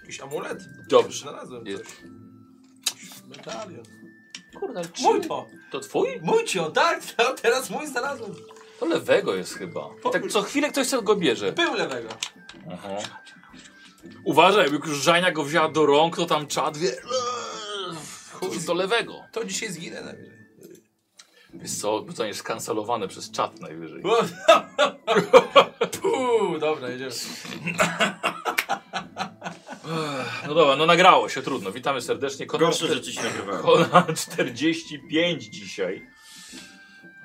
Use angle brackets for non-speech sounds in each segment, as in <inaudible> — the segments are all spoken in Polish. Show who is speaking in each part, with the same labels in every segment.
Speaker 1: Jakiś amulet?
Speaker 2: Dobrze.
Speaker 1: Znalazłem
Speaker 2: Jest.
Speaker 1: coś. Jakiś Medalion.
Speaker 2: Kurde, czy...
Speaker 1: Mój to!
Speaker 2: To twój?
Speaker 1: Mój cio, tak, <laughs> to teraz mój znalazłem.
Speaker 2: To lewego jest chyba. I tak co chwilę ktoś sobie go bierze.
Speaker 1: Pył lewego.
Speaker 2: Aha. Uważaj, jak już Żania go wzięła do rąk, to tam czad wie... Chodź do lewego.
Speaker 1: To dzisiaj zginę najwyżej. <laughs>
Speaker 2: Wiesz co, zostaniesz skancelowane przez czat najwyżej.
Speaker 1: O, Puu, dobra, jedziemy.
Speaker 2: No dobra, no nagrało się, trudno. Witamy serdecznie. Konrad,
Speaker 3: Gorsze rzeczy się nagrywają.
Speaker 2: <laughs> Konrad 45 dzisiaj.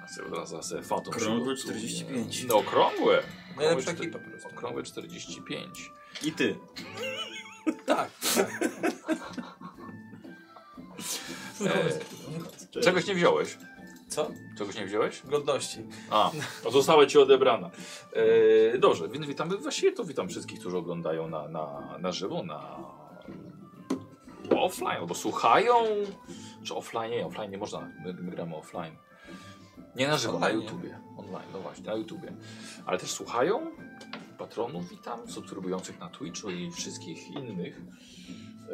Speaker 2: A sobie od razu sobie fatą
Speaker 3: Krągłe
Speaker 2: przygotuję.
Speaker 3: 45.
Speaker 2: No okrągłe. Okrągłe
Speaker 1: Najlepsza
Speaker 2: czter-
Speaker 1: ekipa po prostu.
Speaker 2: Okrągłe 45.
Speaker 3: I ty.
Speaker 1: Tak, tak.
Speaker 2: E, czegoś nie wziąłeś?
Speaker 1: Co?
Speaker 2: Czegoś nie wziąłeś?
Speaker 1: Godności.
Speaker 2: A, no została ci odebrana. E, dobrze, więc witamy, właściwie to witam wszystkich, którzy oglądają na, na, na żywo, na offline, albo słuchają, czy offline, nie, offline nie można, my, my gramy offline. Nie na żywo,
Speaker 1: Online.
Speaker 2: na YouTubie, online, no właśnie, na YouTubie. Ale też słuchają, patronów witam, subskrybujących na Twitchu i wszystkich innych.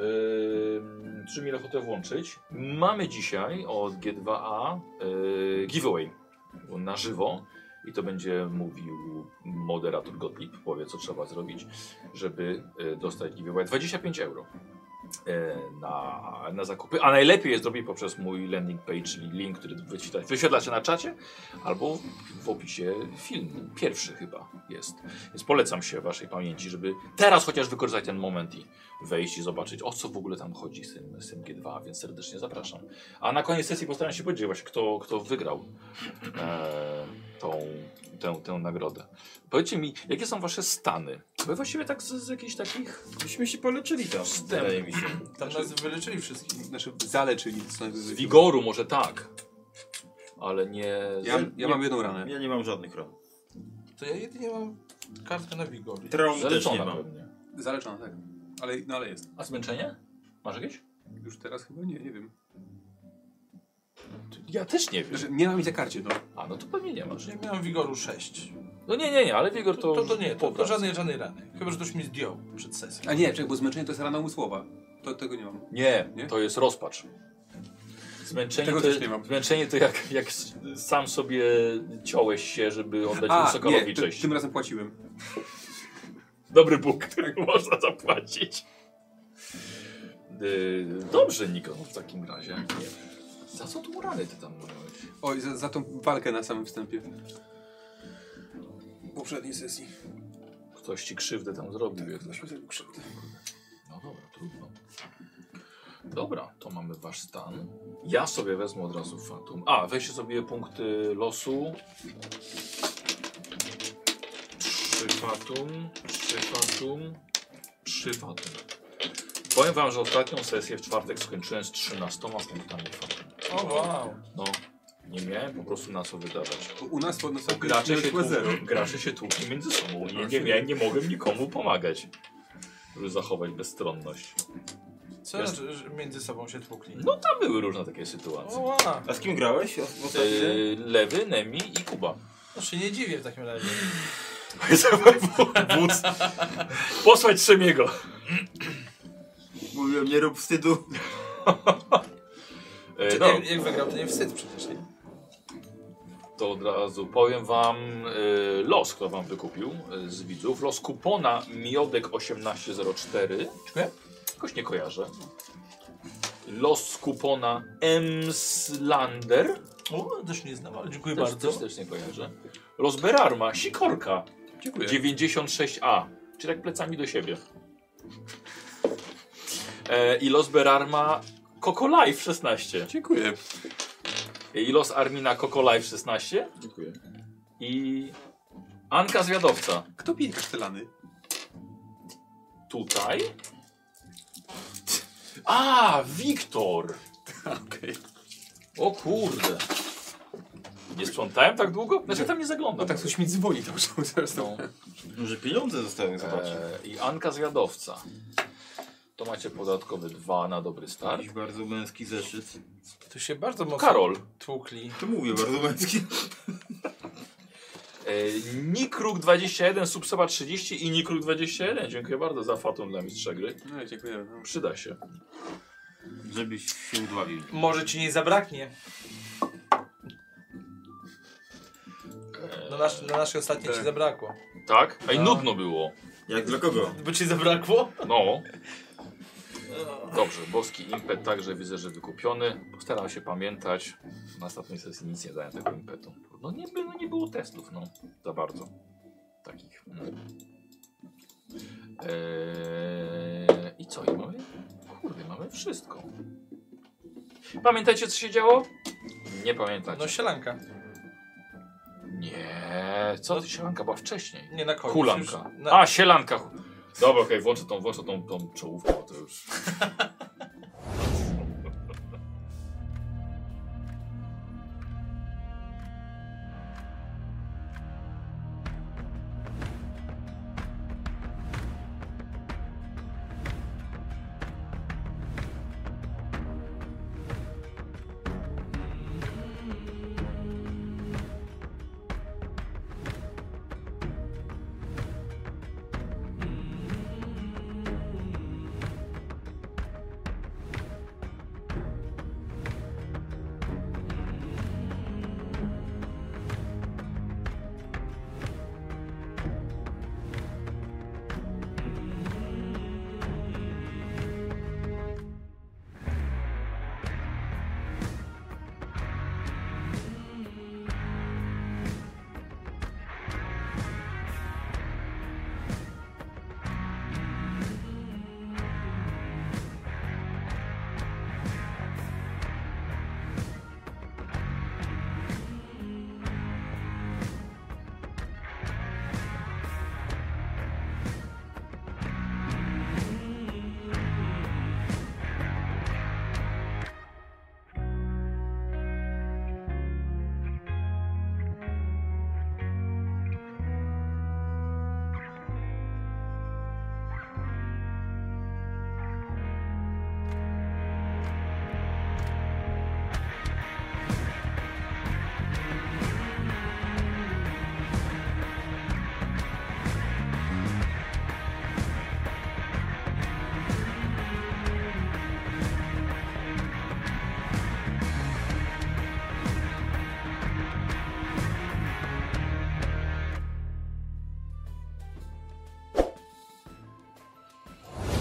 Speaker 2: Yy, czy mieli ochotę włączyć? Mamy dzisiaj od G2A yy, giveaway na żywo i to będzie mówił moderator Gottlieb, powie co trzeba zrobić, żeby y, dostać giveaway 25 euro y, na, na zakupy, a najlepiej jest zrobić poprzez mój landing page, czyli link, który wyświetla, wyświetla się na czacie albo w opisie filmu, pierwszy chyba jest. Więc polecam się waszej pamięci, żeby teraz chociaż wykorzystać ten moment i wejść i zobaczyć o co w ogóle tam chodzi z tym, z tym G2, więc serdecznie zapraszam. A na koniec sesji postaram się powiedzieć właśnie kto, kto wygrał e, tą, tę, tę nagrodę. Powiedzcie mi, jakie są wasze stany? Wy właściwie tak z, z jakichś takich...
Speaker 3: Byśmy się poleczyli tam.
Speaker 2: Wstęp.
Speaker 3: Wydaje mi się.
Speaker 1: Tam
Speaker 4: Znaczy-
Speaker 1: nas wyleczyli wszystkich.
Speaker 4: Znaczy zaleczyli.
Speaker 2: z wigoru może tak, ale nie...
Speaker 4: Ja, ja mam jedną ranę.
Speaker 3: Ja nie mam żadnych ran.
Speaker 1: To ja jedynie mam kartę na wigor.
Speaker 3: Traum też nie
Speaker 2: Zaleczona
Speaker 3: mam.
Speaker 2: pewnie.
Speaker 4: Zaleczona, tak. Ale, no ale jest.
Speaker 2: A zmęczenie? Masz jakieś?
Speaker 4: Już teraz chyba nie, nie wiem.
Speaker 2: Ja też nie
Speaker 4: Znaczy, nie mam nic na karcie, no.
Speaker 2: A no to pewnie nie masz.
Speaker 1: Ja miałem wigoru 6.
Speaker 2: No nie, nie, nie, ale wigor to...
Speaker 1: To, to, nie, to, to
Speaker 2: powraca.
Speaker 1: żadnej, żadnej rany. Chyba, że ktoś mi zdjął przed sesją.
Speaker 4: A nie, czekaj, bo zmęczenie to jest rana umysłowa. To tego nie mam.
Speaker 2: Nie,
Speaker 4: Nie?
Speaker 2: to jest rozpacz. Zmęczenie
Speaker 4: Tego
Speaker 2: to,
Speaker 4: też nie mam.
Speaker 2: zmęczenie to jak, jak s- sam sobie ciąłeś się, żeby oddać mu Sokolowi
Speaker 4: nie, ty,
Speaker 2: cześć.
Speaker 4: tym razem płaciłem.
Speaker 2: Dobry Bóg, którego można zapłacić. Yy, dobrze, Niko, w takim razie. Za co tu rany ty tam mówiłeś?
Speaker 4: Oj, za, za tą walkę na samym wstępie. Poprzedniej sesji.
Speaker 2: Ktoś ci krzywdę tam zrobił. jak
Speaker 4: Ktoś mi zrobił krzywdę.
Speaker 2: No dobra, trudno. Dobra, to mamy wasz stan. Ja sobie wezmę od razu Fatum. A, weźcie sobie punkty losu. Trzy Fatum, trzy Fatum, trzy Fatum. Powiem wam, że ostatnią sesję w czwartek skończyłem z 13 punktami Fatum.
Speaker 1: O wow.
Speaker 2: No, nie miałem po prostu na co wydawać.
Speaker 4: Bo U nas po nas
Speaker 2: Gracze się,
Speaker 4: wyszło zero.
Speaker 2: tłuk, gracze się tłukli między sobą. Nie, nie, nie, nie mogłem nikomu pomagać, żeby zachować bezstronność.
Speaker 1: Co
Speaker 2: Jest.
Speaker 1: znaczy, że między sobą się tłukli?
Speaker 2: No tam były różne takie
Speaker 1: O tak
Speaker 2: sytuacje.
Speaker 1: wow.
Speaker 3: A z kim grałeś o- w
Speaker 2: <laughs>
Speaker 3: ostatniej?
Speaker 2: Yy, lewy, Nemi i Kuba.
Speaker 1: No się nie dziwię w takim razie.
Speaker 2: Wódz. Posłać Szemiego.
Speaker 3: Mówiłem, nie rób wstydu.
Speaker 2: Yy,
Speaker 1: Czy,
Speaker 2: no,
Speaker 1: jak, jak wygrał, to nie wstyd przecież. Nie?
Speaker 2: to od razu powiem wam yy, los, kto wam wykupił yy, z widzów. Los kupona Miodek 1804.
Speaker 1: Dziękuję.
Speaker 2: Jakoś nie kojarzę. Los kupona Emslander.
Speaker 1: O, też nie znam, ale dziękuję
Speaker 2: Też,
Speaker 1: bardzo.
Speaker 2: też, też nie kojarzę. Los Berarma, Sikorka.
Speaker 1: Dziękuję.
Speaker 2: 96A. Czy tak plecami do siebie. E, I los Berarma Coco Life 16.
Speaker 4: Dziękuję.
Speaker 2: I los Armina Coco Life 16.
Speaker 3: Dziękuję.
Speaker 2: I Anka Zwiadowca.
Speaker 4: Kto pije kasztelany? <laughs>
Speaker 2: Tutaj. A, Wiktor.
Speaker 4: Okej.
Speaker 2: O kurde. Nie sprzątałem tak długo? Znaczy tam nie zaglądam.
Speaker 4: No tak, coś mi dzwoni tam, że zaraz to...
Speaker 2: No.
Speaker 3: Może pieniądze zostały, zobacz.
Speaker 2: E, I Anka Zwiadowca. To macie podatkowy dwa na dobry start.
Speaker 3: Eee, Jakiś bardzo męski zeszyt.
Speaker 1: To się bardzo mocno
Speaker 2: Karol.
Speaker 1: tłukli.
Speaker 3: To mówię, bardzo męski.
Speaker 2: E, E, Nikruk21, Subsoba 30 i Nikruk21. Dziękuję bardzo za fatun dla mistrza gry.
Speaker 4: No, dziękujemy. No.
Speaker 2: Przyda się.
Speaker 3: Żebyś się udławił.
Speaker 1: Może ci nie zabraknie. Na, nasz, na nasze ostatnie ci
Speaker 4: Tak.
Speaker 1: zabrakło.
Speaker 2: Tak? Ej,
Speaker 1: No.
Speaker 2: nudno było.
Speaker 3: Jak dla kogo?
Speaker 1: Bo ci zabrakło?
Speaker 2: No. Dobrze, boski impet także widzę, że wykupiony. Postaram się pamiętać. Na ostatniej sesji nic nie dałem tego impetu. No nie, by- no nie było testów, no. Za bardzo. Takich. no. Eee, I co? I mamy? Kurde, mamy wszystko. Pamiętacie, co się działo? Nie pamiętacie.
Speaker 1: No sielanka.
Speaker 2: Nie, co? Sielanka była wcześniej.
Speaker 1: Nie na koniec.
Speaker 2: Hulanka.
Speaker 1: Już Na...
Speaker 2: A, sielanka. Dobra, okej, włączę tą, włączę tą, tą czołówkę, bo to już...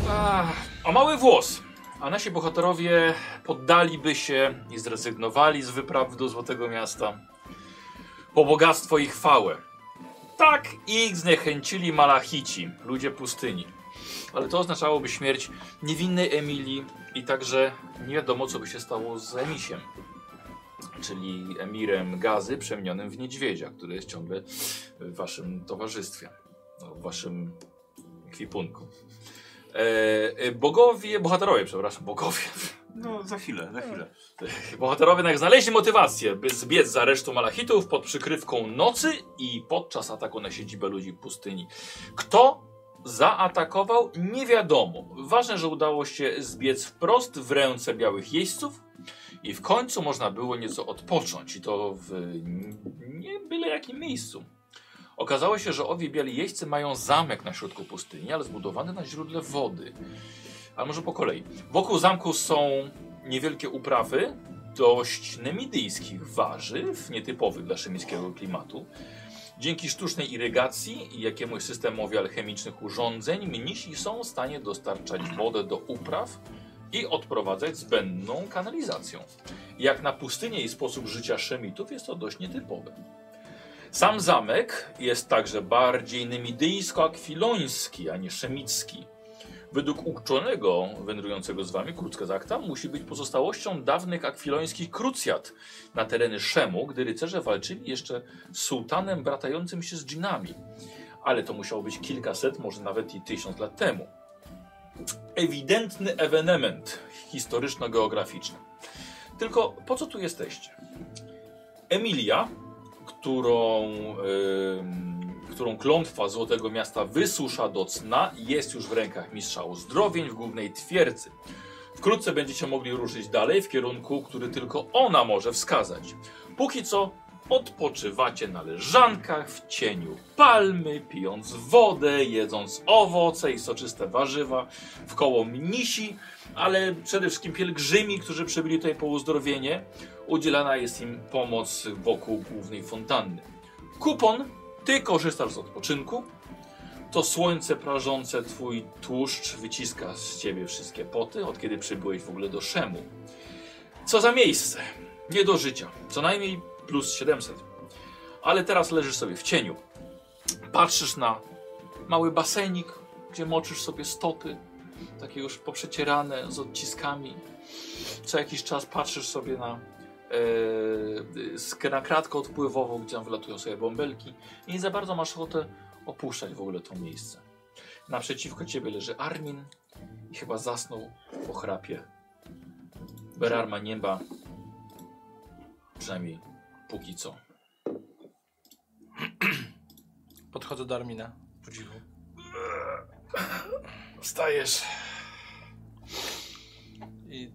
Speaker 2: Ach, O mały włos. A nasi bohaterowie poddaliby się i zrezygnowali z wypraw do Złotego Miasta po bogactwo i chwałę. Tak ich zniechęcili Malachici, ludzie pustyni. Ale to oznaczałoby śmierć niewinnej Emilii i także nie wiadomo, co by się stało z Emisiem, czyli emirem gazy przemienionym w niedźwiedzia, który jest ciągle w waszym towarzystwie, no, w waszym kwipunku. E, e, bogowie, bohaterowie, przepraszam, bogowie.
Speaker 3: No, za chwilę, za chwilę.
Speaker 2: Bohaterowie jednak znaleźli motywację, by zbiec za resztą malachitów pod przykrywką nocy i podczas ataku na siedzibę ludzi w pustyni. Kto zaatakował, nie wiadomo. Ważne, że udało się zbiec wprost w ręce białych jeźdźców i w końcu można było nieco odpocząć i to w n- nie byle jakim miejscu. Okazało się, że owi biali jeźdźcy mają zamek na środku pustyni, ale zbudowany na źródle wody. Ale może po kolei. Wokół zamku są niewielkie uprawy dość nemidyjskich warzyw, nietypowych dla szemickiego klimatu. Dzięki sztucznej irygacji i jakiemuś systemowi alchemicznych urządzeń mnisi są w stanie dostarczać wodę do upraw i odprowadzać zbędną kanalizacją. Jak na pustynię i sposób życia szemitów jest to dość nietypowe. Sam zamek jest także bardziej nemidyjsko-akwiloński, a nie szemicki. Według uczonego wędrującego z wami Kruckazakta musi być pozostałością dawnych akwilońskich krucjat na tereny Szemu, gdy rycerze walczyli jeszcze z sułtanem bratającym się z dżinami. Ale to musiało być kilkaset, może nawet i tysiąc lat temu. Ewidentny ewenement historyczno-geograficzny. Tylko po co tu jesteście? Emilia, którą, ym, którą klątwa Złotego Miasta wysusza do cna, jest już w rękach mistrza uzdrowień w głównej twierdzy. Wkrótce będziecie mogli ruszyć dalej w kierunku, który tylko ona może wskazać. Póki co Odpoczywacie na leżankach w cieniu palmy, pijąc wodę, jedząc owoce i soczyste warzywa, wkoło mnisi, ale przede wszystkim pielgrzymi, którzy przybyli tutaj po uzdrowienie. Udzielana jest im pomoc wokół głównej fontanny. Kupon, ty korzystasz z odpoczynku. To słońce prażące twój tłuszcz wyciska z ciebie wszystkie poty, od kiedy przybyłeś w ogóle do Szemu. Co za miejsce! Nie do życia. Co najmniej plus 700. Ale teraz leżysz sobie w cieniu. Patrzysz na mały basenik, gdzie moczysz sobie stopy. Takie już poprzecierane z odciskami. Co jakiś czas patrzysz sobie na, e, sk- na kratkę odpływową, gdzie tam wylatują sobie bąbelki. I nie za bardzo masz ochotę opuszczać w ogóle to miejsce. Naprzeciwko ciebie leży Armin i chyba zasnął po chrapie. Berar ma nieba Przynajmniej póki co.
Speaker 1: Podchodzę do Armina. Po dziwu.
Speaker 2: Wstajesz.
Speaker 1: I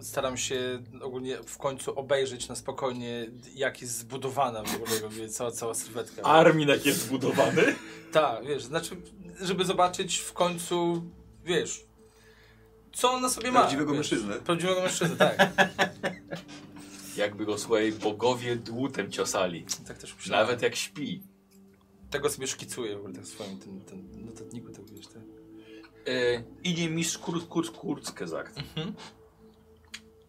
Speaker 1: staram się ogólnie w końcu obejrzeć na spokojnie, jak jest zbudowana w ogóle jakby cała, cała sylwetka.
Speaker 2: Armin jak jest zbudowany.
Speaker 1: Tak, wiesz, znaczy, żeby zobaczyć w końcu, wiesz, co on na sobie ma.
Speaker 4: Prawdziwego
Speaker 1: wiesz.
Speaker 4: mężczyznę.
Speaker 1: Prawdziwego mężczyznę, tak.
Speaker 4: <laughs>
Speaker 2: Jakby go słuchaj, bogowie dłutem ciosali.
Speaker 1: tak też myślałem.
Speaker 2: Nawet jak śpi.
Speaker 1: Tego sobie szkicuję w ogóle tak w swoim tym, tym notatniku, tak wiesz, tak.
Speaker 2: E, idzie mistrz Kurz Kurz Kurzkezakt.
Speaker 1: Mhm.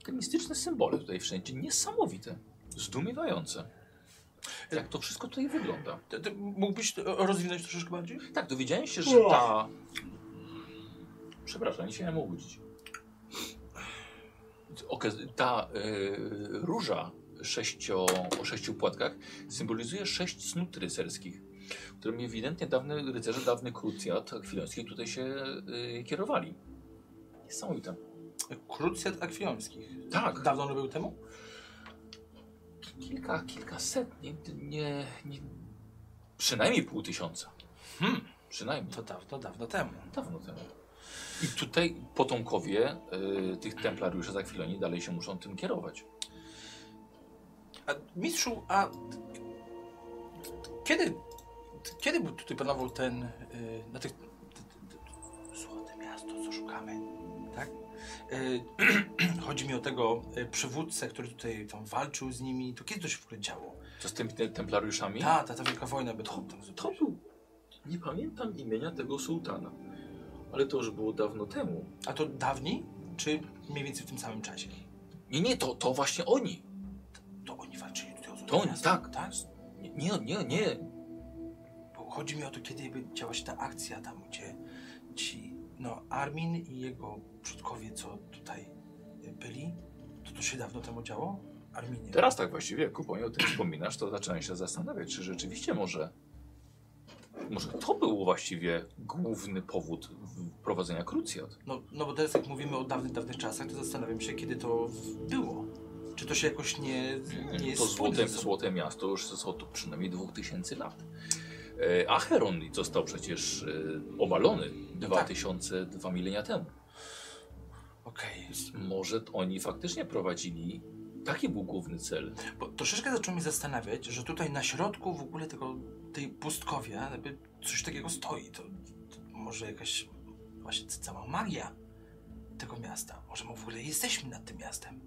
Speaker 2: Te mistyczne symbole tutaj wszędzie. Niesamowite. Zdumiewające. Jak to wszystko tutaj wygląda.
Speaker 1: Ty, ty mógłbyś to rozwinąć troszeczkę bardziej?
Speaker 2: Tak, dowiedziałem się, że ta... Przepraszam, nie chciałem obudzić. Okaz ta y, róża sześcio, o sześciu płatkach symbolizuje sześć snut rycerskich, którymi ewidentnie dawny rycerze, dawny krucjat chwilońskich tutaj się y, kierowali. Niesamowite.
Speaker 1: Krucjat akwiońskich.
Speaker 2: Tak,
Speaker 1: Dawno on był temu?
Speaker 2: kilka, kilkaset, nie, nie, nie, przynajmniej pół tysiąca.
Speaker 1: Hmm.
Speaker 2: Przynajmniej.
Speaker 1: To dawno, dawno temu.
Speaker 2: dawno temu. I tutaj potomkowie y, tych templariuszy za chwilę nie dalej się muszą tym kierować.
Speaker 1: A mistrzu, a kiedy, kiedy był tutaj panował ten, y, na tych, t, t, t, złote miasto, co szukamy, tak? Y, <clears throat> chodzi mi o tego y, przywódcę, który tutaj tam walczył z nimi, to kiedy to się w ogóle działo?
Speaker 2: Co z tymi te, templariuszami?
Speaker 1: Ta, ta, ta wielka wojna, by to, to,
Speaker 2: Tak. To był. Nie pamiętam imienia tego sułtana, ale to już było dawno temu.
Speaker 1: A to dawni, czy mniej więcej w tym samym czasie?
Speaker 2: Nie, nie, to, to właśnie oni.
Speaker 1: To oni walczyli tutaj o złote
Speaker 2: To oni,
Speaker 1: miasto,
Speaker 2: tak. Nie, nie, nie. nie.
Speaker 1: Bo chodzi mi o to, kiedy by działa się ta akcja tam, gdzie ci, no, Armin i jego przodkowie, co tutaj y, byli, to to się dawno temu działo? Arminie.
Speaker 2: Teraz tak właściwie, jak kuponie o tym wspominasz, to zacząłem się zastanawiać, czy rzeczywiście może. Może to był właściwie główny powód w- prowadzenia krucjat.
Speaker 1: No, no bo teraz jak mówimy o dawnych, dawnych czasach, to zastanawiam się, kiedy to w- było. Czy to się jakoś nie, nie jest
Speaker 2: to złote,
Speaker 1: spójne ze sobą?
Speaker 2: złote miasto już jest od przynajmniej 2000 lat. E, Acheron został przecież e, obalony
Speaker 1: No
Speaker 2: 2000, dwa milenia temu.
Speaker 1: Okej.
Speaker 2: Może t- oni faktycznie prowadzili, taki był główny cel.
Speaker 1: Bo troszeczkę zaczął mnie zastanawiać, że tutaj na środku w ogóle tego, tej pustkowia jakby coś takiego stoi. To, to może jakaś właśnie c- cała magia tego miasta. Może my w ogóle jesteśmy nad tym miastem.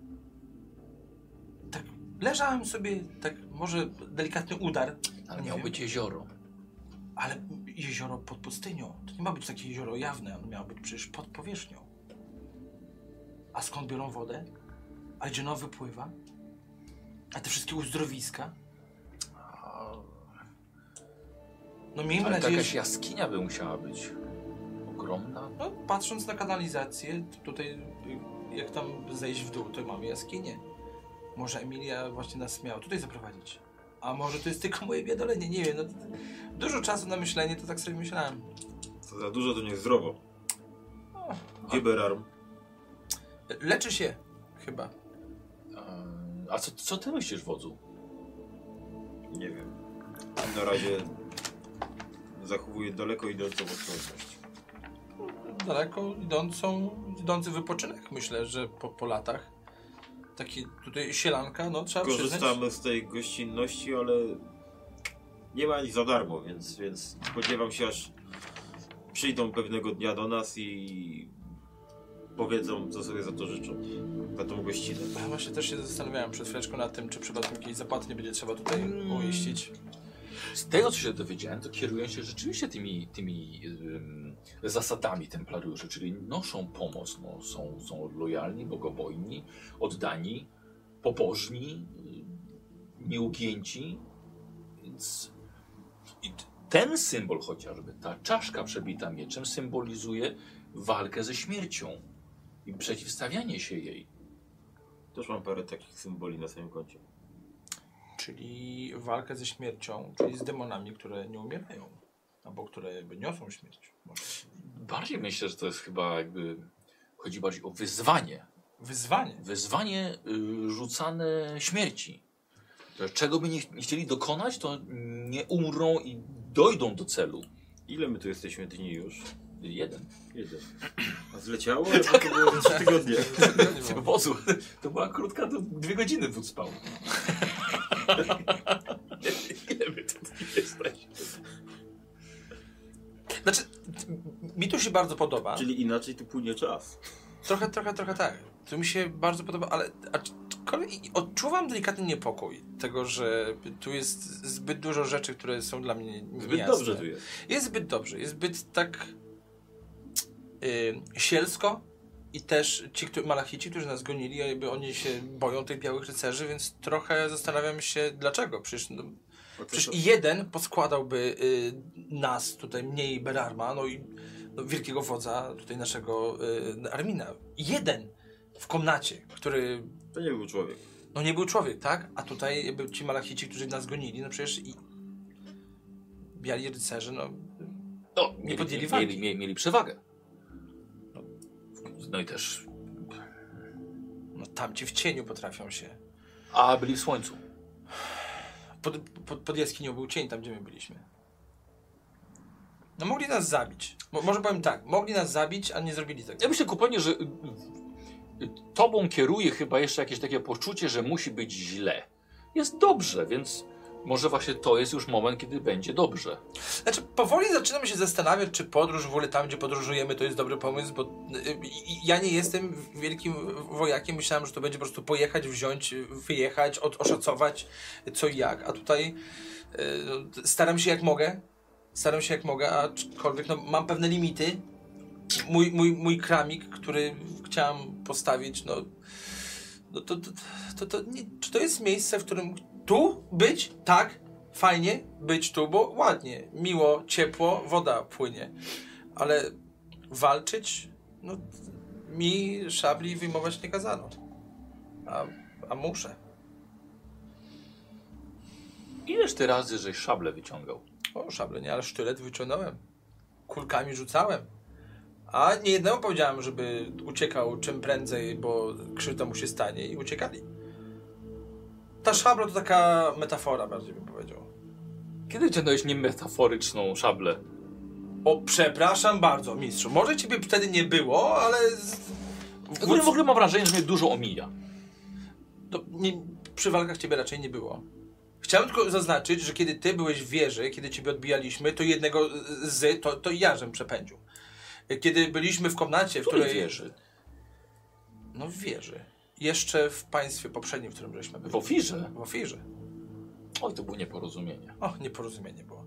Speaker 1: Tak leżałem sobie, tak może delikatny udar,
Speaker 2: Ale
Speaker 1: Nie
Speaker 2: miał
Speaker 1: wiem.
Speaker 2: być jezioro.
Speaker 1: ale jezioro pod pustynią. To nie ma być takie jezioro jawne, ono miało być przecież pod powierzchnią. A skąd biorą wodę? A gdzie ona wypływa? A te wszystkie uzdrowiska? No miejmy
Speaker 2: Ale to
Speaker 1: nadzieję,
Speaker 2: jakaś
Speaker 1: że...
Speaker 2: jaskinia by musiała być. Ogromna.
Speaker 1: No, patrząc na kanalizację, to tutaj y, jak tam zejść w dół, to mamy jaskinię. Może Emilia właśnie nas miała tutaj zaprowadzić. A może to jest tylko moje biadolenie, nie wiem. No, to- dużo czasu na myślenie, to tak sobie myślałem.
Speaker 5: To za dużo, to nie zdrowo. Gdzie Berarm?
Speaker 1: Leczy się, chyba.
Speaker 2: Ehm, A co, co ty myślisz, wodzu?
Speaker 5: Nie wiem. Na razie zachowuję daleko idącą ostrożność.
Speaker 1: Daleko idącą, idący wypoczynek, myślę, że po, po latach. Taki tutaj sielanka, no trzeba przyznać.
Speaker 5: Korzystamy z tej gościnności, ale nie ma nic za darmo, więc, więc spodziewam się, aż przyjdą pewnego dnia do nas i powiedzą, co sobie za to życzą, za tą gościnę.
Speaker 1: Ja Właśnie też się zastanawiałem przed chwileczką nad tym, czy przypadkiem jakiejś zapłaty nie będzie trzeba tutaj
Speaker 2: Mm.
Speaker 1: uiścić.
Speaker 2: Z tego, co się dowiedziałem, to kierują się rzeczywiście tymi, tymi ym, zasadami templariuszy, czyli noszą pomoc, no, są, są lojalni, bogobojni, oddani, pobożni, y, nieugięci, więc i t- ten symbol chociażby, ta czaszka przebita mieczem symbolizuje walkę ze śmiercią i przeciwstawianie się jej.
Speaker 5: Też mam parę takich symboli na swoim koncie.
Speaker 1: Czyli walkę ze śmiercią, czyli z demonami, które nie umierają. Albo które jakby niosą śmierć. Może.
Speaker 2: Bardziej myślę, że to jest chyba jakby, chodzi bardziej o wyzwanie
Speaker 1: Wyzwanie.
Speaker 2: Wyzwanie y, rzucane śmierci. Że Czego by nie, nie chcieli dokonać, to nie umrą i dojdą do celu.
Speaker 5: Ile my tu jesteśmy dni już?
Speaker 2: <laughs> Jeden.
Speaker 5: Jeden. A zleciało? Ale to było trzy
Speaker 1: <laughs>
Speaker 5: tygodnie.
Speaker 2: W obozu. To była krótka, to dwie godziny wód spał. Ile my tu jesteśmy?
Speaker 1: Znaczy, <laughs> mi tu się bardzo podoba.
Speaker 5: Czyli inaczej tu płynie czas.
Speaker 1: Trochę, trochę, trochę tak. To mi się bardzo podoba, ale aczkolwiek odczuwam delikatny niepokój tego, że tu jest zbyt dużo rzeczy, które są dla mnie
Speaker 5: Zbyt
Speaker 1: niejasne.
Speaker 5: dobrze tu jest.
Speaker 1: Jest zbyt dobrze, jest zbyt tak yy, sielsko i też ci którzy, malachici, którzy nas gonili, jakby oni się boją tych białych rycerzy, więc trochę zastanawiam się dlaczego. Przecież, no, przecież i jeden poskładałby yy, nas tutaj, mnie i Berarma, no i no, wielkiego wodza tutaj naszego yy, Armina. Jeden w komnacie, który
Speaker 5: To nie był człowiek.
Speaker 1: no nie był człowiek, tak? A tutaj jakby ci malachici, którzy nas gonili, no przecież i biali rycerze, no
Speaker 2: No,
Speaker 1: Nie
Speaker 2: mieli,
Speaker 1: podjęli
Speaker 2: mieli,
Speaker 1: walki.
Speaker 2: mieli, mieli przewagę. No i też.
Speaker 1: No tamci w cieniu potrafią się.
Speaker 2: A byli w słońcu.
Speaker 1: Pod, pod, pod jaskinią był cień, tam gdzie my byliśmy. No mogli nas zabić. Mo, może powiem tak, mogli nas zabić, a nie zrobili tego.
Speaker 2: Ja myślę, kupanie, że y, y, tobą kieruje chyba jeszcze jakieś takie poczucie, że musi być źle. Jest dobrze, więc może właśnie to jest już moment, kiedy będzie dobrze.
Speaker 1: Znaczy, powoli zaczynam się zastanawiać, czy podróż w ogóle tam, gdzie podróżujemy, to jest dobry pomysł, bo y, y, ja nie jestem wielkim wojakiem. Myślałem, że to będzie po prostu pojechać, wziąć, y, wyjechać, od, oszacować co i jak. A tutaj y, no, staram się jak mogę. Staram się jak mogę, aczkolwiek no, mam pewne limity. Mój, mój, mój kramik, który chciałem postawić, no, no to, to, to, to nie, czy to jest miejsce, w którym tu być? Tak, fajnie być tu, bo ładnie, miło, ciepło, woda płynie. Ale walczyć, no mi szabli wyjmować nie kazano. A, a muszę.
Speaker 2: Ileż ty razy żeś szable wyciągał?
Speaker 1: O, szable nie, ale sztylet wyciągnąłem. Kulkami rzucałem. A nie jednemu powiedziałem, żeby uciekał czym prędzej, bo krzywda mu się stanie i uciekali. Ta szabla to taka metafora, bardziej bym powiedział.
Speaker 2: Kiedy ciągnąłeś niemetaforyczną szablę?
Speaker 1: O, przepraszam bardzo, mistrzu. Może ciebie wtedy nie było, ale. z-
Speaker 2: W ogóle, w ogóle mam wrażenie, że mnie dużo omija.
Speaker 1: No, nie, przy walkach ciebie raczej nie było. Chciałem tylko zaznaczyć, że kiedy ty byłeś w wieży, kiedy ciebie odbijaliśmy, to jednego z, to, to ja żem przepędził. Kiedy byliśmy w komnacie, w
Speaker 2: Której
Speaker 1: której.
Speaker 2: wieży?
Speaker 1: No w wieży. Jeszcze w państwie poprzednim, w którym żeśmy byli.
Speaker 2: W ofirze?
Speaker 1: W ofirze.
Speaker 2: Oj, to było nieporozumienie.
Speaker 1: O, nieporozumienie było.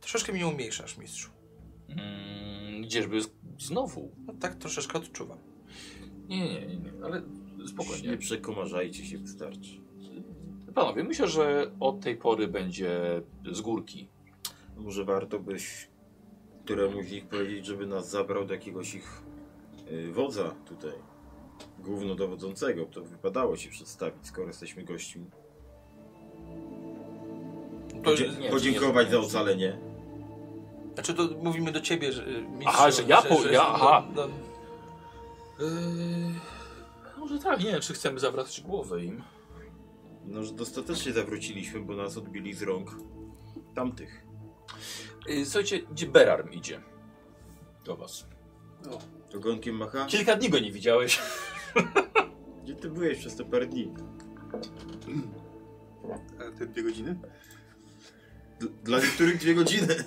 Speaker 1: Troszeczkę mnie umniejszasz, mistrzu.
Speaker 2: Mm, gdzieżby z- znowu?
Speaker 1: No tak troszeczkę odczuwam.
Speaker 2: Nie, nie, nie, nie, ale
Speaker 5: Nie
Speaker 2: spokojnie.
Speaker 5: przekomarzajcie się, wystarczy.
Speaker 2: Panowie, myślę, że od tej pory będzie z górki.
Speaker 5: Może warto byś któremuś z nich powiedzieć, żeby nas zabrał do jakiegoś ich y, wodza tutaj. Głównodowodzącego. To wypadało się przedstawić, skoro jesteśmy gośćmi.
Speaker 1: To,
Speaker 5: Podzie-
Speaker 2: nie,
Speaker 5: podziękować
Speaker 2: nie, nie,
Speaker 5: za ocalenie.
Speaker 1: Znaczy to mówimy do ciebie, że y, mistrzu,
Speaker 2: Aha, że ja po- ja- aha.
Speaker 1: No, no,
Speaker 2: Eee, może tak, nie wiem, czy chcemy zawracać głowę im.
Speaker 5: No, że dostatecznie zawróciliśmy, bo nas odbili z rąk tamtych.
Speaker 2: Eee, słuchajcie, gdzie Berarm idzie? Do was.
Speaker 5: Ogonkiem macha?
Speaker 2: Kilka dni go nie widziałeś.
Speaker 5: Gdzie Ty byłeś przez te parę dni.
Speaker 4: A te dwie godziny?
Speaker 5: D- Dla niektórych dwie godziny.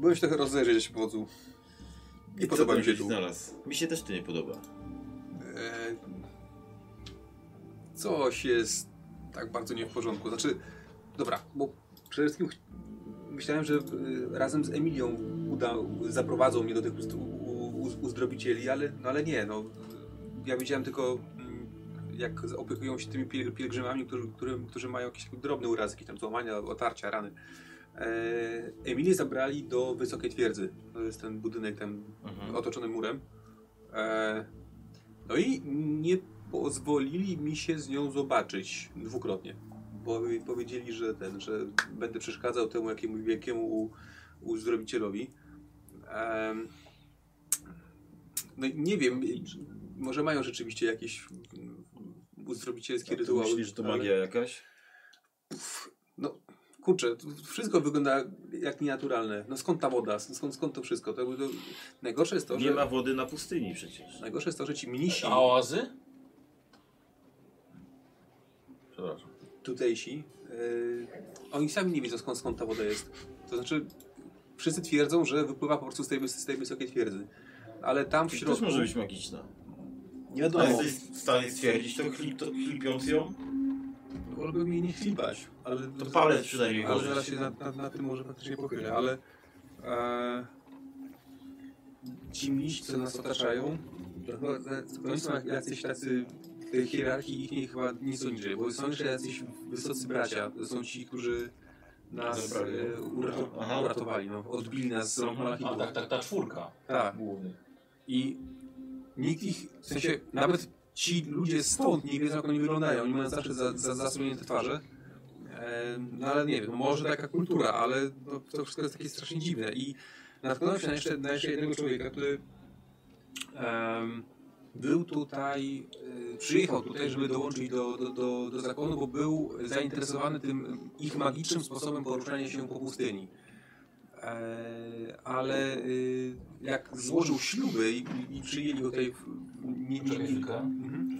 Speaker 4: Byłeś trochę rozejrzeć w wodzu. <laughs> Nie
Speaker 5: co
Speaker 4: podoba
Speaker 5: tam
Speaker 4: mi się
Speaker 5: żeś
Speaker 4: tu.
Speaker 5: Znalazł. Mi się też to nie podoba.
Speaker 4: E, Coś jest tak bardzo nie w porządku. Znaczy, dobra, bo przede wszystkim ch- myślałem, że e, razem z Emilią uda, zaprowadzą mnie do tych uzd- u- u- uzdrowicieli, ale, no ale nie, no. Ja widziałem tylko, mm, jak z- opiekują się tymi piel- pielgrzymami, którzy, którym, którzy mają jakieś drobne urazy, jakieś tam złamania, otarcia, rany. E, Emilię zabrali do Wysokiej Twierdzy. To jest ten budynek tam
Speaker 2: Mhm.
Speaker 4: otoczony murem. E, no i nie pozwolili mi się z nią zobaczyć dwukrotnie. Bo mi powiedzieli, że ten, że będę przeszkadzał temu jakiemuś wielkiemu u- uzdrowicielowi. Em, no i nie wiem, może mają rzeczywiście jakieś mm, uzdrowicielskie
Speaker 5: A ty
Speaker 4: rytuały.
Speaker 5: Myślisz, że Tak, to
Speaker 4: ale-
Speaker 5: magia jakaś?
Speaker 4: no, kurczę, to wszystko wygląda jak nienaturalne. No skąd ta woda? Skąd, skąd to wszystko? To, to, najgorsze jest to,
Speaker 5: Nie
Speaker 4: że...
Speaker 5: ma wody na pustyni przecież.
Speaker 4: Najgorsze jest to, że ci mnisi
Speaker 2: A oazy?
Speaker 5: Przepraszam.
Speaker 4: tutejsi, yy, oni sami nie wiedzą skąd, skąd ta woda jest. To znaczy, wszyscy twierdzą, że wypływa po prostu z tej, wys- z tej wysokiej twierdzy. Ale tam w
Speaker 5: Czyli też
Speaker 4: środku...
Speaker 5: może być magiczna.
Speaker 4: Nie
Speaker 5: No,
Speaker 4: wiadomo,
Speaker 5: jesteś w stanie stwierdzić, to, chlip, to chlipiąc ją,
Speaker 4: wolałbym jej nie chlipać. Ale
Speaker 5: to palec przynajmniej
Speaker 4: Ale
Speaker 5: może.
Speaker 4: zaraz się nad, nad, nad tym może faktycznie pochylę, ale e, ci mniści, co nas otaczają, to chyba za- to oni są jak- jacyś tacy w tej hierarchii ich nie, chyba nie są niżej, bo są jeszcze jacyś wysocy bracia, to są ci, którzy nas
Speaker 5: Zabrali.
Speaker 4: e, urato,
Speaker 5: Aha.
Speaker 4: uratowali, no, odbili nas z rąk
Speaker 2: A
Speaker 4: Malachitów.
Speaker 2: tak, tak, ta czwórka
Speaker 4: Tak.
Speaker 2: głównych.
Speaker 4: I nikt ich, w sensie nawet ci ludzie stąd nie wiedzą, jak oni wyglądają. Oni mają zawsze za, za, zasłonięte twarze. E, no ale nie wiem, może taka kultura, ale to, to wszystko jest takie strasznie dziwne. I natknąłem się na jeszcze, na jeszcze jednego człowieka, który em, był tutaj, e, przyjechał tutaj, żeby dołączyć do, do, do, do zakonu, bo był zainteresowany tym ich magicznym sposobem poruszania się po pustyni. E, ale y, jak złożył śluby i, i przyjęli go tutaj w, nie, nie,
Speaker 2: Czekaj
Speaker 4: nie,
Speaker 2: chwilkę.
Speaker 4: Mhm.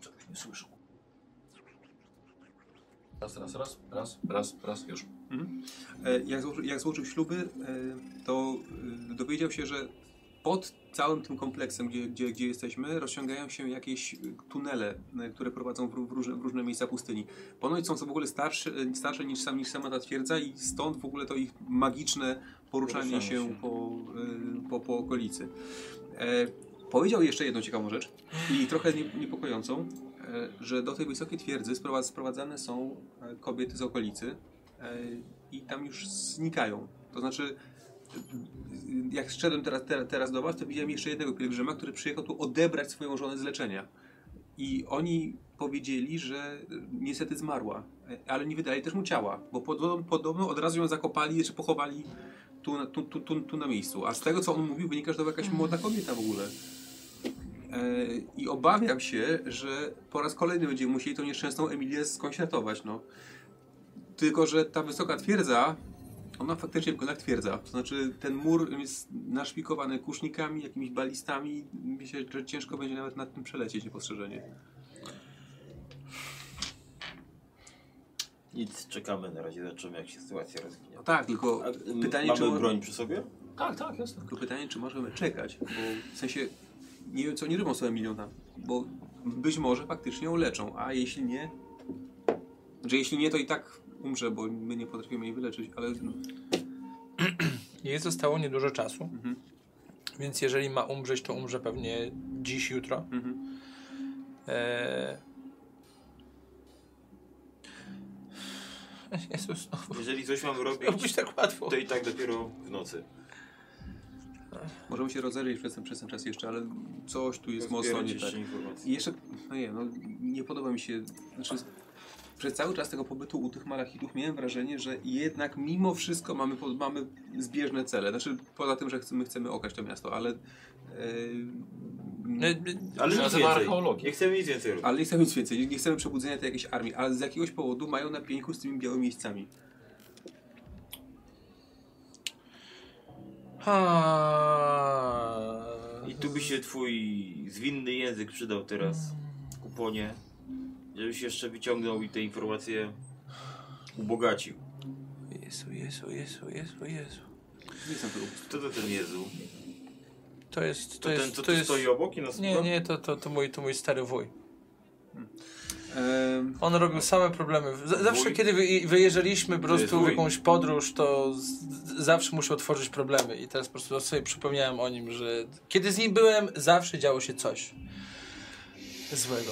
Speaker 2: Czegoś nie słyszał. Raz, raz, raz, raz, raz, raz, już.
Speaker 4: E, jak, złożył, jak złożył śluby, e, to y, dowiedział się, że pod całym tym kompleksem, gdzie, gdzie, gdzie jesteśmy, rozciągają się jakieś y, tunele, y, które prowadzą w, ró- w, różne, w różne miejsca pustyni. Ponoć są to w ogóle starsze, y, starsze niż, sam, niż sama ta twierdza i stąd w ogóle to ich magiczne poruszanie
Speaker 2: Poruszanie
Speaker 4: się,
Speaker 2: się.
Speaker 4: Po, y, po, po okolicy. E, Powiedział jeszcze jedną ciekawą rzecz i trochę nie- niepokojącą, e, że do tej wysokiej twierdzy sprowadz- sprowadzane są e, kobiety z okolicy, e, i tam już znikają. To znaczy, y, jak szedłem teraz, teraz, teraz do was, to widziałem jeszcze jednego pielgrzyma, który przyjechał tu odebrać swoją żonę z leczenia. I oni powiedzieli, że y, niestety zmarła, y, ale nie wydali też mu ciała, bo podobno, podobno od razu ją zakopali czy pochowali tu, na- tu, tu, tu, tu na miejscu. A z tego, co on mówił, wynika, że to była jakaś młoda kobieta w ogóle. E, I obawiam się, że po raz kolejny będziemy musieli tą nieszczęsną Emilię skądś ratować, no. Tylko, że ta wysoka twierdza, ona faktycznie wygląda jak twierdza. To znaczy, ten mur jest naszpikowany kusznikami, jakimiś balistami. Myślę, że ciężko będzie nawet nad tym przelecieć niepostrzeżenie.
Speaker 5: Nic, czekamy na razie, zobaczymy jak się sytuacja rozwinie.
Speaker 4: No tak, tylko
Speaker 5: A, m,
Speaker 4: pytanie,
Speaker 5: mamy
Speaker 4: czy mo-
Speaker 5: broń przy sobie?
Speaker 2: Tak, tak, jasne.
Speaker 4: tylko pytanie, czy możemy czekać, bo w sensie nie wiem, co nie robią sobie miliona, bo być może faktycznie ją leczą, a jeśli nie, że jeśli nie, to i tak umrze, bo my nie potrafimy jej wyleczyć, ale no,
Speaker 1: Jej zostało niedużo czasu,
Speaker 4: Mhm.
Speaker 1: więc jeżeli ma umrzeć, to umrze pewnie dziś, jutro.
Speaker 4: mhm.
Speaker 1: Eee... <laughs> Jezus, no,
Speaker 5: Jeżeli coś mam
Speaker 1: robić
Speaker 5: robić,
Speaker 1: tak łatwo.
Speaker 5: to i tak dopiero w nocy.
Speaker 4: możemy się rozejrzeć przez ten, przez ten czas jeszcze, ale coś tu jest mocno
Speaker 5: Zbierać
Speaker 4: nie tak.
Speaker 5: jeszcze informacje.
Speaker 4: I jeszcze, no nie, no, nie podoba mi się. Znaczy, przez cały czas tego pobytu u tych malachitów miałem wrażenie, że jednak mimo wszystko mamy, po- mamy zbieżne cele. Znaczy, poza tym, że chcemy, chcemy okać to miasto, ale.
Speaker 1: E,
Speaker 4: Yy,
Speaker 1: e,
Speaker 5: Ale
Speaker 2: Się
Speaker 5: nic
Speaker 2: nazywa
Speaker 5: więcej.
Speaker 2: archeologię.
Speaker 5: Nie chcemy nic więcej robić.
Speaker 4: ale nie chcemy nic więcej, nie- nie chcemy przebudzenia tej jakiejś armii, ale z jakiegoś powodu mają na pieńku z tymi białymi miejscami.
Speaker 1: Ha.
Speaker 5: I tu by się twój zwinny język przydał teraz, kuponie, żebyś jeszcze wyciągnął i te informacje ubogacił.
Speaker 1: Jezu, Jezu, Jezu, Jezu, Jezu.
Speaker 4: Nie jestem tu.
Speaker 5: Kto to ten Jezu?
Speaker 1: To jest,
Speaker 5: To,
Speaker 1: to jest,
Speaker 5: ten,
Speaker 1: to
Speaker 5: co tu
Speaker 1: jest...
Speaker 5: stoi obok no? i nas
Speaker 1: Nie,
Speaker 5: słucha?
Speaker 1: nie, to, to, to, mój, to mój stary wuj.
Speaker 4: E,
Speaker 1: On robił same problemy. Z- Zawsze
Speaker 5: Wuj?
Speaker 1: kiedy wy, wyjeżdżaliśmy po prostu w
Speaker 5: wuj.
Speaker 1: jakąś podróż, to z, z, zawsze musiał tworzyć problemy. I teraz po prostu no, sobie przypomniałem o nim, że kiedy z nim byłem, zawsze działo się coś złego.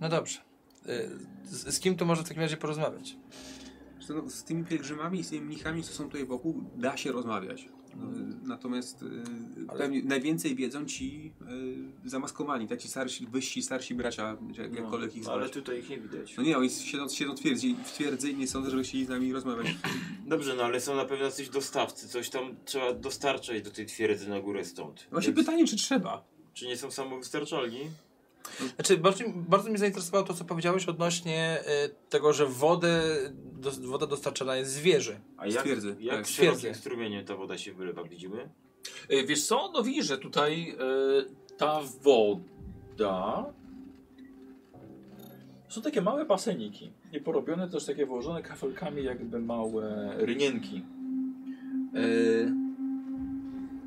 Speaker 1: No dobrze. Y, Z, z kim tu może w takim razie porozmawiać?
Speaker 4: Zresztą, No, z tymi pielgrzymami i z tymi mnichami, co są tutaj wokół, da się rozmawiać. No, Natomiast y,
Speaker 1: Ale-
Speaker 4: pewnie najwięcej wiedzą ci y, zamaskowani, tak ci starsi, wyżsi, starsi bracia, jak, jakkolwiek ich
Speaker 5: No, ale
Speaker 4: zwać.
Speaker 5: tutaj ich nie widać.
Speaker 4: No nie, oni siedzą, siedzą twierdzi, w twierdzy i nie sądzę, żeby chcieli z nami rozmawiać.
Speaker 5: Dobrze, no ale są na pewno coś dostawcy, coś tam trzeba dostarczać do tej twierdzy na górę stąd.
Speaker 4: Właśnie
Speaker 5: Więc-
Speaker 4: pytanie, czy trzeba?
Speaker 5: Czy nie są samowystarczalni?
Speaker 1: Znaczy, bardzo, bardzo mnie zainteresowało to, co powiedziałeś odnośnie y, tego, że wodę, dos- woda dostarczana jest z wieży.
Speaker 5: A jak,
Speaker 4: Stwierdzę,
Speaker 5: jak
Speaker 4: tak.
Speaker 5: w
Speaker 1: Stwierdzę.
Speaker 5: szerokim strumieniu ta woda się wylewa, widzimy?
Speaker 2: E, Wiesz co, no widzisz, że tutaj e, ta woda... Są takie małe baseniki. I porobione też takie włożone kafelkami jakby małe rynienki. E,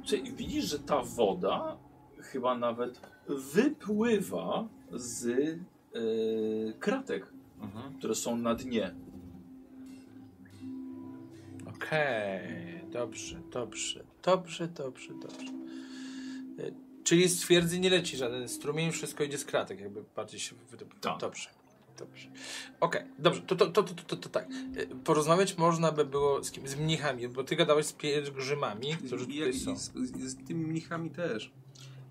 Speaker 2: czy widzisz, że ta woda chyba nawet wypływa z e, kratek, które są na dnie.
Speaker 1: Okej, dobrze, dobrze, dobrze, dobrze, dobrze. Y, Czyli z twierdzy nie leci żaden strumień, wszystko idzie z kratek, jakby bardziej się wydobyło.
Speaker 2: Tak.
Speaker 1: Dobrze, dobrze. Okej, dobrze, to, to, to, to, to, to tak. Y, Porozmawiać można by było z kim? Z mnichami, bo ty gadałeś z pielgrzymami, którzy
Speaker 4: I
Speaker 1: tutaj
Speaker 4: jak,
Speaker 1: są.
Speaker 4: i z, z, z tymi mnichami też.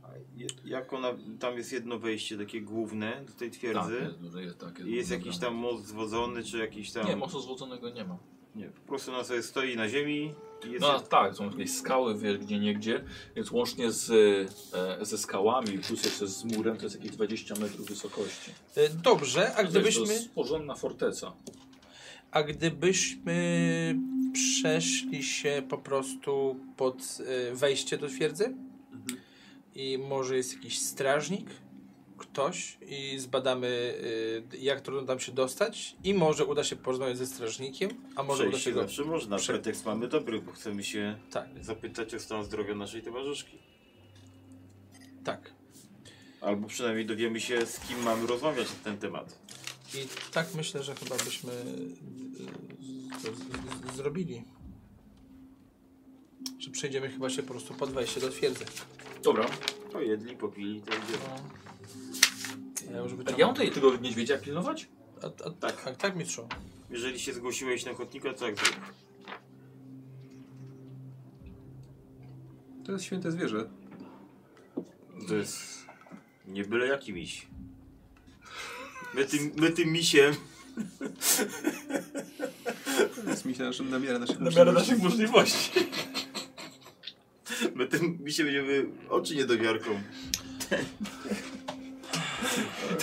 Speaker 5: A je- Jak ona, tam jest jedno wejście takie główne do tej
Speaker 2: Tak,
Speaker 5: twierdzy.
Speaker 2: jest, duże, jest, tak,
Speaker 5: I jest
Speaker 2: duże,
Speaker 5: jakiś
Speaker 2: dobra.
Speaker 5: tam most zwodzony, czy jakiś tam...
Speaker 2: Nie, mocno złoconego nie ma.
Speaker 5: Nie, po prostu ona sobie stoi na ziemi i jest...
Speaker 2: No a tak, są jakieś skały, wiesz, gdzie niegdzie, więc łącznie z, e, ze skałami plus jeszcze z murem to jest jakieś 20 metrów wysokości.
Speaker 1: Y, Dobrze, a
Speaker 2: To
Speaker 1: gdybyśmy,
Speaker 2: jest porządna forteca.
Speaker 1: a gdybyśmy przeszli się po prostu pod y, wejście do twierdzy? i może jest jakiś strażnik, ktoś i zbadamy y, jak trudno tam się dostać i może uda się porozmawiać ze strażnikiem, a może uda
Speaker 5: Przejść
Speaker 1: się
Speaker 5: się
Speaker 1: go...
Speaker 5: zawsze można,
Speaker 1: prze-
Speaker 5: pretekst mamy dobry, bo chcemy się
Speaker 1: Tak,
Speaker 5: zapytać o stan zdrowia naszej towarzyszki.
Speaker 1: tak.
Speaker 5: Albo przynajmniej dowiemy się, z kim mamy rozmawiać na ten temat.
Speaker 1: I tak myślę, że chyba byśmy y, z- z- z- zrobili. Że przejdziemy chyba się po prostu pod wejście do twierdzy.
Speaker 2: Dobra.
Speaker 5: Pojedli, popili, to idzie.
Speaker 1: Ja już
Speaker 2: A No. Tak, ja
Speaker 1: wyciągnę.
Speaker 2: mam tutaj tego niedźwiedzia pilnować?
Speaker 1: A, a, tak.
Speaker 5: Tak.
Speaker 1: Tak, tak mistrzu.
Speaker 5: Jeżeli się zgłosiłeś na ochotnika, to tak zrób.
Speaker 4: To jest święte zwierzę.
Speaker 5: To jest nie byle jaki miś. My tym, my tym misiem.
Speaker 4: To jest mi się naszym, na miarę naszych możliwości.
Speaker 2: możliwości. <laughs>
Speaker 5: My tym misiem będziemy oczy niedowiarką.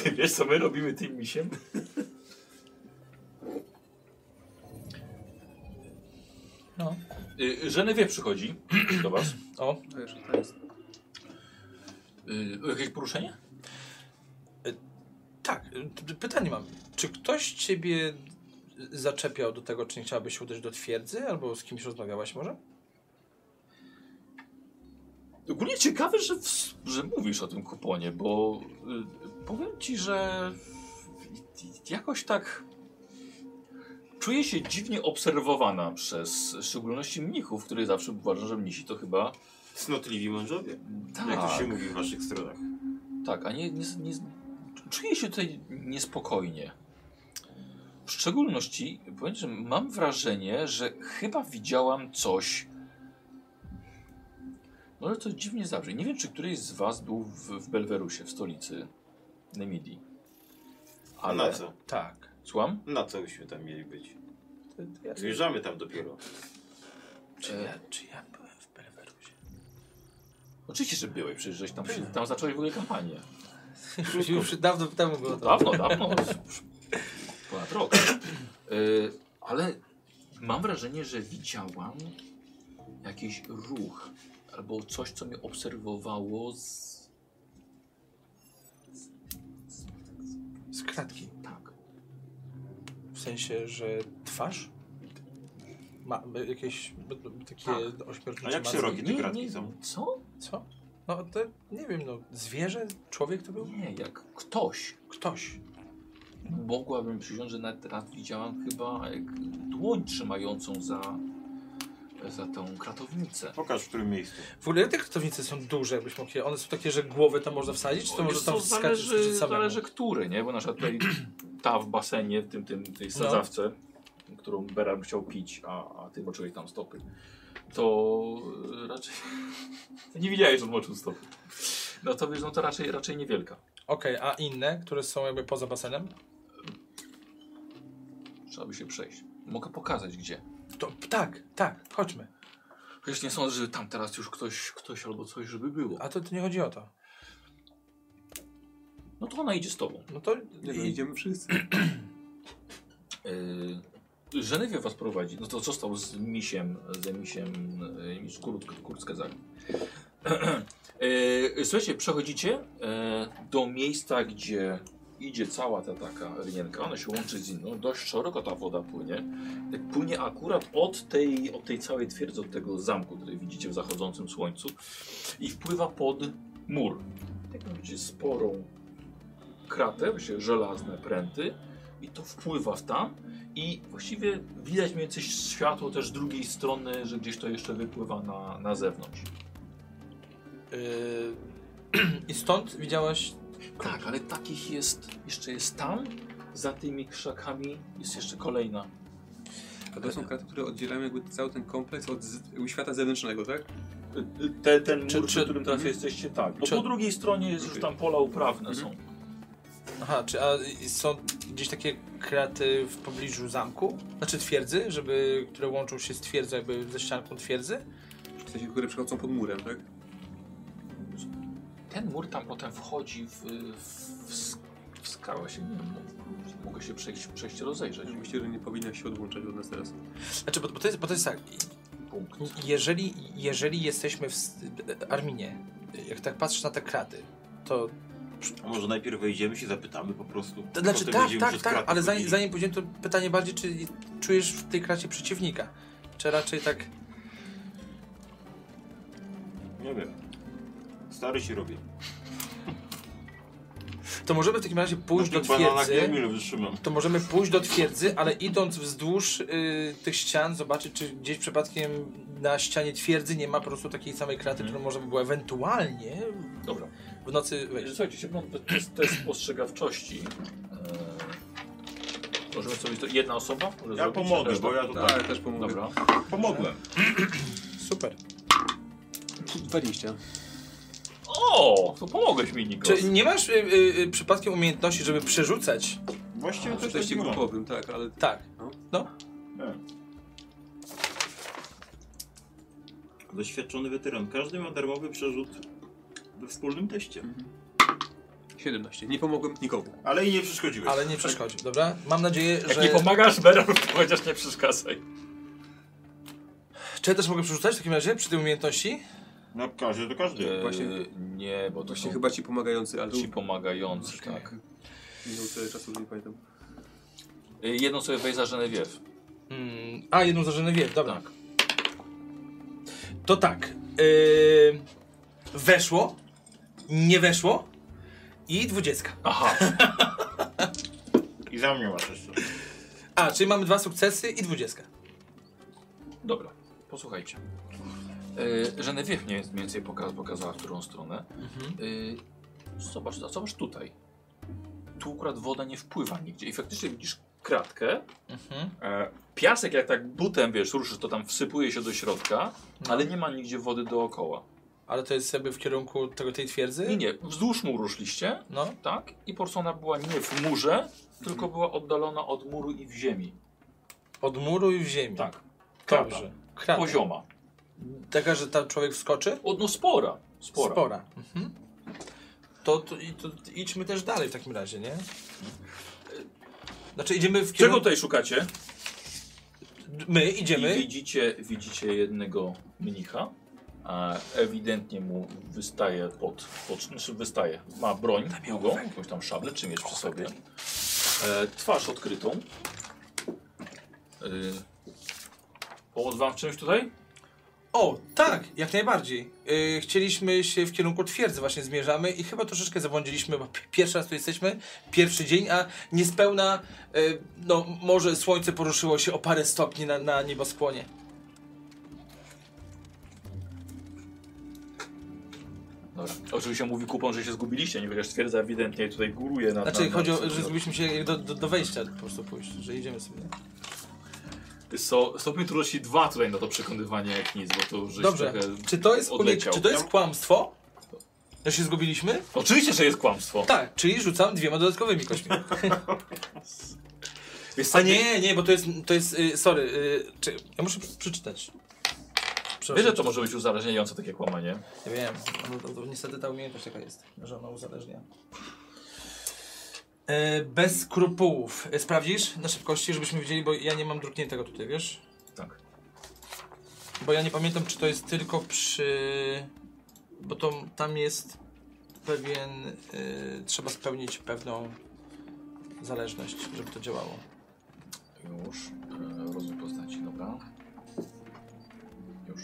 Speaker 2: Ty wiesz co my robimy tym misiem?
Speaker 1: No.
Speaker 2: Y, Żenewie przychodzi do was.
Speaker 1: O.
Speaker 4: Wiesz, to jest.
Speaker 2: Y, jakieś poruszenie?
Speaker 1: Tak, p- p- pytanie mam. Czy ktoś ciebie zaczepiał do tego, czy nie chciałabyś się udać do twierdzy, albo z kimś rozmawiałaś może?
Speaker 2: Ogólnie ciekawe, że, w, że mówisz o tym kuponie, bo y, powiem ci, że jakoś tak czuję się dziwnie obserwowana przez w szczególności mnichów, których zawsze uważam, że mnisi to chyba
Speaker 5: Cnotliwi mężowie.
Speaker 2: tak,
Speaker 5: Jak to się mówi w waszych stronach?
Speaker 2: tak a nie, nie, nie czuję się tutaj niespokojnie. W szczególności powiem, ci, że mam wrażenie, że chyba widziałam coś Może to dziwnie zabrzmi. Nie wiem, czy któryś z was był w, w Belwerusie, w stolicy Nemidii.
Speaker 5: A na co?
Speaker 1: Tak. Y,
Speaker 2: Słucham?
Speaker 5: Na co byśmy tam mieli być?
Speaker 1: To- to ja-
Speaker 5: Zmierzamy tam dopiero.
Speaker 1: Czy ja, czy ja byłem w Belwerusie?
Speaker 2: Oczywiście, że byłeś, przecież żeś tam, przy- tam zacząłeś w ogóle kampanię.
Speaker 1: <laughs> Już, już dawno temu było to.
Speaker 2: Dawno, dawno. już Ponad rok. Y, ale mam wrażenie, że widziałam jakiś ruch albo coś, co mnie obserwowało z...
Speaker 1: Z klatki.
Speaker 2: Tak.
Speaker 1: W sensie, że twarz ma y, jakieś y, y, takie
Speaker 2: Tak.
Speaker 1: ośmiornicze
Speaker 5: A jak
Speaker 1: maski.
Speaker 5: szerokie te
Speaker 2: Nie,
Speaker 5: kratki
Speaker 2: nie,
Speaker 5: są?
Speaker 2: Co?
Speaker 1: Co? No to nie wiem, no zwierzę, człowiek to był
Speaker 2: Nie, jak ktoś.
Speaker 1: ktoś.
Speaker 2: Mogłabym przysiąść, że nawet raz widziałam chyba jak dłoń trzymającą za, za tą kratownicę.
Speaker 5: Pokaż w którym miejscu.
Speaker 1: W ogóle te kratownice są duże, jakbyś mógł je, one są takie, że głowy tam można wsadzić, czy to może
Speaker 2: Wiesz co,
Speaker 1: tam wskoczyć
Speaker 2: zależy,
Speaker 1: przed samemu?
Speaker 2: zależy który, nie? Bo na przykład tutaj <clears throat> ta w basenie, w tym, tym, tej sadzawce, którą Beran chciał pić, a, a ty moczyłeś tam stopy, to e, raczej <laughs> nie widziałeś, że on moczył stopy. No to wiesz, no to raczej, raczej niewielka.
Speaker 1: Okej, a inne, które są jakby poza basenem?
Speaker 2: Trzeba by się przejść. Mogę pokazać gdzie.
Speaker 1: To tak, tak, chodźmy.
Speaker 2: Chociaż nie sądzę, że tam teraz już ktoś, ktoś albo coś, żeby było.
Speaker 1: A to, to nie chodzi o to.
Speaker 2: No to ona idzie z tobą.
Speaker 1: No to
Speaker 4: Nie, no,
Speaker 1: i,
Speaker 4: idziemy wszyscy.
Speaker 2: Yy, Żenewie was prowadzi. No to został z misiem, z misiem yy, z Kurd- <clears throat> Kurdskezami. Yy, słuchajcie, przechodzicie yy, do miejsca, gdzie idzie cała ta taka rynienka. Ona się łączy z inną. Dość szeroko ta woda płynie. Tak płynie akurat od tej, od tej całej twierdzy, od tego zamku, który widzicie w zachodzącym słońcu. I wpływa pod mur. Tak widzicie sporą kratę, właśnie żelazne pręty. I to wpływa w tam. I właściwie widać mniej więcej światło też z drugiej strony, że gdzieś to jeszcze wypływa na, na zewnątrz.
Speaker 1: y, <clears throat> i stąd widziałaś
Speaker 2: Tak, ale takich jest, jeszcze jest tam, za tymi krzakami jest jeszcze kolejna.
Speaker 4: A to są kraty, które oddzielają jakby cały ten kompleks od z, jakby świata zewnętrznego, tak?
Speaker 2: Te, ten
Speaker 1: Czy-
Speaker 2: mur,
Speaker 1: czy-
Speaker 2: przy którym teraz jesteście, tak. Bo
Speaker 1: czy-
Speaker 2: po drugiej stronie jest już tam pola uprawne są.
Speaker 1: Aha, czy a i są gdzieś takie kraty w pobliżu zamku? Znaczy twierdzy, żeby, które łączą się z twierdzą, jakby ze ścianką twierdzy?
Speaker 4: W sensie, które przychodzą pod murem, tak?
Speaker 2: Ten mur tam potem wchodzi w, w, w, sk- w skałę się, nie wiem, no, mogę się przejść, przejść rozejrzeć.
Speaker 4: Myślę, że nie powinna się odłączać od nas teraz.
Speaker 1: Znaczy, bo, bo, to, jest, bo to jest tak,
Speaker 2: Punkt.
Speaker 1: jeżeli, jeżeli jesteśmy w s- Arminie, jak tak patrzysz na te kraty, to...
Speaker 5: A może najpierw wejdziemy się, zapytamy po prostu.
Speaker 1: to znaczy,
Speaker 5: Potem
Speaker 1: tak,
Speaker 5: będziemy
Speaker 1: tak,
Speaker 5: przez
Speaker 1: tak,
Speaker 5: kraty
Speaker 1: ale zanim,
Speaker 5: chodzili.
Speaker 1: zanim pójdziemy, to pytanie bardziej, czy czujesz w tej kracie przeciwnika? Czy raczej tak...
Speaker 5: Nie wiem. Stary się robię.
Speaker 1: To możemy w takim razie pójść
Speaker 5: Na
Speaker 1: do
Speaker 5: tych bananach
Speaker 1: twierdzy...
Speaker 5: nie wiem ile wytrzymam.
Speaker 1: to możemy pójść do twierdzy, ale idąc wzdłuż y, tych ścian, zobaczyć, czy gdzieś przypadkiem na ścianie twierdzy nie ma po prostu takiej samej
Speaker 5: Mhm.
Speaker 1: kraty, którą można by było ewentualnie
Speaker 2: Dobra.
Speaker 1: w nocy wejść.
Speaker 2: Słuchajcie, się no, to jest test spostrzegawczości. Eee, możemy sobie to jedna osoba? Może
Speaker 5: Ja
Speaker 2: zrobić,
Speaker 5: pomogę,
Speaker 2: reszta-
Speaker 5: bo ja tutaj
Speaker 4: Tak, też pomogę.
Speaker 2: Dobra.
Speaker 5: pomogłem.
Speaker 1: Super.
Speaker 4: 20.
Speaker 2: O, to pomogłeś mi, Nikos.
Speaker 1: Czy nie masz y, y, y, przypadkiem umiejętności, żeby przerzucać?
Speaker 5: Właściwie
Speaker 4: W
Speaker 5: też tak
Speaker 4: teście
Speaker 5: nie mam.
Speaker 4: grupowym, tak, ale
Speaker 1: Tak.
Speaker 5: E. Doświadczony weteran. Każdy ma darmowy przerzut we wspólnym teście.
Speaker 4: 17. Nie pomogłem nikomu.
Speaker 5: Mhm. Ale i nie przeszkodziłeś.
Speaker 1: Ale nie przeszkodzi, dobra? Mam nadzieję,
Speaker 2: Jak
Speaker 1: że...
Speaker 2: nie pomagasz, Beron, to chociaż nie przeszkadzaj.
Speaker 1: Czy ja też mogę przerzucać w takim razie przy tej umiejętności?
Speaker 5: No każdy to
Speaker 1: E.
Speaker 5: każdy.
Speaker 4: Właśnie-
Speaker 2: E, nie, bo to
Speaker 4: Właśnie
Speaker 2: są
Speaker 4: chyba ci pomagający, ale
Speaker 2: No. ci pomagający, tak.
Speaker 4: minął tyle czasu, że nie pamiętam.
Speaker 2: E, Jedną sobie weź za Genevieve.
Speaker 1: Mm, a, jedną zażenę wiem, dobra.
Speaker 2: Tak.
Speaker 1: To tak. y, weszło, nie weszło i dwudziestka.
Speaker 2: Aha,
Speaker 5: I za mnie masz jeszcze.
Speaker 1: A, czyli mamy dwa sukcesy i dwudziestka.
Speaker 2: dobra, posłuchajcie. E, Genevieve mniej mniej więcej pokaz, pokazała, w którą stronę.
Speaker 1: Mhm.
Speaker 2: E, zobacz, a zobacz tutaj. Tu akurat woda nie wpływa nigdzie i faktycznie widzisz kratkę.
Speaker 1: Mhm.
Speaker 2: E, piasek jak tak butem, wiesz, ruszysz, to tam wsypuje się do środka,
Speaker 1: No.
Speaker 2: ale nie ma nigdzie wody dookoła.
Speaker 1: Ale to jest jakby w kierunku tego, tej twierdzy?
Speaker 2: Nie, nie, wzdłuż mu ruszliście,
Speaker 1: No,
Speaker 2: Tak, i porsona była nie w murze, tylko
Speaker 1: Mhm.
Speaker 2: była oddalona od muru i w ziemi.
Speaker 1: od muru i w ziemi.
Speaker 2: Tak, krata.
Speaker 1: Dobrze. Krata.
Speaker 2: pozioma.
Speaker 1: Taka, że tam człowiek wskoczy?
Speaker 2: O, no spora, spora.
Speaker 1: Mhm. To, to, i- to idźmy też dalej w takim razie, nie? Znaczy idziemy w
Speaker 2: Czego
Speaker 1: kierunku...
Speaker 2: tutaj szukacie?
Speaker 1: My
Speaker 2: I
Speaker 1: idziemy...
Speaker 2: widzicie, widzicie jednego mnicha. A ewidentnie mu wystaje pod, pod znaczy wystaje, ma broń długą, jakąś tam szablę czy miecz przy sobie. E, twarz odkrytą. E, pomóc wam w czymś tutaj?
Speaker 1: O, tak, jak najbardziej. Yy, chcieliśmy się w kierunku twierdzy właśnie zmierzamy i chyba troszeczkę zabłądziliśmy, bo pi- pierwszy raz tu jesteśmy, pierwszy dzień, a niespełna, yy, no może słońce poruszyło się o parę stopni na, na nieboskłonie.
Speaker 2: No Dobra. Oczywiście mówi kupon, że się zgubiliście, nie wiem, twierdza ewidentnie tutaj góruje na
Speaker 1: Znaczy
Speaker 2: na, na,
Speaker 1: chodzi o,
Speaker 2: na-
Speaker 1: że zgubiliśmy się jak do, do, do wejścia po prostu pójść, że idziemy sobie.
Speaker 2: So, stopień trudności dwa tutaj na to przekonywanie jak nic, bo to żeś
Speaker 1: Dobrze,
Speaker 2: trochę...
Speaker 1: czy to jest,
Speaker 2: odleciał.
Speaker 1: czy to jest kłamstwo? Że się zgubiliśmy?
Speaker 2: Oczywiście, że jest kłamstwo.
Speaker 1: Tak, czyli rzucam dwiema dodatkowymi
Speaker 2: <laughs>
Speaker 1: kośćmi.
Speaker 2: Jest
Speaker 1: A nie, nie, bo to jest, to jest, y, sorry, y, czy, ja muszę pr- przeczytać.
Speaker 2: Wiesz, że to może być uzależniające takie kłamanie.
Speaker 1: Ja wiem, no to, to niestety ta umiejętność taka jest, że ona uzależnia. E, bez skrupułów. E, Sprawdzisz na szybkości, żebyśmy wiedzieli, bo ja nie mam drukniętego tutaj, wiesz?
Speaker 2: Tak.
Speaker 1: Bo ja nie pamiętam, czy to jest tylko przy... Bo to, tam jest pewien... e, trzeba spełnić pewną zależność, żeby to działało.
Speaker 2: Już. E, Rozum postaci, dobra. Już.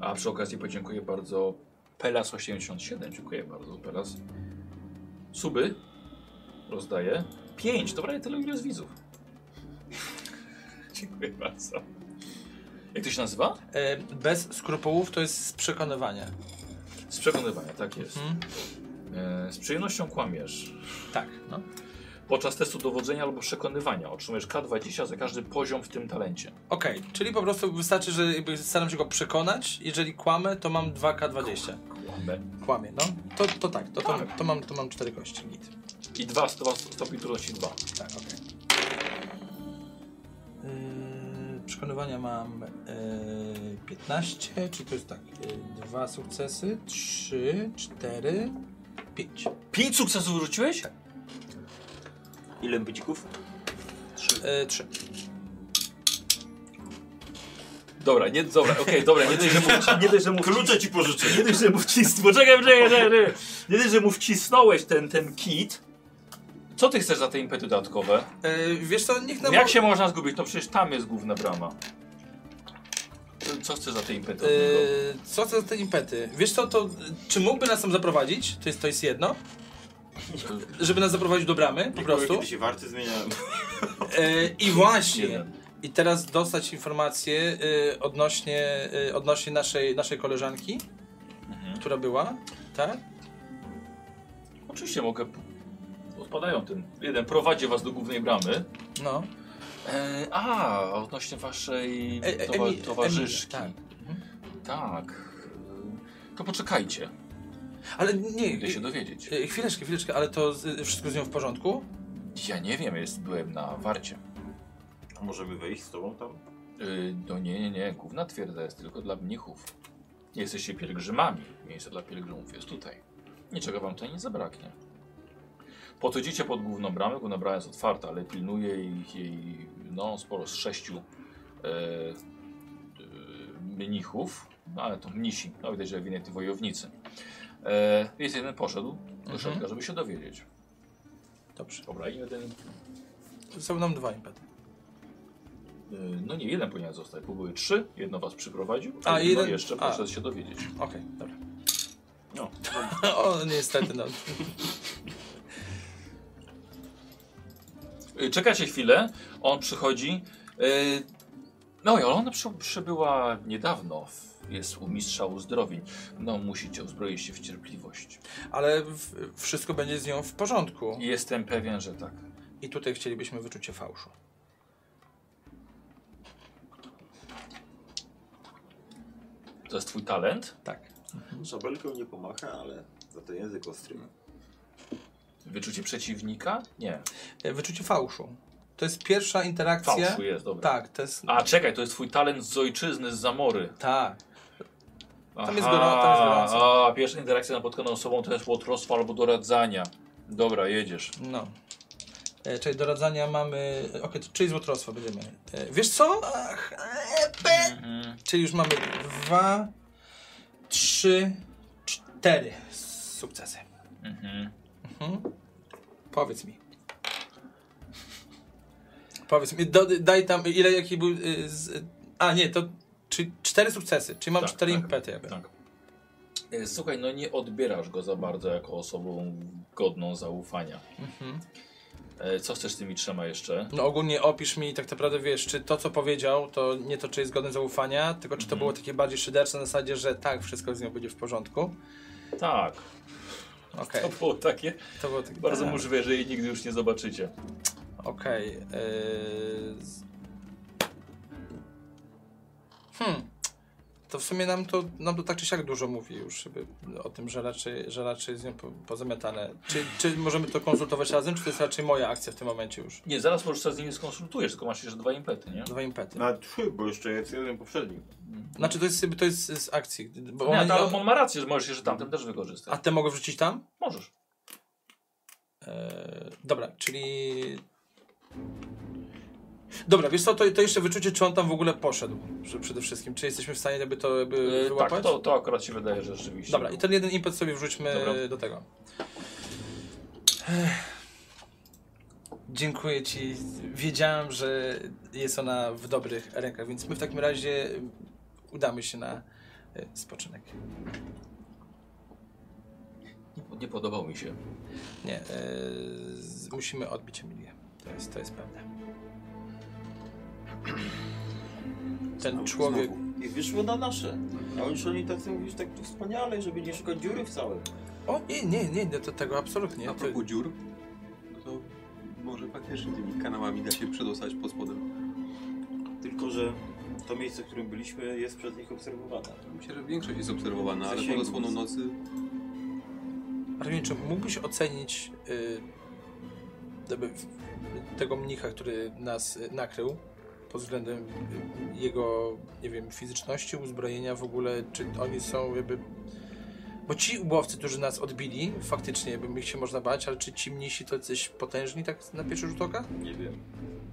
Speaker 2: A przy okazji podziękuję bardzo Pelas87. Dziękuję bardzo, Pelas. Suby rozdaję. 5. Dobra, ja tyle ile jest widzów. <laughs> Dziękuję bardzo. Jak to się nazywa?
Speaker 1: E, bez skrupułów to jest z przekonywania.
Speaker 2: Z przekonywania, tak jest.
Speaker 1: Mhm.
Speaker 2: E, z przyjemnością kłamiesz.
Speaker 1: Tak, no.
Speaker 2: Podczas testu dowodzenia albo przekonywania otrzymujesz K20 za każdy poziom w tym talencie.
Speaker 1: Okej, czyli po prostu wystarczy, że jakby staram się go przekonać. Jeżeli kłamę, to mam 2K20.
Speaker 2: Kłamę.
Speaker 1: Kłamie, no. To, to tak, to, to, to, mam, to mam 4 kości. Git.
Speaker 2: I dwa, sto, stopień trudności dwa.
Speaker 1: Tak, okej. Yy, przekonywania mam yy, 15, czyli to jest tak, yy, dwa sukcesy, 3, 4, 5.
Speaker 2: Pięć sukcesów rzuciłeś?
Speaker 5: Ile bycików?
Speaker 1: Yy, 3.
Speaker 2: Dobra, nie, dobra, okej, dobra, nie dość, że mu, nie dość, że mu,
Speaker 5: Klucze ci pożyczę.
Speaker 2: nie dość, że mu wcisnąłeś, poczekaj, poczekaj, poczekaj, poczekaj. nie dość, że mu wcisnąłeś ten, ten kit. Co ty chcesz za te impety dodatkowe?
Speaker 1: Yy, wiesz co, niech nam...
Speaker 2: Jak się można zgubić? No przecież tam jest główna brama. Co chcesz za te impety? od niego?
Speaker 1: Yy, co to za te impety? Wiesz co, to y, czy mógłby nas tam zaprowadzić? To jest, to jest jedno. Żeby nas zaprowadzić do bramy, po prostu.
Speaker 5: Kiedy się warty zmieniają.
Speaker 1: Yy, I właśnie.
Speaker 2: Jeden.
Speaker 1: I teraz dostać informację y, odnośnie, y, odnośnie naszej, naszej koleżanki,
Speaker 2: Mhm.
Speaker 1: która była, tak?
Speaker 2: Oczywiście mogę. Odpadają tym. Jeden prowadzi was do głównej bramy.
Speaker 1: No.
Speaker 2: E, a, odnośnie waszej
Speaker 1: E- tak. e-
Speaker 2: towa
Speaker 1: Emi-
Speaker 2: towarzyszki.
Speaker 1: Emilia,
Speaker 2: tak. E, To poczekajcie.
Speaker 1: Ale nie,
Speaker 2: Idę się
Speaker 1: y,
Speaker 2: dowiedzieć.
Speaker 1: y, chwileczkę, chwileczkę, ale to z, y, wszystko z nią w porządku?
Speaker 2: Ja nie wiem, jest, byłem na warcie.
Speaker 5: A możemy wejść z tobą tam?
Speaker 2: E, no nie, nie, nie. Główna twierdza jest tylko dla mnichów. Nie jesteście pielgrzymami. Miejsce dla pielgrzymów jest tutaj. Niczego wam tutaj nie zabraknie. Podchodzicie pod główną bramę. Główna brama jest otwarta, ale pilnuje ich jej no, sporo z sześciu e, e, mnichów, no, ale to mnisi, no widać, że winni wojownicy. E, jest jeden poszedł do
Speaker 1: Mhm.
Speaker 2: środka, żeby się dowiedzieć.
Speaker 1: Dobrze.
Speaker 2: Dobra, i jeden, e,
Speaker 1: Są nam dwa impety.
Speaker 2: no nie jeden powinien zostać, bo były trzy, jedno was przyprowadził,
Speaker 1: A,
Speaker 2: a, jedno
Speaker 1: jeden-
Speaker 2: jeszcze
Speaker 1: a.
Speaker 2: poszedł się dowiedzieć.
Speaker 1: Okej, dobra.
Speaker 5: No.
Speaker 1: <laughs> o, niestety, no.
Speaker 2: E, Czekacie chwilę, on przychodzi. E, no i ona przy, przybyła niedawno, w- jest u mistrza uzdrowień. No musicie uzbroić się w cierpliwość.
Speaker 1: Ale w, wszystko będzie z nią w porządku.
Speaker 2: Jestem pewien, że tak.
Speaker 1: I tutaj chcielibyśmy wyczucie fałszu.
Speaker 2: To jest twój talent?
Speaker 1: Tak.
Speaker 5: Szabelką nie pomacha, ale za to język ostry.
Speaker 2: Wyczucie przeciwnika? Nie.
Speaker 1: E, Wyczucie fałszu. To jest pierwsza interakcja.
Speaker 2: Fałszu jest, dobra.
Speaker 1: Tak, to jest.
Speaker 2: A czekaj, to jest twój talent z ojczyzny, z zamory.
Speaker 1: Tak.
Speaker 2: Aha,
Speaker 1: jest gorąco, tam jest gorąco.
Speaker 2: A, pierwsza interakcja napotkaną osobą to jest łotrostwo albo doradzania. Dobra, jedziesz.
Speaker 1: No. E, czyli doradzania mamy. Okej, to czyli e, Mhm. złotrostwo będziemy. E, wiesz co? Ach, e, pe- Czyli już mamy dwa, trzy, cztery sukcesy.
Speaker 2: Mhm.
Speaker 1: Mhm. Powiedz mi. Powiedz mi, do, daj tam, ile jaki był. y, Z, a nie, to czy, cztery sukcesy, czyli mam
Speaker 2: Tak,
Speaker 1: cztery
Speaker 2: tak,
Speaker 1: impety. Jakby.
Speaker 2: Tak. E, Słuchaj, no nie odbierasz go za bardzo jako osobą godną zaufania.
Speaker 1: Mhm.
Speaker 2: E, Co chcesz z tymi trzema jeszcze?
Speaker 1: No ogólnie opisz mi tak naprawdę, wiesz, czy to co powiedział, to nie to, czy jest godne zaufania, tylko czy to
Speaker 2: Mhm.
Speaker 1: było takie bardziej szydercze na zasadzie, że tak, wszystko z nią będzie w porządku.
Speaker 2: Tak,
Speaker 1: Okej,
Speaker 2: to było takie.
Speaker 1: to było takie.
Speaker 2: Bardzo
Speaker 1: tak.
Speaker 2: możliwe, że jej nigdy już nie zobaczycie.
Speaker 1: Okej. y, z- Hmm. To w sumie nam to, nam to tak czy siak dużo mówi już żeby, o tym, że raczej, że raczej jest z nią po- pozamiatane. Czy, czy możemy to konsultować razem, czy to jest raczej moja akcja w tym momencie już?
Speaker 2: Nie, zaraz może się z nimi skonsultujesz, tylko masz jeszcze dwa impety, nie?
Speaker 1: Dwa impety.
Speaker 2: No.
Speaker 5: Na trzy, No, bo jeszcze jest jeden poprzedni.
Speaker 1: Znaczy to jest, jakby- to jest z akcji. gdy- Bo
Speaker 2: nie,
Speaker 1: one,
Speaker 2: ale on ma rację, że możesz jeszcze tamten też wykorzystać.
Speaker 1: a te mogę wrzucić tam?
Speaker 2: Możesz.
Speaker 1: E, dobra, czyli... Dobra, wiesz co, to, to jeszcze wyczucie, czy on tam w ogóle poszedł że przede wszystkim. Czy jesteśmy w stanie jakby to jakby
Speaker 2: E,
Speaker 1: wyłapać?
Speaker 2: tak, to, to akurat się wydaje, że rzeczywiście.
Speaker 1: Dobra, i ten jeden impet sobie wrzućmy
Speaker 2: Dobra.
Speaker 1: do tego. Ech. Dziękuję ci. Wiedziałem, że jest ona w dobrych rękach, więc my w takim razie udamy się na e, spoczynek.
Speaker 2: Nie, nie podobał mi się.
Speaker 1: Nie, e, z- musimy odbić Emilię. To jest, to jest pewne. Ten człowiek.
Speaker 5: I wyszło na nasze. A już oni tak sobie mówisz tak wspaniale, żeby nie szukać dziury w całym.
Speaker 1: O, nie, nie, nie, nie, to tego absolutnie.
Speaker 4: A
Speaker 1: To,
Speaker 4: propos dziur, no to może faktycznie tymi kanałami da się przedostać pod spodem.
Speaker 5: Tylko, że to miejsce, w którym byliśmy, jest przez nich obserwowane.
Speaker 4: Myślę, że większość jest obserwowana, ale pod
Speaker 5: Zasięgu
Speaker 4: osłoną
Speaker 5: jest.
Speaker 4: nocy
Speaker 1: Armin, czy mógłbyś ocenić y, jakby w- tego mnicha, który nas y, nakrył pod względem y, jego, nie wiem, fizyczności, uzbrojenia w ogóle, czy oni są jakby... Bo ci łowcy, którzy nas odbili, faktycznie by ich się można bać, ale czy ci mnisi to coś potężni tak na pierwszy rzut oka?
Speaker 5: Nie wiem.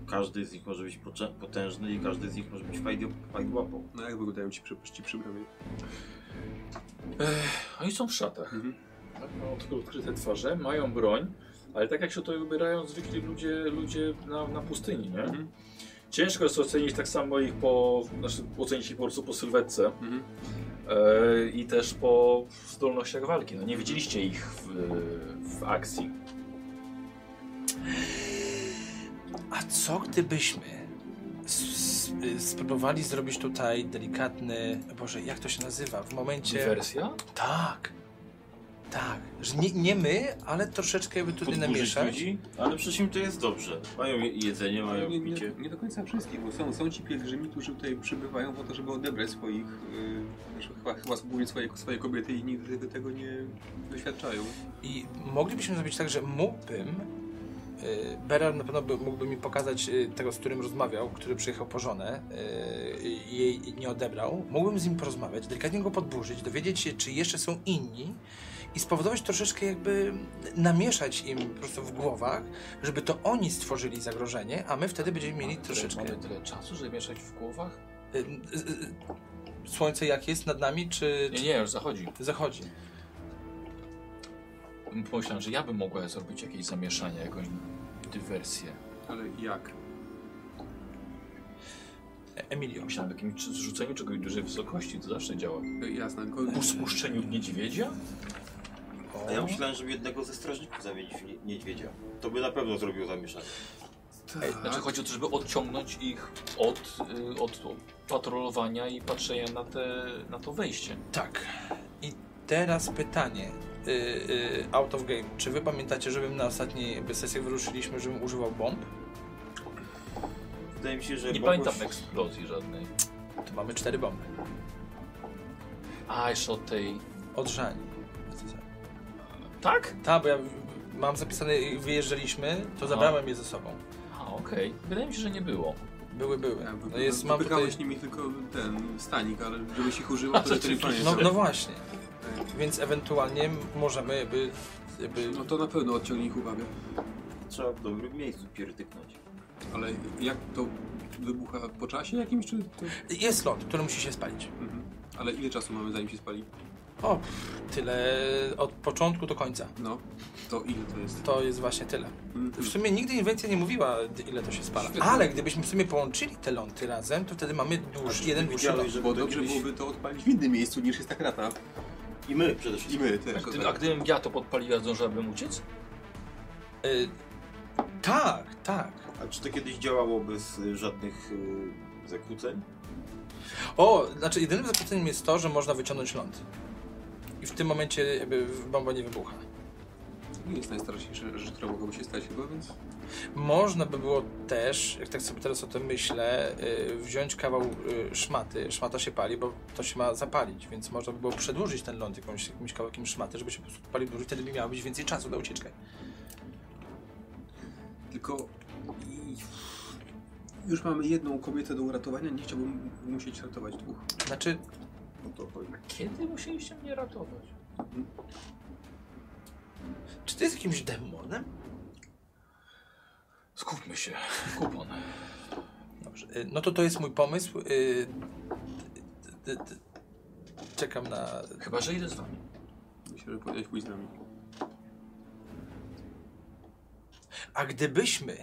Speaker 5: Każdy z nich może być pocze- potężny i każdy z nich może być fajdi- fajdłapą.
Speaker 4: No jak wyglądają ci przy- ci przybramy?
Speaker 2: Oni są w szatach.
Speaker 4: Mhm.
Speaker 2: Mają Tak, no, tylko odkryte twarze, mają broń, ale tak jak się to wybierają zwykli ludzie, ludzie na, na pustyni, nie?
Speaker 4: Mhm.
Speaker 2: Ciężko jest ocenić tak samo ich po, znaczy ocenić ich po prostu po sylwetce
Speaker 4: Mhm.
Speaker 2: e, i też po zdolnościach walki. No nie widzieliście ich w, w akcji.
Speaker 1: A co gdybyśmy s- s- spróbowali zrobić tutaj delikatny... Boże, jak to się nazywa? W momencie...
Speaker 2: Dywersja?
Speaker 1: Tak. Tak. Że nie, nie my, ale troszeczkę jakby tutaj
Speaker 5: Podburzyć
Speaker 1: namieszać. No,
Speaker 5: ludzi, ale przecież im to jest dobrze. Mają je- jedzenie, mają
Speaker 4: No, nie, nie,
Speaker 5: picie.
Speaker 4: nie do końca wszystkich, bo są, są ci pielgrzymi, którzy tutaj przybywają po to, żeby odebrać swoich, yy, że chyba, chyba zbójni swoje, swoje kobiety i nigdy tego nie doświadczają.
Speaker 1: I moglibyśmy zrobić tak, że mógłbym. y, Berar na pewno by, mógłby mi pokazać y, tego, z którym rozmawiał, który przyjechał po żonę y, i jej nie odebrał. Mógłbym z nim porozmawiać, delikatnie go podburzyć, dowiedzieć się, czy jeszcze są inni i spowodować troszeczkę jakby namieszać im po prostu w głowach, żeby to oni stworzyli zagrożenie, a my wtedy będziemy mieli troszeczkę...
Speaker 2: Mamy tyle czasu, żeby mieszać w głowach?
Speaker 1: Y, y, y, Słońce jak jest nad nami, czy,
Speaker 2: Nie, nie, już zachodzi.
Speaker 1: czy zachodzi?
Speaker 2: Pomyślałem, że ja bym mogła zrobić jakieś zamieszanie, jakąś dywersję.
Speaker 4: Ale jak?
Speaker 1: E- Emilio.
Speaker 2: Myślałem o jakimś zrzuceniu czegoś dużej wysokości, to zawsze działa.
Speaker 4: E, Jasne,
Speaker 1: No
Speaker 4: go,
Speaker 2: Uspuszczeniu niedźwiedzia?
Speaker 5: A ja myślałem, żeby jednego ze strażników zamienić w nie- niedźwiedzia. To by na pewno zrobił zamieszanie.
Speaker 4: tak.
Speaker 2: Znaczy chodzi o to, żeby odciągnąć ich od, y, od patrolowania i patrzenia na, te, na to wejście.
Speaker 1: Tak. I teraz pytanie. Y, y, out of game. Czy wy pamiętacie, żebym na ostatniej jakby sesji jak wyruszyliśmy, żebym używał bomb?
Speaker 5: Wydaje mi się, że...
Speaker 2: Nie
Speaker 5: mogłeś-
Speaker 2: pamiętam eksplozji żadnej.
Speaker 1: To mamy cztery bomby.
Speaker 2: A, jeszcze od tej...
Speaker 1: Odrzani.
Speaker 2: Tak?
Speaker 1: Tak, bo ja mam zapisane, jak wyjeżdżaliśmy, to zabrałem je ze sobą.
Speaker 2: A, okej. Wydaje mi się, że nie było.
Speaker 1: Były, były.
Speaker 4: Ja,
Speaker 1: No jest, mam tutaj...
Speaker 4: nimi tylko ten stanik, ale żebyś ich używał, to
Speaker 2: to
Speaker 4: jest fajnie. tak?
Speaker 1: No, no właśnie. Więc ewentualnie możemy jakby... jakby...
Speaker 4: no to na pewno odciągnie ich uwagę.
Speaker 5: Trzeba w dobrym miejscu pierdyknąć.
Speaker 4: Ale jak to wybucha po czasie jakimś, czy to...
Speaker 1: Jest ląd, który musi się spalić.
Speaker 4: Mhm. Ale ile czasu mamy zanim się spali?
Speaker 1: O, pff, tyle od początku do końca.
Speaker 4: No, to ile to jest?
Speaker 1: To jest właśnie tyle.
Speaker 4: Mhm.
Speaker 1: W sumie nigdy inwencja nie mówiła, d- ile to się spala. Ale gdybyśmy w sumie połączyli te ląty razem, to wtedy mamy dłuż, jeden dłuższy ląd.
Speaker 5: że
Speaker 4: Bo dobrze byłoby to odpalić w innym miejscu niż jest ta krata.
Speaker 5: I my przede
Speaker 4: I
Speaker 5: wszystkim.
Speaker 4: my też.
Speaker 2: Znaczy, A gdy- A gdybym ja to podpaliła, zdążyłabym uciec?
Speaker 1: Y, tak, tak.
Speaker 5: A czy to kiedyś działało bez y, żadnych y, zakłóceń?
Speaker 1: O, znaczy jedynym zakłóceniem jest to, że można wyciągnąć ląd. I w tym momencie jakby bomba nie wybucha.
Speaker 4: To nie jest najstraszniejsza rzecz, która mogłaby się stać chyba, więc...
Speaker 1: Można by było też, jak tak sobie teraz o tym myślę, y, wziąć kawał y, szmaty. Szmata się pali, bo to się ma zapalić, więc można by było przedłużyć ten ląd jakąś, jakimś kawałkiem szmaty, żeby się po prostu palił dłużej, wtedy by miało być więcej czasu na ucieczkę.
Speaker 4: Tylko... i- Już mamy jedną kobietę do uratowania, nie chciałbym musieć ratować dwóch.
Speaker 1: Znaczy,
Speaker 5: No to chodźmy.
Speaker 2: Kiedy musieliście mnie ratować?
Speaker 1: czy ty jest jakimś demonem?
Speaker 2: Skupmy się. Kupon.
Speaker 1: Dobrze. y, No to to jest mój pomysł. y, d- d- d- Czekam na...
Speaker 2: Chyba, że idę z wami.
Speaker 4: Myślę, że powinieneś pójść z nami.
Speaker 1: A gdybyśmy,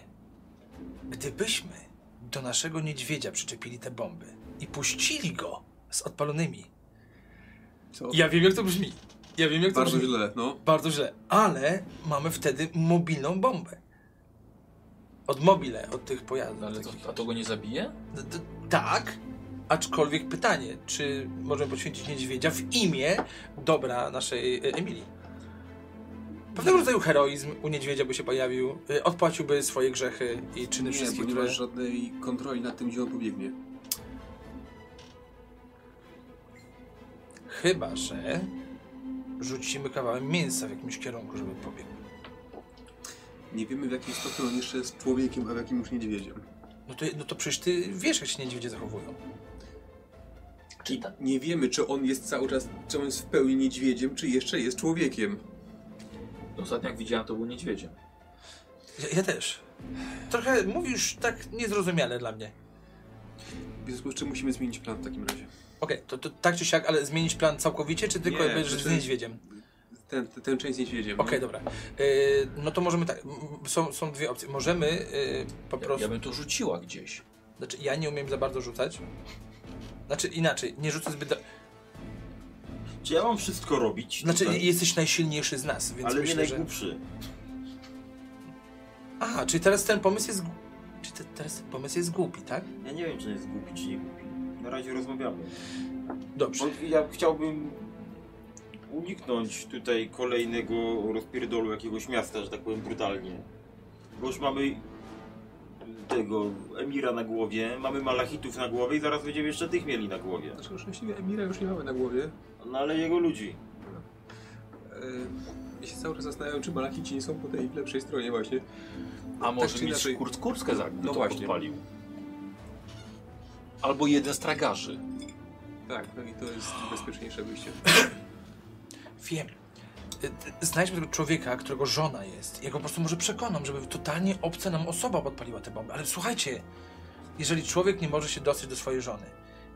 Speaker 1: gdybyśmy do naszego niedźwiedzia przyczepili te bomby i puścili go z odpalonymi.
Speaker 4: Co?
Speaker 1: Ja wiem, jak to brzmi. Ja wiem, jak to
Speaker 4: Bardzo
Speaker 1: brzmi.
Speaker 4: źle, no.
Speaker 1: Bardzo źle. Ale mamy wtedy mobilną bombę. Od mobile, od tych pojazdów.
Speaker 2: No, Ale to,
Speaker 1: takich.
Speaker 2: a to go nie zabije?
Speaker 1: D- d- No tak, aczkolwiek pytanie, czy możemy poświęcić niedźwiedzia w imię dobra naszej e, Emilii?
Speaker 4: Tak.
Speaker 1: Pewnego rodzaju heroizm u niedźwiedzia by się pojawił, e, odpłaciłby swoje grzechy i czyny
Speaker 4: Nie,
Speaker 1: wszystkie,
Speaker 4: bo nie
Speaker 1: które...
Speaker 4: masz żadnej kontroli nad tym, gdzie on pobiegnie.
Speaker 1: Chyba, że rzucimy kawałem mięsa w jakimś kierunku, żeby pobiegł.
Speaker 4: Nie wiemy w jakim stopniu on jeszcze jest człowiekiem, a w jakim już niedźwiedziem.
Speaker 1: No to, no to przecież ty wiesz, jak się niedźwiedzie zachowują.
Speaker 2: Czy tak?
Speaker 4: Nie wiemy, czy on jest cały czas, czy on jest w pełni niedźwiedziem, czy jeszcze jest człowiekiem.
Speaker 2: No, Ostatnio jak widziałem, to był niedźwiedziem.
Speaker 1: Ja, ja też. Trochę mówisz tak niezrozumiale dla mnie.
Speaker 4: W związku z czym musimy zmienić plan w takim razie.
Speaker 1: Okej, to, to tak czy siak, ale zmienić plan całkowicie, czy tylko
Speaker 4: Nie,
Speaker 1: jakby, że
Speaker 4: znaczy-
Speaker 1: z niedźwiedziem?
Speaker 4: Ten, ten, ten część z niedźwiedziem. no.
Speaker 1: Okej, dobra. Y, no to możemy tak. m, Są, są dwie opcje. Możemy y, po
Speaker 2: Ja,
Speaker 1: prostu.
Speaker 2: ja bym to rzuciła gdzieś.
Speaker 1: Znaczy, ja nie umiem za bardzo rzucać. Znaczy, inaczej, nie rzucę zbyt. Do...
Speaker 5: Czy ja mam wszystko robić?
Speaker 1: Znaczy,
Speaker 5: tutaj?
Speaker 1: jesteś najsilniejszy z nas, więc
Speaker 5: ale nie
Speaker 1: myślę, że.
Speaker 5: najgłupszy.
Speaker 1: Aha, czyli teraz ten pomysł jest. gł- Czy te, teraz ten pomysł jest głupi, tak?
Speaker 5: Ja nie wiem, czy on jest głupi, czy nie głupi. Na razie rozmawiamy.
Speaker 1: Dobrze.
Speaker 5: Bo ja chciałbym uniknąć tutaj kolejnego rozpierdolu jakiegoś miasta, że tak powiem brutalnie. Bo już mamy tego Emira na głowie, mamy Malachitów na głowie i zaraz będziemy jeszcze tych mieli na głowie.
Speaker 4: Znaczy, szczęśliwie Emira już nie mamy na głowie.
Speaker 5: No ale jego ludzi.
Speaker 4: Yy, Ja się cały czas zastanawiam, czy Malachici nie są po tej lepszej stronie właśnie.
Speaker 2: A może
Speaker 4: czy
Speaker 2: mieć
Speaker 4: inaczej-
Speaker 2: Kurz Kurskę za no to
Speaker 4: właśnie.
Speaker 2: podpalił. Albo jeden z tragarzy.
Speaker 4: Tak, no i to jest bezpieczniejsze wyjście.
Speaker 1: Wiem. Y, y, Znajdźmy tego człowieka, którego żona jest. Ja go po prostu może przekonam, żeby totalnie obca nam osoba podpaliła tę bombę. Ale słuchajcie, jeżeli człowiek nie może się dostać do swojej żony,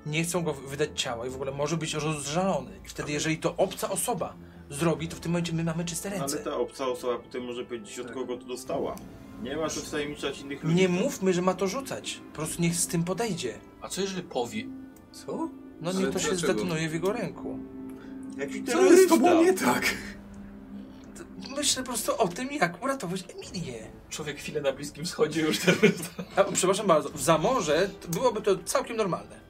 Speaker 1: nie chcą go wy- wydać ciała i w ogóle może być rozżalony. I wtedy, jeżeli to obca osoba zrobi, to w tym momencie my mamy czyste
Speaker 5: No Ale
Speaker 1: ręce.
Speaker 5: ta obca osoba potem może powiedzieć od kogo to dostała. Nie ma co wtajemniczać innych ludzi.
Speaker 1: Nie mówmy, że ma to rzucać. Po prostu niech z tym podejdzie.
Speaker 2: A co jeżeli powie...
Speaker 4: Co?
Speaker 1: No
Speaker 4: Ale
Speaker 1: niech to się
Speaker 4: dlaczego?
Speaker 1: zdetonuje w jego ręku.
Speaker 5: Jaki
Speaker 4: Co jest z tobą nie
Speaker 5: terrorysta?
Speaker 4: tak?
Speaker 1: To Myślę po prostu o tym, jak uratować Emilię.
Speaker 2: Człowiek chwilę na Bliskim Wschodzie już teraz...
Speaker 1: A, przepraszam bardzo, w zamorze to byłoby to całkiem normalne.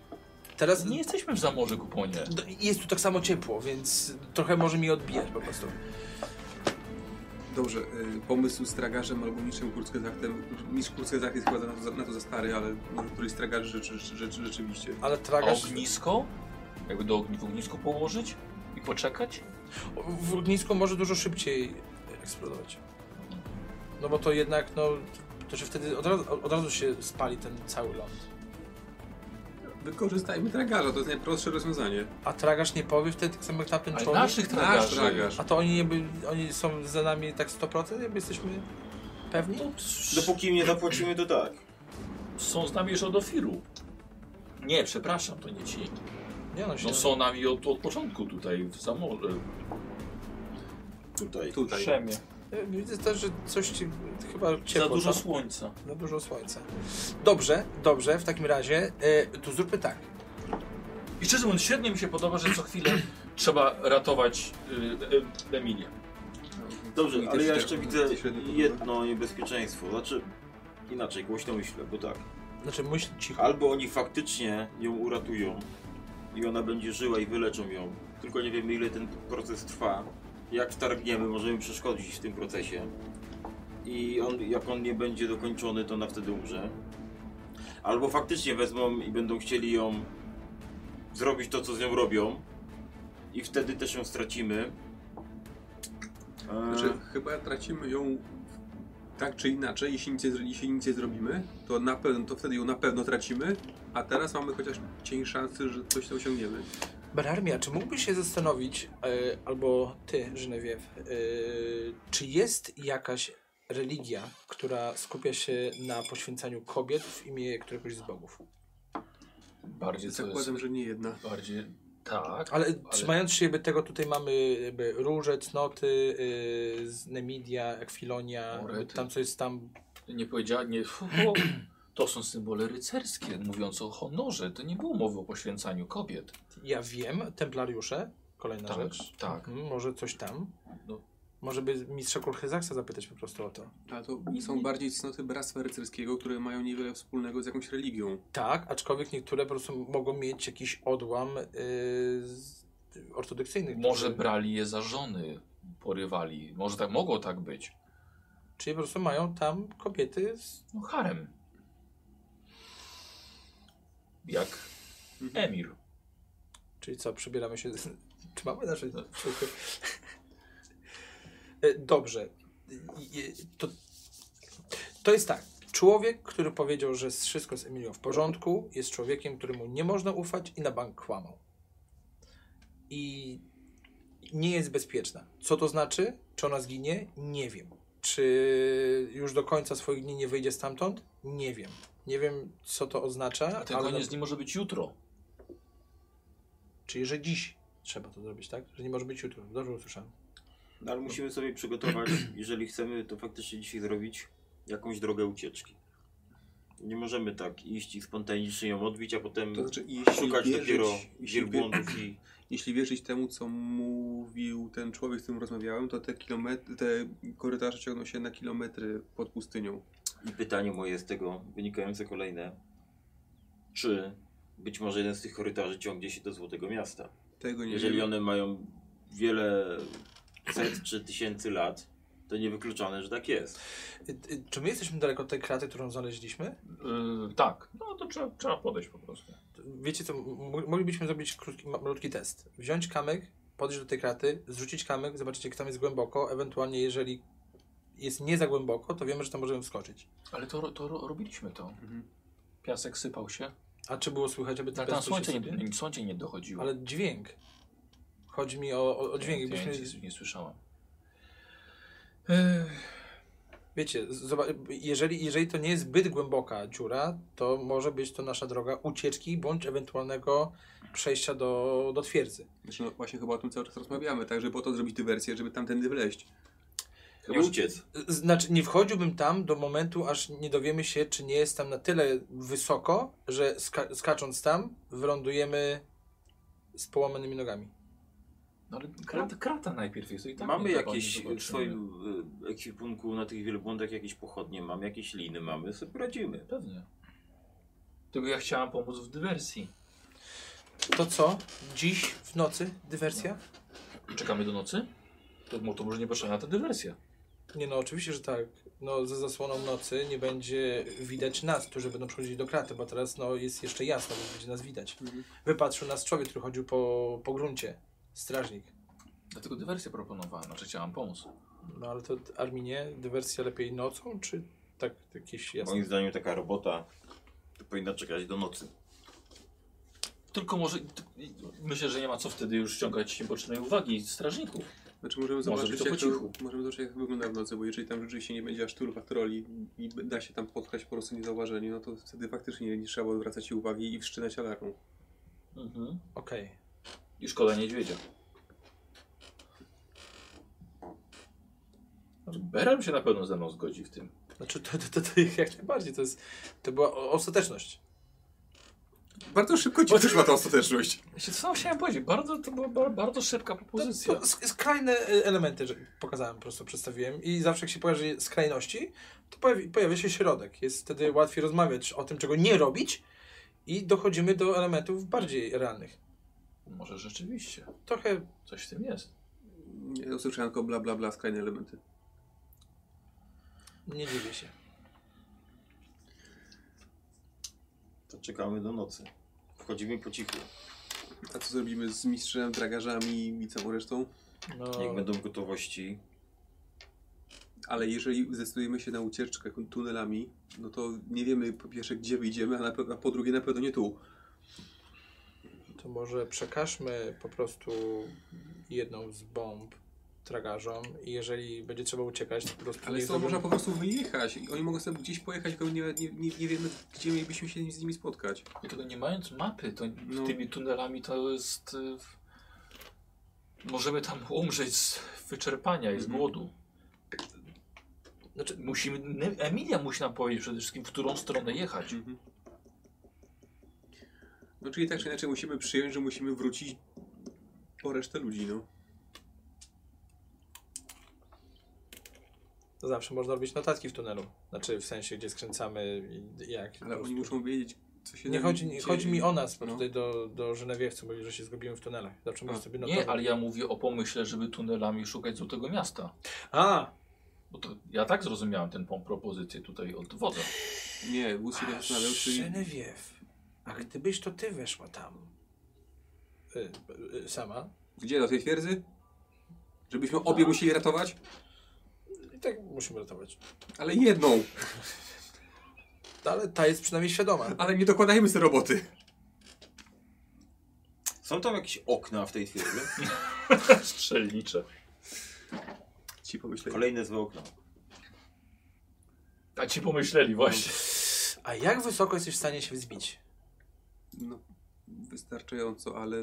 Speaker 1: Teraz
Speaker 2: <laughs> Nie jesteśmy w zamorze, kuponie.
Speaker 1: Do- Jest tu tak samo ciepło, więc trochę może mi odbijać po prostu.
Speaker 4: Dobrze, y, pomysł z tragarzem albo mistrzem Kurtzgezachtem. Mistrz Kurtzgezach jest chyba na to, za- na to za stary, ale może któryś z tragarzy rzeczy, rzeczy, rzeczy, rzeczywiście.
Speaker 1: Ale
Speaker 2: A
Speaker 1: tragarz...
Speaker 2: ognisko? Jakby do ogni- w ognisku położyć i poczekać?
Speaker 1: W ognisku może dużo szybciej eksplodować. No bo to jednak, no... To się wtedy od razu, od razu się spali ten cały ląd.
Speaker 4: Wykorzystajmy tragarza, to jest najprostsze rozwiązanie.
Speaker 1: A tragarz nie powie wtedy tak samo jak tamten
Speaker 2: Ale
Speaker 1: człowiek?
Speaker 2: naszych
Speaker 4: Nasz
Speaker 2: tragarzy.
Speaker 4: tragarz.
Speaker 1: A to oni, jakby, oni są za nami tak 100%? Jakby jesteśmy pewni?
Speaker 5: Dopóki im nie zapłacimy, to tak.
Speaker 2: Są z nami już od Ofiru. Nie, przepraszam, to nie ci.
Speaker 1: Nie no, się
Speaker 2: No są nami od, od początku tutaj w e, samorze.
Speaker 5: Tutaj.
Speaker 4: Tutaj.
Speaker 6: Przemie.
Speaker 1: Widzę też, że coś ci, chyba
Speaker 6: Za
Speaker 1: ciepło.
Speaker 6: dużo
Speaker 1: tam.
Speaker 6: słońca.
Speaker 1: Za dużo słońca. Dobrze, dobrze, w takim razie e, to zróbmy tak.
Speaker 2: I szczerze mówiąc, średnio mi się podoba, że co chwilę trzeba ratować y, y, Emilię.
Speaker 5: Dobrze,
Speaker 4: Mi
Speaker 5: ale
Speaker 4: też
Speaker 5: ja
Speaker 4: się-
Speaker 5: jeszcze
Speaker 4: mi
Speaker 5: widzę
Speaker 4: też się średnio podoba.
Speaker 5: jedno niebezpieczeństwo. Znaczy, inaczej, głośno myślę, bo tak.
Speaker 1: Znaczy myśl cicho.
Speaker 5: Albo oni faktycznie ją uratują i ona będzie żyła i wyleczą ją. Tylko nie wiemy, ile ten proces trwa. Jak wtargniemy, możemy przeszkodzić w tym procesie. I on, jak on nie będzie dokończony, to ona wtedy umrze. Albo faktycznie wezmą i będą chcieli ją zrobić to, co z nią robią. I wtedy też ją stracimy. Eee,
Speaker 4: Znaczy, chyba tracimy ją tak czy inaczej, jeśli nic, nie zro- jeśli nic nie zrobimy, to, na pewno, to wtedy ją na pewno tracimy, a teraz mamy chociaż cień szansy, że coś tam osiągniemy.
Speaker 1: Berarmia, czy mógłbyś się zastanowić, e, albo ty, Genevieve, e, czy jest jakaś religia, która skupia się na poświęcaniu kobiet w imię któregoś z bogów?
Speaker 2: Bardziej to jest,
Speaker 4: Zakładam, że nie jedna.
Speaker 2: bardziej tak.
Speaker 1: Ale, trzymając się jakby tego, tutaj mamy jakby róże, cnoty, y, z Nemidia, Ekwilonia,
Speaker 2: Orety.
Speaker 1: jakby tam co jest tam.
Speaker 2: Nie powiedziała, nie. <clears throat> fu- To są symbole rycerskie, mówiące o honorze. To nie było mowy o poświęcaniu kobiet.
Speaker 1: Ja wiem, templariusze, kolejna
Speaker 2: Tak,
Speaker 1: rzecz.
Speaker 2: tak.
Speaker 1: Mhm, może coś tam.
Speaker 2: No.
Speaker 1: Może by mistrza Kurchezaksa zapytać po prostu o to.
Speaker 4: Ale to są bardziej cnoty bractwa rycerskiego, które mają niewiele wspólnego z jakąś religią.
Speaker 1: Tak, aczkolwiek niektóre po prostu mogą mieć jakiś odłam y, z, ortodoksyjny.
Speaker 2: Może
Speaker 1: który-
Speaker 2: brali je za żony, porywali. Może tak mogło tak być.
Speaker 1: Czyli po prostu mają tam kobiety z...
Speaker 2: No harem. Jak
Speaker 1: Mhm.
Speaker 2: emir.
Speaker 1: Czyli co, przebieramy się... <laughs> Czy mamy nasze... E, Dobrze. I- i- To, to jest tak. Człowiek, który powiedział, że jest wszystko z Emilią w porządku, jest człowiekiem, któremu nie można ufać i na bank kłamał. I nie jest bezpieczna. Co to znaczy? Czy ona zginie? Nie wiem. Czy już do końca swoich dni nie wyjdzie stamtąd? Nie wiem. Nie wiem, co to oznacza.
Speaker 2: A ten
Speaker 1: Tak, ale- no-
Speaker 2: koniec nie może być jutro.
Speaker 1: Czyli, że dziś trzeba to zrobić, tak? Że nie może być jutro. Dobrze usłyszałem.
Speaker 5: No, ale musimy sobie
Speaker 4: <clears throat>
Speaker 5: przygotować, jeżeli chcemy to faktycznie dzisiaj zrobić, jakąś drogę ucieczki. Nie możemy tak iść i spontanicznie ją odbić, a potem
Speaker 4: To
Speaker 2: Mm.
Speaker 4: znaczy, jeśli
Speaker 5: szukać
Speaker 4: wierzyć,
Speaker 5: dopiero
Speaker 4: jeśli, wier-
Speaker 5: wielbłądów i...
Speaker 4: jeśli wierzyć temu, co mówił ten człowiek, z którym rozmawiałem, to te, kilometry, te korytarze ciągną się na kilometry pod pustynią.
Speaker 5: I pytanie moje z tego wynikające kolejne. Czy być może jeden z tych korytarzy ciągnie się do Złotego Miasta?
Speaker 4: Tego nie
Speaker 5: Jeżeli
Speaker 4: wiem.
Speaker 5: one mają wiele set czy tysięcy lat, to niewykluczone, że tak jest.
Speaker 1: Y, y, Czy my jesteśmy daleko od tej kraty, którą znaleźliśmy?
Speaker 2: Yy, tak. No to trzeba, trzeba podejść po prostu.
Speaker 1: Wiecie co, m- moglibyśmy zrobić krótki, ma- malutki test. Wziąć kamyk, podejść do tej kraty, zrzucić kamyk, zobaczyć jak tam jest głęboko, ewentualnie jeżeli jest nie za głęboko, to wiemy, że tam możemy wskoczyć.
Speaker 2: Ale to, ro- to ro- robiliśmy to.
Speaker 4: Mhm.
Speaker 2: Piasek sypał się.
Speaker 1: A czy było słychać, aby
Speaker 2: Tak,
Speaker 1: piasek
Speaker 2: tam
Speaker 1: się
Speaker 2: słońce
Speaker 1: sypie?
Speaker 2: nie, słońce nie dochodziło.
Speaker 1: Ale dźwięk. Chodzi mi o, o, o dźwięk.
Speaker 2: Ja
Speaker 1: Jakbyśmy,
Speaker 2: nic nie słyszałem. Ech.
Speaker 1: wiecie, z- zoba- jeżeli, jeżeli to nie jest zbyt głęboka dziura, to może być to nasza droga ucieczki bądź ewentualnego przejścia do, do twierdzy.
Speaker 4: Znaczy, no, właśnie chyba o tym cały czas rozmawiamy, także po to zrobić dywersję, żeby tamtędy wleść.
Speaker 5: Nie uciec.
Speaker 1: Z- Znaczy, nie wchodziłbym tam do momentu, aż nie dowiemy się, czy nie jest tam na tyle wysoko, że ska skacząc tam, wylądujemy z połamanymi nogami.
Speaker 2: No ale krata, krata najpierw jest. to I tak
Speaker 5: mamy
Speaker 2: nie tak
Speaker 5: jakieś
Speaker 2: ładnie
Speaker 5: w
Speaker 2: zobaczymy.
Speaker 5: swoim y, ekwipunku na tych wielbłądach jakieś pochodnie, mamy jakieś liny, mamy, sobie poradzimy.
Speaker 2: Pewnie. Tylko ja chciałam pomóc w dywersji.
Speaker 1: To co? Dziś w nocy dywersja?
Speaker 2: Czekamy do nocy? To, mo- to może nie potrzebna ta dywersja.
Speaker 1: Nie no, oczywiście, że tak. No, za zasłoną nocy nie będzie widać nas, którzy będą przychodzić do kraty, bo teraz no, jest jeszcze jasno, więc będzie nas widać.
Speaker 4: Mhm.
Speaker 1: Wypatrzył nas człowiek, który chodził po, po gruncie. Strażnik.
Speaker 2: Dlatego dywersję proponowałem, znaczy chciałam pomóc.
Speaker 1: No ale to Arminie, dywersja lepiej nocą, czy tak jakieś jasne?
Speaker 5: Moim zdaniem taka robota to powinna czekać do nocy.
Speaker 2: Tylko może. t- Myślę, że nie ma co wtedy już ściągać bocznej uwagi strażników.
Speaker 4: Znaczy możemy
Speaker 2: Może
Speaker 4: zobaczyć,
Speaker 2: być to
Speaker 4: jak
Speaker 2: po cichu.
Speaker 4: to, możemy zobaczyć, jak to wygląda w nocy, bo jeżeli tam rzeczywiście nie będzie aż tylu patroli i b- da się tam spotkać po prostu niezauważenie, no to wtedy faktycznie nie trzeba odwracać jej uwagi i wszczynać alarmu.
Speaker 2: Mhm.
Speaker 1: Okej.
Speaker 2: I szkoda niedźwiedzia. Berem Znaczy, się na pewno ze mną zgodzi w tym.
Speaker 1: Znaczy to, to, to, to jak najbardziej, to jest, to była o- ostateczność.
Speaker 4: Bardzo szybko ci przyszła ta ostateczność.
Speaker 2: Ja się sam chciałem powiedzieć, bardzo, to była ba- bardzo szybka
Speaker 1: To,
Speaker 2: propozycja.
Speaker 1: to sk- skrajne y, elementy że pokazałem, po prostu przedstawiłem i zawsze jak się pojawi skrajności, to pojawi, pojawia się środek. Jest wtedy łatwiej rozmawiać o tym, czego nie robić i dochodzimy do elementów bardziej realnych.
Speaker 2: Może rzeczywiście,
Speaker 1: Trochę
Speaker 2: coś w tym jest.
Speaker 4: Ja usłyszałem tylko bla bla bla, skrajne elementy.
Speaker 1: nie dziwię się.
Speaker 5: To czekamy do nocy. Wchodzimy po cichu.
Speaker 4: A co zrobimy z mistrzem, dragarzami i całą resztą?
Speaker 1: No,
Speaker 2: Tak.
Speaker 5: Jak będą gotowości,
Speaker 4: Ale jeżeli zdecydujemy się na ucieczkę tunelami, no to nie wiemy po pierwsze gdzie wyjdziemy, a, na, pe- a po drugie na pewno nie tu.
Speaker 1: to może przekażmy po prostu jedną z bomb tragarzom i jeżeli będzie trzeba uciekać, to po prostu
Speaker 4: Ale
Speaker 1: niech
Speaker 4: stąd
Speaker 1: zrobią-
Speaker 4: można po prostu wyjechać. I oni mogą sobie gdzieś pojechać, tylko nie, nie, nie, nie wiemy gdzie mielibyśmy się z nimi spotkać.
Speaker 2: I tego nie mając mapy, to
Speaker 4: No.
Speaker 2: tymi tunelami to jest... y, w- Możemy tam umrzeć z wyczerpania i z
Speaker 4: Mhm.
Speaker 2: głodu.
Speaker 1: Znaczy,
Speaker 2: Musimy, ne- Emilia musi nam powiedzieć przede wszystkim, w którą stronę jechać.
Speaker 4: Mhm. No czyli tak czy inaczej musimy przyjąć, że musimy wrócić po resztę ludzi, no.
Speaker 1: to zawsze można robić notatki w tunelu. Znaczy w sensie, gdzie skręcamy i jak. po
Speaker 4: Ale oni
Speaker 1: prostu.
Speaker 4: muszą wiedzieć, co się
Speaker 1: Nie chodzi, nie,
Speaker 4: dzieje.
Speaker 1: chodzi mi o nas, bo
Speaker 4: No.
Speaker 1: tutaj do, do Żenewiewców mówi, że się zgubiłem w tunelach. Zawsze
Speaker 4: A,
Speaker 1: możesz sobie notować.
Speaker 2: Nie, ale ja mówię o pomyśle, żeby tunelami szukać złotego miasta.
Speaker 1: A,
Speaker 2: Bo to, ja tak zrozumiałem tę pom- propozycję tutaj od wodza.
Speaker 4: Nie, wóz się zastanawiał, czy...
Speaker 1: Żenewiew, a gdybyś to ty weszła tam y, y, sama,
Speaker 4: Gdzie, do tej twierdzy? Żebyśmy obie musieli ratować?
Speaker 1: i tak musimy ratować.
Speaker 4: Ale jedną!
Speaker 1: No, ale ta jest przynajmniej świadoma.
Speaker 4: Ale nie dokładajmy sobie roboty!
Speaker 5: Są tam jakieś okna w tej twierdzy?
Speaker 2: Strzelnicze.
Speaker 4: Ci pomyśleli.
Speaker 5: <laughs> Kolejne złe okna.
Speaker 2: A ci pomyśleli właśnie.
Speaker 1: A jak wysoko jesteś w stanie się wzbić?
Speaker 4: No, wystarczająco, ale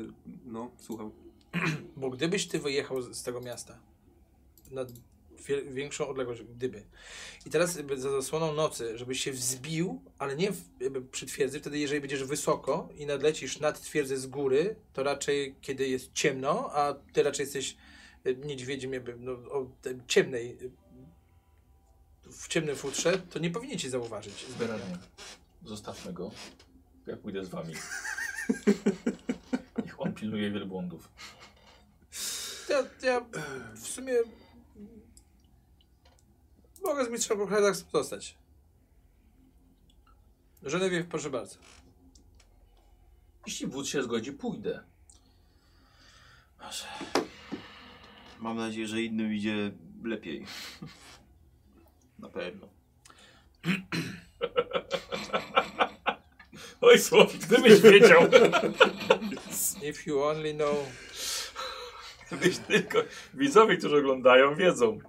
Speaker 4: no, słucham.
Speaker 1: Bo gdybyś ty wyjechał z, z tego miasta na wie, większą odległość, gdyby. I teraz jakby za zasłoną nocy, żebyś się wzbił, ale nie w, jakby przy twierdzy, wtedy jeżeli będziesz wysoko i nadlecisz nad twierdzę z góry, to raczej kiedy jest ciemno, a ty raczej jesteś e, niedźwiedziem jakby, no, o te- ciemnej e, w ciemnym futrze, to nie powinien ci zauważyć.
Speaker 2: Zbieranie. Zostawmy go. Ja pójdę z wami. Niech on pilnuje wielbłądów.
Speaker 1: Ja, ja w sumie mogę z mistrzem po chlebach zostać. Żenewie, proszę bardzo.
Speaker 2: Jeśli wódz się zgodzi, pójdę.
Speaker 5: Mam nadzieję, że innym idzie lepiej. <laughs> Na pewno.
Speaker 2: Oj, Słowik, gdybyś wiedział.
Speaker 1: If you only know...
Speaker 2: Gdybyś tylko... Widzowie, którzy oglądają, wiedzą.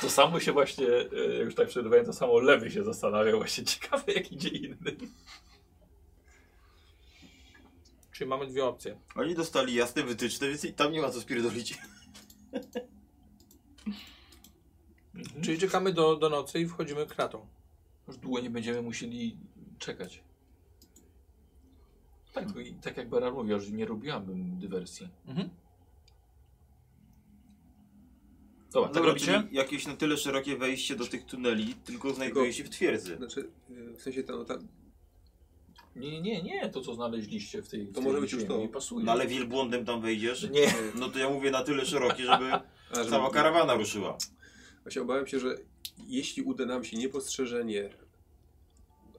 Speaker 2: To samo się właśnie, e, już tak przerywałem, to samo lewy się zastanawia. Właśnie ciekawe, jak idzie inny.
Speaker 1: Czyli mamy dwie opcje.
Speaker 5: Oni dostali jasne wytyczne, więc i tam nie ma co spierdolić.
Speaker 1: Czyli czekamy do, do nocy i wchodzimy kratą.
Speaker 2: Już długo nie będziemy musieli czekać. Tak, bo i tak jak Bera mówiła, że nie robiłabym dywersji.
Speaker 1: Mhm.
Speaker 5: <laughs>
Speaker 2: Dobra, tak
Speaker 5: Dobra,
Speaker 2: robicie?
Speaker 5: czyli Jakieś na tyle szerokie wejście do tych tuneli, tylko znajduje się w twierdzy.
Speaker 4: Znaczy, y, w sensie to, ta,
Speaker 2: Nie, nie, nie, nie, to co znaleźliście w tej. w tej
Speaker 4: może być już
Speaker 2: ziemi
Speaker 4: to.
Speaker 2: Nie pasuje.
Speaker 5: No ale wielbłądem tam wejdziesz?
Speaker 2: Nie.
Speaker 5: No to ja mówię na tyle szerokie, żeby
Speaker 4: a, że-
Speaker 5: cała karawana ruszyła.
Speaker 4: Właśnie obawiam się, że jeśli uda nam się niepostrzeżenie,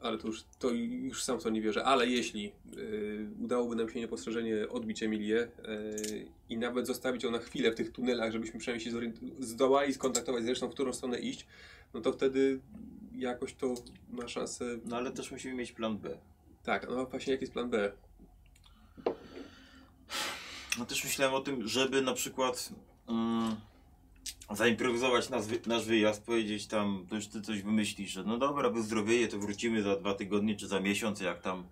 Speaker 4: ale to już, to już sam w to nie wierzę, ale jeśli y, udałoby nam się niepostrzeżenie odbić Emilię y, i nawet zostawić ją na chwilę w tych tunelach, żebyśmy przynajmniej się zorient- zdołali skontaktować z resztą, w którą stronę iść, no to wtedy jakoś to ma szansę...
Speaker 5: No ale też musimy mieć plan B.
Speaker 4: Tak, no właśnie jaki jest plan B?
Speaker 5: No też myślałem o tym, żeby na przykład mm, zaimprowizować nas, wy- nasz wyjazd, powiedzieć no tam, to już ty coś wymyślisz, że no dobra, wyzdrowieje, to wrócimy za dwa tygodnie czy za miesiąc, jak tam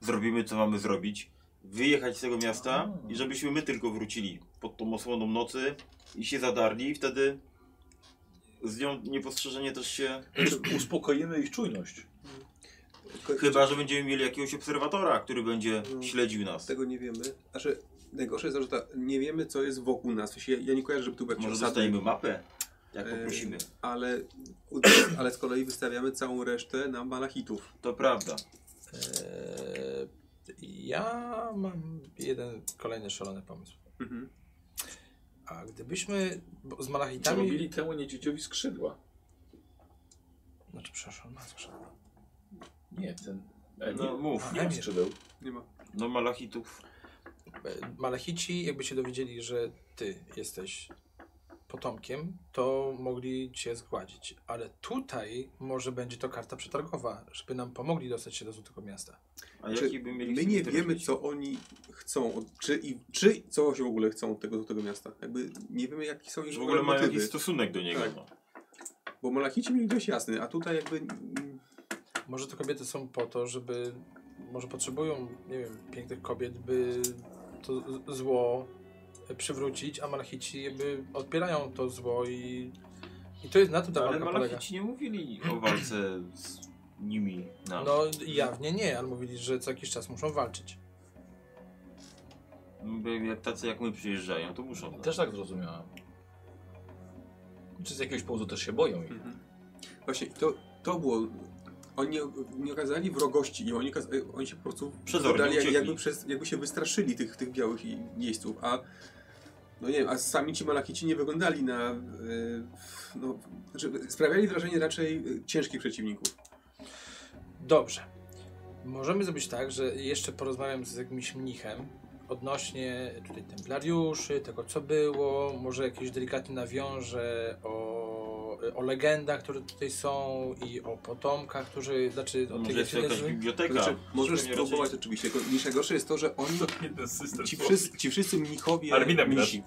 Speaker 5: zrobimy co mamy zrobić, wyjechać z tego miasta i żebyśmy my tylko wrócili pod tą osłoną nocy i się zadarli i wtedy z nią niepostrzeżenie też się...
Speaker 2: Znaczy, uspokoimy ich czujność.
Speaker 4: Ko-
Speaker 5: Chyba, że będziemy mieli jakiegoś obserwatora, który będzie
Speaker 4: No.
Speaker 5: śledził nas.
Speaker 4: Tego nie wiemy. Znaczy, najgorsze jest to, że ta, nie wiemy, co jest wokół nas. W sensie, ja, ja nie kojarzę, żeby tu
Speaker 5: Może
Speaker 4: jakieś osady,
Speaker 5: dostajemy mapę, jak
Speaker 4: Ehm,
Speaker 5: poprosimy.
Speaker 4: ale, ale z kolei wystawiamy całą resztę na malachitów.
Speaker 5: To prawda.
Speaker 1: Eee, ja mam jeden kolejny szalony pomysł.
Speaker 4: Mhm.
Speaker 1: A gdybyśmy bo z malachitami...
Speaker 2: Zrobili temu niedźwiedziowi skrzydła.
Speaker 1: Znaczy, przepraszam, ma skrzydła.
Speaker 2: Nie, ten...
Speaker 5: No
Speaker 2: Emil.
Speaker 5: mów.
Speaker 2: Nie ma skrzydeł.
Speaker 4: Nie ma.
Speaker 5: No malachitów.
Speaker 1: E, Malachici, jakby się dowiedzieli, że ty jesteś potomkiem, to mogli cię zgładzić. Ale tutaj może będzie to karta przetargowa, żeby nam pomogli dostać się do Złotego Miasta.
Speaker 5: A
Speaker 4: Czy
Speaker 5: jaki by mieli
Speaker 4: My nie wiemy, co oni chcą, od- czy, i, czy co się w ogóle chcą od tego, do tego miasta. Jakby nie wiemy, jakie są ich
Speaker 5: Że w ogóle mają
Speaker 4: motywy.
Speaker 5: jakiś stosunek do niego.
Speaker 4: Tak.
Speaker 5: No.
Speaker 4: Bo malachici mieli dość jasny, a tutaj jakby... mm,
Speaker 1: Może te kobiety są po to, żeby. Może potrzebują, nie wiem, pięknych kobiet, by to z- zło przywrócić, a malachici jakby odpierają to zło i. I to jest na tym ta
Speaker 5: Ale
Speaker 1: walka polega.
Speaker 5: malachici nie mówili o walce z nimi. No.
Speaker 1: No jawnie nie, ale mówili, że co jakiś czas muszą walczyć.
Speaker 5: Mówię, Jak tacy jak my przyjeżdżają, to muszą. no.
Speaker 2: Też tak zrozumiałem. Czy z jakiegoś powodu też się boją ich?
Speaker 4: Mhm. Właśnie, to, to było... Oni nie okazali wrogości i oni, okaz- oni się po prostu
Speaker 5: Przezornie
Speaker 4: podali, jak,
Speaker 5: uciekli.
Speaker 4: jakby, przez, jakby się wystraszyli tych, tych białych i- jeźdźców, a no nie wiem, a sami ci malachici nie wyglądali na... e, no, znaczy, sprawiali wrażenie raczej e, ciężkich przeciwników.
Speaker 1: Dobrze. Możemy zrobić tak, że jeszcze porozmawiam z jakimś mnichem odnośnie tutaj templariuszy, tego co było, może jakieś delikatnie nawiążę o, o legendach, które tutaj są i o potomkach, którzy, znaczy o
Speaker 5: Może
Speaker 1: tych
Speaker 5: jest jakaś
Speaker 1: jakaś...
Speaker 5: biblioteka.
Speaker 4: Znaczy, możesz
Speaker 5: Pewnie
Speaker 4: spróbować oczywiście, tylko niż najgorsze jest to, że oni,
Speaker 3: Jeden system.
Speaker 4: ci wszyscy, ci wszyscy mnichowie,
Speaker 3: Armina mi
Speaker 4: mnisi, e,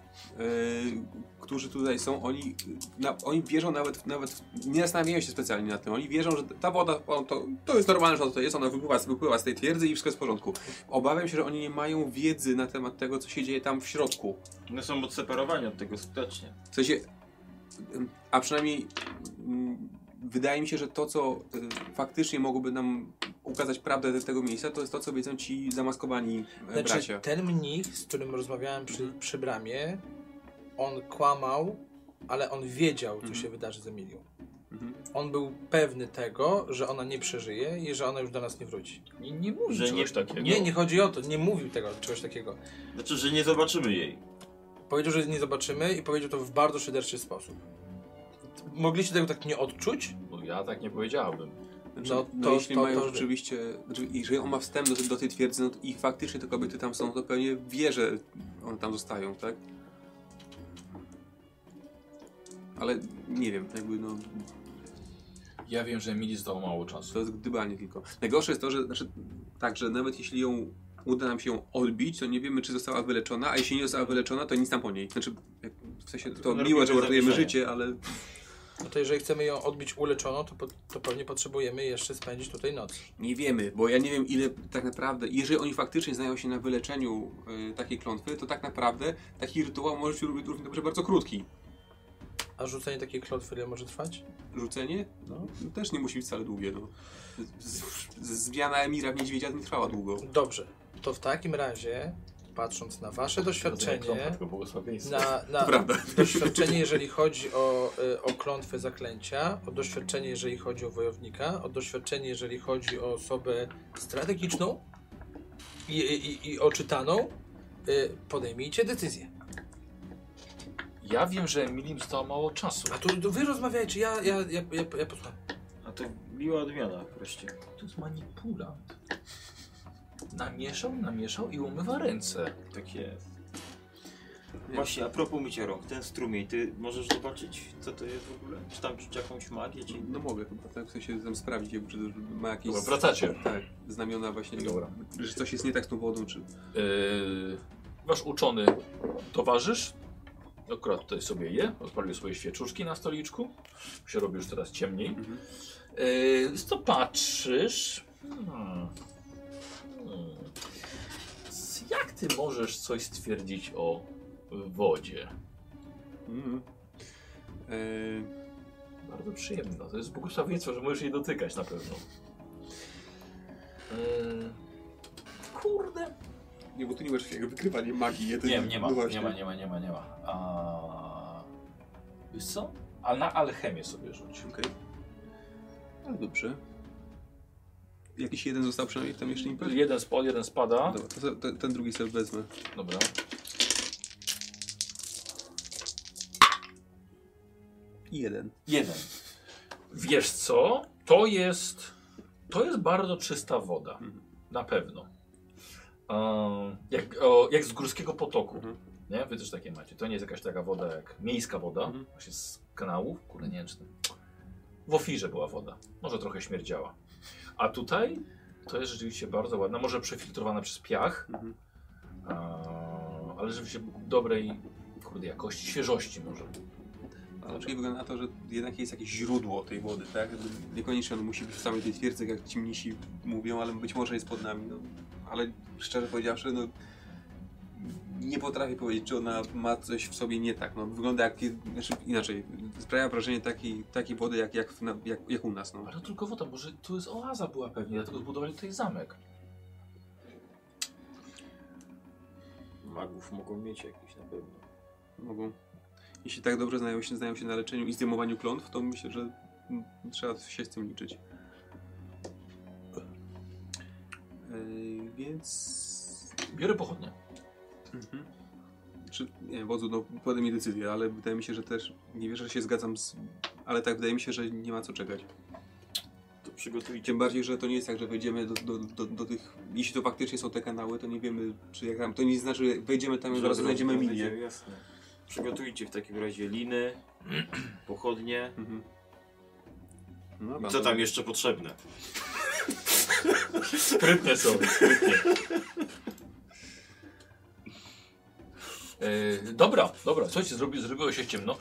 Speaker 4: którzy tutaj są, oni, e, na, oni wierzą nawet, nawet, w- nie zastanawiają się specjalnie nad tym, oni wierzą, że ta woda, o, to, to jest normalne, że ona tutaj jest, ona wypływa, z- wypływa z tej twierdzy i wszystko jest w porządku. Obawiam się, że oni nie mają wiedzy na temat tego, co się dzieje tam w środku.
Speaker 5: One są odseparowani od tego skutecznie.
Speaker 4: W sensie, em, a przynajmniej mm, wydaje mi się, że to, co e, faktycznie mogłoby nam ukazać prawdę z tego miejsca, to jest to, co wiedzą ci zamaskowani e, bracia.
Speaker 1: Znaczy ten mnich, z którym rozmawiałem przy, przy bramie, on kłamał, ale on wiedział, co
Speaker 4: Mhm.
Speaker 1: się wydarzy z Emilią.
Speaker 4: Mhm.
Speaker 1: On był pewny tego, że ona nie przeżyje i że ona już do nas nie wróci.
Speaker 2: Nie, nie mówi
Speaker 5: Że
Speaker 2: czegoś
Speaker 5: nie-
Speaker 2: takiego.
Speaker 1: Nie, nie chodzi o to, nie mówił tego, czegoś takiego.
Speaker 5: Znaczy, że nie zobaczymy jej.
Speaker 1: Powiedział, że nie zobaczymy i powiedział to w bardzo szyderczy sposób. Mogliście tego tak nie odczuć?
Speaker 2: No, ja tak nie powiedziałbym.
Speaker 4: Znaczy,
Speaker 1: No
Speaker 4: no,
Speaker 1: to-
Speaker 4: jeśli
Speaker 1: to-
Speaker 4: mają
Speaker 1: to-
Speaker 4: rzeczywiście, znaczy, jeżeli on ma wstęp do, do tej twierdzy, no to i faktycznie te kobiety tam są, to pewnie wie, że one tam zostają, tak? Ale nie wiem, jakby no,
Speaker 2: Ja wiem, że Emily zdało mało czasu.
Speaker 4: to jest gdybanie tylko. Najgorsze jest to, że znaczy, tak, że nawet jeśli ją uda nam się ją odbić, to nie wiemy, czy została wyleczona, a jeśli nie została wyleczona, to nic tam po niej. Znaczy, jak- w sensie to
Speaker 5: Tylko
Speaker 4: miłe, że
Speaker 5: robimy
Speaker 4: uratujemy
Speaker 5: zamieszanie.
Speaker 4: życie, ale
Speaker 1: No to jeżeli chcemy ją odbić uleczoną, to, po, to pewnie potrzebujemy jeszcze spędzić tutaj noc.
Speaker 4: Nie wiemy, bo ja nie wiem ile tak naprawdę, jeżeli oni faktycznie znają się na wyleczeniu y, takiej klątwy, to tak naprawdę taki rytuał może się robić równie dobrze bardzo krótki.
Speaker 1: A rzucenie takiej klotwy ile może trwać?
Speaker 4: Rzucenie no, też nie musi być wcale długie. No. Z- z- Zmiana Emira w niedźwiedzia nie trwała długo.
Speaker 1: Dobrze, to w takim razie, patrząc na wasze
Speaker 2: Klątwa,
Speaker 1: doświadczenie,
Speaker 2: tylko błogosławieństwo.
Speaker 1: na,
Speaker 4: To
Speaker 1: na
Speaker 4: prawda.
Speaker 1: doświadczenie jeżeli chodzi o, y, o klątwę zaklęcia, o doświadczenie jeżeli chodzi o wojownika, o doświadczenie jeżeli chodzi o osobę strategiczną i, i, i oczytaną, y, podejmijcie decyzję.
Speaker 2: Ja wiem, że Emily zostało mało czasu.
Speaker 1: A tu, tu wy rozmawiajcie, ja, ja, ja, ja, ja posłucham.
Speaker 5: A to miła odmiana wreszcie.
Speaker 2: To jest manipulant. Namieszał, namieszał i umywa ręce.
Speaker 5: Tak jest. Właśnie, a propos mycia rąk, ten strumień, ty możesz zobaczyć, co to jest w ogóle? Czy tam czuć jakąś magię, czy...
Speaker 4: No mogę chyba, tak? W sensie tam sprawdzić, jakby, czy to ma jakieś
Speaker 2: Dobra, wracacie.
Speaker 4: tak, znamiona właśnie,
Speaker 2: Dobra.
Speaker 4: że coś jest nie tak z tą wodą, czy...
Speaker 2: Yy, wasz uczony towarzysz akurat tutaj sobie je, odpalił swoje świeczuszki na stoliczku. Się robi już teraz ciemniej.
Speaker 4: Mhm.
Speaker 2: Yy, to patrzysz. Hmm. Hmm. Jak ty możesz coś stwierdzić o wodzie?
Speaker 4: Mm. E,
Speaker 2: Bardzo przyjemna. To jest błogosławieństwo, że możesz jej dotykać na pewno. Eee, kurde.
Speaker 4: nie, bo tu nie masz takiego wykrywania magii.
Speaker 2: Nie,
Speaker 4: jedynie-
Speaker 2: nie ma,
Speaker 4: no
Speaker 2: nie
Speaker 4: właśnie.
Speaker 2: ma, nie ma, nie ma, nie ma. A... Wiesz co? A na alchemię sobie rzuć.
Speaker 4: Okej. No dobrze. Jakiś jeden został przynajmniej w tam jeszcze imperium?
Speaker 2: Jeden spod, jeden spada.
Speaker 4: Dobra, to, se- ten- ten drugi sobie wezmę.
Speaker 2: Dobra.
Speaker 4: Jeden.
Speaker 2: Jeden. Wiesz co? To jest. To jest bardzo czysta woda.
Speaker 4: Mhm.
Speaker 2: Na pewno. Ehm, jak, o, jak z górskiego potoku.
Speaker 4: Mhm.
Speaker 2: Nie? Wy też takie macie. To nie jest jakaś taka woda jak miejska woda,
Speaker 4: Mhm.
Speaker 2: właśnie z kanałów. Kurde, nie wiem, czy to- W ofirze była woda. Może trochę śmierdziała. A tutaj to jest rzeczywiście bardzo ładna. Może przefiltrowana przez piach,
Speaker 4: Mhm.
Speaker 2: ehm, ale rzeczywiście dobrej kurde, jakości, świeżości może.
Speaker 4: Ale czyli wygląda na to, że jednak jest jakieś źródło tej wody, tak? Jakby Niekoniecznie on musi być w samej tej twierdzy, jak ci mnisi mówią, ale być może jest pod nami. No. Ale szczerze powiedziawszy, no, nie potrafię powiedzieć, czy ona ma coś w sobie nie tak. No, wygląda jak, znaczy inaczej, sprawia wrażenie takiej, takiej wody, jak, jak, w na- jak, jak u nas. No.
Speaker 2: Ale to tylko woda, może tu jest oaza była pewnie, dlatego zbudowali tutaj zamek.
Speaker 5: Magów mogą mieć jakieś na pewno.
Speaker 4: Mogą. Jeśli tak dobrze znają się, znają się na leczeniu i zdejmowaniu klątw, to myślę, że mm, trzeba się z tym liczyć. Yy, więc
Speaker 2: Biorę pochodnie.
Speaker 4: Mhm. Czy, nie wiem, wodzu, no podaj mi decyzję, ale wydaje mi się, że też, nie wierzę, że się zgadzam z... Ale tak, wydaje mi się, że nie ma co czekać.
Speaker 5: To przygotujcie.
Speaker 4: Tym bardziej, że to nie jest tak, że wejdziemy do, do, do, do tych... Jeśli to faktycznie są te kanały, to nie wiemy, czy jak tam... To nie znaczy, że wejdziemy tam i od razu znajdziemy minię.
Speaker 5: Jasne. Przygotujcie w takim razie liny, <clears throat> pochodnie.
Speaker 4: Mhm. No,
Speaker 5: I co
Speaker 2: tak?
Speaker 5: tam jeszcze potrzebne?
Speaker 2: Sprytne są, sprytnie. E, dobra, dobra, słuchajcie, zrobi, zrobiło się ciemno.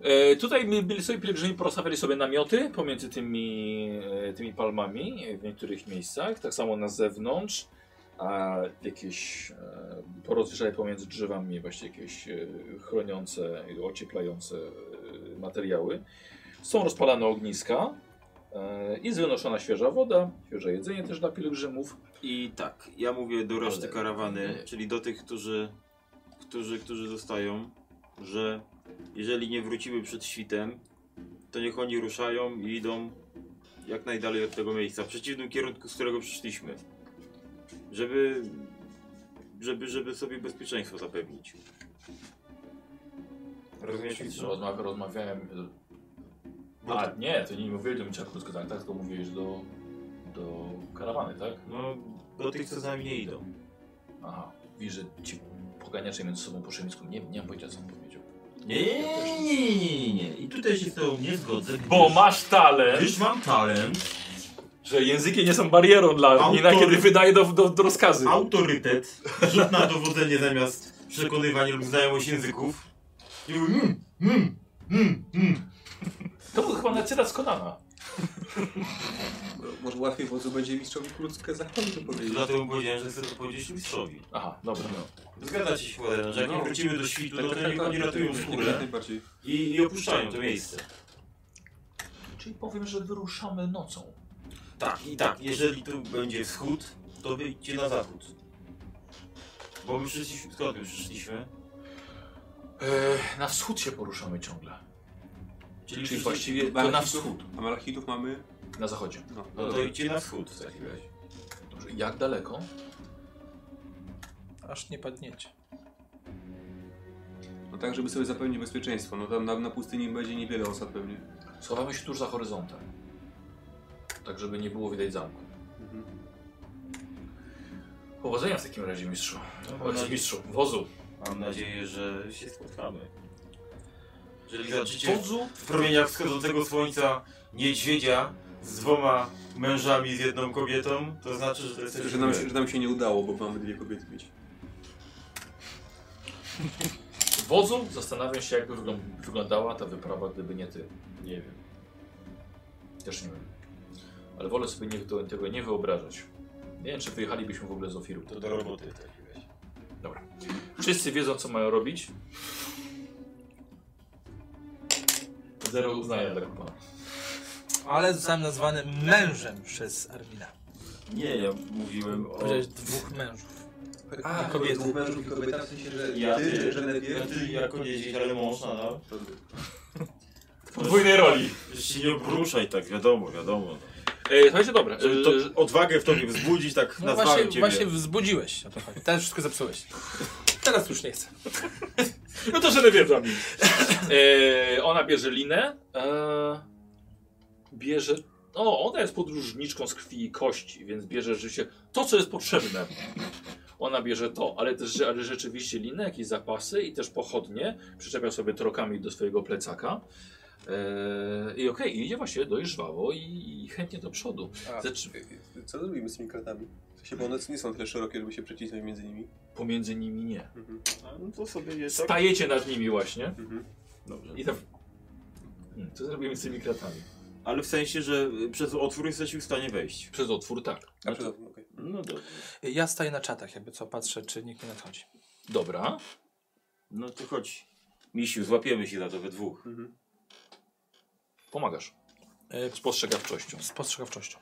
Speaker 2: E, tutaj my byli sobie pielgrzymi, porozstawiali sobie namioty pomiędzy tymi, e, tymi palmami e, w niektórych miejscach, tak samo na zewnątrz. A jakieś e, porozwieszali pomiędzy drzewami właśnie jakieś e, chroniące, i ocieplające e, materiały. Są rozpalane ogniska e, i wynoszona świeża woda, świeże jedzenie też dla pielgrzymów.
Speaker 5: I tak, ja mówię do reszty
Speaker 2: Ale-
Speaker 5: karawany,
Speaker 2: nie.
Speaker 5: czyli do tych, którzy, którzy, którzy zostają, że jeżeli nie wrócimy przed świtem, to niech oni ruszają i idą jak najdalej od tego miejsca, w przeciwnym kierunku, z którego przyszliśmy. Żeby, żeby, żeby sobie bezpieczeństwo zapewnić. Rozumiesz,
Speaker 2: Że
Speaker 5: mistrzu?
Speaker 2: Rozmawia, rozmawiałem.
Speaker 5: Bo
Speaker 2: A
Speaker 5: tak-
Speaker 2: nie, to nie mówiłeś do Micia krótko, tak, tak, tylko mówiłeś do, do karawany, tak?
Speaker 5: No, do tych, co z nami nie idą.
Speaker 2: Aha, widzisz, że ci poganiacze między sobą po szymisku. Nie, nie mam pojęcia, co on powiedział.
Speaker 5: Nie, nie, nie, nie, nie. I tutaj się z tobą nie zgodzę.
Speaker 2: Bo masz
Speaker 5: Już
Speaker 2: talent,
Speaker 5: mam talent,
Speaker 2: że języki nie są barierą dla
Speaker 5: Autor-
Speaker 2: Nina, kiedy wydaje do, do, do rozkazy.
Speaker 5: autorytet, rzut na dowodzenie zamiast przekonywanie lub znajomość języków. I mówię, mm, mm, mm, mm.
Speaker 2: To był chyba na cytat z Konana.
Speaker 4: no, Może łatwiej wodzu będzie mistrzowi krótkę zachowaniu powiedzieć.
Speaker 5: Dlatego powiedziałem, że chcę to powiedzieć mistrzowi.
Speaker 2: Aha, dobra. no.
Speaker 5: Zgadzacie się, Władysław, że jak nie wrócimy do
Speaker 4: Tak,
Speaker 5: świtu, no to niech oni ratują
Speaker 4: Jak
Speaker 5: skórę
Speaker 4: tak, najbardziej.
Speaker 5: i, i opuszczają to miejsce.
Speaker 2: Czyli powiem, że wyruszamy nocą.
Speaker 5: Tak, i tak, jeżeli tu będzie wschód, to wyjdźcie na zachód. Bo my przyszliśmy, skąd my przyszliśmy?
Speaker 2: E, na wschód się poruszamy ciągle.
Speaker 5: Czyli,
Speaker 2: Czyli
Speaker 5: przyszliśmy-
Speaker 2: właściwie to na wschód,
Speaker 4: A malachitów mamy...
Speaker 2: na zachodzie.
Speaker 4: No.
Speaker 5: No to idźcie na wschód w takim razie.
Speaker 2: Dobrze, jak daleko?
Speaker 1: Aż nie padniecie.
Speaker 4: No tak, żeby sobie zapewnić bezpieczeństwo. No tam na, na pustyni będzie niewiele osad pewnie.
Speaker 2: Schowamy się tuż za horyzontem. Tak, żeby nie było widać zamku. Mhm. Powodzenia w takim razie, mistrzu.
Speaker 5: No,
Speaker 2: Ojciec mistrzu, wozu.
Speaker 5: Mam nadzieję, że się spotkamy. Jeżeli zobaczycie
Speaker 2: Wodzu?
Speaker 5: w promieniach wschodzącego słońca niedźwiedzia z dwoma mężami, z jedną kobietą, to znaczy, że to jest
Speaker 4: Że nam, się, że nam się nie udało, bo mamy dwie kobiety mieć.
Speaker 2: Wodzu? Zastanawiam się, jakby wyglą- wyglądała ta wyprawa, gdyby nie ty.
Speaker 5: Nie wiem.
Speaker 2: Też nie wiem. Ale wolę sobie nie, to, tego nie wyobrażać. Nie wiem, czy wyjechalibyśmy w ogóle z Ofiru.
Speaker 5: To do roboty w takim razie.
Speaker 2: Wszyscy wiedzą, co mają robić. Zero uznania dla pana.
Speaker 1: Ale zostałem nazwany mężem przez Armina.
Speaker 5: Nie, ja mówiłem o...
Speaker 1: Powiedziałeś dwóch mężów.
Speaker 4: A,
Speaker 1: kobiety.
Speaker 4: kobiety. Mężów i kobieta, w sensie, że
Speaker 5: Ja,
Speaker 4: ty,
Speaker 5: ty.
Speaker 4: że
Speaker 5: Ja
Speaker 4: Genevieve,
Speaker 5: ty jako nie dziś, ale mąż nadal.
Speaker 2: Podwójnej roli.
Speaker 5: Że się nie obruszaj tak, wiadomo, wiadomo.
Speaker 2: E, słuchajcie, dobra.
Speaker 5: Żeby
Speaker 2: E,
Speaker 5: to Yy, odwagę w tobie wzbudzić, tak
Speaker 1: No
Speaker 5: nazwałem
Speaker 1: właśnie,
Speaker 5: ciebie.
Speaker 1: właśnie wzbudziłeś. O to chodzi. Teraz wszystko zepsułeś. Teraz już nie chcę.
Speaker 2: no to żaden wiedza. E, ona bierze linę. E, bierze. O, ona jest podróżniczką z krwi i kości, więc bierze rzeczywiście to, co jest potrzebne. Ona bierze to, ale też że- ale rzeczywiście linę, jakieś zapasy i też pochodnie. Przyczepia sobie trokami do swojego plecaka. E, I okej, idzie właśnie dość żwawo i, i chętnie do przodu. Znaczy,
Speaker 4: A.
Speaker 2: Zacz,
Speaker 4: Co zrobimy z tymi kratami? W sensie, bo one nie są tyle szerokie, żeby się przecisnąć między nimi.
Speaker 2: pomiędzy nimi nie.
Speaker 4: Mhm.
Speaker 5: A, No to sobie je tak...
Speaker 2: Stajecie nad nimi właśnie.
Speaker 4: Mhm.
Speaker 5: Dobrze.
Speaker 2: I tam... Hmm, Co zrobimy z tymi kratami?
Speaker 5: Ale w sensie, że przez otwór jesteśmy w stanie wejść.
Speaker 2: Przez otwór tak.
Speaker 4: A, przepraszam, okej.
Speaker 5: No dobrze.
Speaker 1: Ja staję na czatach, jakby co, patrzę, czy nikt nie nadchodzi.
Speaker 2: Dobra.
Speaker 5: No to chodź. Misiu, złapiemy się za to we dwóch.
Speaker 4: Mhm.
Speaker 2: Pomagasz.
Speaker 1: E,
Speaker 2: Spostrzegawczością.
Speaker 1: Z postrzegawczością.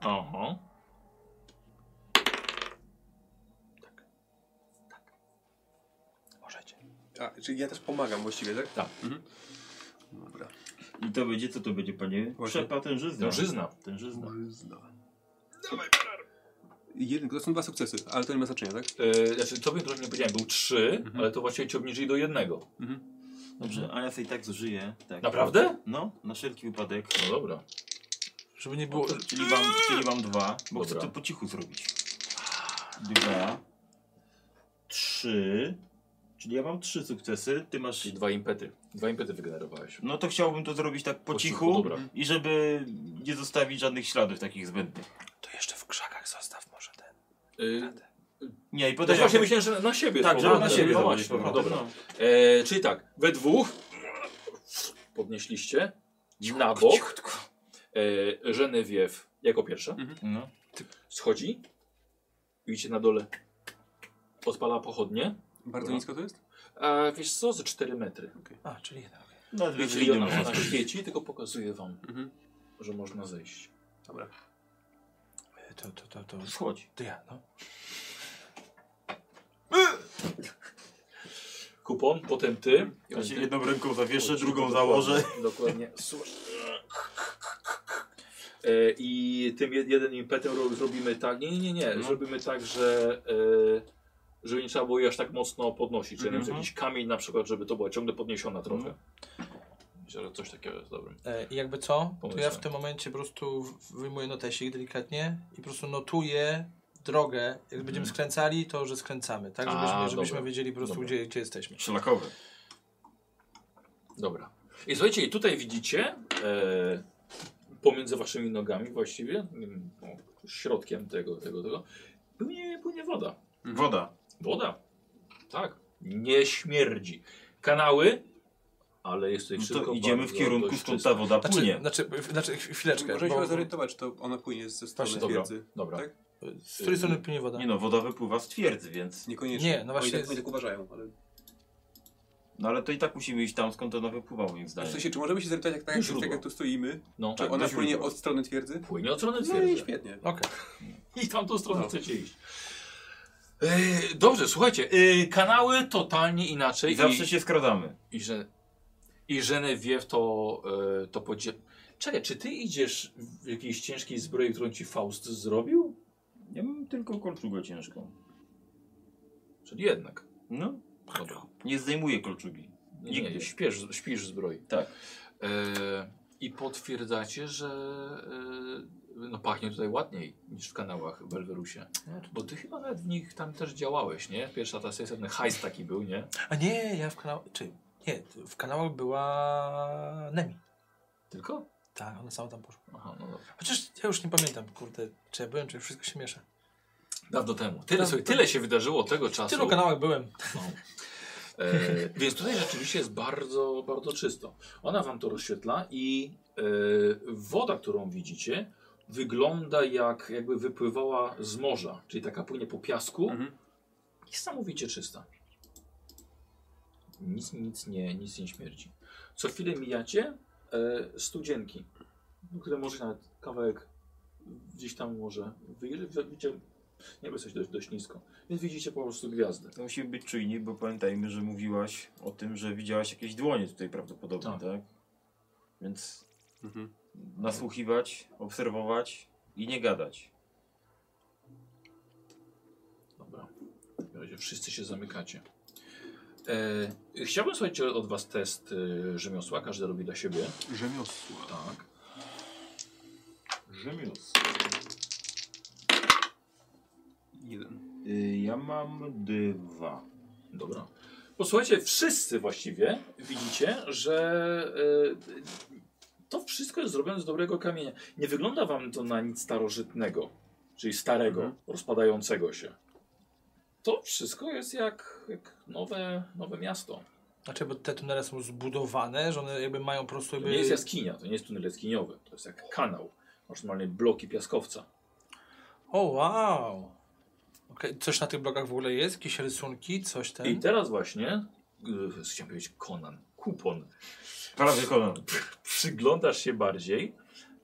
Speaker 2: Aha.
Speaker 1: Możecie.
Speaker 4: A, czyli ja też pomagam właściwie, tak?
Speaker 2: Tak.
Speaker 4: Mhm. Dobra.
Speaker 5: I to będzie, co to będzie, panie?
Speaker 4: Właśnie.
Speaker 5: Przepa tężyzna.
Speaker 2: Dężyzna. Mhm.
Speaker 5: Tężyzna.
Speaker 4: Jeden, to są dwa sukcesy, ale to nie ma znaczenia, tak?
Speaker 2: Yy, znaczy, tobie to nie powiedziałem, był trzy, ale to właściwie ci obniżyli do jednego.
Speaker 4: Mhm.
Speaker 5: Dobrze, a ja sobie i tak zużyję. Tak.
Speaker 2: Naprawdę?
Speaker 5: No, na wszelki wypadek.
Speaker 2: No dobra.
Speaker 1: Żeby nie było...
Speaker 5: Bo, czyli, wam, czyli wam dwa, bo chcę
Speaker 2: Dobra.
Speaker 5: to po cichu zrobić. Dwa. Trzy. Czyli ja mam trzy sukcesy, ty masz...
Speaker 2: Czyli dwa impety. Dwa impety wygenerowałeś.
Speaker 5: No to chciałbym to zrobić tak po,
Speaker 2: Po cichu,
Speaker 5: cichu
Speaker 2: dobra.
Speaker 5: i żeby nie zostawić żadnych śladów takich zbędnych.
Speaker 1: To jeszcze w krzakach zostaw może ten.
Speaker 2: Yy,
Speaker 5: Nie, i
Speaker 2: też
Speaker 5: potem...
Speaker 2: właśnie myślałem, że na siebie.
Speaker 5: Tak,
Speaker 2: z
Speaker 5: żeby
Speaker 2: powrotem.
Speaker 5: na siebie
Speaker 2: No
Speaker 5: zabrać.
Speaker 2: właśnie,
Speaker 5: No,
Speaker 2: Dobra.
Speaker 5: dobra.
Speaker 2: E, czyli tak, we dwóch podnieśliście na bok. E, Genevieve jako pierwsza
Speaker 5: No.
Speaker 2: schodzi. Widzicie na dole. Odpala pochodnie.
Speaker 4: Bardzo
Speaker 2: Dobra.
Speaker 4: nisko to jest?
Speaker 2: A wiesz co, ze 4 metry.
Speaker 1: A, czyli jeden. okej.
Speaker 5: Na dwie
Speaker 2: Wiecie, ile
Speaker 5: godziny
Speaker 2: ona,
Speaker 5: można
Speaker 2: ona
Speaker 5: skończyć.
Speaker 2: świeci, tylko pokazuje wam,
Speaker 4: Mhm.
Speaker 2: że można zejść.
Speaker 4: Dobra.
Speaker 1: E, To, to, to, to...
Speaker 5: Wchodź.
Speaker 1: To ja, no.
Speaker 2: Kupon, potem ty.
Speaker 5: Ja się jedną ręką zawieszę, drugą założę.
Speaker 2: Dokładnie. Słuchaj. E, I tym jed- jeden impetem ro- zrobimy tak. Nie, nie, nie, nie.
Speaker 5: No.
Speaker 2: Zrobimy tak, że. E, żeby nie trzeba było jej aż tak mocno podnosić. Czyli
Speaker 5: Mhm.
Speaker 2: mm jakiś kamień na przykład, żeby to była ciągle podniesiona trochę. Myślę, że coś takiego jest dobrym.
Speaker 1: E, i jakby co, to ja
Speaker 2: Pomyślałem.
Speaker 1: w tym momencie po prostu w- wyjmuję notesik delikatnie i po prostu notuję drogę. Jak będziemy skręcali, to że skręcamy, tak?
Speaker 2: Mhm. A,
Speaker 1: Żebyśmy, żebyśmy
Speaker 2: dobra.
Speaker 1: wiedzieli po prostu,
Speaker 2: Dobra.
Speaker 1: gdzie, gdzie jesteśmy.
Speaker 5: Szlakowy.
Speaker 2: Dobra. I słuchajcie, i tutaj widzicie e, pomiędzy waszymi nogami właściwie, nie wiem, no, środkiem tego, tego, tego, płynie, płynie woda.
Speaker 5: Woda.
Speaker 2: Woda. Tak. Nie śmierdzi. Kanały, ale jest tutaj
Speaker 5: No
Speaker 2: wszystko
Speaker 5: to idziemy w
Speaker 2: bardzo
Speaker 5: kierunku,
Speaker 2: dość
Speaker 5: skąd
Speaker 2: czyste.
Speaker 5: ta woda
Speaker 1: Znaczy,
Speaker 5: płynie.
Speaker 1: znaczy, w- znaczy chw- chwileczkę.
Speaker 4: Możemy się
Speaker 1: bo-
Speaker 4: was zorientować, czy to ona płynie ze strony
Speaker 1: Właśnie,
Speaker 2: dobra.
Speaker 4: twierdzy.
Speaker 2: Dobra.
Speaker 4: Tak?
Speaker 1: Z której strony płynie
Speaker 2: Tak.
Speaker 1: woda?
Speaker 5: Nie no, woda wypływa z twierdzy, więc...
Speaker 4: Niekoniecznie.
Speaker 1: Nie, no właśnie
Speaker 4: Oni tak,
Speaker 1: jest-
Speaker 4: oni tak uważają, ale...
Speaker 5: No ale to i tak musimy iść tam, skąd ona wypływa, moim
Speaker 4: W
Speaker 5: zdaniem.
Speaker 4: sensie, czy możemy się zorientować, jak, tak, jak,
Speaker 2: źródło.
Speaker 4: tak jak tu stoimy?
Speaker 2: No,
Speaker 4: Czy
Speaker 2: tak,
Speaker 4: ona
Speaker 5: do
Speaker 4: płynie
Speaker 5: źródła.
Speaker 4: od strony twierdzy?
Speaker 2: płynie od strony
Speaker 4: No i
Speaker 2: twierdzy.
Speaker 4: świetnie.
Speaker 1: Okej.
Speaker 5: <laughs>
Speaker 2: I tamtą stronę
Speaker 4: No.
Speaker 2: chcecie iść. Yy, dobrze, słuchajcie, yy, kanały totalnie inaczej.
Speaker 5: I zawsze się skradamy.
Speaker 2: I że i Genevieve to, e, to podzie... Czekaj, czy ty idziesz w jakiejś ciężkiej zbroi, którą ci Faust zrobił?
Speaker 5: Ja mam tylko kolczugę ciężką.
Speaker 2: Czyli jednak.
Speaker 5: No.
Speaker 2: Dobra.
Speaker 5: Nie zdejmuję kolczugi.
Speaker 2: Nie, nie,
Speaker 5: Nigdy.
Speaker 2: śpiesz, śpisz w zbroi.
Speaker 5: Tak.
Speaker 2: E, I potwierdzacie, że e, no pachnie tutaj ładniej niż w kanałach w Elwerusie.
Speaker 5: No,
Speaker 2: Bo ty chyba nawet w nich tam też działałeś, nie? Pierwsza ta sesja, ten hajs taki był, nie?
Speaker 1: A nie, ja w kanałach. Czy? Nie, w kanałach była Nemi.
Speaker 2: Tylko?
Speaker 1: Tak, ona sama tam poszła.
Speaker 2: Aha, no dobra.
Speaker 1: Chociaż ja już nie pamiętam, kurde, czy ja byłem, czy wszystko się miesza.
Speaker 2: Dawno temu.
Speaker 5: No,
Speaker 2: Tyle, sobie, tyle się wydarzyło od tego
Speaker 1: W
Speaker 2: czasu.
Speaker 1: tylu kanałach byłem.
Speaker 2: No. E, więc tutaj rzeczywiście jest bardzo, bardzo czysto. Ona wam to rozświetla i e, woda, którą widzicie, wygląda jak jakby wypływała z morza, czyli taka płynie po piasku,
Speaker 4: Mhm.
Speaker 2: Niesamowicie czysta. Nic, nic, nie, nic nie śmierdzi. Co chwilę mijacie e, studzienki, które może nawet kawałek gdzieś tam może wyjrzeć. Widzicie, niebo jest dość, dość nisko, więc widzicie po prostu gwiazdy.
Speaker 6: To musimy być czujni, bo pamiętajmy, że mówiłaś o tym, że widziałaś jakieś dłonie tutaj prawdopodobnie,
Speaker 2: Tak.
Speaker 6: tak? Więc
Speaker 4: Mhm.
Speaker 6: nasłuchiwać, obserwować i nie gadać.
Speaker 2: Dobra. W takim razie wszyscy się zamykacie. E, chciałbym, słuchajcie, od was test e, rzemiosła. Każdy robi dla siebie.
Speaker 4: Rzemiosło.
Speaker 2: Tak. Rzemiosło.
Speaker 4: Jeden.
Speaker 6: Y, ja mam dwa.
Speaker 2: Dobra. Posłuchajcie, wszyscy właściwie widzicie, że e, to wszystko jest zrobione z dobrego kamienia. Nie wygląda wam to na nic starożytnego, czyli starego, rozpadającego się. To wszystko jest jak, jak nowe, nowe miasto.
Speaker 1: Znaczy, bo te tunele są zbudowane, że one jakby mają po prostu
Speaker 2: To
Speaker 1: jakby...
Speaker 2: nie jest jaskinia, to nie jest tunel jaskiniowy, to jest jak kanał. Masz normalnie bloki piaskowca.
Speaker 1: O, wow! Okej, Coś na tych blokach w ogóle jest? Jakieś rysunki? Coś ten?
Speaker 2: I teraz właśnie, yy, chciałem powiedzieć Conan, kupon.
Speaker 6: Prawie kolana.
Speaker 2: Przyglądasz się bardziej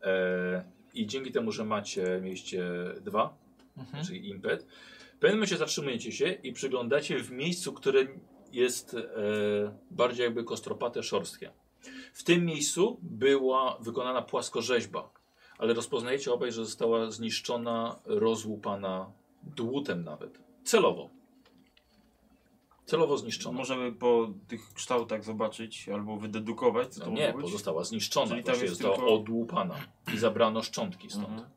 Speaker 2: e, i dzięki temu, że macie, mieliście dwa,
Speaker 1: Mhm.
Speaker 2: czyli impet, w pewnym momencie zatrzymujecie się i przyglądacie w miejscu, które jest e, bardziej jakby kostropate, szorstkie. W tym miejscu była wykonana płaskorzeźba, ale rozpoznajecie obaj, że została zniszczona, rozłupana dłutem nawet. Celowo. Celowo
Speaker 6: Czy
Speaker 2: zniszczona.
Speaker 6: możemy po tych kształtach zobaczyć albo wydedukować, co
Speaker 2: No
Speaker 6: to
Speaker 2: nie,
Speaker 6: mogło być?
Speaker 2: pozostała zniszczona,
Speaker 6: Czyli tam
Speaker 2: właśnie
Speaker 6: jest
Speaker 2: została
Speaker 6: tylko-
Speaker 2: odłupana i zabrano szczątki stąd.
Speaker 6: Mhm.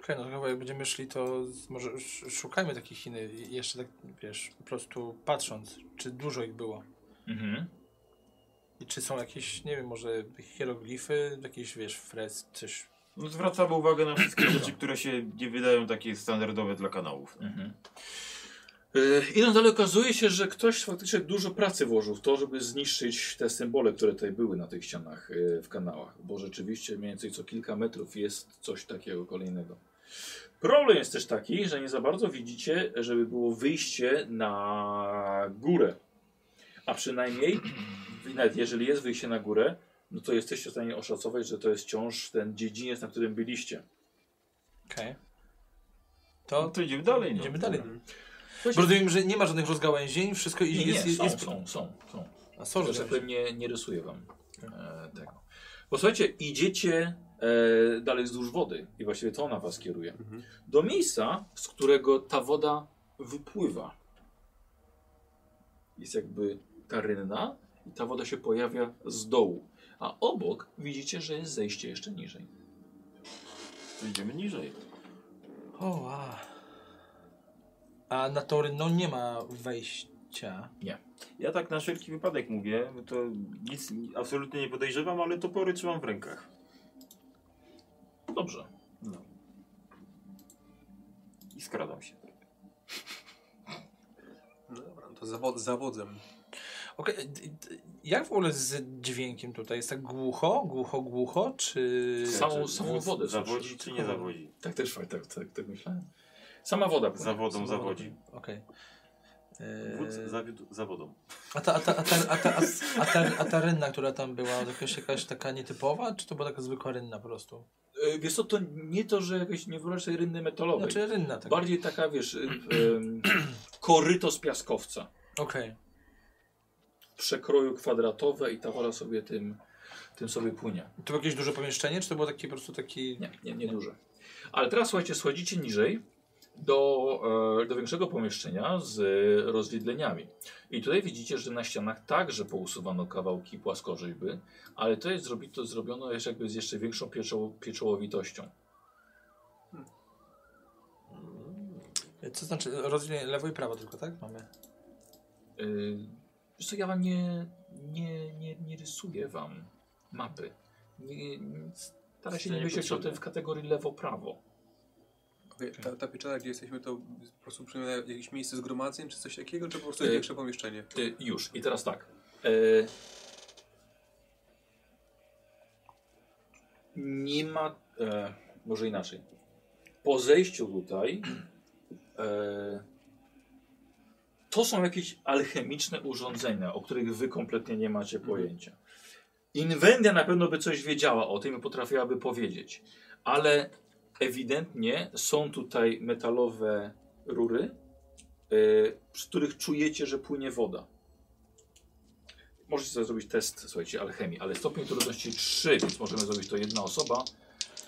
Speaker 1: Okej, no to chyba jak będziemy szli, to z- może sz- szukajmy takich Chin, jeszcze tak, wiesz, po prostu patrząc, czy dużo ich było.
Speaker 2: Mhm.
Speaker 1: I czy są jakieś, nie wiem, może hieroglify, jakieś, wiesz, fresk, coś.
Speaker 6: No, zwracamy uwagę na
Speaker 5: <clears throat>
Speaker 6: wszystkie rzeczy, które się nie wydają takie standardowe dla kanałów.
Speaker 2: Mhm. Yy, idąc dalej, okazuje się, że ktoś faktycznie dużo pracy włożył w to, żeby zniszczyć te symbole, które tutaj były na tych ścianach yy, w kanałach, bo rzeczywiście mniej więcej co kilka metrów jest coś takiego kolejnego. Problem jest też taki, że nie za bardzo widzicie, żeby było wyjście na górę. A przynajmniej, <clears throat> nawet jeżeli jest wyjście na górę, no to jesteście w stanie oszacować, że to jest wciąż ten dziedziniec, na którym byliście.
Speaker 1: Okej.
Speaker 6: No
Speaker 1: To
Speaker 6: to idziemy dalej. No.
Speaker 1: idziemy dalej.
Speaker 4: Mhm.
Speaker 1: Rozumiem, że nie ma żadnych rozgałęzień, wszystko
Speaker 2: Nie,
Speaker 1: i
Speaker 2: nie,
Speaker 1: jest, jest,
Speaker 2: są,
Speaker 1: jest...
Speaker 2: są, są, są.
Speaker 1: A są
Speaker 2: Że tak
Speaker 1: rozgałęzie.
Speaker 2: powiem, nie, nie rysuję wam e, tego. Bo słuchajcie, idziecie e, dalej wzdłuż wody i właściwie to ona was kieruje.
Speaker 4: Mhm.
Speaker 2: Do miejsca, z którego ta woda wypływa. Jest jakby ta rynna i ta woda się pojawia z dołu. A obok widzicie, że jest zejście jeszcze niżej.
Speaker 6: To idziemy niżej.
Speaker 1: O, wow. A na tą rynną nie ma wejścia.
Speaker 6: Ja tak na wszelki wypadek mówię, bo to
Speaker 5: Nic absolutnie nie podejrzewam, ale topory trzymam w rękach.
Speaker 2: Dobrze.
Speaker 6: i skradam się.
Speaker 4: No dobra, no to zawod, zawodzem.
Speaker 1: Okej, d- d- jak w ogóle z dźwiękiem tutaj? Jest tak głucho, głucho, głucho, czy...
Speaker 2: Samą, samą wodę.
Speaker 5: Zawodzi czy nie zawodzi?
Speaker 2: Tak też tak, tak, tak, tak myślałem. Sama woda. płynie.
Speaker 5: Zawodą zawodzi.
Speaker 1: Okej.
Speaker 5: Wódz
Speaker 1: Eee,
Speaker 5: zawiódł zawodą.
Speaker 1: A ta, a ta, a ta, a ta, a s- a ta, a ta rynna, która tam była, jakaś, jakaś taka nietypowa, czy to była taka zwykła rynna po prostu?
Speaker 2: E, Wiesz co, to nie to, że jakaś nie wyobrażasz sobie rynny metalowej.
Speaker 1: Znaczy rynna taka.
Speaker 2: Bardziej taka, wiesz, y, em, koryto z piaskowca.
Speaker 1: Okej.
Speaker 2: W przekroju kwadratowe i ta wola sobie tym, tym sobie płynie.
Speaker 1: To było jakieś duże pomieszczenie, czy to było takie po prostu taki...
Speaker 2: Nie, nie, nie duże. Ale teraz słuchajcie, schodzicie niżej do, e, do większego pomieszczenia z e, rozwidleniami. I tutaj widzicie, że na ścianach także pousuwano kawałki płaskorzeźby, ale to jest zrobi, to zrobiono jeszcze jakby z jeszcze większą pieczoł, pieczołowitością.
Speaker 1: Co znaczy rozdzielenie lewo i prawo tylko, tak? Mamy.
Speaker 2: Yy, wiesz co, ja wam nie, nie, nie, nie rysuję wam mapy. Nie, nie, staram się
Speaker 5: To
Speaker 2: nie myśleć o
Speaker 5: niepotrzebne.
Speaker 2: tym w kategorii lewo-prawo.
Speaker 4: Okej, ta, ta pieczara, gdzie jesteśmy, to po prostu przypomina jakieś miejsce zgromadzeń, czy coś takiego, czy po prostu
Speaker 2: Y-
Speaker 4: jest większe pomieszczenie?
Speaker 2: Y, już, i teraz tak. Y, nie ma. E, może inaczej. Po zejściu tutaj e, To są jakieś alchemiczne urządzenia, o których wy kompletnie nie macie pojęcia. Inwendia na pewno by coś wiedziała o tym i potrafiłaby powiedzieć, ale ewidentnie są tutaj metalowe rury, yy, przy których czujecie, że płynie woda. Możecie sobie zrobić test, słuchajcie, alchemii, ale stopień trudności 3, więc możemy zrobić to jedna osoba,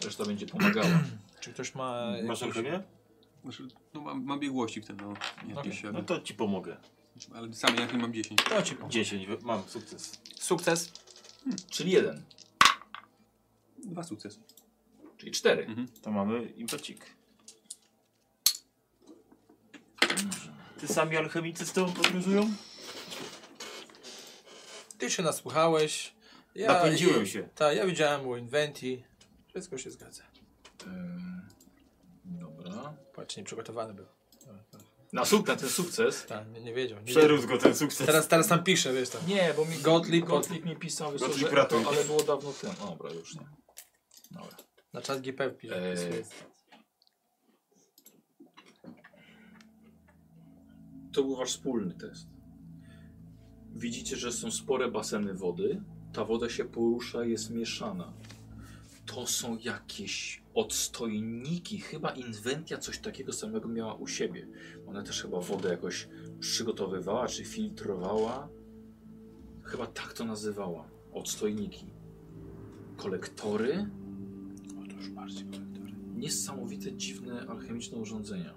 Speaker 2: reszta będzie pomagała. <clears throat>
Speaker 1: Czy ktoś ma.
Speaker 7: Masz
Speaker 1: jakąś-
Speaker 7: alchemię?
Speaker 4: Znaczy, no, mam, mam biegłości w tym, no. Jakieś,
Speaker 7: No
Speaker 4: ale,
Speaker 7: to ci pomogę.
Speaker 4: ale same jak nie mam 10.
Speaker 1: To ci pomoże.
Speaker 7: 10, wy- mam sukces.
Speaker 8: Sukces.
Speaker 2: Czyli jeden,
Speaker 4: Dwa sukcesy.
Speaker 2: czyli cztery.
Speaker 5: To mamy impecik.
Speaker 7: Ty sami alchemicy z tobą podróżują?
Speaker 1: Ty się nasłuchałeś. Ja,
Speaker 7: Napędziłem się.
Speaker 1: Tak, ja widziałem u Inventi. Wszystko się zgadza.
Speaker 2: Ym, E, Dobra.
Speaker 1: Patrz, nieprzygotowany był.
Speaker 2: Na, suk- na ten sukces.
Speaker 1: Tak, nie, nie wiedział. Nie wiedział.
Speaker 5: Przerósł go ten sukces.
Speaker 1: Teraz, teraz tam pisze, wiesz tam.
Speaker 2: Nie, bo mi
Speaker 1: Gottlieb-
Speaker 2: Gottlieb mi pisał, wiesz, co,
Speaker 5: Gottlieb
Speaker 2: że,
Speaker 5: ratuj.
Speaker 2: to, ale było dawno temu. Dobra, już nie. Dobra.
Speaker 1: Na czat GP pisze.
Speaker 2: Eee.
Speaker 1: Eee.
Speaker 2: To był wasz wspólny test. Widzicie, że są spore baseny wody. Ta woda się porusza, jest mieszana. To są jakieś odstojniki. Chyba Inwentia coś takiego samego miała u siebie. Ona też chyba wodę jakoś przygotowywała czy filtrowała. Chyba tak to nazywała. Odstojniki. Kolektory. O, to już bardziej kolektory. Niesamowite, dziwne, alchemiczne urządzenia.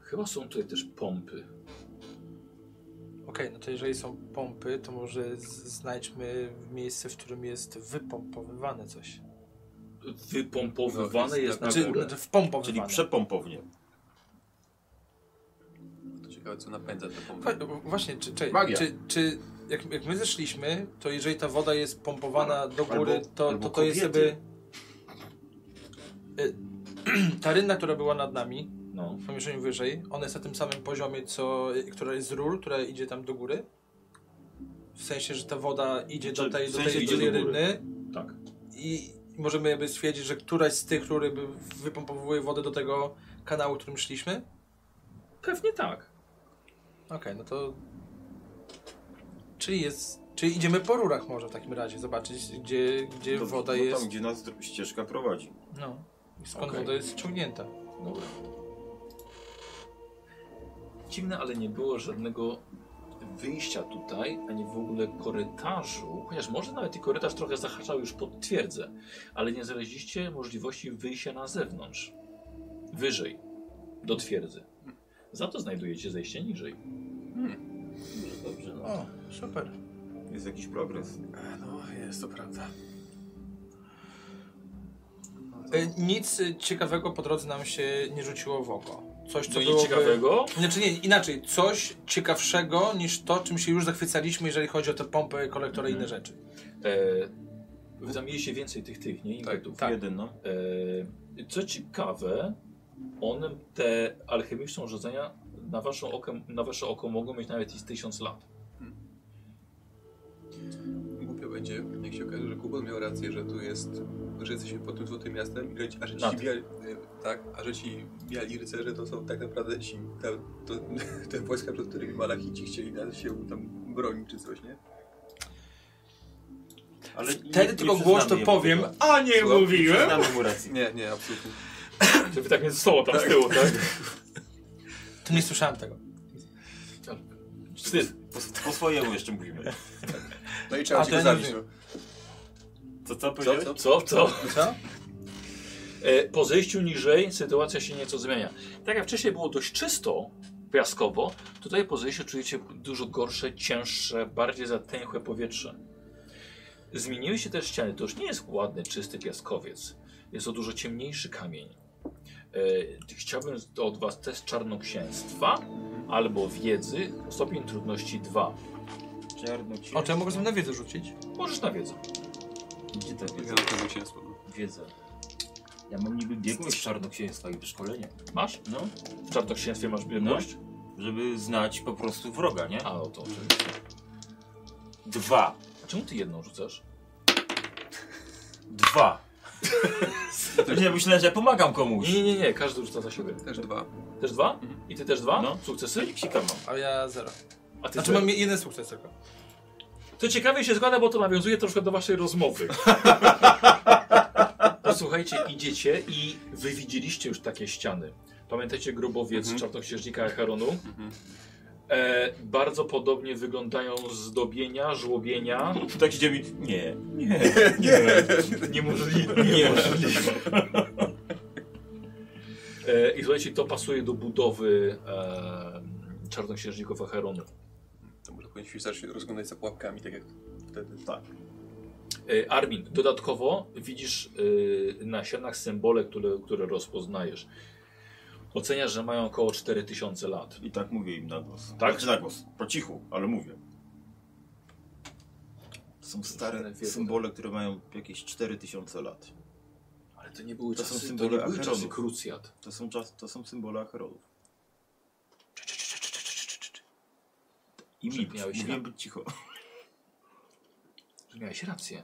Speaker 2: Chyba są tutaj też pompy.
Speaker 1: Okej, no to jeżeli są pompy, to może z- znajdźmy miejsce, w którym jest wypompowywane coś.
Speaker 2: Wypompowywane
Speaker 7: No,
Speaker 2: jest
Speaker 7: jest
Speaker 2: na
Speaker 7: tak-
Speaker 1: Znaczy,
Speaker 2: górę.
Speaker 1: znaczy wpompowywane.
Speaker 7: Czyli przepompownie.
Speaker 4: To ciekawe, co napędza te pompy.
Speaker 1: Wa- Właśnie, czy, czy,
Speaker 5: Magia.
Speaker 1: czy, czy jak, jak my zeszliśmy, to jeżeli ta woda jest pompowana do
Speaker 7: Albo-
Speaker 1: góry, to,
Speaker 7: albo
Speaker 1: to to jest jakby...
Speaker 7: kobiety.
Speaker 1: Y, <clears throat> Ta rynna, która była nad nami,
Speaker 2: No.
Speaker 1: w pomieszczeniu wyżej, ona jest na tym samym poziomie, co, która jest z rur, która idzie tam do góry. W sensie, że ta woda idzie do
Speaker 7: Znaczy,
Speaker 1: tej,
Speaker 7: w
Speaker 1: do
Speaker 7: sensie
Speaker 1: tej,
Speaker 7: idzie
Speaker 1: do tej
Speaker 7: do góry.
Speaker 1: rynny
Speaker 2: Tak.
Speaker 1: i możemy jakby stwierdzić, że któraś z tych rur jakby wypompowuje wodę do tego kanału, którym szliśmy.
Speaker 2: Pewnie tak.
Speaker 1: Okej, no to. Czyli jest. Czyli idziemy po rurach może w takim razie, zobaczyć gdzie, gdzie
Speaker 5: Dobrze,
Speaker 1: woda
Speaker 5: no
Speaker 1: jest.
Speaker 5: Tam, gdzie nas dro- ścieżka prowadzi.
Speaker 1: No. I Skąd
Speaker 2: Okej.
Speaker 1: woda jest ciągnięta.
Speaker 2: Dobra. Dziwne, ale nie było żadnego wyjścia tutaj, ani w ogóle korytarzu. Chociaż może nawet i korytarz trochę zahaczał już pod twierdzę, ale nie znaleźliście możliwości wyjścia na zewnątrz. Wyżej. Do twierdzy. Za to znajdujecie zejście niżej.
Speaker 7: Dobrze, no.
Speaker 1: O, super.
Speaker 5: Jest jakiś progres.
Speaker 8: No, jest to prawda.
Speaker 1: E, Nic e, ciekawego po drodze nam się nie rzuciło w oko. Coś,
Speaker 8: No
Speaker 1: co
Speaker 2: Co
Speaker 1: było.
Speaker 2: nic ciekawego?
Speaker 1: Znaczy nie, inaczej, coś ciekawszego niż to, czym się już zachwycaliśmy, jeżeli chodzi o te pompy, kolektory i inne
Speaker 8: Mhm.
Speaker 1: rzeczy.
Speaker 2: E, wy tam mieliście więcej tych, tych, nie? Impetów.
Speaker 1: Tak.
Speaker 5: Jeden, no.
Speaker 2: E, co ciekawe, one te alchemiczne urządzenia na, waszą okę, na wasze oko mogą mieć nawet i z tysiąc lat.
Speaker 4: Głupio będzie, jak się okaże, że Kubon miał rację, że tu jest, że jesteśmy pod tym złotym miastem, i że- a że
Speaker 2: Nad.
Speaker 4: ci biali, e, tak, a że ci biali rycerze to są tak naprawdę ci, ta, to, <laughs> te wojska, przed którymi Malachici chcieli nas się tam bronić czy coś, nie?
Speaker 7: Ale
Speaker 1: Wtedy tylko głośno powiem, a nie
Speaker 4: Słucham?
Speaker 1: mówiłem!
Speaker 7: Znamy mu rację.
Speaker 4: Nie, nie, absolutnie.
Speaker 2: Czy wy tak między sobą tam z tyłu, tak?
Speaker 1: To nie słyszałem tego.
Speaker 2: Wstyd.
Speaker 7: Po, po swojemu jeszcze mówimy.
Speaker 4: No i trzeba
Speaker 1: A
Speaker 4: się
Speaker 1: to
Speaker 4: go
Speaker 1: ja
Speaker 4: zabić,
Speaker 1: nie
Speaker 4: no.
Speaker 7: Co, co
Speaker 4: Co,
Speaker 7: powiedziałeś?
Speaker 4: co?
Speaker 2: Co? Co?
Speaker 1: Co?
Speaker 2: E, po zejściu niżej sytuacja się nieco zmienia. Tak jak wcześniej było dość czysto, piaskowo, tutaj po zejściu czujecie dużo gorsze, cięższe, bardziej zatęchłe powietrze. Zmieniły się też ściany. To już nie jest ładny, czysty piaskowiec. Jest to dużo ciemniejszy kamień. E, chciałbym z- od Was test czarnoksięstwa albo wiedzy, stopień trudności 2.
Speaker 5: Czarno
Speaker 1: O, to ja mogę sobie na wiedzę rzucić.
Speaker 2: Możesz na wiedzę.
Speaker 5: Gdzie ta wiedza?
Speaker 4: Wygląda to zwycięstwo. no.
Speaker 5: Wiedza. Ja mam niby biegłość czarnoksięstwa i wyszkolenie.
Speaker 2: Masz?
Speaker 5: No,
Speaker 2: W czarnoksięstwie masz biedność?
Speaker 5: żeby znać po prostu wroga, nie?
Speaker 2: A, o to oczywiście.
Speaker 5: Dwa. <laughs>
Speaker 2: A czemu Ty jedną rzucasz?
Speaker 5: Dwa.
Speaker 4: To
Speaker 5: Nie, myślałem, że ja pomagam komuś.
Speaker 2: Nie, nie, nie, każdy rzuca za siebie.
Speaker 4: Też dwa.
Speaker 2: Też dwa? I ty też dwa?
Speaker 9: No.
Speaker 2: Sukcesy?
Speaker 9: Psiksika mam.
Speaker 1: A ja zero.
Speaker 2: A ty
Speaker 1: Znaczy
Speaker 2: dwa.
Speaker 1: mam jeden sukces tylko.
Speaker 2: To ciekawie się zgadza, bo to nawiązuje troszkę do waszej rozmowy. Posłuchajcie, idziecie i wy widzieliście już takie ściany. Pamiętacie grobowiec
Speaker 4: Mhm.
Speaker 2: czarnoksiężnika Acheronu? E, bardzo podobnie wyglądają zdobienia, żłobienia.
Speaker 5: Tak idzie mi. Nie, nie,
Speaker 2: <laughs> Niemożliwe. Niemożliwe. E, I słuchajcie, to pasuje do budowy e, czarnoksiężników Acheronu.
Speaker 4: To może powinniśmy zacząć rozglądać za pułapkami, tak jak wtedy. Tak.
Speaker 2: E, Armin, dodatkowo widzisz e, na ścianach symbole, które, które rozpoznajesz. Oceniasz, że mają około 4000 lat.
Speaker 5: I tak mówię im na głos.
Speaker 2: Tak?
Speaker 5: Znaczy na głos. Po cichu, ale mówię. Są stare
Speaker 2: Wiedzę.
Speaker 5: symbole, które mają jakieś 4000 lat.
Speaker 2: Ale to nie były
Speaker 5: To są
Speaker 2: czasy, to
Speaker 5: symbole
Speaker 2: nie były czasy
Speaker 5: Acheronów.
Speaker 2: krucjat.
Speaker 5: To są, czas, to są symbole Acherodów. I
Speaker 2: Że
Speaker 5: milcz.
Speaker 2: miałeś
Speaker 5: Mówiłem
Speaker 2: rację.
Speaker 5: być cicho. <laughs>
Speaker 2: Że Miałeś rację.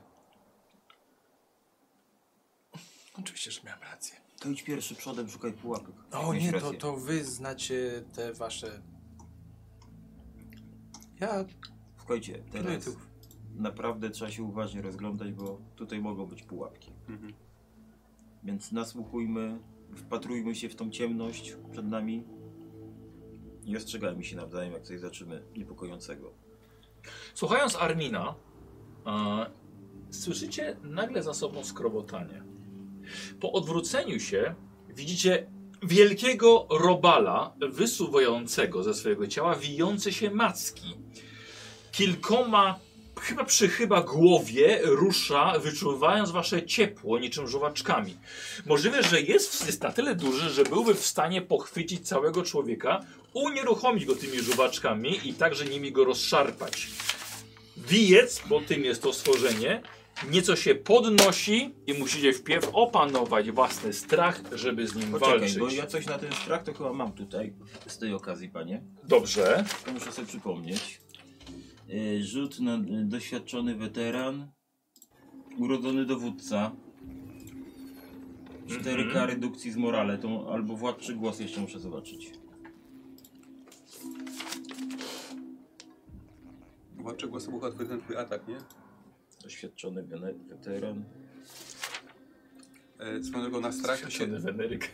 Speaker 1: Oczywiście, że miałem rację.
Speaker 5: To idź pierwszy przodem, szukaj pułapek.
Speaker 1: O
Speaker 5: Miałeś
Speaker 1: nie, to,
Speaker 5: rację.
Speaker 1: to wy znacie te wasze... Ja
Speaker 5: Słuchajcie,
Speaker 1: pilnuję
Speaker 5: teraz
Speaker 1: tyłów.
Speaker 5: naprawdę trzeba się uważnie rozglądać, bo tutaj mogą być pułapki.
Speaker 4: Mhm.
Speaker 5: Więc nasłuchujmy, wpatrujmy się w tą ciemność przed nami i ostrzegajmy się nawzajem, jak coś zaczymy niepokojącego.
Speaker 2: Słuchając Armina, e, słyszycie nagle za sobą skrobotanie. Po odwróceniu się widzicie wielkiego robala wysuwającego ze swojego ciała wijące się macki. Kilkoma, chyba przy chyba głowie rusza, wyczuwając wasze ciepło niczym żuwaczkami. Możliwe, że jest, jest na tyle duży, że byłby w stanie pochwycić całego człowieka, unieruchomić go tymi żuwaczkami i także nimi go rozszarpać. Wijec, bo tym jest to stworzenie, nieco się podnosi i musicie wpierw opanować własny strach, żeby z nim
Speaker 5: Poczekaj,
Speaker 2: walczyć.
Speaker 5: bo ja coś na ten strach to chyba mam tutaj, z tej okazji, panie.
Speaker 2: Dobrze.
Speaker 5: To muszę sobie przypomnieć. Yy, Rzut na y, doświadczony weteran, urodzony dowódca, cztery
Speaker 2: Mhm.
Speaker 5: k redukcji z morale, to albo władczy głos jeszcze muszę zobaczyć.
Speaker 4: Władcze głosy był łatwy ten twój atak, nie?
Speaker 5: Doświadczony wene- weteran.
Speaker 4: E, Swoją drogą na strach to się...
Speaker 2: Weneryk.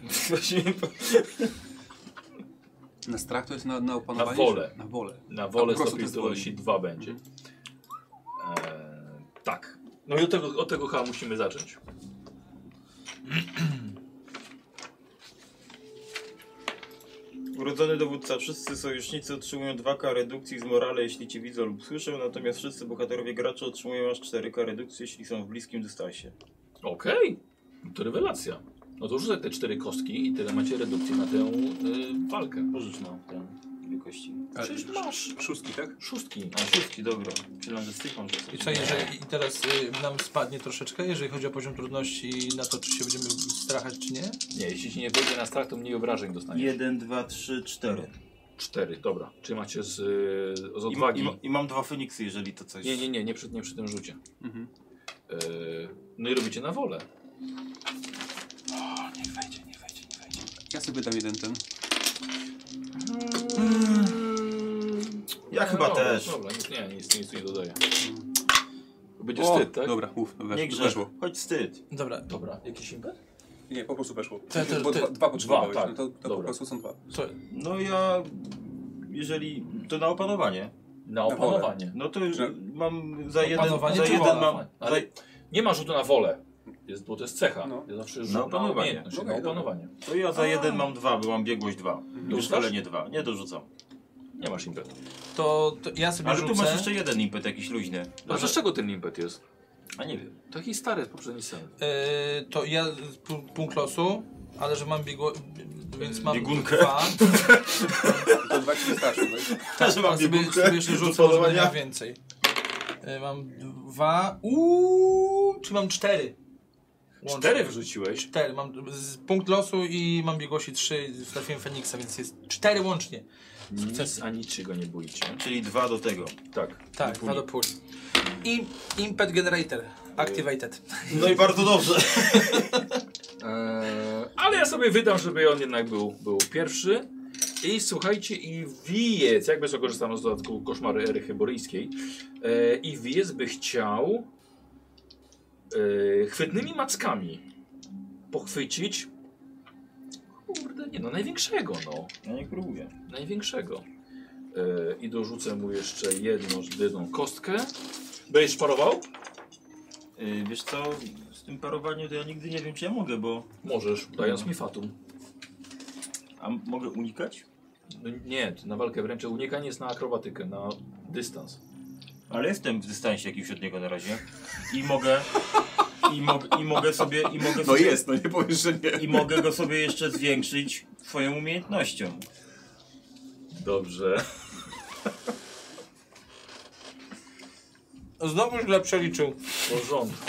Speaker 4: Na strach to jest na, na opanowanie?
Speaker 2: Na wolę.
Speaker 4: się- Na wolę.
Speaker 2: Na
Speaker 4: A po
Speaker 2: wolę
Speaker 4: prostu
Speaker 2: stopień
Speaker 4: to jest Mhm. wolne.
Speaker 2: zdolności 2 będzie. Eee, tak. No i od tego, od tego chyba musimy zacząć.
Speaker 5: Urodzony dowódca, wszyscy sojusznicy otrzymują 2K redukcji z morale, jeśli cię widzą lub słyszą, natomiast wszyscy bohaterowie gracze otrzymują aż 4K redukcji, jeśli są w bliskim dystansie.
Speaker 2: Okej, to rewelacja. No to rzucaj te cztery kostki i tyle macie redukcji na tę y, walkę.
Speaker 5: Pożycz nam tę wielkości.
Speaker 4: Ale
Speaker 2: Przecież
Speaker 4: sz-
Speaker 2: masz
Speaker 4: Szóstki, tak?
Speaker 2: szóstki.
Speaker 5: A szóstki, dobra. Myślałem, że styką, że coś.
Speaker 1: I co, jeżeli i teraz y, nam spadnie troszeczkę, jeżeli chodzi o poziom trudności na to, czy się będziemy strachać, czy nie?
Speaker 2: Nie, jeśli ci nie wejdzie na strach, to mniej obrażeń dostaniesz.
Speaker 5: 1, 2, 3, 4.
Speaker 2: Cztery, dobra. Czy macie z, y, z odwagi?
Speaker 5: mam dwa Feniksy, jeżeli to coś...
Speaker 2: Nie, nie, nie, nie przy, nie przy tym rzucie.
Speaker 4: Mhm.
Speaker 2: E, no i robicie na wolę.
Speaker 4: Ja sobie dam jeden ten.
Speaker 5: Ja
Speaker 2: No,
Speaker 5: chyba
Speaker 2: dobra,
Speaker 5: też.
Speaker 2: Dobra, nic, nie, nic, nic nie dodaję. Będzie
Speaker 4: O,
Speaker 2: wstyd, tak?
Speaker 4: Dobra, uf, wesz,
Speaker 5: Nie
Speaker 4: weszło.
Speaker 5: grzeszło. Chodź wstyd.
Speaker 1: Dobra,
Speaker 2: Dobra, jakiś impet?
Speaker 4: Nie, po prostu weszło.
Speaker 1: Te- te-
Speaker 4: Bo
Speaker 1: te-
Speaker 4: dwa, dwa potrzebowałeś,
Speaker 2: tak.
Speaker 4: no to, to po
Speaker 2: Dobra.
Speaker 4: prostu są dwa.
Speaker 1: co,
Speaker 5: No ja... Jeżeli... To na opanowanie.
Speaker 2: Na
Speaker 4: wolę.
Speaker 2: opanowanie.
Speaker 5: No to już
Speaker 4: Że-
Speaker 5: mam za jeden...
Speaker 1: Opanowanie
Speaker 5: Za
Speaker 1: czy
Speaker 5: jeden mam...
Speaker 2: opanowanie? Ale- Nie ma rzutu na wolę. Jest, bo to jest cecha.
Speaker 4: No.
Speaker 2: Jest zawsze
Speaker 5: Na
Speaker 2: rzut
Speaker 5: opanowanie.
Speaker 2: Na, umiejętność,
Speaker 4: Okej,
Speaker 2: na opanowanie.
Speaker 5: To ja za jeden mam dwa, bo mam biegłość dwa.
Speaker 2: Dorzucasz?
Speaker 5: Już ale nie dwa. Nie dorzucam.
Speaker 2: Nie masz impetu.
Speaker 1: to, to ja sobie
Speaker 5: Ale
Speaker 1: rzucę.
Speaker 5: tu masz jeszcze jeden impet jakiś luźny.
Speaker 2: A z czego ten impet jest?
Speaker 5: A nie wiem.
Speaker 2: Taki stary z poprzedniej sceny.
Speaker 1: Y, to ja z pu- punkt losu, ale że mam biegło... Więc mam
Speaker 5: Biegunkę.
Speaker 1: dwa.
Speaker 4: To dwa ci wystarczą, tak?
Speaker 5: <laughs> Też
Speaker 1: A sobie, sobie
Speaker 5: <laughs>
Speaker 1: jeszcze rzucę, może będę miał więcej. Y, mam dwa... Uuu, czy mam cztery? Łącznie.
Speaker 2: Cztery wyrzuciłeś?
Speaker 1: Cztery, mam z, punkt losu i mam biegłości trzy, trafiłem Feniksa, więc jest cztery łącznie.
Speaker 2: Nic, a niczego nie boicie.
Speaker 5: Czyli dwa do tego.
Speaker 2: Tak.
Speaker 1: Tak, dwa do puli. I Impet Generator, activated.
Speaker 5: No i bardzo dobrze.
Speaker 2: Eee, ja sobie wydam, żeby on jednak był, był pierwszy. I słuchajcie, i wiec, jakby co korzystano z dodatku koszmary ery chyboryjskiej, e, i wiec by chciał e, chwytnymi mackami pochwycić, kurde, nie no, największego, no,
Speaker 5: Ja nie próbuję.
Speaker 2: największego. E, I dorzucę mu jeszcze jedną żydną kostkę. Będziesz parował?
Speaker 5: Yy, wiesz co, z tym parowaniem to ja nigdy nie wiem, czy ja mogę, bo...
Speaker 2: Możesz, dając mi fatum.
Speaker 5: A m- mogę unikać?
Speaker 2: No nie, na walkę wręcz unikanie jest na akrobatykę, na dystans.
Speaker 5: Ale jestem w dystansie jakimś od niego na razie. I mogę... I, mog, i mogę sobie... I mogę
Speaker 4: No
Speaker 5: sobie,
Speaker 4: jest, no nie powiesz, że nie.
Speaker 5: I mogę go sobie jeszcze zwiększyć twoją umiejętnością.
Speaker 2: Dobrze.
Speaker 1: Znowu źle przeliczył.
Speaker 2: W porządku.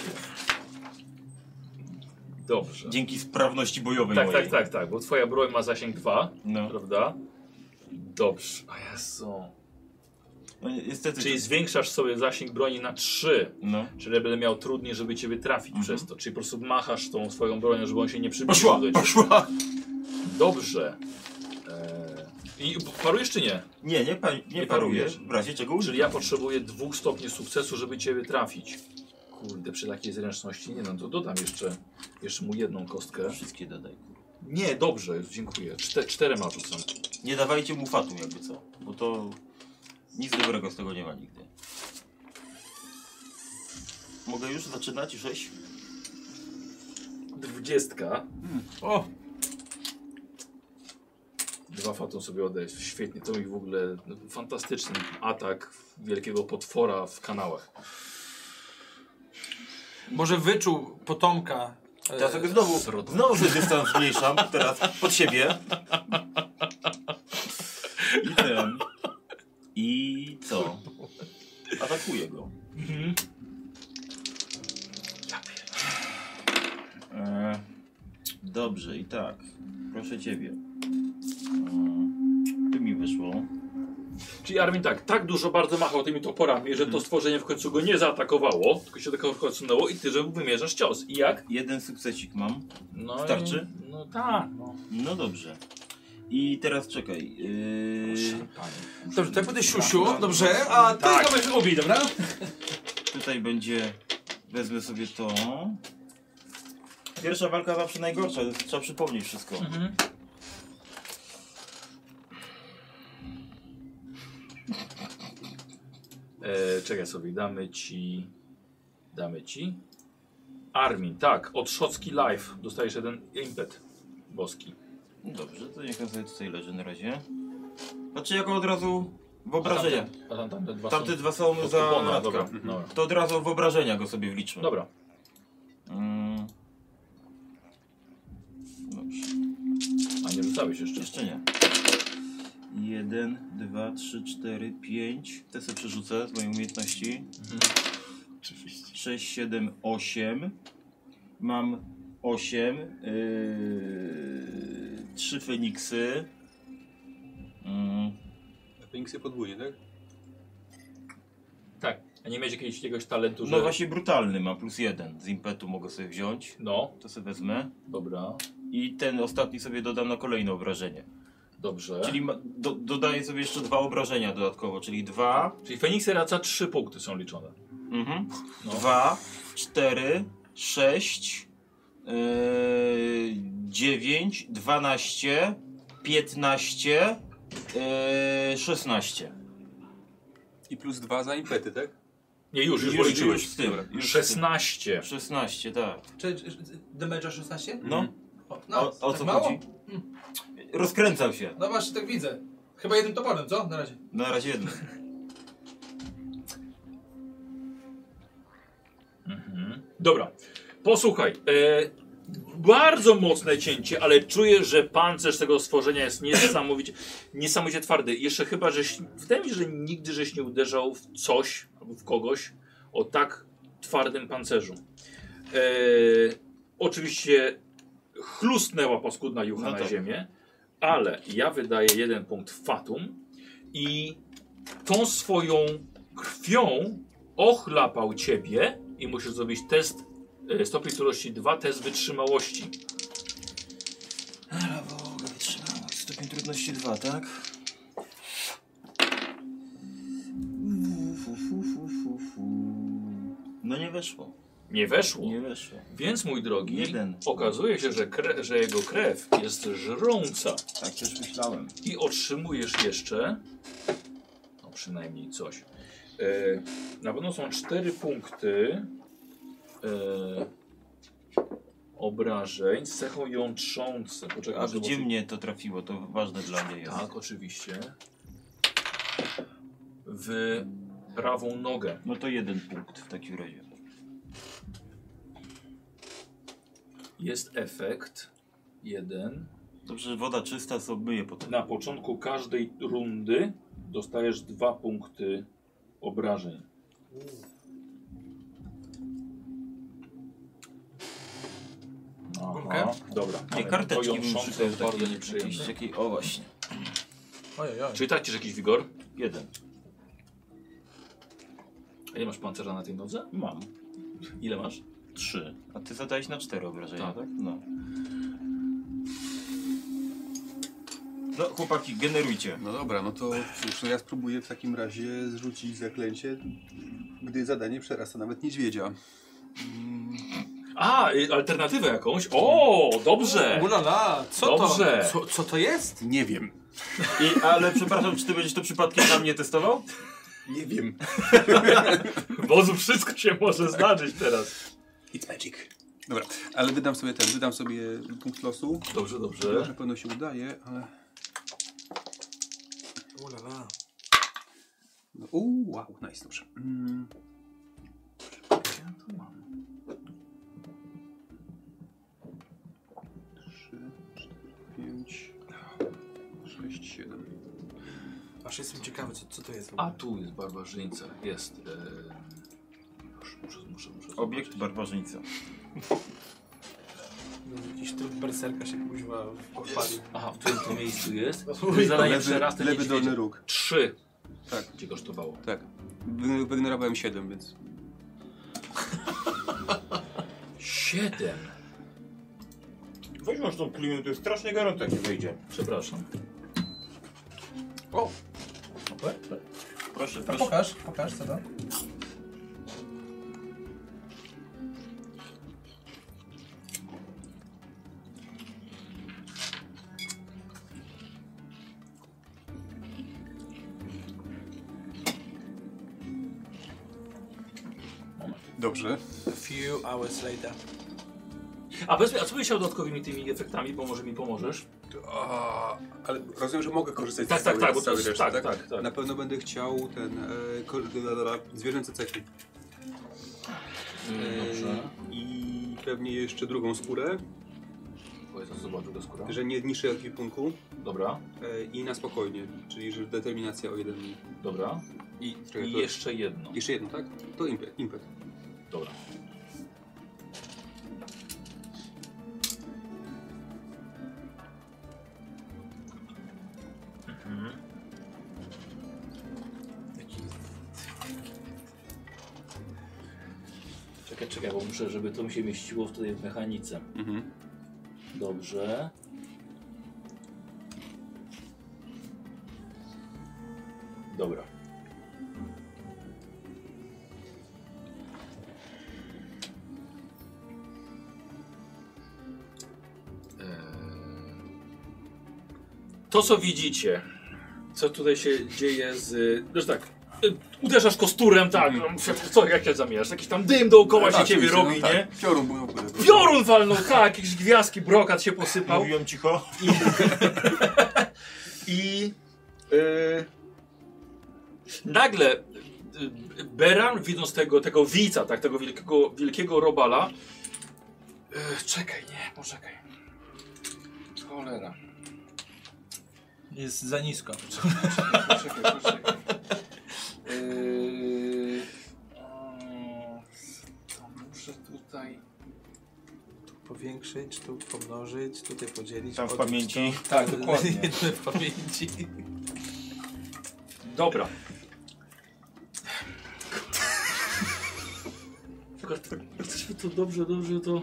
Speaker 2: Dobrze.
Speaker 5: Dzięki sprawności bojowej
Speaker 2: Tak,
Speaker 5: mojej.
Speaker 2: tak, tak, tak, bo twoja broń ma zasięg 2,
Speaker 5: No.
Speaker 2: prawda? Dobrze. A Jezu.
Speaker 5: no niestety...
Speaker 2: Czyli zwiększasz sobie zasięg broni na 3.
Speaker 5: No.
Speaker 2: Czyli będę miał trudniej, żeby ciebie trafić
Speaker 5: Mhm.
Speaker 2: przez to. Czyli po prostu machasz tą swoją bronią, żeby on się nie przybliżył do ciebie.
Speaker 5: poszła!
Speaker 2: Dobrze. Eee, I parujesz czy nie?
Speaker 5: Nie, nie, pa, nie,
Speaker 2: Nie
Speaker 5: parujesz.
Speaker 2: parujesz.
Speaker 5: W razie czego użyję.
Speaker 2: Czyli ja potrzebuję dwóch stopni sukcesu, żeby ciebie trafić. Kurde, przy takiej zręczności nie no, to dodam jeszcze, jeszcze mu jedną kostkę.
Speaker 5: Wszystkie dodaj.
Speaker 2: Nie, dobrze, już dziękuję. Czte, czterema rzucam.
Speaker 5: Nie dawajcie mu fatum jakby co, bo to nic dobrego z tego nie ma nigdy. Mogę już zaczynać? Sześć?
Speaker 2: Dwudziestka.
Speaker 1: O,
Speaker 2: Dwa fatum sobie odejść. Świetnie, to mi w ogóle no, fantastyczny atak wielkiego potwora w kanałach.
Speaker 1: może wyczuł potomka. e,
Speaker 5: Teraz sobie znowu,
Speaker 2: srodo.
Speaker 4: <laughs>
Speaker 5: znowu sobie dystans zmniejszam, teraz pod siebie. I ten. I co? Mhm. Atakuję go. E, dobrze, i tak. Proszę ciebie. E, tu mi wyszło.
Speaker 2: Czyli Armin tak, tak dużo bardzo machał tymi toporami, że to stworzenie w końcu go nie zaatakowało, tylko się tylko odsunęło i ty, że wymierzasz cios. I jak?
Speaker 5: Jeden sukcesik mam.
Speaker 2: No,
Speaker 5: Starczy?
Speaker 2: i- No tak, no.
Speaker 5: No dobrze. I teraz czekaj. Yy,
Speaker 1: Dobrze, to ja będę
Speaker 5: Tak,
Speaker 1: siusiu,
Speaker 5: no,
Speaker 1: dobrze? A ty tak. będziesz ubi, dobra?
Speaker 5: tutaj będzie. Wezmę sobie to. Pierwsza walka zawsze najgorsza, trzeba przypomnieć wszystko.
Speaker 2: Mhm. E, czekaj sobie, damy ci. Damy ci. Armin, tak, od Szocki Live dostajesz jeden impet boski.
Speaker 5: No Dobrze, to niech on sobie tutaj leży na razie. Znaczy jako od razu wyobrażenia.
Speaker 2: A tam, tam, te dwa
Speaker 5: Tamte
Speaker 2: są-
Speaker 5: dwa są
Speaker 2: to
Speaker 5: za Mhm.
Speaker 2: kupona, dobra,
Speaker 5: matkę.
Speaker 2: dobra.
Speaker 5: To od razu wyobrażenia go sobie wliczmy.
Speaker 2: Dobra.
Speaker 5: Mm. Dobrze.
Speaker 2: A nie rzucałeś jeszcze.
Speaker 5: Jeszcze nie. Jeden, dwa, trzy, cztery, pięć. Te sobie przerzucę z mojej umiejętności. Oczywiście. Sześć, siedem, osiem. Mam osiem. Yy, trzy Feniksy. Mm,
Speaker 4: Linksy podwójnie, tak?
Speaker 2: Tak. A nie miałeś jakiegoś, jakiegoś talentu, że...
Speaker 5: No właśnie brutalny mam, plus jeden. Z impetu mogę sobie wziąć.
Speaker 2: No,
Speaker 5: To sobie wezmę.
Speaker 2: dobra,
Speaker 5: I ten ostatni sobie dodam na kolejne obrażenie.
Speaker 2: dobrze. Czyli,
Speaker 5: Czyli ma, do, dodaję sobie jeszcze dwa obrażenia dodatkowo, czyli dwa,
Speaker 2: Czyli Feniksy Raca trzy punkty są liczone.
Speaker 5: Mhm.
Speaker 2: No.
Speaker 5: Dwa, cztery, sześć, yy, dziewięć, dwanaście, piętnaście, yy, szesnaście.
Speaker 4: I plus dwa za impety, tak?
Speaker 2: Nie, już, już,
Speaker 5: Już,
Speaker 2: policzyłeś.
Speaker 5: już z tym. Już z tym.
Speaker 2: 16.
Speaker 5: Szesnaście, tak.
Speaker 1: Czy, czy, damage'a 16?
Speaker 5: No,
Speaker 2: Mm.
Speaker 1: O,
Speaker 5: a o, o
Speaker 1: tak
Speaker 5: co
Speaker 1: mało?
Speaker 5: chodzi? Rozkręcam się.
Speaker 1: No właśnie, tak widzę. Chyba jednym toporem, co? Na razie.
Speaker 5: Na razie jedno.
Speaker 2: Dobra, posłuchaj. E, bardzo mocne cięcie, ale czuję, że pancerz tego stworzenia jest niesamowicie, niesamowicie twardy. Jeszcze chyba, żeś, wydaje mi się, że nigdy żeś nie uderzał w coś albo w kogoś o tak twardym pancerzu. E, oczywiście chlusnęła paskudna jucha
Speaker 5: No
Speaker 2: na
Speaker 5: tak.
Speaker 2: ziemię, ale ja wydaję jeden punkt fatum i tą swoją krwią ochlapał ciebie i musisz zrobić test e, stopień trudności 2, test wytrzymałości.
Speaker 6: Stopień trudności 2, tak? Fu, fu, fu, fu, fu, fu. No nie weszło.
Speaker 2: Nie weszło.
Speaker 6: Nie weszło.
Speaker 2: Więc, mój drogi,
Speaker 6: Jeden.
Speaker 2: okazuje się, że, kre, że jego krew jest żrąca
Speaker 6: Tak też myślałem.
Speaker 2: i otrzymujesz jeszcze, no przynajmniej coś. E, na pewno są cztery punkty e, obrażeń z cechą jątrzące. Poczekaj,
Speaker 6: A
Speaker 2: muszę
Speaker 6: gdzie
Speaker 2: zobaczyć.
Speaker 6: mnie to trafiło, to ważne dla mnie jest.
Speaker 2: Tak, oczywiście. W prawą nogę.
Speaker 6: No to jeden punkt w takim razie.
Speaker 2: Jest efekt. Jeden.
Speaker 6: Dobrze, że woda czysta, co myje potem.
Speaker 2: Na początku każdej rundy dostajesz dwa punkty obrażeń.
Speaker 1: Gumkę?
Speaker 2: Dobra.
Speaker 6: Nie, karteczki bym
Speaker 2: To
Speaker 6: przyszedł
Speaker 2: jest bardzo
Speaker 6: takie,
Speaker 2: nieprzyjemne.
Speaker 6: jakieś takie, o właśnie.
Speaker 10: Ojej, oj.
Speaker 2: Czyli tracisz jakiś wigor?
Speaker 6: Jeden.
Speaker 2: A nie masz pancerza na tej nodze?
Speaker 6: Mam.
Speaker 2: Ile masz?
Speaker 6: Trzy. A ty zadałeś na cztery obrażenia,
Speaker 2: Tak.
Speaker 6: tak? No.
Speaker 5: No chłopaki, generujcie.
Speaker 4: No dobra, no to cóż, no ja spróbuję w takim razie zrzucić zaklęcie, gdy zadanie przerasta nawet niedźwiedzia.
Speaker 2: A, y, alternatywę jakąś? O, dobrze!
Speaker 10: Ulala, co
Speaker 2: Dobrze.
Speaker 10: to? Co, co to jest?
Speaker 4: Nie wiem.
Speaker 5: I,
Speaker 6: <laughs>
Speaker 5: ale przepraszam, czy ty będziesz to przypadkiem na mnie testował?
Speaker 4: Nie wiem.
Speaker 2: Bozu, wszystko się może zdarzyć teraz.
Speaker 4: It's magic. Dobra, ale wydam sobie ten, wydam sobie punkt losu.
Speaker 2: Dobrze,
Speaker 4: Może
Speaker 2: dobrze.
Speaker 4: na pewno się udaje, ale...
Speaker 10: Ulala.
Speaker 4: No, uuu, wow, nice, dobrze. Mm,
Speaker 2: Ja tu mam.
Speaker 4: trzy, cztery, pięć, sześć, siedem.
Speaker 10: Aż jestem ciekawy, co, co to jest. w ogóle.
Speaker 2: A tu jest barbarzyńca. Jest. E... Już muszę, muszę, muszę
Speaker 5: Obiekt
Speaker 2: zobaczyć.
Speaker 5: barbarzyńca.
Speaker 10: No, Jakiś tryb berserka się kuźwa odpalił.
Speaker 2: Aha, w którym to miejscu
Speaker 4: <laughs>
Speaker 2: jest?
Speaker 10: Oj,
Speaker 2: Zadanie
Speaker 4: Lewy,
Speaker 2: przerasta
Speaker 4: lewy
Speaker 2: niedźwiedzia.
Speaker 4: dolny róg.
Speaker 2: Trzy.
Speaker 4: Tak.
Speaker 2: Cię kosztowało.
Speaker 4: Tak. Wy- Wygnorowałem siedem, więc...
Speaker 2: Siedem.
Speaker 5: Weź masz tą klinę, to jest strasznie gorąco jak nie wyjdzie.
Speaker 2: Przepraszam.
Speaker 10: O,
Speaker 6: No
Speaker 5: Proszę,
Speaker 10: to
Speaker 5: proszę.
Speaker 10: pokaż, pokaż co tam.
Speaker 4: Dobrze.
Speaker 10: A few hours later.
Speaker 2: A powiedz mi, a co byś chciał dodatkowymi tymi efektami, bo może mi pomożesz?
Speaker 4: A, ale rozumiem, że mogę korzystać
Speaker 2: Tak,
Speaker 4: z
Speaker 2: tak,
Speaker 4: całej,
Speaker 2: tak, bo
Speaker 4: z
Speaker 2: to
Speaker 4: całej
Speaker 2: jest-
Speaker 4: reszty,
Speaker 2: tak,
Speaker 4: tak,
Speaker 2: tak, tak.
Speaker 4: Na pewno będę chciał ten e, ko- da, da, da, zwierzęce cechy.
Speaker 5: Yy,
Speaker 4: E, I pewnie jeszcze drugą skórę,
Speaker 2: Powiedz, co zobaczył do skóra.
Speaker 4: że nie niższy ekwipunku
Speaker 2: Dobra,
Speaker 4: e, i na spokojnie, czyli że determinacja o jeden mniej.
Speaker 2: dobra.
Speaker 4: I,
Speaker 2: I
Speaker 4: jeszcze,
Speaker 2: jeszcze jedno.
Speaker 4: jeszcze jedno, tak? To impet. impet.
Speaker 2: Dobra. Czekaj, czekaj, bo muszę, żeby to mi się mieściło w tej mechanice.
Speaker 4: Mhm.
Speaker 2: Dobrze. Dobra. Eee, To co widzicie, co tutaj się dzieje z... Wiesz tak, y, uderzasz kosturem, tak, no, co, jak się zamierasz, jakiś tam dym dookoła się
Speaker 4: Tak,
Speaker 2: ciebie
Speaker 4: Mhm. oczywiście,
Speaker 2: robi,
Speaker 4: no,
Speaker 2: nie?
Speaker 4: Tak. Piorun był opłynął.
Speaker 2: Piorun walnął, tak, jakieś gwiazdki, brokat się posypał.
Speaker 5: Mówiłem cicho.
Speaker 2: I y, nagle y, Beran, widząc tego, tego wica, tak, tego wielkiego, wielkiego robala, y, czekaj, nie, poczekaj. Cholera.
Speaker 10: Jest za <laughs> nisko.
Speaker 2: Poczekaj, poczekaj. Yy, o, to muszę tutaj.
Speaker 10: Powiększyć, tu pomnożyć, tutaj podzielić.
Speaker 5: Tam w
Speaker 10: odbić
Speaker 5: pamięci.
Speaker 10: to. Tak, dokładnie. w pamięci.
Speaker 2: Dobra. Tylko jesteśmy to dobrze, dobrze Mm. to. Yy...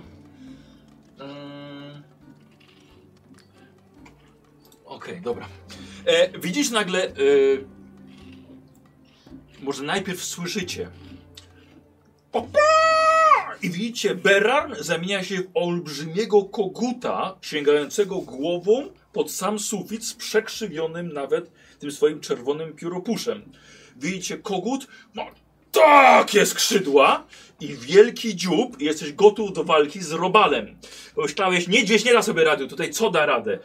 Speaker 2: O, Okej, dobra. E, widzisz nagle. E, może najpierw słyszycie. Popa! I widzicie, Beran zamienia się w olbrzymiego koguta, sięgającego głową pod sam sufit z przekrzywionym nawet tym swoim czerwonym pióropuszem. Widzicie, kogut ma takie skrzydła i wielki dziób. i Jesteś gotów do walki z robalem. Pomyślałeś, nie gdzieś nie da sobie rady, tutaj co da radę?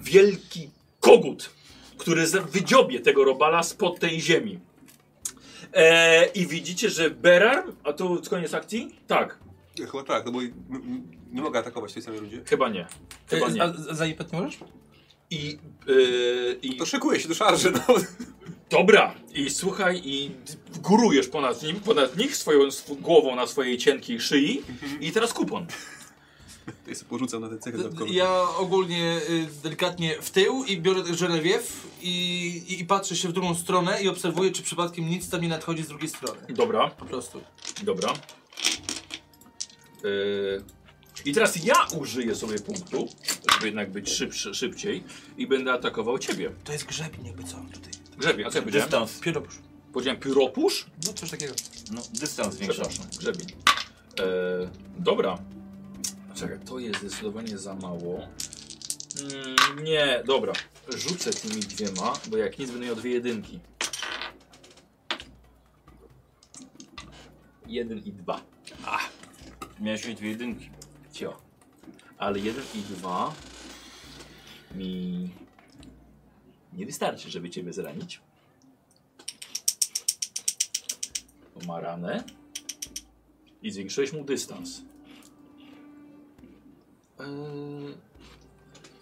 Speaker 2: wielki kogut, który za- wydziobie tego robala spod tej ziemi. E, I widzicie, że Berar, a tu koniec akcji? Tak,
Speaker 4: Chyba tak, no bo m- m- nie mogę atakować tej samej ludzi.
Speaker 2: chyba nie.
Speaker 1: E,
Speaker 2: Chyba
Speaker 10: Ty, a
Speaker 2: nie.
Speaker 10: z- zajebać nie możesz?
Speaker 2: I, e, i
Speaker 4: To szykuję się do szarży, no.
Speaker 2: dobra, i słuchaj, i górujesz ponad nim, ponad nich swoją sw- głową na swojej cienkiej szyi i teraz kupon.
Speaker 4: Tutaj sobie porzucam na ten cechy dodatkowy.
Speaker 10: Ja ogólnie y, delikatnie w tył i biorę żelewiew i, i, i patrzę się w drugą stronę i obserwuję, czy przypadkiem nic tam nie nadchodzi z drugiej strony.
Speaker 2: Dobra.
Speaker 10: Po prostu.
Speaker 2: Dobra. Yy, I teraz ja użyję sobie punktu, żeby jednak być szybszy, szybciej i będę atakował ciebie.
Speaker 10: To jest grzebień jakby co tutaj.
Speaker 2: Grzebień, a co ja powiedziałem?
Speaker 5: Dystans.
Speaker 10: Pieropusz.
Speaker 2: Powiedziałem pióropusz?
Speaker 10: No coś takiego.
Speaker 5: No, dystans zwiększasz.
Speaker 2: Przepraszam, grzebień. Yy, dobra. Czekaj, to jest zdecydowanie za mało. Mm, nie, dobra. Rzucę tymi dwiema, bo jak nic będę miał dwie jedynki. Jeden i dwa.
Speaker 5: Miałeś mieć dwie jedynki.
Speaker 2: Cio. Ale jeden i dwa mi nie wystarczy, żeby ciebie zranić. Bo ma ranę i zwiększyłeś mu dystans. Eee,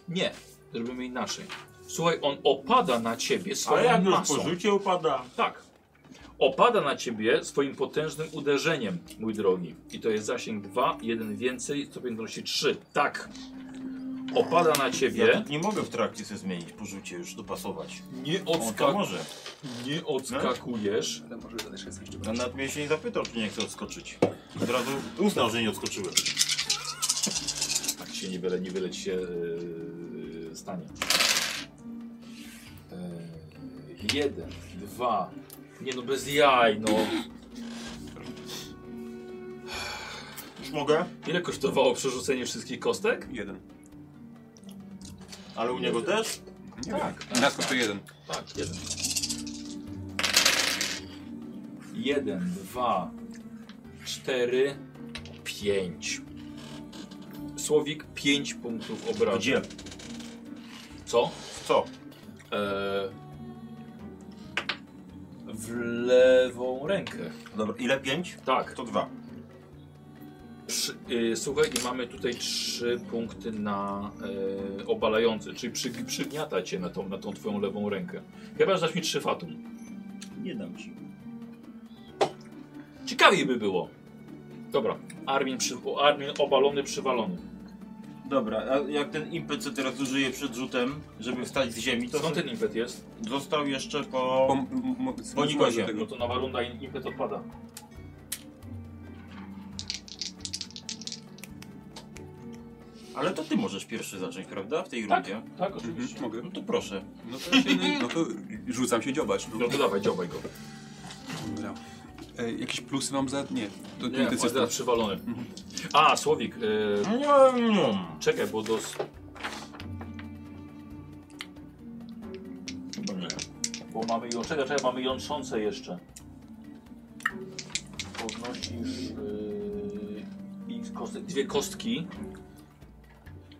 Speaker 2: nie, zrobimy inaczej. Słuchaj, on opada na ciebie swoją
Speaker 3: Ale jak już
Speaker 2: masą.
Speaker 3: pożycie upada.
Speaker 2: Tak. Opada na ciebie swoim potężnym uderzeniem, mój drogi. I to jest zasięg 2, 1 więcej, stopień trudności 3. Tak. Opada na
Speaker 5: Ja
Speaker 2: ciebie.
Speaker 5: tu nie mogę w trakcie sobie zmienić, porzucie już, dopasować.
Speaker 2: Nie,
Speaker 5: On to
Speaker 2: odska
Speaker 5: może. No.
Speaker 2: nie odskakujesz.
Speaker 4: Ale może zadać jeszcze jeszcze
Speaker 5: A nawet mnie się nie zapytał, czy nie chce odskoczyć. Od razu uznał, że nie odskoczyłem.
Speaker 2: Tak się niewiele, niewiele ci się yy, stanie. Yy, jeden, dwa. Nie no, bez jaj, no.
Speaker 5: Już mogę?
Speaker 2: Ile kosztowało przerzucenie wszystkich kostek?
Speaker 4: Jeden.
Speaker 5: Ale u niego też?
Speaker 4: Nie tak. Nas kosztuje jeden.
Speaker 2: Tak, jeden. Jeden, dwa, cztery, pięć. Słowik, pięć punktów obrażeń.
Speaker 5: Gdzie?
Speaker 2: Co?
Speaker 5: W co?
Speaker 2: Eee, w lewą rękę.
Speaker 5: Dobra, ile pięć?
Speaker 2: Tak.
Speaker 5: To dwa.
Speaker 2: Przy, y, słuchaj, i mamy tutaj trzy punkty na y, obalający, czyli przy, przygniata cię na tą, na tą twoją lewą rękę. Chyba, że dasz mi trzy fatum.
Speaker 5: Nie dam ci.
Speaker 2: Ciekawiej by było. Dobra, Armin, przy, Armin obalony, przywalony.
Speaker 5: Dobra, a jak ten impet, co teraz użyję przed rzutem, żeby wstać z ziemi, to
Speaker 2: Skąd ten impet jest?
Speaker 5: został jeszcze po...
Speaker 4: Po, m- m- m-
Speaker 5: Bo nie ma się.
Speaker 2: No to nowa runda i impet odpada.
Speaker 5: Ale to ty możesz pierwszy zacząć, prawda? W tej
Speaker 2: Tak,
Speaker 5: rundzie.
Speaker 2: tak,
Speaker 4: Mhm,
Speaker 2: oczywiście.
Speaker 5: <laughs>
Speaker 4: mogę.
Speaker 5: No to proszę.
Speaker 4: No to, raczej nie- no to rzucam się dziobacz. No.
Speaker 2: No to dawaj, działaj go.
Speaker 4: Dobra. E, jakieś plusy mam za... Nie. No To
Speaker 2: Nie,
Speaker 4: nie,
Speaker 2: on
Speaker 4: ty
Speaker 2: jest teraz
Speaker 4: coś
Speaker 2: przywalony. A, Słowik, y,
Speaker 5: Nie, nie.
Speaker 2: czekaj, bo do...
Speaker 5: Chyba nie.
Speaker 2: Bo mamy ją, czekaj, czekaj, mamy jątrzące jeszcze. Podnosisz yy, i kostek, dwie kostki.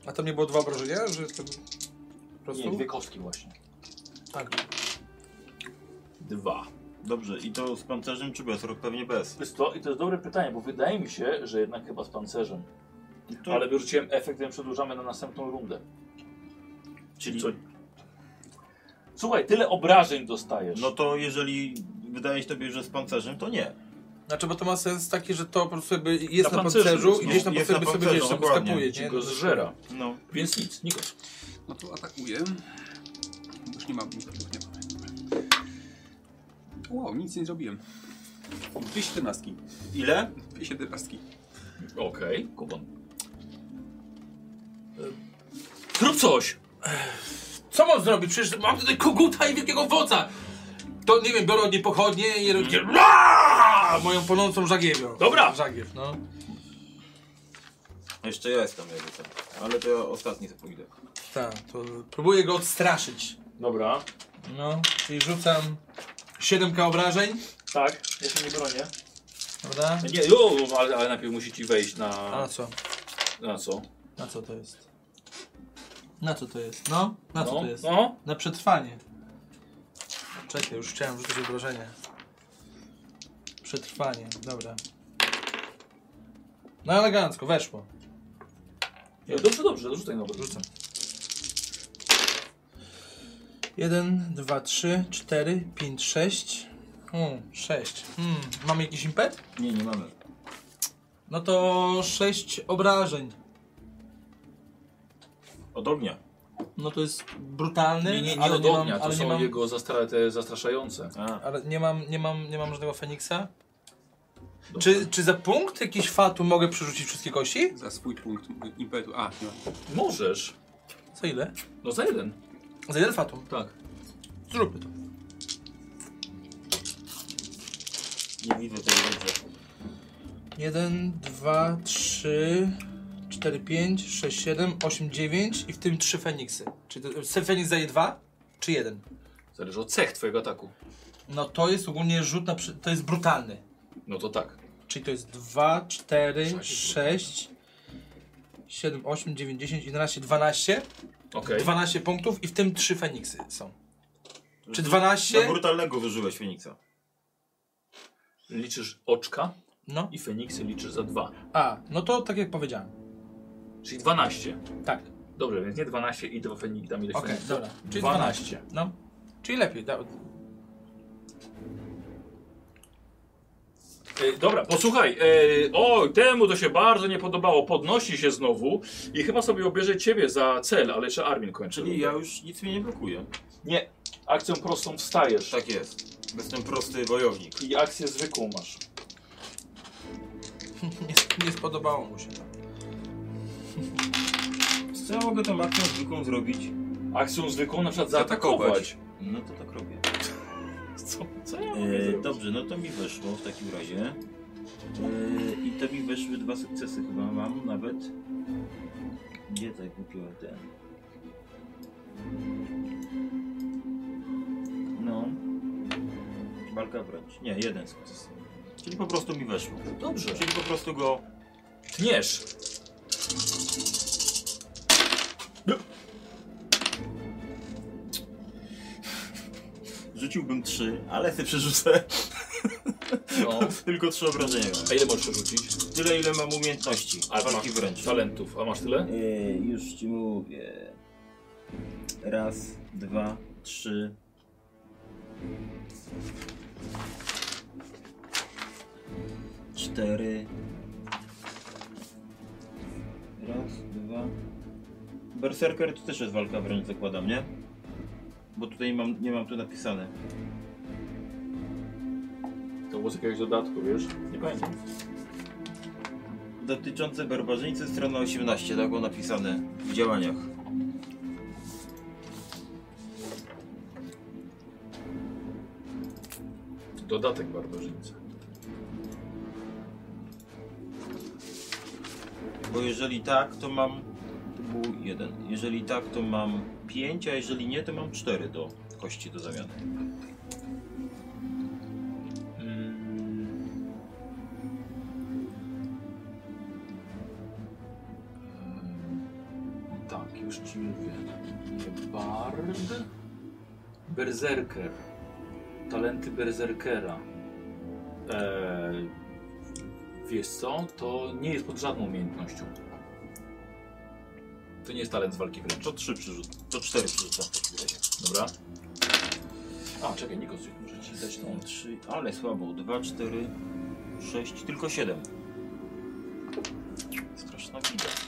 Speaker 10: A tam nie było dwa obrażenia, że to... Po prostu?
Speaker 2: Nie, dwie kostki właśnie.
Speaker 10: Tak.
Speaker 2: Dwa.
Speaker 5: Dobrze, i to z pancerzem czy bez? Rok pewnie bez.
Speaker 2: Jest to, I to jest dobre pytanie, bo wydaje mi się, że jednak chyba z pancerzem.
Speaker 5: I to-
Speaker 2: Ale wyrzuciłem efekt, więc przedłużamy na następną rundę.
Speaker 5: czyli...
Speaker 2: Co? Słuchaj, tyle obrażeń dostajesz.
Speaker 5: No to jeżeli wydaje się tobie, że z pancerzem, to nie.
Speaker 10: Znaczy, bo to ma sens taki, że to po prostu jakby jest
Speaker 2: Na
Speaker 10: na,
Speaker 2: pancerzu
Speaker 10: pancerzu
Speaker 2: jest,
Speaker 10: i
Speaker 5: no.
Speaker 10: gdzieś tam po
Speaker 5: Jest
Speaker 10: sobie,
Speaker 5: na
Speaker 10: sobie
Speaker 5: pancerzu,
Speaker 10: wiesz, tam
Speaker 5: dokładnie.
Speaker 10: skapuje,
Speaker 2: Ci
Speaker 10: nie?
Speaker 2: go zżera.
Speaker 5: No.
Speaker 2: Więc nic, Nikos.
Speaker 4: No to atakuję. Już nie mam. Już nie mam. Wow, nic nie zrobiłem. Dwie siedemnastki.
Speaker 5: Ile?
Speaker 4: Dwie siedemnastki.
Speaker 2: Okej, E, kupon. Zrób coś!
Speaker 1: Co mam zrobić? Przecież mam tutaj koguta i wielkiego wodza! To nie wiem, biorę od niej pochodnie i robię takie "Ra!" moją płonącą żagiewią.
Speaker 2: Dobra.
Speaker 1: Żagiew, no.
Speaker 5: Jeszcze ja jestem, jakby tam. Ale to ja ostatni to pójdę.
Speaker 1: Tak, to próbuję go odstraszyć.
Speaker 2: Dobra,
Speaker 1: No, czyli rzucam 7k obrażeń,
Speaker 2: tak, ja się nie bronię.
Speaker 1: prawda?
Speaker 2: E, Nie, jo, ale, ale najpierw musi ci wejść na...
Speaker 1: A na co?
Speaker 2: Na co?
Speaker 1: Na co to jest? Na co to jest? No, na co
Speaker 2: no,
Speaker 1: to jest?
Speaker 2: No,
Speaker 1: Na przetrwanie. Czekaj, już chciałem rzucić obrażenie. Przetrwanie, dobra. No elegancko, weszło.
Speaker 2: nie, No, dobrze, dobrze, rzucaj nowy.
Speaker 1: Rzucam. 1, 2, 3, 4, 5, 6. O, 6. Hmm, mamy jakiś impet?
Speaker 5: Nie, nie mamy.
Speaker 1: No to 6 obrażeń.
Speaker 5: Od ognia.
Speaker 1: No to jest brutalny.
Speaker 2: Nie, nie, nie
Speaker 1: ale
Speaker 2: od ognia,
Speaker 1: mam,
Speaker 2: to
Speaker 1: ale nie
Speaker 2: są
Speaker 1: mam,
Speaker 2: jego zastra te zastraszające.
Speaker 1: Ale nie mam, nie mam, nie mam żadnego Feniksa.
Speaker 2: Dobra.
Speaker 1: Czy, czy za punkt jakiś fatu mogę przerzucić wszystkie kości?
Speaker 4: Za swój punkt impetu. A, nie.
Speaker 2: Możesz.
Speaker 1: Co ile?
Speaker 2: No za jeden.
Speaker 1: Za jeden fatum.
Speaker 2: Tak.
Speaker 1: Zróbmy to.
Speaker 5: Nie widzę tego dobrze.
Speaker 1: 1, 2, 3, 4, 5, 6, 7, 8, 9 i w tym 3 Feniksy. Czy to, se- Feniks daje 2 czy 1?
Speaker 2: Zależy od cech twojego ataku.
Speaker 1: No to jest ogólnie rzut na. przy- To jest brutalny.
Speaker 2: No to tak.
Speaker 1: Czyli to jest 2, 4, 6, 7, 8, 9, 10, 11, 12.
Speaker 2: Okej.
Speaker 1: 12 punktów i w tym 3 Feniksy są. Czy
Speaker 5: Na
Speaker 1: 12?
Speaker 5: brutalnego wyżyłeś Feniksa.
Speaker 2: Liczysz oczka
Speaker 1: No.
Speaker 2: i Feniksy liczysz za dwa.
Speaker 1: A, no to tak jak powiedziałem.
Speaker 2: Czyli 12.
Speaker 1: Tak.
Speaker 2: Dobrze, więc nie 12 i dwa Fenik, tam ile
Speaker 1: Okej,
Speaker 2: Feniksów.
Speaker 1: dobra. Czyli
Speaker 2: 12.
Speaker 1: No. Czyli lepiej. Da,
Speaker 2: E, dobra, posłuchaj. E, o, temu to się bardzo nie podobało. Podnosi się znowu i chyba sobie obierze ciebie za cel, ale jeszcze Armin kończy.
Speaker 5: Czyli ja już nic mnie nie blokuje.
Speaker 2: Nie, akcją prostą wstajesz
Speaker 5: Tak jest. Jestem prosty wojownik.
Speaker 2: i akcję zwykłą masz.
Speaker 1: nie, nie spodobało mu się to.
Speaker 5: Co ja mogę tą akcją zwykłą zrobić?
Speaker 2: Akcją zwykłą na przykład
Speaker 4: Zaatakować.
Speaker 2: zaatakować.
Speaker 5: No to tak robię.
Speaker 2: Co, co ja mogę
Speaker 5: E,
Speaker 2: zrobić?
Speaker 5: dobrze, no to mi weszło w takim razie. E, I to mi weszły dwa sukcesy chyba mam nawet. Gdzie tak kupiłem ten? No. Walka wręcz. Nie, jeden sukces. Czyli po prostu mi weszło.
Speaker 2: Dobrze.
Speaker 5: Czyli po prostu go
Speaker 2: Tniesz.
Speaker 5: rzuciłbym trzy, ale <laughs> ty przerzucę.
Speaker 2: No.
Speaker 5: Tylko trzy obrażenia mam.
Speaker 2: A ile możesz rzucić?
Speaker 5: Tyle ile mam umiejętności.
Speaker 2: A
Speaker 5: walki
Speaker 2: masz
Speaker 5: wręcz.
Speaker 2: talentów. A masz tyle?
Speaker 5: E, już ci mówię. Raz, dwa, trzy. Cztery. Raz, dwa. Berserker to też jest walka wręcz, zakładam, nie? Bo tutaj mam, nie mam tu napisane.
Speaker 2: To było z jakiegoś dodatku, wiesz? Nie pamiętam.
Speaker 5: Dotyczące barbarzyńcy, strona 18, tak było napisane w działaniach.
Speaker 2: Dodatek barbarzyńcy.
Speaker 5: Bo jeżeli tak, to mam. To był jeden. Jeżeli tak, to mam 5, a jeżeli nie, to mam 4 do kości do zamiany.
Speaker 2: Mm. Ehm, Tak, już ci mówię. Nie Bard. Berserker. Talenty berserkera. Eee, wiesz co? To nie jest pod żadną umiejętnością. To nie jest talent z walki wręcz.
Speaker 5: To 3 przerzucam. To 4 przerzucam w takim razie.
Speaker 2: Dobra. A, czekaj, Nikos, muszę ci dać tą.
Speaker 5: 3, ale słabo. 2, 4, 6, tylko 7. Straszna widać.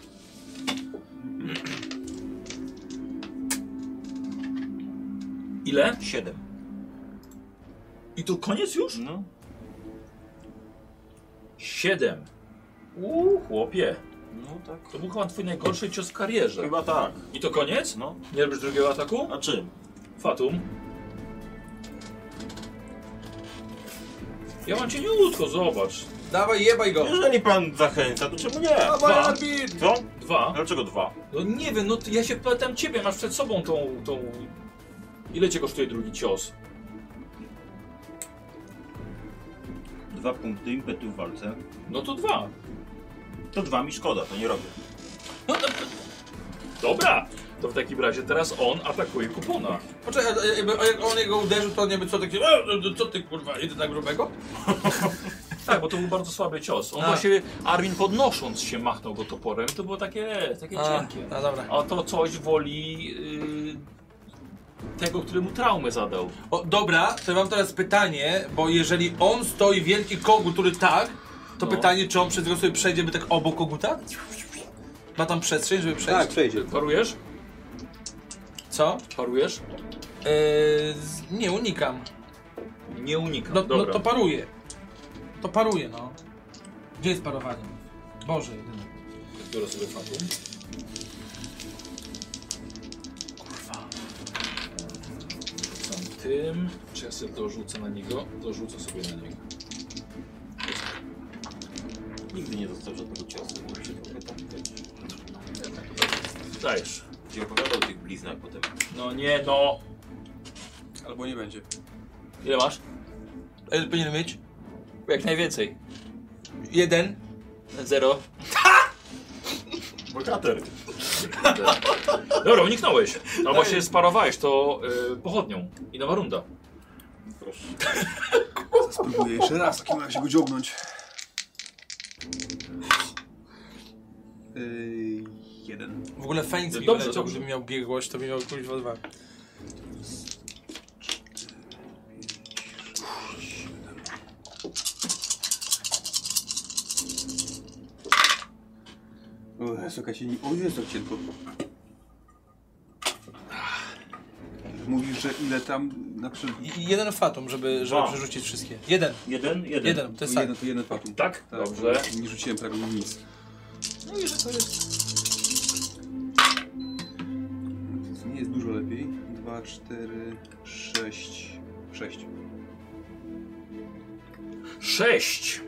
Speaker 2: Ile?
Speaker 5: 7.
Speaker 2: I to koniec już?
Speaker 5: No.
Speaker 2: Siedem. Uuu, chłopie.
Speaker 5: No tak.
Speaker 2: To był chyba twój najgorszy cios w karierze.
Speaker 5: Chyba tak.
Speaker 2: I to koniec?
Speaker 5: No.
Speaker 2: Nie robisz drugiego ataku?
Speaker 5: A czym?
Speaker 2: Fatum. Ja mam cieniutko, zobacz.
Speaker 10: Dawaj, jebaj go!
Speaker 5: Jeżeli pan zachęca, to czemu nie?
Speaker 10: Dawaj, Arbit!
Speaker 5: Co?
Speaker 2: Dwa.
Speaker 5: Dlaczego dwa?
Speaker 2: No nie wiem, no ty- ja się pytam ciebie, masz przed sobą tą, tą... Ile cię kosztuje drugi cios?
Speaker 5: Dwa punkty impetu w walce.
Speaker 2: No to dwa.
Speaker 5: To dwa mi szkoda, to nie robię.
Speaker 2: Dobra, to w takim razie teraz on atakuje kupona.
Speaker 10: Poczekaj, a, jakby- a jak on jego uderzył, to on nie by co taki. "E, e, Co ty kurwa, idę na grubego?
Speaker 2: Tak, bo to był bardzo słaby cios. On
Speaker 10: A.
Speaker 2: właściwie, Armin podnosząc się machnął go toporem, to było takie, takie cienkie.
Speaker 10: no dobra.
Speaker 2: A to coś woli yy, tego, który mu traumę zadał.
Speaker 10: O, dobra, to ja mam teraz pytanie, bo jeżeli on stoi wielki kogut, który tak, to
Speaker 2: No.
Speaker 10: pytanie, czy on przez niego sobie przejdzie by tak obok koguta? Ma tam przestrzeń, żeby przejść?
Speaker 4: Tak, przejdzie.
Speaker 2: Parujesz?
Speaker 10: Co?
Speaker 2: Parujesz?
Speaker 10: Eee, z- nie, unikam.
Speaker 2: Nie unika.
Speaker 10: No, no
Speaker 2: Dobra.
Speaker 10: to paruje. To paruje, no. Gdzie jest parowanie? Boże, jedyny.
Speaker 2: Biorę sobie fatum. Kurwa. Sam tym. Czy ja sobie dorzucę na niego? Dorzucę sobie na niego.
Speaker 5: Nigdy nie dostał żadnego ciosu, bo się trochę tam widać.
Speaker 2: Dajesz.
Speaker 5: Gdzie opowiadał o tych bliznach potem.
Speaker 2: No nie, no.
Speaker 4: Albo nie będzie.
Speaker 2: Ile masz?
Speaker 10: Ile powinien mieć?
Speaker 2: Jak najwięcej.
Speaker 10: Jeden.
Speaker 2: Zero.
Speaker 5: Bohater.
Speaker 2: Dobra,
Speaker 4: <laughs>
Speaker 2: uniknąłeś. Albo się sparowałeś, to y, pochodnią. I nowa runda.
Speaker 5: Proszę.
Speaker 11: Spróbuję jeszcze raz w takim razie go dziobnąć.
Speaker 4: Yy, jeden.
Speaker 10: W ogóle Feniks mi
Speaker 2: Dobrze,
Speaker 10: wyleciał,
Speaker 2: dobrze.
Speaker 10: gdybym miał biegłość, to by miał kuźwa dwa.
Speaker 4: O Jezu, jaka się nie... O Jezu, jak cienko.
Speaker 11: Mówisz, że ile tam na przykład...
Speaker 10: I- i Jeden fatum, żeby, żeby
Speaker 5: Dwa.
Speaker 10: przerzucić wszystkie. Jeden,
Speaker 5: Jeden, jeden.
Speaker 10: jeden, to jest tak.
Speaker 4: Jeden, to jeden fatum.
Speaker 2: Tak?
Speaker 4: Tak,
Speaker 2: Dobrze.
Speaker 4: Nie rzuciłem prawie nic.
Speaker 2: No i że to jest...
Speaker 4: Więc Nie jest dużo lepiej. Dwa, cztery, sześć, sześć.
Speaker 2: Sześć.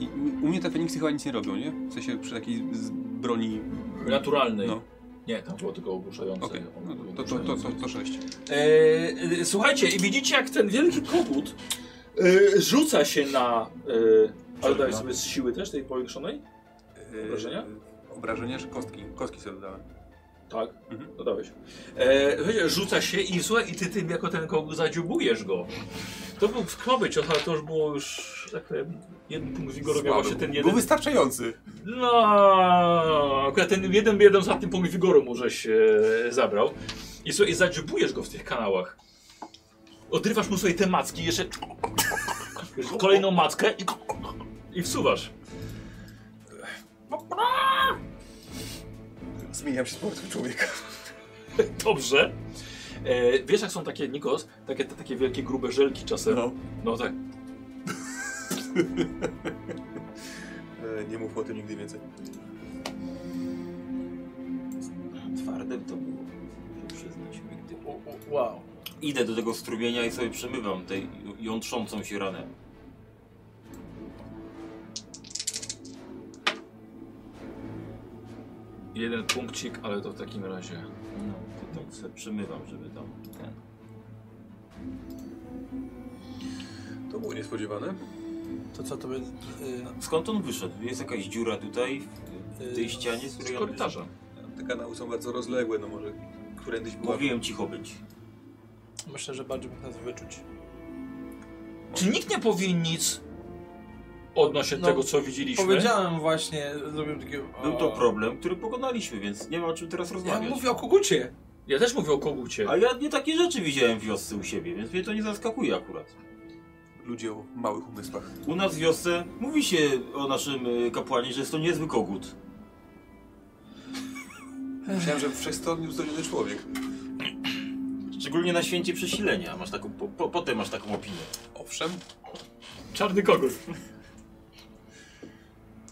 Speaker 4: I u- u mnie te Feniksy chyba nic nie robią, nie? W sensie przy takiej z broni...
Speaker 2: Naturalnej.
Speaker 4: No.
Speaker 2: Nie, tam było tylko ogłuszające.
Speaker 4: Okej,
Speaker 2: Ono było
Speaker 4: no, to, to, to,
Speaker 2: ogłuszające.
Speaker 4: to, to sześć.
Speaker 2: E, e, słuchajcie, i widzicie jak ten wielki kogut e, rzuca się na... E, ale daj sobie z siły też tej powiększonej? Obrażenia?
Speaker 4: Yy, Obrażenia czy kostki? Kostki sobie dodałem.
Speaker 2: Tak,
Speaker 4: Mhm.
Speaker 2: dodałeś. E, słuchajcie, rzuca się i słuchaj, i ty tym jako ten kogut zadziubujesz go. To był skroby cios, ale to już było już... że Tak, powiem, jeden punkt wigoru miał właśnie ten jeden...
Speaker 4: Był wystarczający.
Speaker 2: No, akurat ten jeden, jeden ostatni punkt wigoru mu żeś e, zabrał. I sobie zadziubujesz go w tych kanałach. Odrywasz mu sobie te macki, jeszcze kolejną mackę i, i wsuwasz.
Speaker 11: Zmieniam się z powrotem człowieka.
Speaker 2: Dobrze. E, wiesz jak są takie, Nikos, takie, te, takie wielkie grube żelki czasem? No,
Speaker 11: No.
Speaker 2: tak.
Speaker 11: E, nie mów o tym nigdy więcej.
Speaker 5: Twardym to było. Muszę przyznać. Nigdy.
Speaker 10: O, o, Wow.
Speaker 5: Idę do tego strumienia i sobie przemywam tej jątrzącą się ranę.
Speaker 2: Jeden punkcik, ale to w takim razie.
Speaker 5: No, to tak sobie przemywam, żeby tam ten...
Speaker 4: To było niespodziewane.
Speaker 10: To co to będzie? Yy,
Speaker 5: Skąd on wyszedł? Jest jakaś dziura tutaj, w- w
Speaker 10: Y,
Speaker 5: tej ścianie, z
Speaker 2: Z
Speaker 5: której on
Speaker 2: korytarza.
Speaker 4: Te kanały są bardzo rozległe, no może którędyś
Speaker 5: wyszedł?
Speaker 4: była.
Speaker 5: Mówiłem cicho być.
Speaker 10: myślę, że bardziej mógł nas wyczuć.
Speaker 2: Czy nikt nie powie nic odnośnie
Speaker 10: No,
Speaker 2: tego, co widzieliśmy?
Speaker 10: Powiedziałem właśnie, zrobiłem takie...
Speaker 5: Był
Speaker 10: o.
Speaker 5: to problem, który pokonaliśmy, więc nie ma o czym teraz
Speaker 10: Ja
Speaker 5: rozmawiać.
Speaker 10: mówię o kogucie.
Speaker 2: Ja też mówię o kogucie.
Speaker 5: A ja nie takie rzeczy widziałem w wiosce u siebie, więc mnie to nie zaskakuje akurat.
Speaker 4: Ludzie o małych umysłach.
Speaker 5: U nas w wiosce mówi się o naszym y, kapłanie, że jest to niezły kogut.
Speaker 4: Myślałem, że wszechstronnie uzgodniony człowiek.
Speaker 5: Szczególnie na święcie przesilenia. Masz taką, po, po, potem masz taką opinię.
Speaker 4: Owszem.
Speaker 2: Czarny kogut.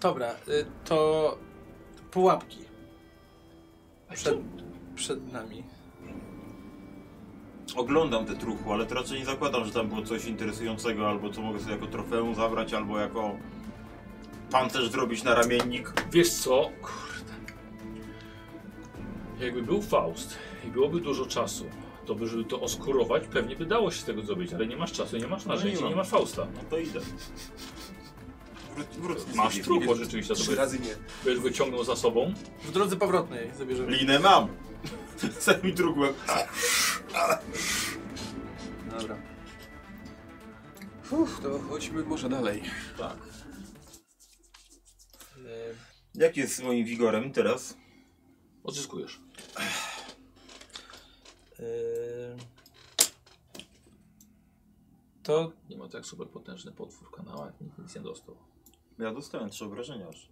Speaker 10: Dobra, y, to pułapki. Przed, przed nami.
Speaker 5: Oglądam te truchu, ale to raczej nie zakładam, że tam było coś interesującego, albo co mogę sobie jako trofeum zabrać, albo jako pancerz zrobić na ramiennik.
Speaker 2: Wiesz co? Kurde. Jakby był Faust i byłoby dużo czasu, to by, żeby to oskurować, pewnie by dało się z tego zrobić, ale nie masz czasu, nie masz narzędzi, nie,
Speaker 5: mam.
Speaker 2: masz Fausta.
Speaker 5: No to idę. Wróć, wróć.
Speaker 2: Masz trupo rzeczywiście, to
Speaker 10: Trzy
Speaker 2: by-
Speaker 10: razy nie.
Speaker 2: byś go ciągnął za sobą.
Speaker 10: W drodze powrotnej zabierzemy.
Speaker 5: Linę mam! <laughs> Sam mi drugłem.
Speaker 4: Dobra. Uff, to chodźmy może dalej.
Speaker 10: Y,
Speaker 5: Jak jest z moim wigorem teraz?
Speaker 2: Odzyskujesz.
Speaker 10: Yy, To
Speaker 2: Nie ma tak super potężny potwór w kanałach, nikt nic nie dostał.
Speaker 5: Ja dostałem trzy obrażenia aż.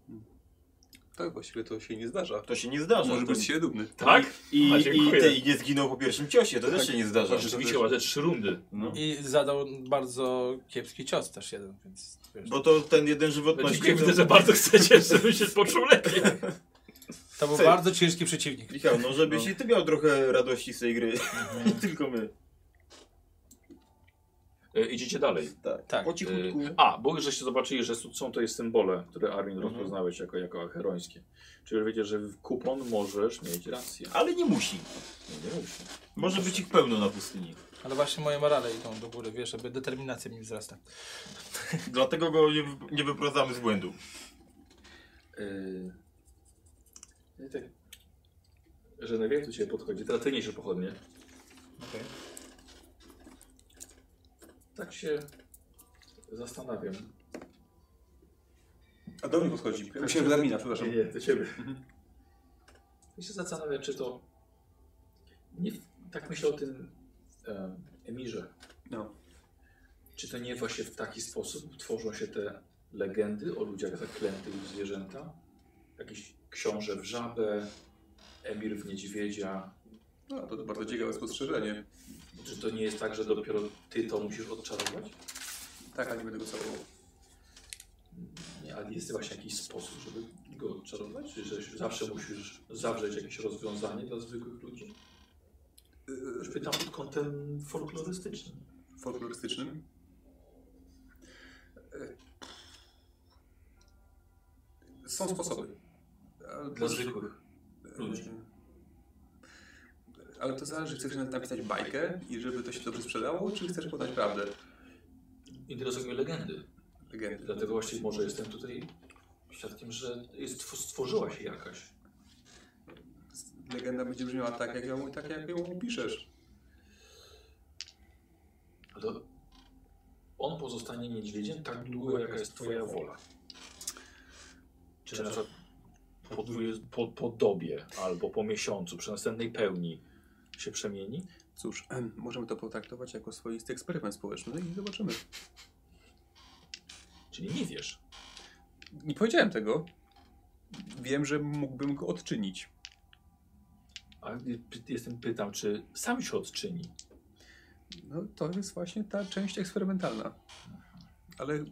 Speaker 4: Tak, właściwie to się nie zdarza.
Speaker 5: To się nie zdarza.
Speaker 4: Może
Speaker 5: to...
Speaker 4: być się dumny.
Speaker 2: Tak?
Speaker 5: I,
Speaker 2: A,
Speaker 5: i,
Speaker 2: dziękuję.
Speaker 5: te, I nie zginął po pierwszym ciosie, to
Speaker 4: Tak.
Speaker 5: też się nie zdarza.
Speaker 4: Znaczy,
Speaker 2: Rzeczywiście ma te trzy rundy.
Speaker 5: No.
Speaker 10: i zadał bardzo kiepski cios też jeden, więc wiesz,
Speaker 5: Bo to ten jeden żywotności...
Speaker 2: Dziękuję,
Speaker 5: to-
Speaker 2: widzę, że bardzo chcecie, żeby się poczuł lepiej.
Speaker 10: to był
Speaker 5: Ty.
Speaker 10: bardzo ciężki przeciwnik.
Speaker 5: Michał, no Mhm. żebyś
Speaker 10: No.
Speaker 5: i ty miał trochę radości z tej gry. <laughs> Nie tylko my.
Speaker 2: E, idziecie dalej.
Speaker 5: Tak.
Speaker 10: Tak.
Speaker 5: Po cichutku.
Speaker 2: E, a, bo już żeście zobaczyli, że są to jest symbole, które Armin rozpoznałeś jako, jako herońskie. Czyli wiecie, że w kupon możesz mieć rację.
Speaker 5: Ale nie musi.
Speaker 2: Nie, nie musi.
Speaker 5: Może być ich pełno na pustyni.
Speaker 10: Ale właśnie moje morale idą do góry, wiesz, żeby determinacja mi wzrasta.
Speaker 5: Dlatego go nie, wy- nie wyprowadzamy z błędu.
Speaker 2: Yy... Tak. Że na wiek tu się podchodzi, teraz ty niesie pochodnie. Tak się zastanawiam.
Speaker 4: A do mnie podchodzi. Myślałem, że Darmina, przepraszam.
Speaker 2: Nie, do ciebie. I się zastanawiam, czy to. Nie, tak myślę o tym e, Emirze.
Speaker 4: No.
Speaker 2: Czy to nie właśnie w taki sposób tworzą się te legendy o ludziach zaklętych w zwierzęta? Jakiś książę w żabę, Emir w niedźwiedzia.
Speaker 4: No, to, to bardzo ciekawe spostrzeżenie.
Speaker 2: Czy to nie jest tak, że dopiero ty to musisz odczarować?
Speaker 4: Tak, a nie będę go całował.
Speaker 2: Nie, ale jest właśnie jakiś sposób, żeby go odczarować? Czy że zawsze musisz zawrzeć jakieś rozwiązanie dla zwykłych ludzi? Już pytam pod kątem folklorystycznym.
Speaker 4: folklorystycznym. E, Są sposoby. Ale
Speaker 2: Dla
Speaker 4: to-
Speaker 2: zwykłych ludzi.
Speaker 4: Ale to zależy, chcesz napisać bajkę i żeby to się dobrze sprzedało, czy chcesz podać prawdę,
Speaker 2: Interesują mnie legendy.
Speaker 4: legendy.
Speaker 2: Dlatego właśnie może jestem tutaj świadkiem, że jest, stworzyła się jakaś.
Speaker 4: Legenda będzie brzmiała tak, jak ją, tak jak ją piszesz.
Speaker 2: Ale on pozostanie niedźwiedziem tak długo, jaka jest twoja wola. Czy na przykład po, dwuje- po, po dobie albo po miesiącu, przy następnej pełni się przemieni?
Speaker 4: Cóż, em, możemy to potraktować jako swoisty eksperyment społeczny i zobaczymy.
Speaker 2: Czyli nie wiesz.
Speaker 4: Nie powiedziałem tego. Wiem, że mógłbym go odczynić.
Speaker 2: A py- jestem pytam, czy sam się odczyni?
Speaker 4: No to jest właśnie ta część eksperymentalna. Ale y,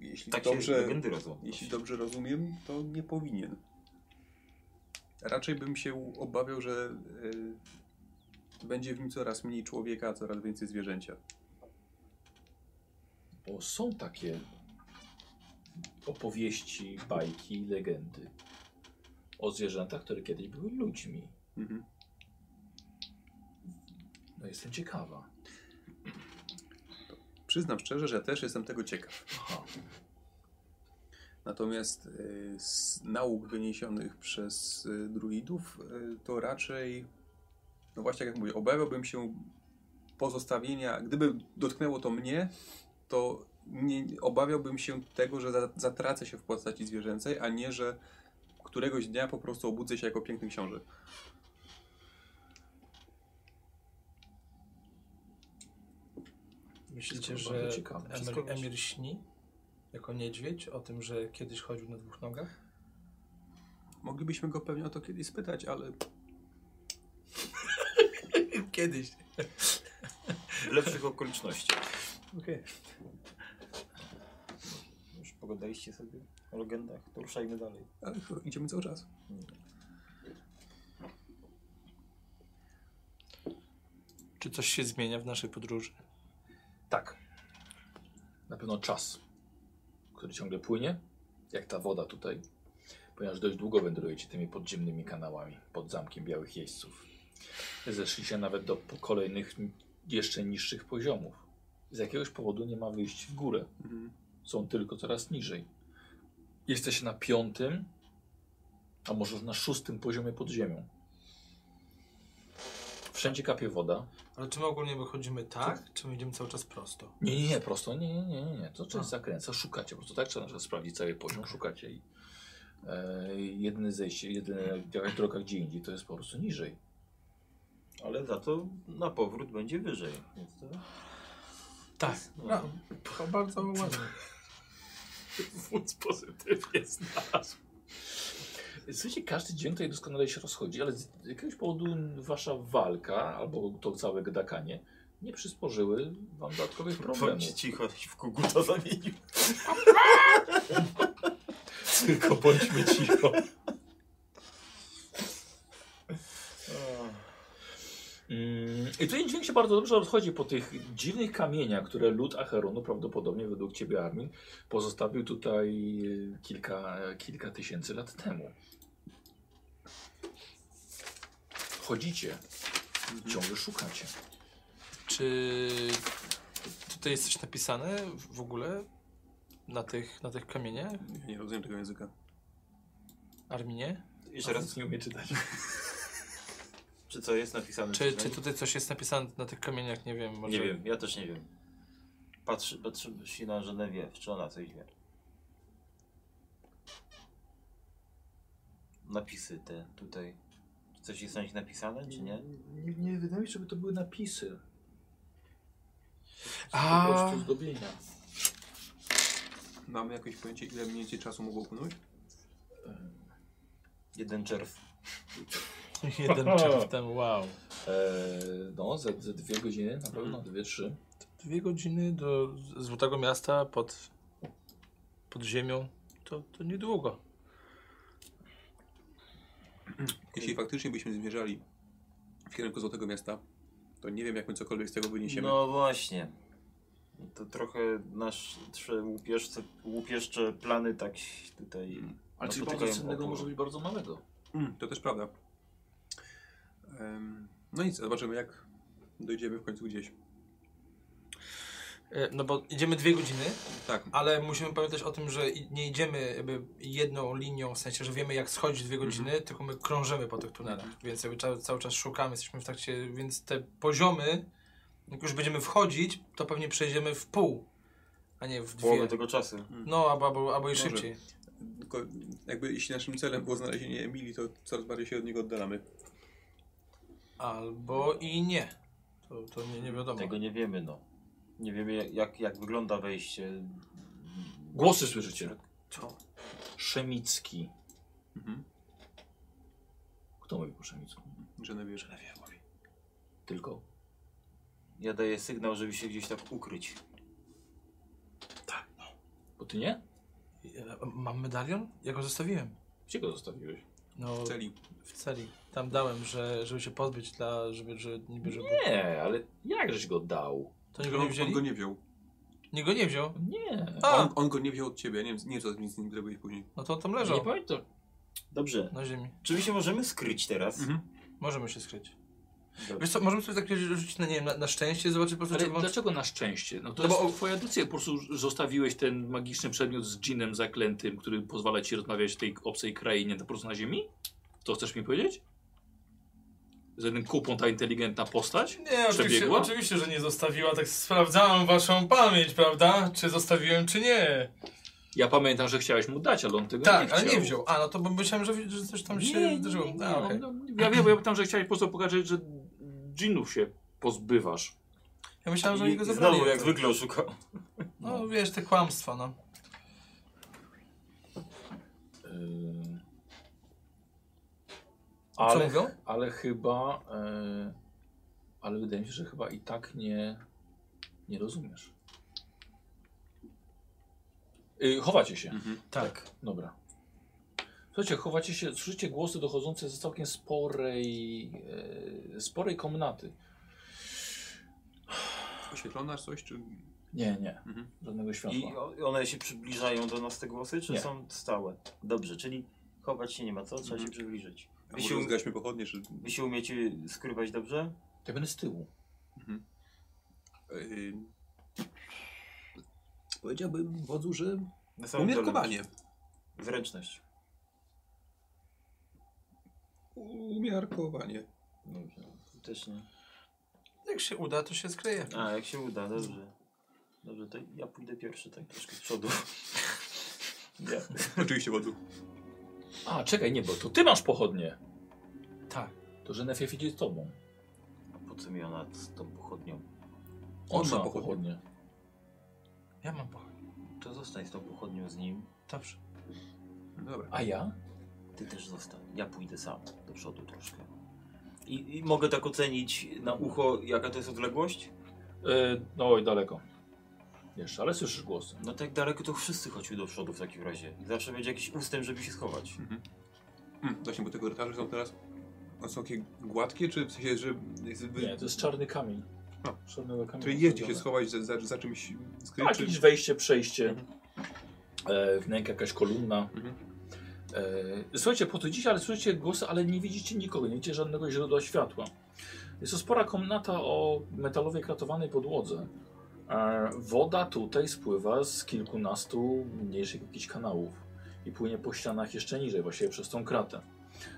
Speaker 4: jeśli,
Speaker 5: Tak się
Speaker 4: dobrze,
Speaker 5: legendy rodzą.
Speaker 4: jeśli dobrze rozumiem, to nie powinien. Raczej bym się obawiał, że y, będzie w nim coraz mniej człowieka, a coraz więcej zwierzęcia.
Speaker 2: Bo są takie opowieści, bajki i legendy o zwierzętach, które kiedyś były ludźmi.
Speaker 4: Mhm.
Speaker 2: No jestem ciekawa.
Speaker 4: Przyznam szczerze, że też jestem tego ciekaw.
Speaker 2: Aha.
Speaker 4: Natomiast y, z nauk wyniesionych przez y, druidów, y, to raczej, no właśnie jak mówię, obawiałbym się pozostawienia, gdyby dotknęło to mnie, to nie, obawiałbym się tego, że za, zatracę się w postaci zwierzęcej, a nie, że któregoś dnia po prostu obudzę się jako piękny książę.
Speaker 10: Myślicie,
Speaker 2: Wszystko
Speaker 10: że
Speaker 2: bardzo ciekawe. Wszystko
Speaker 10: Emir,
Speaker 2: jest-
Speaker 10: Emir śni jako niedźwiedź o tym, że kiedyś chodził na dwóch nogach?
Speaker 4: Moglibyśmy go pewnie o to kiedyś spytać, ale
Speaker 10: <laughs> Kiedyś.
Speaker 5: W lepszych okolicznościach.
Speaker 10: Okej.
Speaker 5: Już pogadaliście sobie?
Speaker 6: o legendach, to ruszajmy dalej.
Speaker 4: Ale to idziemy cały czas.
Speaker 10: Czy coś się zmienia w naszej podróży?
Speaker 2: Tak. Na pewno czas, który ciągle płynie, jak ta woda tutaj, ponieważ dość długo wędrujecie tymi podziemnymi kanałami pod zamkiem Białych Jeźdźców. Zeszliście nawet do po- kolejnych, n- jeszcze niższych poziomów. Z jakiegoś powodu nie ma wyjść w górę. Są tylko coraz niżej. Jesteście na piątym, a może już na szóstym poziomie pod ziemią. Wszędzie kapie woda.
Speaker 10: Ale czy my ogólnie wychodzimy tak, czy my idziemy cały czas prosto?
Speaker 2: Nie, nie, nie, prosto, nie, nie, nie, nie, nie. to część zakręca, szukacie, po prostu tak trzeba na przykład sprawdzić cały poziom, szukacie i e, jedyne zejście, jedyne jakaś droga gdzie indziej, to jest po prostu niżej.
Speaker 5: Ale za to na powrót będzie wyżej. Więc to...
Speaker 10: Tak. No, to bardzo ładnie.
Speaker 2: <laughs> Wódz pozytywnie znalazł. Słuchajcie, każdy dzień tutaj doskonale się rozchodzi, ale z jakiegoś powodu wasza walka, albo to całe gdakanie, nie przysporzyły wam dodatkowych problemów.
Speaker 5: Bądź cicho, się w koguta zamienił.
Speaker 2: Tylko bądźmy cicho. Mm, I tutaj dźwięk się bardzo dobrze rozchodzi po tych dziwnych kamieniach, które lud Acheronu prawdopodobnie według ciebie Armin pozostawił tutaj e, kilka, kilka tysięcy lat temu. Chodzicie,
Speaker 5: Mhm.
Speaker 2: ciągle szukacie.
Speaker 10: Czy tutaj jest coś napisane w ogóle na tych, na tych kamieniach?
Speaker 4: Ja nie rozumiem tego języka.
Speaker 10: Arminie?
Speaker 5: Jeszcze raz,
Speaker 2: nie umie czytać.
Speaker 5: czy co jest napisane?
Speaker 10: Czy,
Speaker 5: tutaj?
Speaker 10: czy tutaj coś jest napisane na tych kamieniach? Nie wiem, może...
Speaker 5: Nie wiem, ja też nie wiem. Patrzy, patrzy się na Żenewiew, czy ona coś wie. Napisy te tutaj. Czy coś jest na nich napisane, czy nie?
Speaker 2: Nie, nie wydaje mi się, żeby to były napisy.
Speaker 10: A.
Speaker 2: Po prostu zdobienia.
Speaker 4: Mamy jakieś pojęcie, ile mniej więcej czasu mogło upłynąć?
Speaker 5: Jeden czerw.
Speaker 10: <laughs> Jeden czerw temu, wow.
Speaker 2: Eee, no, ze, ze dwie godziny na pewno, dwie, trzy.
Speaker 10: Dwie godziny do Złotego Miasta pod, pod ziemią, to, to niedługo.
Speaker 4: Jeśli faktycznie byśmy zmierzali w kierunku Złotego Miasta, to nie wiem, jak my cokolwiek z tego wyniesiemy.
Speaker 5: No właśnie. To trochę nasz trzy łupieżce, łupieżcze plany tak się tutaj...
Speaker 2: Ale
Speaker 5: No,
Speaker 2: coś
Speaker 5: potykają
Speaker 2: bardzo cennego
Speaker 5: opór.
Speaker 2: może być bardzo małego.
Speaker 4: Mm, to też prawda. Em, no nic, zobaczymy, jak dojdziemy w końcu gdzieś.
Speaker 10: E, No bo idziemy dwie godziny,
Speaker 4: Tak,
Speaker 10: ale musimy pamiętać o tym, że i- nie idziemy jakby jedną linią, w sensie, że wiemy jak schodzić dwie godziny, tylko my krążymy po tych tunelach, więc jakby cały, cały czas szukamy, jesteśmy w trakcie, więc te poziomy, jak już będziemy wchodzić, to pewnie przejdziemy w pół, a nie w
Speaker 5: Połowę
Speaker 10: dwie.
Speaker 5: tego czasu.
Speaker 10: No, albo, albo, albo i
Speaker 4: Może.
Speaker 10: szybciej.
Speaker 4: tylko jakby jeśli naszym celem było znalezienie Emilii, to coraz bardziej się od niego oddalamy.
Speaker 10: Albo i nie. To, to nie, nie wiadomo.
Speaker 5: Tego nie wiemy, no. Nie wiemy jak- jak, jak wygląda wejście.
Speaker 2: Głosy słyszycie.
Speaker 10: Co?
Speaker 2: Szemicki.
Speaker 4: Mhm.
Speaker 2: Kto mówi po szemicku?
Speaker 4: Genevieve.
Speaker 2: Tylko.
Speaker 5: Ja daję sygnał, żeby się gdzieś tak ukryć.
Speaker 2: Bo ty nie?
Speaker 10: Ja- Mam medalion? Ja go zostawiłem.
Speaker 2: Gdzie go zostawiłeś?
Speaker 10: No,
Speaker 4: W celi.
Speaker 10: w celi. Tam dałem, że, żeby się pozbyć dla, żeby, że niby, żeby...
Speaker 2: Nie, ale jakżeś go dał?
Speaker 10: To nie go
Speaker 4: On,
Speaker 10: nie
Speaker 4: on
Speaker 10: wzięli?
Speaker 4: go nie wziął.
Speaker 10: Nie go nie wziął?
Speaker 2: Nie.
Speaker 10: A,
Speaker 4: On, on go nie wziął od ciebie, nie wiem, nie wiem co z nim zrobiłeś później.
Speaker 10: no to on tam
Speaker 2: Nie
Speaker 10: leżał
Speaker 2: pamiętam.
Speaker 5: Dobrze.
Speaker 10: na ziemi.
Speaker 5: Czy my się możemy skryć teraz?
Speaker 4: Mhm.
Speaker 10: Możemy się skryć.
Speaker 5: Dobrze.
Speaker 10: Wiesz co, możemy sobie takie rzucić na, nie wiem, na, na szczęście, zobaczyć po prostu,
Speaker 2: Ale
Speaker 10: czy mam...
Speaker 2: dlaczego na szczęście? No to
Speaker 10: No bo-
Speaker 2: jest twoja decyzja. Po prostu zostawiłeś ten magiczny przedmiot z dżinem zaklętym, który pozwala ci rozmawiać w tej obcej krainie po prostu na ziemi? To chcesz mi powiedzieć? Z jednym kupą ta inteligentna postać?
Speaker 10: Nie,
Speaker 2: przebiegła?
Speaker 10: oczywiście, że nie zostawiła. Tak sprawdzałem waszą pamięć, prawda? Czy zostawiłem, czy nie.
Speaker 2: Ja pamiętam, że chciałeś mu dać, ale on tego nie
Speaker 10: Tak,
Speaker 2: chciał.
Speaker 10: ale nie wziął. A, no to bo myślałem, że, że coś tam się zdarzyło.
Speaker 2: Nie, nie,
Speaker 10: A, okej.
Speaker 2: no, ja wiem, bo ja pytam, że chciałeś po prostu pokazać, że dżinów się pozbywasz.
Speaker 10: Ja myślałem, że oni go
Speaker 5: I
Speaker 10: zabrali.
Speaker 5: Znowu jak zwykle oszukał.
Speaker 10: No wiesz, te kłamstwa, no. E, Co
Speaker 2: Ale,
Speaker 10: mówią?
Speaker 2: ale chyba... e, ale wydaje mi się, że chyba i tak nie, nie rozumiesz. Y, chowacie się.
Speaker 10: Tak.
Speaker 2: Dobra. Słuchajcie, chowacie się, słyszycie głosy dochodzące z całkiem sporej, e, sporej komnaty.
Speaker 4: Oświetlona coś, czy...
Speaker 2: Nie, nie,
Speaker 4: Mhm.
Speaker 2: żadnego
Speaker 5: I
Speaker 2: światła.
Speaker 5: o- one się przybliżają do nas te głosy, czy
Speaker 2: Nie.
Speaker 5: są stałe? Dobrze, czyli chować się nie ma co, trzeba się przybliżyć.
Speaker 4: A
Speaker 5: Mhm. Wy
Speaker 4: może
Speaker 5: się,
Speaker 4: zgaśmy pochodnie, czy...
Speaker 5: wy się umiecie skrywać dobrze?
Speaker 2: To ja będę z tyłu.
Speaker 4: Yy... Powiedziałbym wodzu, że
Speaker 5: Na samym dole.
Speaker 4: umiarkowanie.
Speaker 5: Zręczność.
Speaker 4: Umiarkowanie.
Speaker 5: Dobrze. No, Też nie.
Speaker 10: Jak się uda, to się skryje.
Speaker 5: A, jak się uda, dobrze. Dobrze, to ja pójdę pierwszy, tak troszkę z przodu.
Speaker 4: <laughs> Oczywiście wodzu.
Speaker 2: <laughs> A, czekaj, nie, bo to ty masz pochodnie.
Speaker 10: Tak.
Speaker 2: To że Nefiew idzie z tobą.
Speaker 5: A po co mi ona z tą pochodnią?
Speaker 2: On,
Speaker 4: On
Speaker 2: ma
Speaker 4: ma
Speaker 2: pochodnie.
Speaker 10: Ja mam pochodnie.
Speaker 5: To zostań z tą pochodnią z nim.
Speaker 10: Dobrze.
Speaker 4: Dobra.
Speaker 2: A ja?
Speaker 5: Ty też zostań. Ja pójdę sam do przodu troszkę. I, I mogę tak ocenić na ucho, jaka to jest odległość?
Speaker 2: E, no oj, daleko. Jeszcze, ale słyszysz głosy.
Speaker 5: No tak daleko to wszyscy chodźmy do przodu w takim razie. Zawsze będzie jakiś ustęp, żeby się schować.
Speaker 4: Mhm. Mm, Właśnie, bo te korytarze są teraz... One są takie gładkie, czy w sensie, że... Jest wy...
Speaker 2: Nie, to jest czarny kamień.
Speaker 4: No.
Speaker 2: Czarnego kamienia.
Speaker 4: Czyli jest gdzie się
Speaker 2: zrobione.
Speaker 4: schować za, za, za czymś skryć,
Speaker 2: Tak,
Speaker 4: czy...
Speaker 2: jakieś wejście, przejście, e, wnęka jakaś kolumna.
Speaker 4: Mhm.
Speaker 2: E, słuchajcie, podchodzicie, ale słyszycie głosy, ale nie widzicie nikogo, nie widzicie żadnego źródła światła. Jest to spora komnata o metalowej kratowanej podłodze. E, woda tutaj spływa z kilkunastu mniejszych jakichś kanałów i płynie po ścianach jeszcze niżej, właściwie przez tą kratę.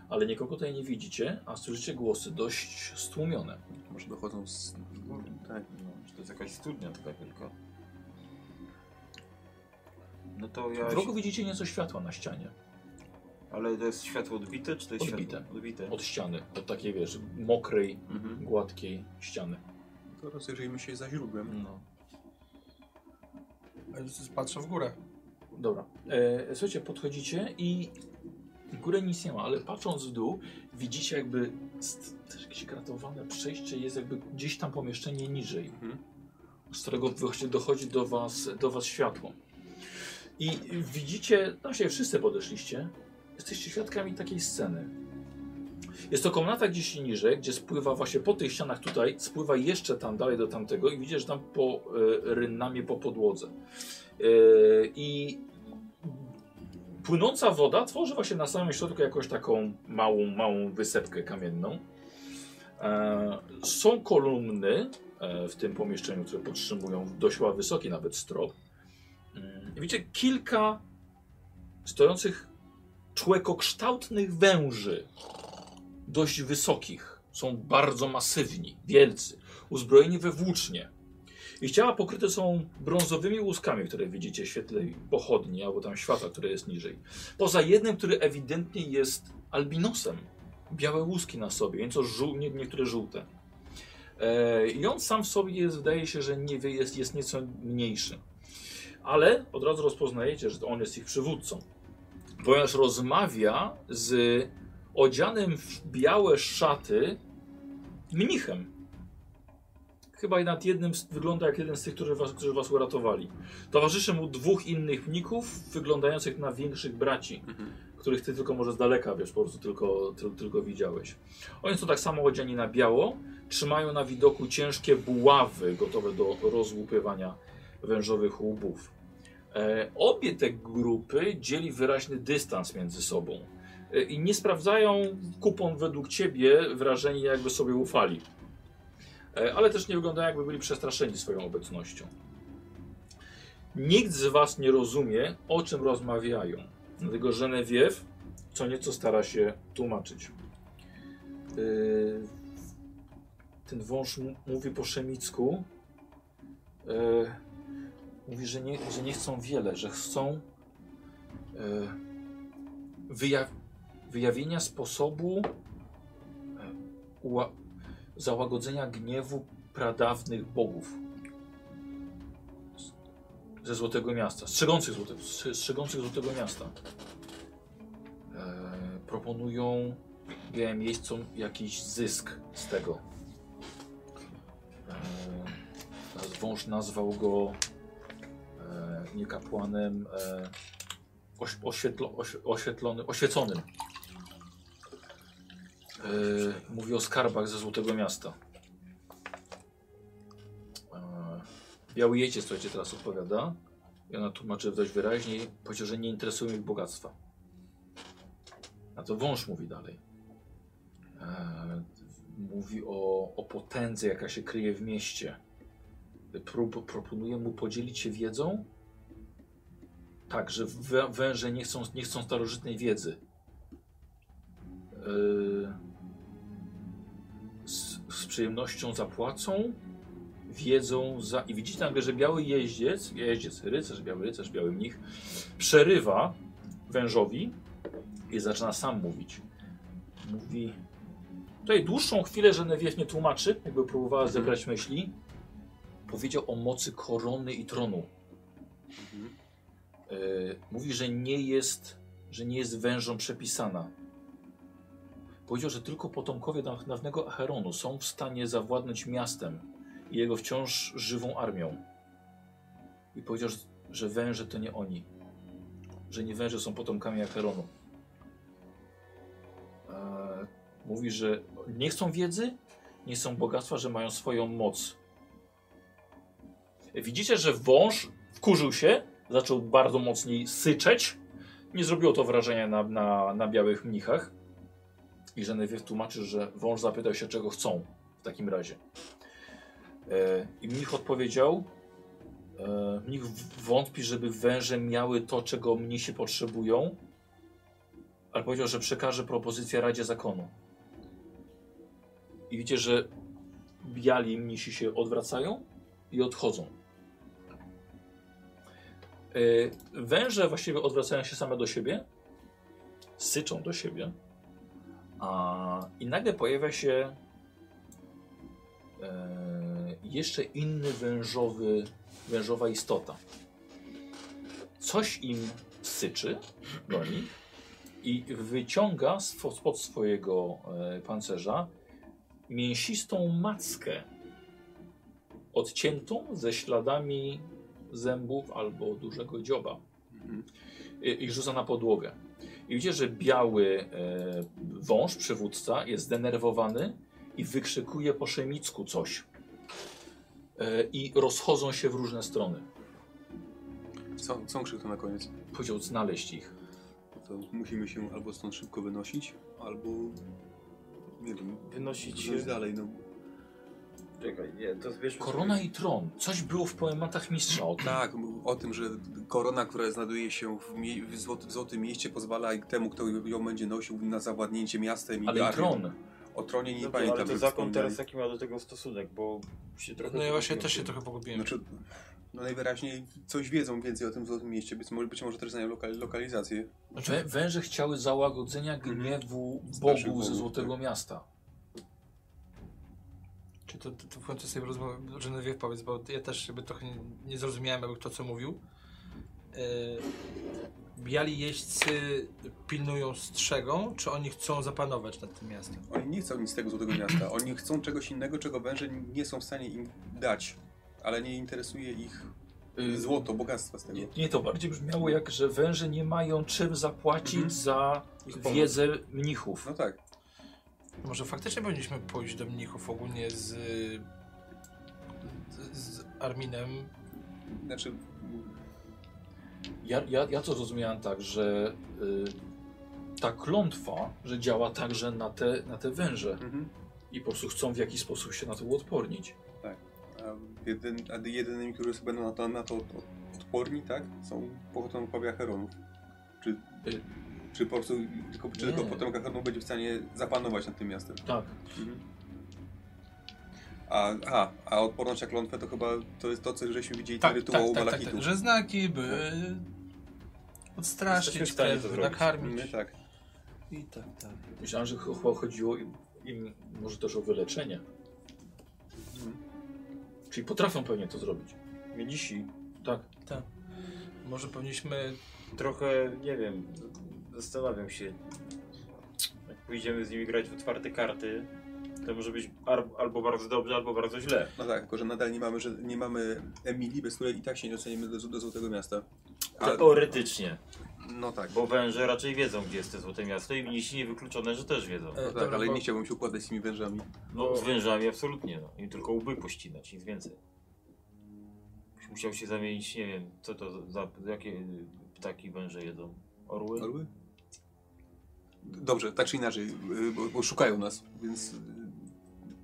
Speaker 2: Ale nikogo tutaj nie widzicie, a słyszycie głosy dość stłumione.
Speaker 4: Może dochodzą z...
Speaker 5: Tak. No, czy to jest jakaś studnia taka wielka. No to ja...
Speaker 2: W rogu widzicie nieco światła na ścianie.
Speaker 5: Ale to jest światło odbite, czy to jest
Speaker 2: Odbite.
Speaker 5: światło odbite?
Speaker 2: od ściany, od takiej wiesz, mokrej,
Speaker 5: Mhm.
Speaker 2: gładkiej ściany.
Speaker 4: To rozejrzyjmy się za źródłem.
Speaker 2: No.
Speaker 10: Patrzę w górę.
Speaker 2: Dobra. E, słuchajcie, podchodzicie i w górę nic nie ma, ale patrząc w dół widzicie jakby st- też jakieś kratowane przejście jest jakby gdzieś tam pomieszczenie niżej,
Speaker 4: Mhm.
Speaker 2: z którego właśnie dochodzi do was, do was światło. I widzicie, no się wszyscy podeszliście, jesteście świadkami takiej sceny. Jest to komnata gdzieś niżej, gdzie spływa właśnie po tych ścianach tutaj, spływa jeszcze tam dalej do tamtego i widzisz tam po e, rynnamie po podłodze. E, I płynąca woda tworzy właśnie na samym środku jakąś taką małą, małą wysepkę kamienną. E, są kolumny e, w tym pomieszczeniu, które podtrzymują dość ła- wysoki nawet strop. Mm, i Widzicie kilka stojących człekokształtnych węży, dość wysokich. Są bardzo masywni, wielcy, uzbrojeni we włócznie. Ich ciała pokryte są brązowymi łuskami, które widzicie w świetle pochodni albo tam światła, które jest niżej. Poza jednym, który ewidentnie jest albinosem. Białe łuski na sobie, nieco żół, nie, niektóre żółte. E, I on sam w sobie jest, wydaje się, że nie wie, jest, jest nieco mniejszy. Ale od razu rozpoznajecie, że to on jest ich przywódcą. Ponieważ rozmawia z odzianym w białe szaty mnichem. Chyba i nad jednym z, wygląda jak jeden z tych, którzy was, którzy was uratowali. Towarzyszy mu dwóch innych mnichów, wyglądających na większych braci, których ty tylko może z daleka wiesz, po prostu tylko, ty, tylko widziałeś. Oni są tak samo odziani na biało, trzymają na widoku ciężkie buławy gotowe do rozłupywania wężowych łbów. E, obie te grupy dzieli wyraźny dystans między sobą e, i nie sprawdzają kupon według ciebie wrażeni, jakby sobie ufali. E, ale też nie wyglądają, jakby byli przestraszeni swoją obecnością. Nikt z was nie rozumie, o czym rozmawiają, dlatego Genevieve co nieco stara się tłumaczyć. Yy, Ten wąż m- mówi po szemicku. Yy, Mówi, że nie, że nie chcą wiele, że chcą e, yy, wyja wyjawienia sposobu yy, ua- załagodzenia gniewu pradawnych bogów Z- ze Złotego Miasta, strzegących, złote, strze- strzegących Złotego Miasta. E, proponują białym miejscom jakiś zysk z tego. E, naz- wąż nazwał go e, nie kapłanem e, oś, oświetlo, oś, oświetlonym, oświeconym. E, mówi o skarbach ze Złotego Miasta. E, Biały Jecie, słuchajcie, teraz odpowiada. I ona tłumaczy dość wyraźnie, powiedział, że nie interesują ich bogactwa. A to wąż mówi dalej. E, mówi o, o potędze, jaka się kryje w mieście. Prób, proponuje mu podzielić się wiedzą. Tak, że wę- węże nie chcą, nie chcą starożytnej wiedzy. E, Yy, z, z przyjemnością zapłacą, wiedzą za. I widzicie nagle, że biały jeździec, jeździec, rycerz, biały rycerz, biały mnich, przerywa wężowi i zaczyna sam mówić. Mówi. Tutaj dłuższą chwilę Genevieve nie tłumaczy, jakby próbowała zebrać myśli. Powiedział o mocy korony i tronu. E, mówi, że nie jest, że nie jest wężom przepisana. Powiedział, że tylko potomkowie daw- dawnego Acheronu są w stanie zawładnąć miastem i jego wciąż żywą armią. I powiedział, że- że węże to nie oni. Że nie węże są potomkami Acheronu. E, Mówi, że nie chcą wiedzy, nie są bogactwa, że mają swoją moc. Widzicie, że wąż wkurzył się, zaczął bardzo mocniej syczeć. Nie zrobiło to wrażenia na, na, na białych mnichach. I Genevieve tłumaczy, że wąż zapytał się, czego chcą w takim razie. E, I mnich odpowiedział, e, mnich w- wątpi, żeby węże miały to, czego mnisi potrzebują, ale powiedział, że przekaże propozycję Radzie Zakonu. I widzicie, że biali mnisi się odwracają i odchodzą. Yy, Węże właściwie odwracają się same do siebie, syczą do siebie, a, i nagle pojawia się yy, jeszcze inny wężowy, wężowa istota. Coś im syczy do nich i wyciąga swo- spod swojego e, pancerza mięsistą mackę odciętą ze śladami zębów albo dużego dzioba i, i rzuca na podłogę. I widzicie, że biały e, wąż, przywódca, jest zdenerwowany i wykrzykuje po szemicku coś. E, I rozchodzą się w różne strony.
Speaker 4: Co, co krzyk to na koniec?
Speaker 2: Powiedział znaleźć ich.
Speaker 4: To musimy się albo stąd szybko wynosić, albo... Nie wiem,
Speaker 5: Wynosić się.
Speaker 4: coś dalej, no.
Speaker 5: Czekaj, nie, to zbierzmy.
Speaker 2: Korona i tron. Coś było w poematach mistrza o tym.
Speaker 4: Tak, o tym, że korona, która znajduje się w, mie- w, złoty, w Złotym Mieście, pozwala temu, kto ją będzie nosił, na zawładnięcie miastem i
Speaker 2: Ale i
Speaker 4: armią.
Speaker 2: tron.
Speaker 4: O tronie nie
Speaker 5: No to,
Speaker 4: pamiętam.
Speaker 5: ale to
Speaker 4: jak
Speaker 5: zakon
Speaker 4: wspominali.
Speaker 5: teraz jaki ma do tego stosunek, bo się trochę...
Speaker 10: No ja właśnie
Speaker 5: pogubiłem
Speaker 10: też się
Speaker 5: w tym.
Speaker 10: trochę pogubiłem.
Speaker 4: Znaczy, no najwyraźniej coś wiedzą więcej o tym Złotym Mieście, być może, być może też znają lokal, lokalizację.
Speaker 2: Wę, węże chciały załagodzenia
Speaker 4: Mhm.
Speaker 2: gniewu Bogu ze
Speaker 4: bogów,
Speaker 2: Złotego Miasta.
Speaker 10: Czy to, to, to w końcu sobie rozmawiam, Genevieve powiedz, bo ja też jakby trochę nie, nie zrozumiałem jakby kto co mówił. E, biali jeźdźcy pilnują strzegą, czy oni chcą zapanować nad tym miastem?
Speaker 4: Oni nie chcą nic z tego Złotego Miasta, oni chcą czegoś innego, czego węże nie są w stanie im dać, ale nie interesuje ich
Speaker 2: Y,
Speaker 4: złoto, bogactwa z tego.
Speaker 2: Nie, nie, to bardziej brzmiało jak, że węże nie mają czym zapłacić
Speaker 4: Mhm.
Speaker 2: za
Speaker 4: Ich pomoc.
Speaker 2: wiedzę mnichów.
Speaker 4: No tak,
Speaker 10: Może faktycznie powinniśmy pójść do mnichów ogólnie z, z, z Arminem.
Speaker 4: znaczy
Speaker 2: Ja, ja, ja to zrozumiałem tak, że y, ta klątwa, że działa także na te, na te węże
Speaker 4: mhm.
Speaker 2: i po prostu chcą w jakiś sposób się na to uodpornić.
Speaker 4: A jedyn, a jedynymi, którzy będą na to, na to od- odporni, tak? Są potomkowie Acheronów. Czy,
Speaker 2: Y-
Speaker 4: czy po prostu tylko, czy tylko
Speaker 2: Nie.
Speaker 4: potomek Acheronów będzie w stanie zapanować nad tym miastem?
Speaker 2: Tak.
Speaker 4: A, a, a odporność na klątwę to chyba to jest to, co żeśmy widzieli ten rytuał tak, Malachitu. Tak,
Speaker 10: Że znaki, by odstraszyć,
Speaker 5: Tak. Jesteśmy w stanie to
Speaker 10: krew,
Speaker 5: zrobić.
Speaker 10: nakarmić.
Speaker 4: My, tak.
Speaker 10: I tak, tak.
Speaker 2: Myślałem, że chyba chodziło im, im może też o wyleczenie. Czyli potrafią pewnie to zrobić. Mnisi. Tak.
Speaker 10: Może powinniśmy
Speaker 5: Trochę, nie wiem, zastanawiam się. Jak pójdziemy z nimi grać w otwarte karty, To może być ar- albo bardzo dobrze, albo bardzo źle.
Speaker 4: No tak, tylko że nadal nie mamy, że nie mamy Emilii, bez której i tak się nie docenimy do, do Złotego Miasta.
Speaker 5: Tak.
Speaker 4: A,
Speaker 5: Teoretycznie.
Speaker 4: no tak,
Speaker 5: Bo węże raczej wiedzą, gdzie jest to złote miasto i mnisi niewykluczone, że też wiedzą.
Speaker 4: no tak
Speaker 10: dobra,
Speaker 4: ale
Speaker 10: bo-
Speaker 4: nie chciałbym się układać z tymi wężami.
Speaker 5: No, z wężami absolutnie, no. Im tylko łby pościnać, nic więcej. Byś Musiał się zamienić, nie wiem, co to za, jakie y, ptaki węże jedzą? Orły?
Speaker 4: Orły? Dobrze, tak czy inaczej, y, bo, bo szukają nas, więc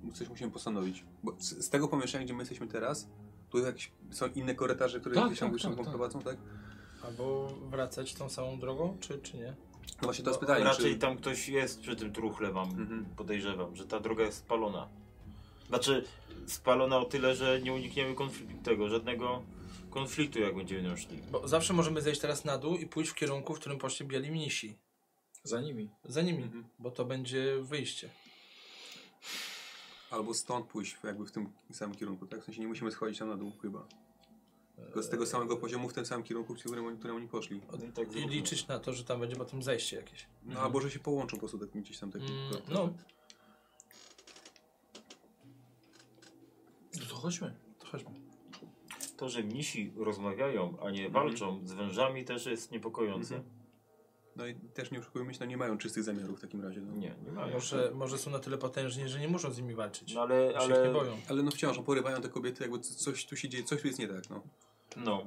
Speaker 4: y, coś musimy postanowić. Bo z, z tego pomieszczenia, gdzie my jesteśmy teraz, tu jakieś, są inne korytarze, które
Speaker 2: Tak,
Speaker 4: gdzieś tam
Speaker 2: tak,
Speaker 4: gdzieś tam
Speaker 2: tak, tak.
Speaker 4: prowadzą, tak?
Speaker 10: Albo wracać tą samą drogą, czy, czy nie?
Speaker 4: No właśnie to jest
Speaker 10: No,
Speaker 4: pytanie,
Speaker 5: Raczej
Speaker 4: czy...
Speaker 5: tam ktoś jest przy tym truchle, mam
Speaker 4: Mhm.
Speaker 5: podejrzewam, że ta droga jest spalona. Znaczy, spalona o tyle, że nie unikniemy konfliktu, tego, żadnego konfliktu, jak będziemy nią szli.
Speaker 10: Bo zawsze możemy zejść teraz na dół i pójść w kierunku, w którym poszli biali mnisi.
Speaker 2: Za nimi.
Speaker 10: Za nimi,
Speaker 4: Mhm.
Speaker 10: bo to będzie wyjście.
Speaker 4: Albo stąd pójść jakby w tym samym kierunku, tak? W sensie nie musimy schodzić tam na dół chyba. Tylko z tego samego poziomu w tym samym kierunku, w którym oni, którym oni poszli.
Speaker 5: No i tak
Speaker 10: I
Speaker 5: zróbmy.
Speaker 10: liczyć na to, że tam będzie potem zejście jakieś.
Speaker 4: No albo że się połączą po prostu tak gdzieś tam tak.
Speaker 10: Mm,
Speaker 4: tak-
Speaker 10: no,
Speaker 2: No to chodźmy.
Speaker 10: to chodźmy.
Speaker 5: To, że mnisi rozmawiają, a nie walczą z wężami, też jest niepokojące.
Speaker 4: No i też nie oszukujmy się, no nie mają czystych zamiarów w takim razie. No.
Speaker 5: Nie, nie mają.
Speaker 10: Może, może są na tyle potężni, że nie muszą z nimi walczyć.
Speaker 5: No ale,
Speaker 10: Się ich nie
Speaker 5: ale
Speaker 10: boją.
Speaker 4: Ale no wciąż, no, porywają te kobiety, jakby co- coś tu się dzieje, coś tu jest nie tak, no.
Speaker 5: no,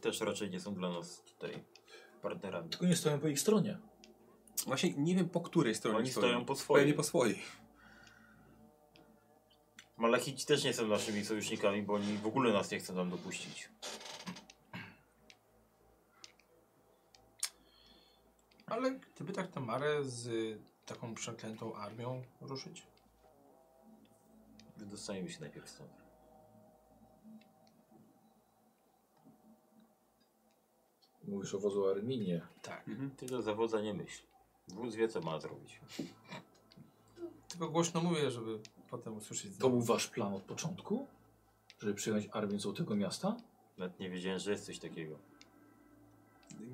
Speaker 5: też raczej nie są dla nas tutaj partnerami.
Speaker 2: Tylko nie stoją po ich stronie.
Speaker 4: Właśnie nie wiem po której stronie
Speaker 5: Oni stoją po
Speaker 4: Pewnie
Speaker 5: swojej.
Speaker 4: po swojej.
Speaker 5: Malachici też nie są naszymi sojusznikami, bo oni w ogóle nas nie chcą tam dopuścić.
Speaker 10: Ale gdyby tak Tamarę z y, taką przeklętą armią ruszyć?
Speaker 5: Wydostaniemy się najpierw stąd.
Speaker 2: Mówisz o wozu Arminie.
Speaker 10: Tak.
Speaker 5: Ty do zawodza nie myśl. Wódz wie, co ma zrobić.
Speaker 10: Tylko głośno mówię, żeby potem usłyszeć.
Speaker 2: To był wasz plan od początku? Żeby przyjąć armię Złotego Miasta?
Speaker 5: Nawet nie wiedziałem, że jest coś takiego.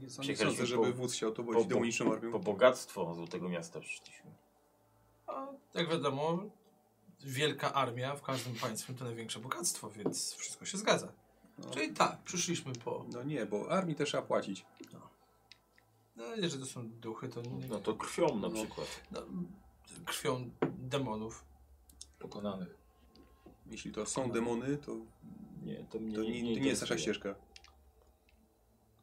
Speaker 4: Nie
Speaker 5: Przyjechaliśmy
Speaker 4: sądzę,
Speaker 5: po-
Speaker 4: żeby wódz się o to wodzić
Speaker 5: po-
Speaker 4: demoniczną armią.
Speaker 5: Po bogactwo złotego miasta przyszliśmy.
Speaker 10: A jak Tak wiadomo, wielka armia w każdym państwie to największe bogactwo, więc wszystko się zgadza.
Speaker 4: No.
Speaker 10: Czyli tak, przyszliśmy po.
Speaker 4: No nie, bo armii też trzeba płacić.
Speaker 10: No, jeżeli to są duchy, to nie.
Speaker 5: No to krwią na
Speaker 4: No.
Speaker 5: przykład.
Speaker 10: No, krwią demonów.
Speaker 2: Pokonanych.
Speaker 4: Jeśli to są demony, to,
Speaker 5: No. Nie, to mnie
Speaker 4: to nie, to nie jest nasza
Speaker 5: interesuje.
Speaker 4: ścieżka.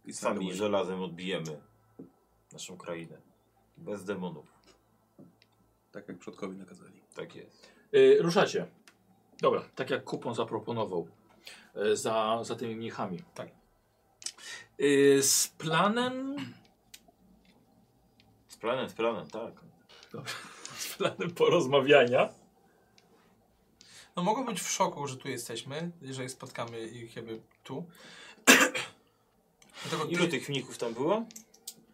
Speaker 4: I są
Speaker 5: Sami
Speaker 4: demony.
Speaker 5: żelazem odbijemy naszą krainę. Bez demonów.
Speaker 4: Tak jak przodkowie nakazali.
Speaker 5: Tak jest.
Speaker 2: E, ruszacie. Dobra, tak jak kupon zaproponował. E, za, za tymi mnichami.
Speaker 10: Tak.
Speaker 2: E, z planem...
Speaker 5: Z planem, z planem, tak.
Speaker 2: Z planem porozmawiania.
Speaker 10: No mogą być w szoku, że tu jesteśmy, jeżeli spotkamy ich jakby tu. <coughs> Dlatego
Speaker 5: Ilu
Speaker 10: ty-
Speaker 5: tych mnichów tam było?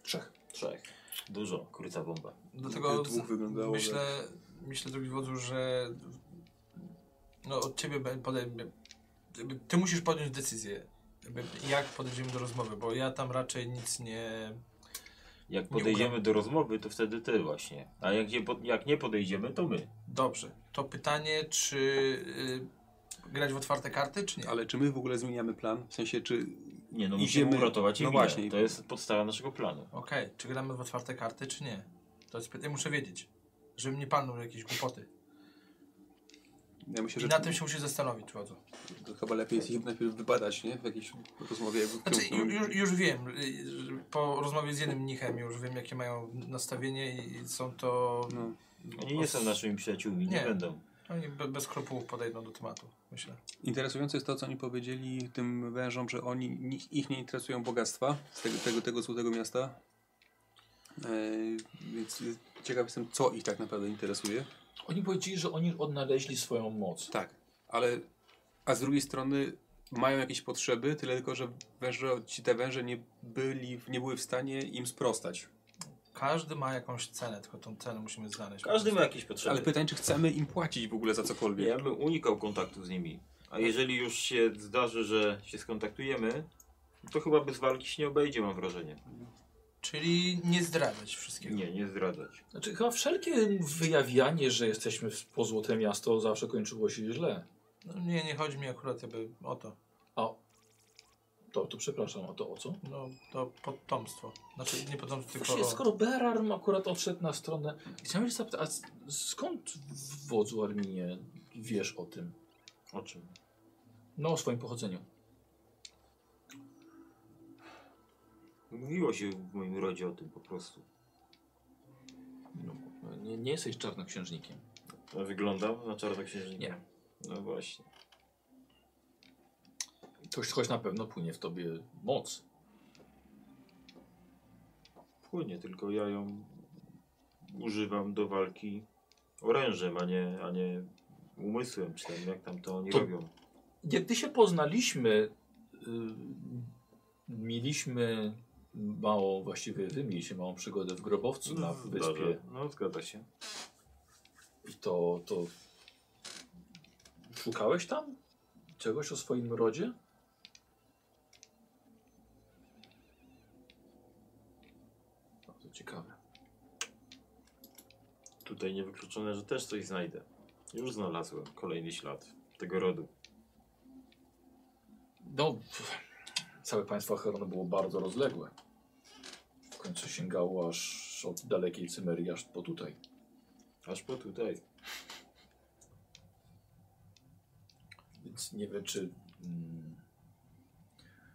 Speaker 2: Trzech.
Speaker 5: Trzech. Dużo. Kuryca bomba.
Speaker 10: Do No tego
Speaker 4: Dwóch wyglądało,
Speaker 10: myślę, myślę, drogi wodzu, że no, od ciebie be- podejmę. jakby Ty musisz podjąć decyzję, jakby jak podejdziemy do rozmowy, bo ja tam raczej nic nie.
Speaker 5: Jak
Speaker 10: ukra-
Speaker 5: podejdziemy do rozmowy, to wtedy ty właśnie. A jak nie, pod, jak nie podejdziemy, to my.
Speaker 10: Dobrze. To pytanie, czy y, grać w otwarte karty, czy nie?
Speaker 4: Ale czy my w ogóle zmieniamy plan? W sensie, czy...
Speaker 5: Nie, no
Speaker 4: Idziemy-
Speaker 5: musimy uratować
Speaker 4: no
Speaker 5: Emilię.
Speaker 4: właśnie.
Speaker 5: To jest podstawa naszego planu.
Speaker 10: Okej, czy gramy w otwarte karty, czy nie? To jest pytanie, muszę wiedzieć, żebym nie palnął jakieś głupoty.
Speaker 4: Ja myślę,
Speaker 10: I
Speaker 4: że
Speaker 10: na tym się musi zastanowić, wodzu.
Speaker 4: to chyba lepiej jest ich najpierw wybadać, nie? W jakiejś rozmowie. jakby w
Speaker 10: Znaczy,
Speaker 4: kierunku-
Speaker 10: ju- już, już wiem, y, y, po rozmowie z jednym mnichem, już wiem jakie mają nastawienie i i są to...
Speaker 4: No.
Speaker 5: Oni nie są naszymi przyjaciółmi, nie,
Speaker 10: Nie.
Speaker 5: będą.
Speaker 10: Oni be, bez skrupułów podejdą do tematu, myślę.
Speaker 4: Interesujące jest to, co oni powiedzieli tym wężom, że oni, ni- ich nie interesują bogactwa z tego, tego, tego złotego miasta. Yy, więc y, ciekaw jestem, co ich tak naprawdę interesuje.
Speaker 2: Oni powiedzieli, że oni odnaleźli swoją moc.
Speaker 4: Tak, ale a z drugiej strony mają jakieś potrzeby, tyle tylko, że węże, ci te węże nie, byli, nie były w stanie im sprostać.
Speaker 10: Każdy ma jakąś cenę, tylko tą cenę musimy znaleźć.
Speaker 5: Każdy ma jakieś potrzeby.
Speaker 4: Ale pytanie, czy chcemy im płacić w ogóle za cokolwiek?
Speaker 5: Ja bym unikał kontaktu z nimi. A jeżeli już się zdarzy, że się skontaktujemy, to chyba bez walki się nie obejdzie, mam wrażenie.
Speaker 10: Czyli nie zdradzać wszystkiego.
Speaker 5: Nie, nie zdradzać.
Speaker 2: Znaczy chyba wszelkie wyjawianie, że jesteśmy w- po Złote Miasto zawsze kończyło się źle.
Speaker 10: No, nie, nie chodzi mi akurat jakby o to.
Speaker 2: To, to przepraszam, a to o co?
Speaker 10: No, to potomstwo. Znaczy nie potomstwo, tylko...
Speaker 2: Właśnie, skoro Berarm akurat odszedł na stronę... Chciałem się zapytać, a s- skąd w wodzu Arminie wiesz o tym?
Speaker 5: O czym?
Speaker 2: No, o swoim pochodzeniu.
Speaker 5: Mówiło się w moim rodzie o tym po prostu.
Speaker 2: No, nie, nie jesteś czarnoksiężnikiem.
Speaker 5: A wyglądam na czarnoksiężnika?
Speaker 2: Nie.
Speaker 5: No właśnie.
Speaker 2: Coś, coś na pewno płynie w tobie moc.
Speaker 5: Płynie, tylko ja ją używam do walki orężem, a nie, a nie umysłem, czy tam jak tam to oni
Speaker 2: To-
Speaker 5: robią.
Speaker 2: Gdy się poznaliśmy, y, mieliśmy mało, właściwie wy mieliście małą przygodę w grobowcu na wyspie.
Speaker 5: No, Dobrze. No zgadza się.
Speaker 2: I to, to... Szukałeś tam czegoś o swoim rodzie? Bardzo ciekawe.
Speaker 5: Tutaj niewykluczone, że też coś znajdę. Już znalazłem kolejny ślad tego rodu.
Speaker 2: No, pff, całe państwo Acheronu było bardzo rozległe. W końcu sięgało aż od dalekiej Cymerii, aż po tutaj.
Speaker 5: Aż po tutaj.
Speaker 2: Więc nie wiem, czy... Mm,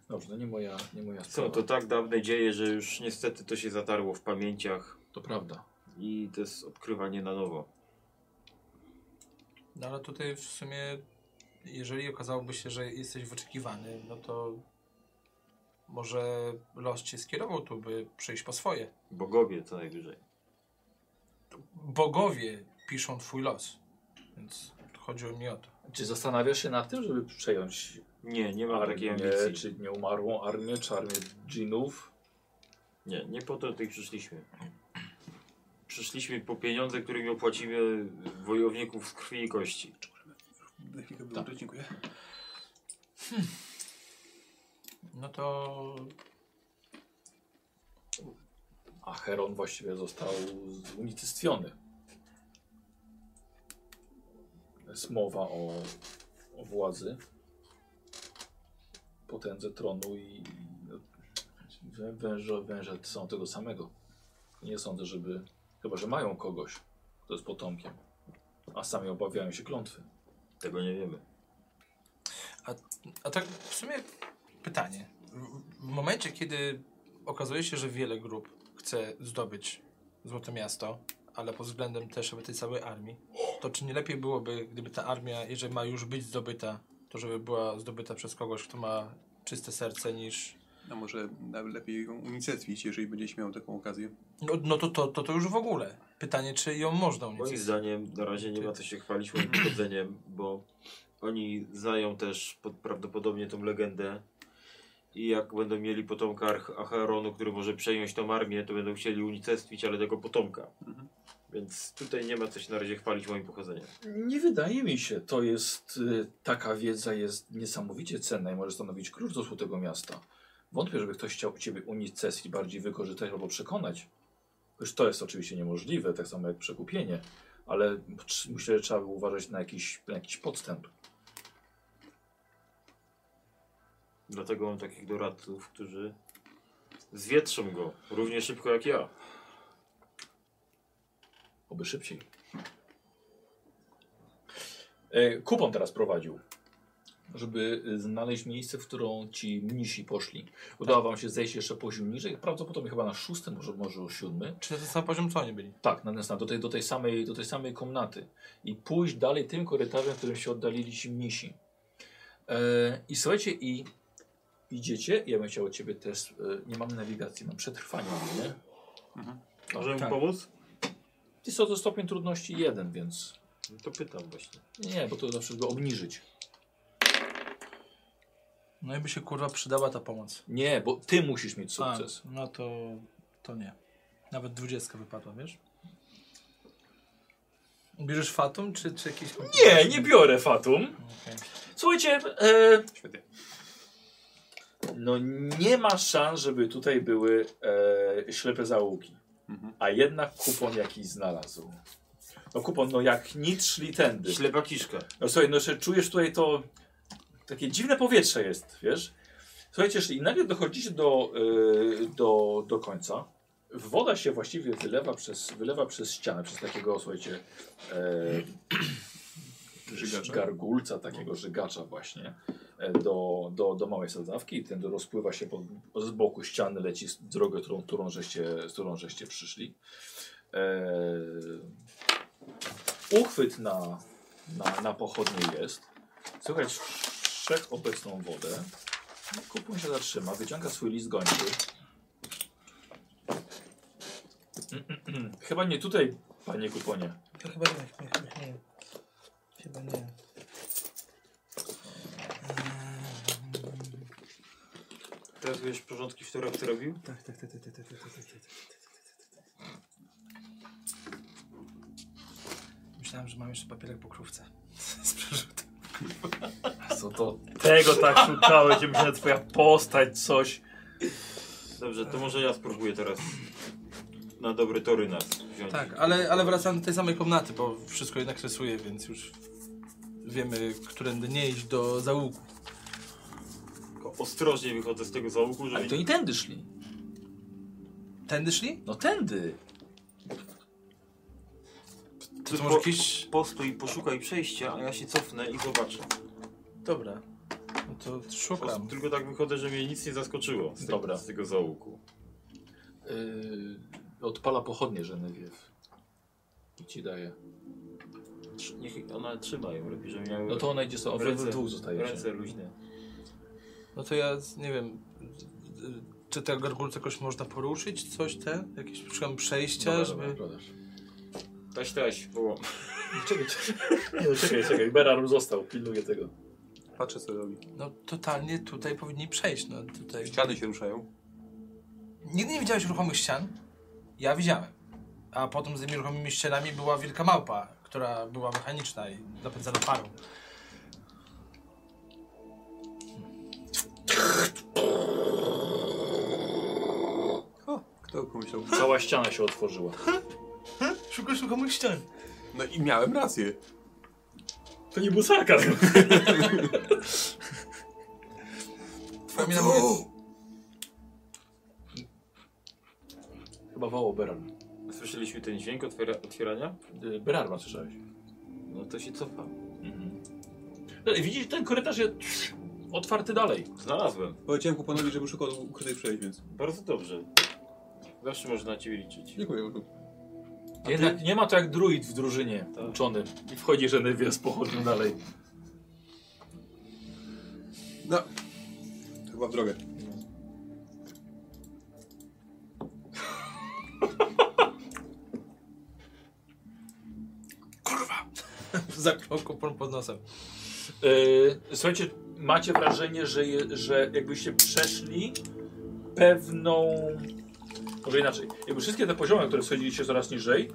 Speaker 2: dobrze, no nie moja, nie moja
Speaker 5: Są
Speaker 2: sprawa.
Speaker 5: to
Speaker 2: To...
Speaker 5: tak dawne dzieje, że już niestety to się zatarło w pamięciach
Speaker 2: prawda.
Speaker 5: i to jest odkrywanie na nowo.
Speaker 10: No ale tutaj w sumie, jeżeli okazałoby się, że jesteś wyczekiwany, no to może los cię skierował tu, by przyjść po swoje.
Speaker 5: Bogowie co najwyżej.
Speaker 10: Bogowie piszą twój los, więc chodziło mi o to.
Speaker 2: Czy zastanawiasz się nad tym, żeby przejąć
Speaker 5: Nie, nie mam takiej
Speaker 2: armię,
Speaker 5: No, ambicji.
Speaker 2: czy nieumarłą armię, czy armię dżinów?
Speaker 5: Nie, nie po to tutaj przyszliśmy. Przyszliśmy po pieniądze, którymi opłacimy wojowników z krwi i kości.
Speaker 1: Na chwilkę
Speaker 2: Tak.
Speaker 1: wyłączę, dziękuję.
Speaker 10: No to
Speaker 2: A Heron właściwie został zunicystwiony. Jest mowa o, o władzy, potędze tronu i i wę- węże, węże są tego samego. Nie sądzę, żeby... Chyba, że mają kogoś, kto jest potomkiem, a sami obawiają się klątwy.
Speaker 5: Tego nie wiemy.
Speaker 10: A tak w sumie pytanie. W- W momencie, kiedy okazuje się, że wiele grup chce zdobyć Złote Miasto, ale pod względem też jakby tej całej armii, to czy nie lepiej byłoby, gdyby ta armia, jeżeli ma już być zdobyta, to żeby była zdobyta przez kogoś, kto ma czyste serce niż...
Speaker 4: A może nawet lepiej ją unicestwić, jeżeli będziesz miał taką okazję.
Speaker 10: No, no to, to, to to już w ogóle. Pytanie, czy ją można
Speaker 5: Moim
Speaker 10: unieść.
Speaker 5: zdaniem na razie nie ma co się chwalić moim pochodzeniem, bo oni znają też pod, prawdopodobnie tą legendę i jak będą mieli potomka Arch- Acheronu, który może przejąć tą armię, to będą chcieli unicestwić, ale tego potomka. Więc tutaj nie ma co się na razie chwalić moim pochodzeniem.
Speaker 2: Nie wydaje mi się, to jest y, taka wiedza jest niesamowicie cenna i może stanowić klucz do złotego miasta. Wątpię, żeby ktoś chciał ciebie unicestwić, bardziej wykorzystać albo przekonać. Już to jest oczywiście niemożliwe, tak samo jak przekupienie, ale trz- myślę, że trzeba by uważać na jakiś, na jakiś podstęp.
Speaker 5: Dlatego mam takich doradców, którzy zwietrzą go równie szybko jak ja.
Speaker 2: Oby szybciej. E, Kupon teraz prowadził, żeby e, znaleźć miejsce, w którą ci mnisi poszli. Udało wam się zejść jeszcze poziom niżej, prawdopodobnie chyba na szósty, może, może o siódmy.
Speaker 10: Czy na ten sam poziom co oni byli?
Speaker 2: Tak, na ten sam, do tej, do, tej samej, do tej samej komnaty. I pójść dalej tym korytarzem, w którym się oddalili ci mnisi. E, I słuchajcie, i idziecie, ja bym chciał od ciebie też, e, nie mam nawigacji, mam przetrwanie, nie?
Speaker 5: Może
Speaker 2: tak.
Speaker 5: mu pomóc?
Speaker 2: Jest to stopień trudności jeden, więc...
Speaker 5: No to pytam właśnie.
Speaker 2: Nie, bo to zawsze go obniżyć.
Speaker 10: No i by się kurwa przydała ta pomoc.
Speaker 2: Nie, bo ty musisz mieć
Speaker 10: A,
Speaker 2: sukces.
Speaker 10: no to, to nie. Nawet dwudziestka wypadła, wiesz? Bierzesz Fatum, czy, czy jakiś...
Speaker 2: Nie, nie biorę Fatum.
Speaker 10: Okej.
Speaker 2: Słuchajcie, e, No nie ma szans, żeby tutaj były e, ślepe załuki. A jednak kupon jakiś znalazł. No kupon, no jak nic szli tędy.
Speaker 5: Ślepa kiszka.
Speaker 2: No słuchaj, no jeszcze czujesz tutaj to... Takie dziwne powietrze jest, wiesz? Słuchajcie, i nagle dochodzicie do, y, do, do końca. Woda się właściwie wylewa przez, wylewa przez ścianę, przez takiego, słuchajcie, e, gargulca, takiego żygacza właśnie e, do, do, do małej sadzawki i ten rozpływa się po, z boku ściany, leci z drogę, którą, którą, żeście, z którą żeście przyszli. E, uchwyt na, na, na pochodnie jest. Słuchaj, wszech obecną wodę. Kupon się zatrzyma, wyciąga swój list gończy. Chyba nie tutaj, panie kuponie.
Speaker 10: To chyba nie, chyba nie, nie. Chyba nie.
Speaker 5: Teraz wiesz porządki, w których ty robił?
Speaker 10: Tak, tak, tak, tak, tak, tak, tak, tak, tak, tak. Myślałem, że mam jeszcze papierek po krówce. <laughs> Z przerzutem.
Speaker 2: Co to?
Speaker 12: Tego tak szukałeś, żeby się twoja postać, coś.
Speaker 5: Dobrze, to może ja spróbuję teraz na dobry tory nas wziąć.
Speaker 10: Tak, ale, ale wracam do tej samej komnaty, bo wszystko jednak rysuję, więc już wiemy, którędy nie iść do załuku.
Speaker 5: Tylko Ostrożnie wychodzę z tego załuku, żeby...
Speaker 2: Ale to i tędy szli.
Speaker 10: Tędy szli?
Speaker 2: No tędy.
Speaker 10: To, to
Speaker 5: po-
Speaker 10: może jakiś...
Speaker 5: Postój, poszukaj przejścia, a ja się cofnę i zobaczę.
Speaker 10: Dobra. No to
Speaker 5: Po-
Speaker 10: szukam.
Speaker 5: Tylko tak wychodzę, że mnie nic nie zaskoczyło z,
Speaker 2: Dobra.
Speaker 5: tego z tego załuku.
Speaker 2: Yy, odpala pochodnie Genevieve. I ci daje.
Speaker 5: Trz- Niech ona trzyma ją lepiej, żeby miały
Speaker 2: No to ona idzie sobie, wy
Speaker 5: Ręce-
Speaker 2: w dwóch zostajecie.
Speaker 5: ręce luźne.
Speaker 10: No to ja z- nie wiem, y, y, czy te gargulce jakoś można poruszyć, coś te? Jakieś szukam przejścia,
Speaker 2: Dobra,
Speaker 10: żeby.
Speaker 2: dobra, dobra.
Speaker 5: Taś, taś, bo...
Speaker 2: Czekaj, czekaj. Nie, no, czekaj, czekaj. Berarum został, pilnuje tego.
Speaker 4: Patrzę co robi.
Speaker 10: No totalnie tutaj powinni przejść. No tutaj.
Speaker 4: Ściany się ruszają.
Speaker 10: Nigdy nie widziałeś ruchomych ścian? Ja widziałem. A potem z tymi ruchomymi ścianami była wielka małpa, która była mechaniczna i napędzana parą. <laughs>
Speaker 4: O, kto pomyślał?
Speaker 2: Cała ściana się otworzyła.
Speaker 10: Szukasz ruchomych ścian.
Speaker 4: No i miałem rację.
Speaker 2: To nie był sarkazm.
Speaker 10: Pamiętam, mówię,
Speaker 2: Chyba wołał Berarum.
Speaker 5: Słyszeliśmy ten dźwięk otwiera, otwierania?
Speaker 2: Yy, Berarum słyszałeś.
Speaker 5: No to się cofam.
Speaker 2: No i Widzisz, ten korytarz jest otwarty dalej.
Speaker 5: Znalazłem.
Speaker 4: Powiedziałem kuponowi, żeby szukał ukrytej przejść, więc
Speaker 5: Bardzo dobrze. Zawsze można na ciebie liczyć.
Speaker 4: dziękuję.
Speaker 2: A Jednak nie ma to jak druid w drużynie uczony. I wchodzi Genevieve z pochodnią dalej.
Speaker 4: No, chyba w drogę.
Speaker 10: Zamknął kupon pod nosem.
Speaker 2: Yy, słuchajcie, macie wrażenie, że, je, że jakbyście przeszli pewną. Może inaczej. Jakby wszystkie te poziomy, które schodziliście coraz niżej,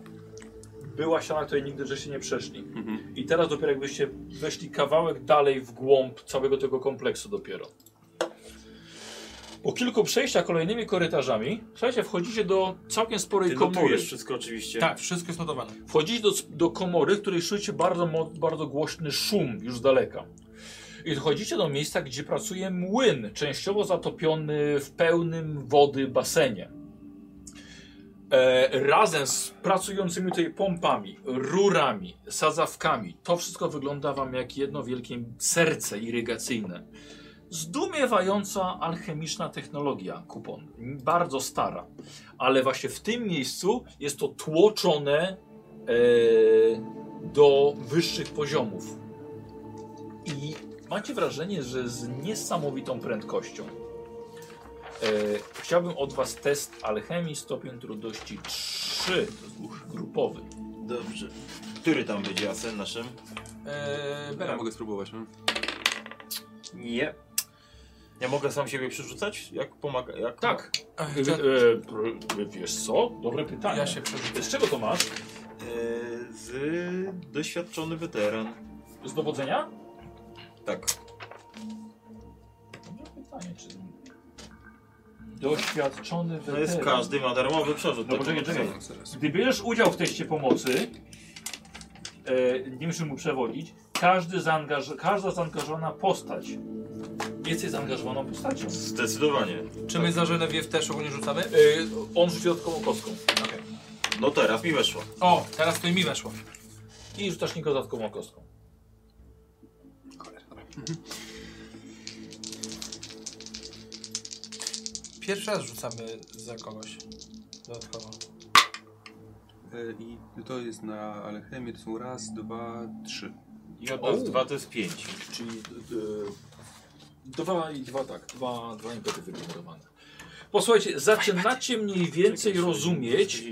Speaker 2: była ściana, której nigdy żeście nie przeszli.
Speaker 5: Mhm.
Speaker 2: I teraz dopiero jakbyście weszli kawałek dalej w głąb całego tego kompleksu dopiero. Po kilku przejściach kolejnymi korytarzami, słuchajcie, wchodzicie do całkiem sporej
Speaker 5: Ty
Speaker 2: komory.
Speaker 5: notujesz wszystko oczywiście.
Speaker 10: Tak, wszystko jest notowane.
Speaker 2: Wchodzicie do, do komory, w której czujecie bardzo, mo- bardzo głośny szum już z daleka. I dochodzicie do miejsca, gdzie pracuje młyn, częściowo zatopiony w pełnym wody basenie. E, razem z pracującymi tutaj pompami, rurami, sadzawkami, to wszystko wygląda wam jak jedno wielkie serce irygacyjne. Zdumiewająca alchemiczna technologia kupon, bardzo stara, ale właśnie w tym miejscu jest to tłoczone e, do wyższych poziomów. I macie wrażenie, że z niesamowitą prędkością. E, chciałbym od Was test alchemii stopień trudności 3, to jest ruch grupowy.
Speaker 5: Dobrze. Który tam będzie jasen naszym?
Speaker 10: Eee,
Speaker 4: Ja
Speaker 10: Bera,
Speaker 4: mogę spróbować, no.
Speaker 5: Nie. Ja mogę sam siebie przerzucać? Jak pomaga? Jak
Speaker 2: Tak,
Speaker 10: Ach,
Speaker 2: e,
Speaker 10: ja,
Speaker 2: e, wiesz co? Dobre pytanie.
Speaker 10: ja się przerzucę.
Speaker 2: Z czego to masz?
Speaker 5: E, z doświadczony weteran.
Speaker 2: Z dowodzenia?
Speaker 5: Tak.
Speaker 2: Dobre pytanie, czy
Speaker 12: Doświadczony
Speaker 5: To jest
Speaker 12: weteran.
Speaker 5: każdy ma darmowy przerzut. tak to
Speaker 12: No poczekaj,
Speaker 5: to-
Speaker 12: czekaj. Gdy bierzesz udział w teście pomocy, e, nie musisz mu przewodzić, każdy zaangaż, każda zaangażowana postać jesteś zaangażowaną postacią.
Speaker 5: Zdecydowanie.
Speaker 10: Czy my za Żenewiew też ogólnie rzucamy?
Speaker 2: Yy, on rzuci dodatkową kostką.
Speaker 5: No teraz mi weszło.
Speaker 10: O, teraz to i mi weszło.
Speaker 2: I rzucasz Niko dodatkową kostką.
Speaker 10: Pierwszy raz rzucamy za kogoś. Dodatkowo.
Speaker 4: E, I to jest na alchemię, to są raz, dwa, trzy.
Speaker 5: I od nas dwa to jest pięć.
Speaker 2: Czyli yy, dwa i dwa tak, dwa, dwa impety wygenerowane. Posłuchajcie, zaczynacie mniej więcej rozumieć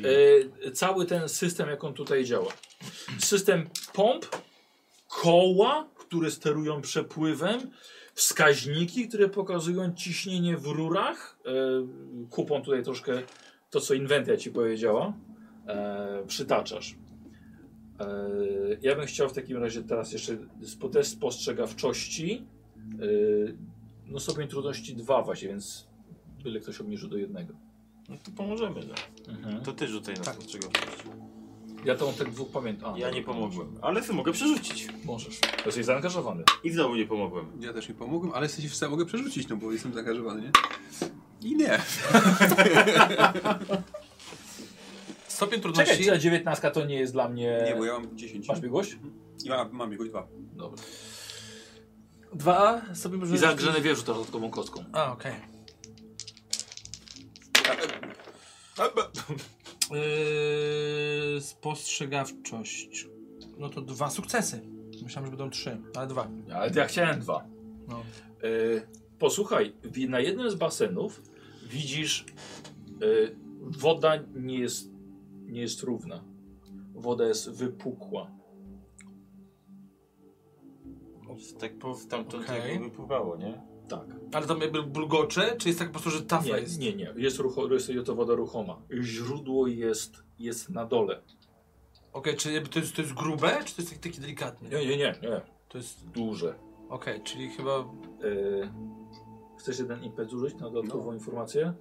Speaker 2: e, cały ten system, jak on tutaj działa. System pomp, koła, które sterują przepływem, wskaźniki, które pokazują ciśnienie w rurach. E, kupon tutaj troszkę to, co inwentia ci powiedziała, e, przytaczasz. E, ja bym chciał w takim razie teraz jeszcze spo- test spostrzegawczości. E, no stopień trudności 2 właśnie, więc byle ktoś obniżył do jednego.
Speaker 5: No to pomożemy. No. To ty rzucaj na
Speaker 12: Tak.
Speaker 5: to, czego
Speaker 2: Ja tą tych dwóch pamiętam. A,
Speaker 5: Ja nie pomogłem, ale ty mogę przerzucić.
Speaker 2: Możesz. Jesteś zaangażowany.
Speaker 5: I znowu nie pomogłem.
Speaker 4: Ja też nie pomogłem, ale jesteś w stanie mogę przerzucić, no bo jestem zaangażowany, nie? I nie.
Speaker 2: Czekaj,
Speaker 10: Stopień trudności.
Speaker 2: ta dziewiętnastka to nie jest dla mnie...
Speaker 4: Nie, bo ja mam 10.
Speaker 2: Masz biegłość?
Speaker 4: I mam, mam jakoś dwa.
Speaker 2: Dobra.
Speaker 10: 2A sobie możemy.
Speaker 2: I zagrzany wiesz, że to dodatkową kostką.
Speaker 10: A, okej. Yy, spostrzegawczość. No to dwa sukcesy. Myślałem, że będą trzy, ale dwa.
Speaker 2: Ale to ja chciałem dwa.
Speaker 10: No.
Speaker 2: E, posłuchaj, w- na jednym z basenów widzisz, e, woda nie jest, nie jest równa. Woda jest wypukła.
Speaker 5: Tak po, tamtąd
Speaker 10: Okej.
Speaker 5: jakby wypływało, nie?
Speaker 2: Tak.
Speaker 10: Ale tam jakby bulgocze, czy jest tak po prostu, że tafa
Speaker 2: Nie,
Speaker 10: jest?
Speaker 2: nie, nie. Jest, rucho, jest to woda ruchoma. Źródło jest, jest na dole.
Speaker 10: Okej, czy jakby to jest, to jest grube, czy to jest taki, taki delikatny?
Speaker 2: Nie, nie, nie. nie.
Speaker 10: To jest.
Speaker 2: Duże.
Speaker 10: Okej, czyli chyba.
Speaker 2: E, chcesz jeden impet zużyć na dodatkową <clears throat> informację?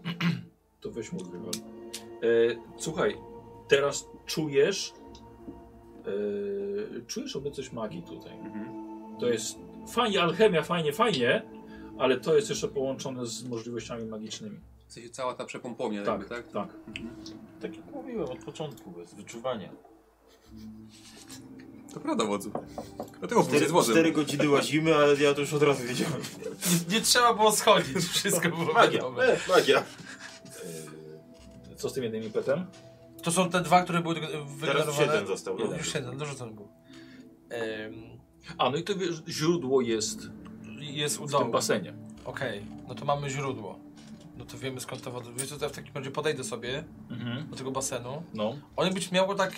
Speaker 2: To weź mu wywal. E, słuchaj, teraz czujesz e, czujesz obecność magii tutaj. To jest fajnie, alchemia, fajnie, fajnie, ale to jest jeszcze połączone z możliwościami magicznymi.
Speaker 4: W sensie cała ta przepompownia
Speaker 2: Tak,
Speaker 4: jakby, tak?
Speaker 2: tak.
Speaker 5: Tak jak mówiłem od początku, bez wyczuwania.
Speaker 4: To prawda wodzu. Dlatego wódz
Speaker 5: Cztery,
Speaker 4: jest wodzem.
Speaker 5: cztery godziny łazimy, ale ja to już od razu wiedziałem.
Speaker 10: Nie, nie trzeba było
Speaker 2: <laughs>
Speaker 10: schodzić, wszystko było wiadomo.
Speaker 5: E, magia.
Speaker 2: E, co z tym jednym impetem?
Speaker 10: To są te dwa, które były wygenerowane.
Speaker 5: Teraz jeden został. No.
Speaker 2: Jeden.
Speaker 10: Już jeden, dorzucony był. Em,
Speaker 2: A, no i to wiesz, źródło jest
Speaker 10: jest u
Speaker 2: w
Speaker 10: dołu.
Speaker 2: tym basenie.
Speaker 10: Okej, no to mamy źródło. No to wiemy skąd ta woda. Wiesz co, to ja w takim razie podejdę sobie
Speaker 2: Mhm.
Speaker 10: do tego basenu.
Speaker 2: No.
Speaker 10: On być miał go tak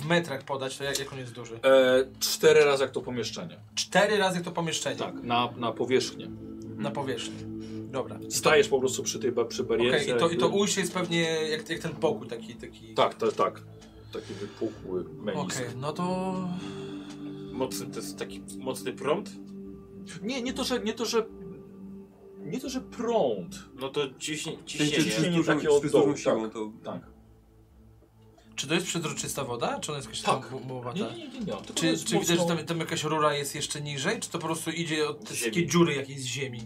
Speaker 10: w metrach podać, to jak, jak on jest duży.
Speaker 2: E, cztery razy jak to pomieszczenie.
Speaker 10: Cztery razy to pomieszczenie
Speaker 2: Tak, na, na powierzchnię.
Speaker 10: na powierzchni. Dobra.
Speaker 2: Stajesz po prostu przy tej ba- przy barierce.
Speaker 10: Okej, i, to, i to
Speaker 2: jakby-
Speaker 10: ujście jest pewnie jak, jak ten pokój taki. taki...
Speaker 2: Tak, tak, tak. Taki wypukły menisk.
Speaker 10: Okej, no to.
Speaker 5: Mocny, to jest taki mocny prąd?
Speaker 2: Nie, nie to, że, nie to, że... Nie to, że prąd.
Speaker 5: No to ciśnie,
Speaker 4: Ciśnienie,
Speaker 5: ciśnienie.
Speaker 2: Ciśnienie takie od
Speaker 4: z
Speaker 2: dołu,
Speaker 4: dużą
Speaker 2: tak.
Speaker 4: siłą to...
Speaker 2: Tak.
Speaker 10: Czy to jest przezroczysta woda? Czy ona jest jakaś
Speaker 2: Tak.
Speaker 10: tam bu- bułowata?
Speaker 2: Nie, nie, nie. nie, nie. Tylko
Speaker 10: Czy,
Speaker 2: jest
Speaker 10: czy widać, że
Speaker 2: mocno-
Speaker 10: tam, tam jakaś rura jest jeszcze niżej? Czy to po prostu idzie od te
Speaker 5: Ziemi.
Speaker 10: wszystkie dziury jakiejś z ziemi?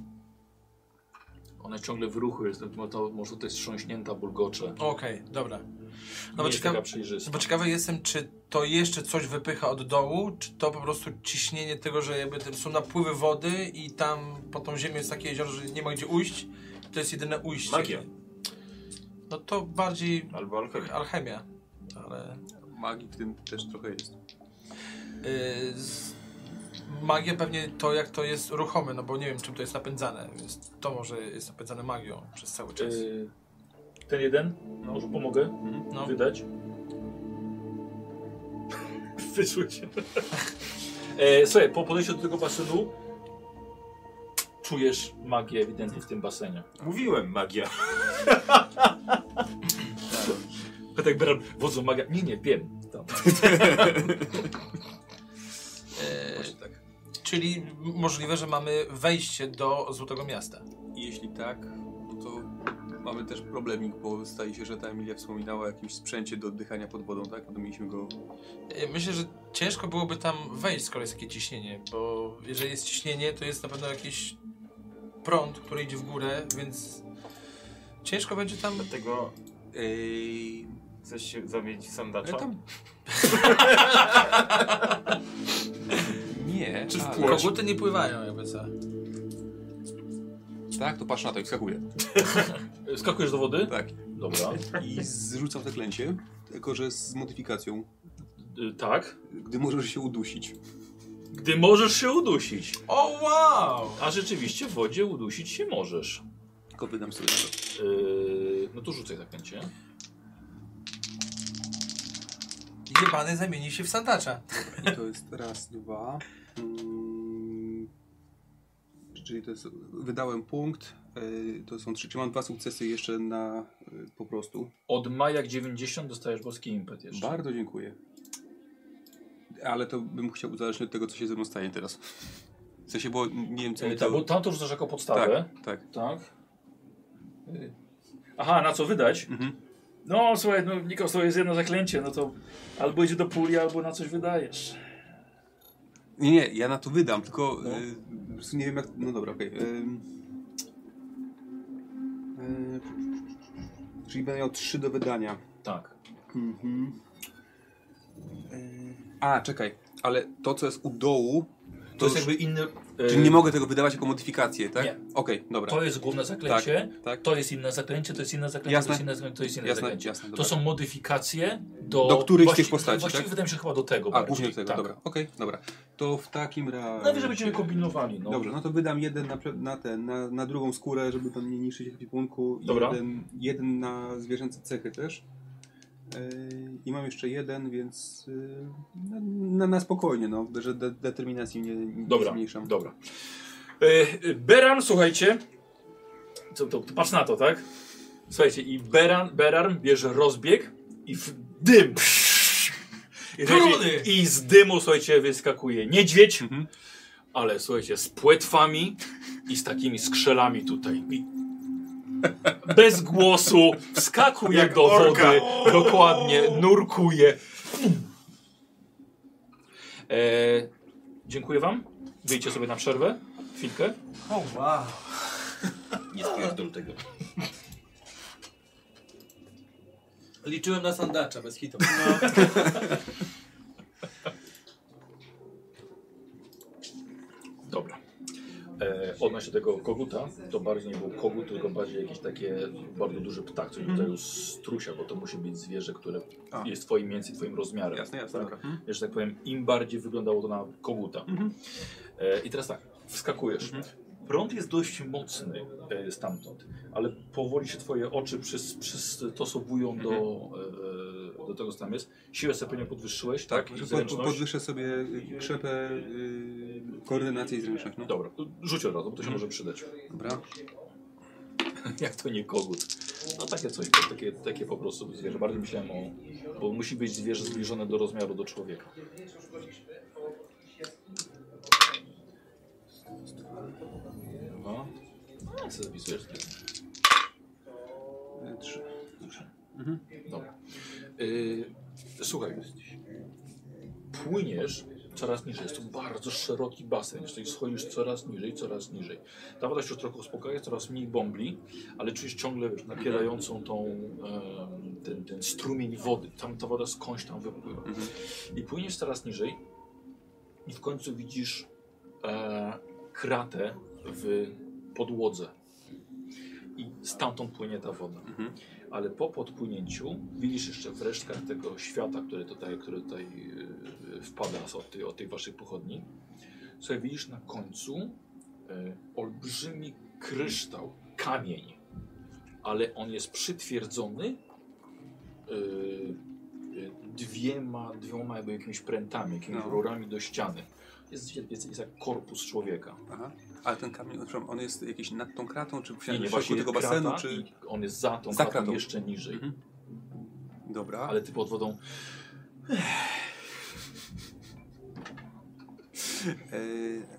Speaker 2: Ona ciągle w ruchu jest, bo to, może to jest strząśnięta, bulgocze.
Speaker 10: Okej, dobra.
Speaker 2: No
Speaker 10: No
Speaker 2: nie
Speaker 10: bo
Speaker 2: jest
Speaker 10: ciekawe,
Speaker 2: taka przejrzysta.
Speaker 10: bo ciekawy jestem, czy to jeszcze coś wypycha od dołu, czy to po prostu ciśnienie tego, że jakby tam są napływy wody i tam po tą ziemią jest takie jezioro, że nie ma gdzie ujść. To jest jedyne ujście.
Speaker 5: Magia.
Speaker 10: No to bardziej
Speaker 5: Albo alkohol.
Speaker 10: alchemia, ale...
Speaker 4: Magii w tym też trochę jest.
Speaker 10: Yy, z... Magia pewnie to, jak to jest ruchome, no bo nie wiem, czym to jest napędzane, więc to może jest napędzane magią przez cały czas.
Speaker 2: Y, Ten jeden? No, już pomogę
Speaker 10: No.
Speaker 2: wydać. <laughs> Wyczuć. <laughs> e, słuchaj, po podejściu do tego basenu czujesz magię ewidentnie w tym basenie.
Speaker 5: Mówiłem magia.
Speaker 2: Ja tak biorę, wodzą magia. Nie, nie, wiem. Tam.
Speaker 10: E,
Speaker 4: Właśnie tak.
Speaker 10: Y, Czyli m- możliwe, że mamy wejście do Złotego Miasta.
Speaker 4: I jeśli tak, no to Mamy też problemik, bo staje się, że ta Emilia wspominała o jakimś sprzęcie do oddychania pod wodą, tak? Potem mieliśmy go...
Speaker 10: Ja E, Myślę, że ciężko byłoby tam wejść, skoro jest takie ciśnienie, bo jeżeli jest ciśnienie, to jest na pewno jakiś prąd, który idzie w górę, więc ciężko będzie tam...
Speaker 5: Dlatego
Speaker 4: Ej...
Speaker 5: chcesz się zamienić w sandacza?
Speaker 4: Ale tam... Nie,
Speaker 10: Czy
Speaker 4: ale-
Speaker 10: koguty nie pływają jakby co?
Speaker 4: Tak, to patrz na to i wskakuję.
Speaker 2: E, Skakujesz do wody?
Speaker 4: Tak.
Speaker 2: Dobra.
Speaker 4: I zrzucam zaklęcie, tylko że z modyfikacją,
Speaker 2: Y, tak.
Speaker 4: gdy możesz się udusić.
Speaker 2: Gdy możesz się udusić.
Speaker 10: O wow!
Speaker 2: A rzeczywiście w wodzie udusić się możesz.
Speaker 4: Tylko wydam sobie na to.
Speaker 2: Yy, no to rzucaj zaklęcie.
Speaker 10: Jebany zamieni się w sandacza.
Speaker 4: I to jest raz, dwa... mm, Czyli to jest, wydałem punkt, y, to są trzy, czy mam dwa sukcesy jeszcze na y, po prostu.
Speaker 2: Od maja 90 dostajesz boski impet jeszcze.
Speaker 4: Bardzo dziękuję. Ale to bym chciał uzależnić od tego, co się ze mną stanie teraz. W sensie, bo nie wiem, co
Speaker 2: E,
Speaker 4: mi
Speaker 2: tak, bo
Speaker 4: to...
Speaker 2: tam to rzucasz jako podstawę.
Speaker 4: Tak, tak.
Speaker 2: Tak. Y, Aha, na co wydać?
Speaker 4: Mhm.
Speaker 2: No słuchaj, no Nikos, to jest jedno zaklęcie, no to albo idzie do puli, albo na coś wydajesz.
Speaker 4: Nie, nie, ja na to wydam, tylko
Speaker 2: No.
Speaker 4: y, po prostu nie wiem jak... No dobra, okej. ym. Y, czyli będę miał trzy do wydania.
Speaker 2: Tak.
Speaker 4: Mhm. Y, a, czekaj, ale to, co jest u dołu,
Speaker 2: To,
Speaker 4: to
Speaker 2: jest
Speaker 4: już...
Speaker 2: jakby inny... e,
Speaker 4: Czyli nie mogę tego wydawać jako modyfikację, tak?
Speaker 2: Nie.
Speaker 4: Okej, dobra.
Speaker 2: To jest główne zaklęcie,
Speaker 4: Tak,
Speaker 2: to jest inne zaklęcie, to jest inne zaklęcie,
Speaker 4: Jasne.
Speaker 2: to jest inne zaklęcie, to jest inne
Speaker 4: jasne,
Speaker 2: zaklęcie.
Speaker 4: jasne,
Speaker 2: To
Speaker 4: dobra.
Speaker 2: są modyfikacje do...
Speaker 4: Do których z
Speaker 2: właści-
Speaker 4: tych postaci,
Speaker 2: Właściwie
Speaker 4: tak?
Speaker 2: wydaje mi się chyba do tego
Speaker 4: A,
Speaker 2: bardziej.
Speaker 4: głównie do tego,
Speaker 2: tak.
Speaker 4: dobra. Okej, dobra. To w takim razie...
Speaker 2: Najwyżej będziemy kombinowali, no.
Speaker 4: Dobrze, no to wydam jeden na, pre- na ten, na, na drugą skórę, żeby tam nie niszczyć ekwipunku.
Speaker 2: Dobra.
Speaker 4: Jeden, jeden na zwierzęce cechy też. Yy, I mam jeszcze jeden, więc yy, na, na, na spokojnie, no, że de, determinacji nie, nie
Speaker 2: Dobra,
Speaker 4: zmniejszam.
Speaker 2: dobra. E, e, Beran, słuchajcie. Co, to, to patrz na to, tak? Słuchajcie, i Beran, Beran bierze rozbieg i w dym. I, słuchajcie, I z dymu, słuchajcie, wyskakuje niedźwiedź,
Speaker 4: Mhm.
Speaker 2: ale słuchajcie, z płetwami i z takimi skrzelami tutaj. I bez głosu wskakuje do wody, dokładnie, nurkuje. E, dziękuję wam. Wyjdźcie sobie na przerwę. Chwilkę.
Speaker 10: O wow!
Speaker 5: Nie spierdol tego.
Speaker 10: Liczyłem na sandacza bez hitu.
Speaker 2: Dobra. E, odnośnie tego koguta, to bardziej nie był kogut, tylko bardziej jakiś takie bardzo duży ptak, coś w rodzaju strusia, bo to musi być zwierzę, które
Speaker 4: A.
Speaker 2: jest twoim mniej więcej twoim rozmiarem.
Speaker 4: Jasne, jasne.
Speaker 2: Tak?
Speaker 4: Dobra. Mhm.
Speaker 2: Że tak powiem, im bardziej wyglądało to na koguta. E, I teraz tak, wskakujesz. Prąd jest dość mocny e, stamtąd, ale powoli się twoje oczy przys- przystosowują do, e, do tego, co tam jest. Siłę sobie pewnie podwyższyłeś, tak? I
Speaker 4: Pod, pod-
Speaker 2: zręczność.
Speaker 4: podwyższę sobie y, krzepę, y, koordynację i zręczność. No.
Speaker 2: Dobra, to rzuć od razu, bo to się może przydać.
Speaker 4: Dobra.
Speaker 2: <laughs> Jak to nie kogut? No takie coś, to takie, takie po prostu zwierzę. Bardziej myślałem o... Bo musi być zwierzę zbliżone do rozmiaru do człowieka. Dwa. No, jak sobie zapisujesz?
Speaker 4: Y, Trzy.
Speaker 2: Mhm. Dobra. Yy, słuchaj, płyniesz coraz niżej. Jest to bardzo szeroki basen. Czyli schodzisz coraz niżej, coraz niżej. Ta woda się już trochę uspokaja, coraz mniej bąbli, ale czujesz ciągle wiesz, napierającą tą, em, ten, ten strumień wody. Tam ta woda skądś tam wypływa. I płyniesz coraz niżej i w końcu widzisz e, kratę w podłodze. I stamtąd płynie ta woda ale po podpłynięciu widzisz jeszcze w resztkach tego świata, który tutaj, który tutaj yy, wpada z- od tej, od tej waszej pochodni, sobie widzisz na końcu yy, olbrzymi kryształ, kamień, ale on jest przytwierdzony yy, yy, dwiema, dwiema jakby jakimiś prętami, jakimiś
Speaker 4: No.
Speaker 2: rurami do ściany. Jest, jest, jest jak korpus człowieka.
Speaker 4: Aha. Ale ten kamień, przepraszam, on jest jakiś nad tą kratą, czy w
Speaker 2: I
Speaker 4: środku tego basenu,
Speaker 2: krata
Speaker 4: czy...
Speaker 2: i on jest za tą
Speaker 4: Za
Speaker 2: kratą,
Speaker 4: kratą.
Speaker 2: jeszcze niżej.
Speaker 4: Mhm. Dobra.
Speaker 2: Ale ty pod wodą.
Speaker 4: E,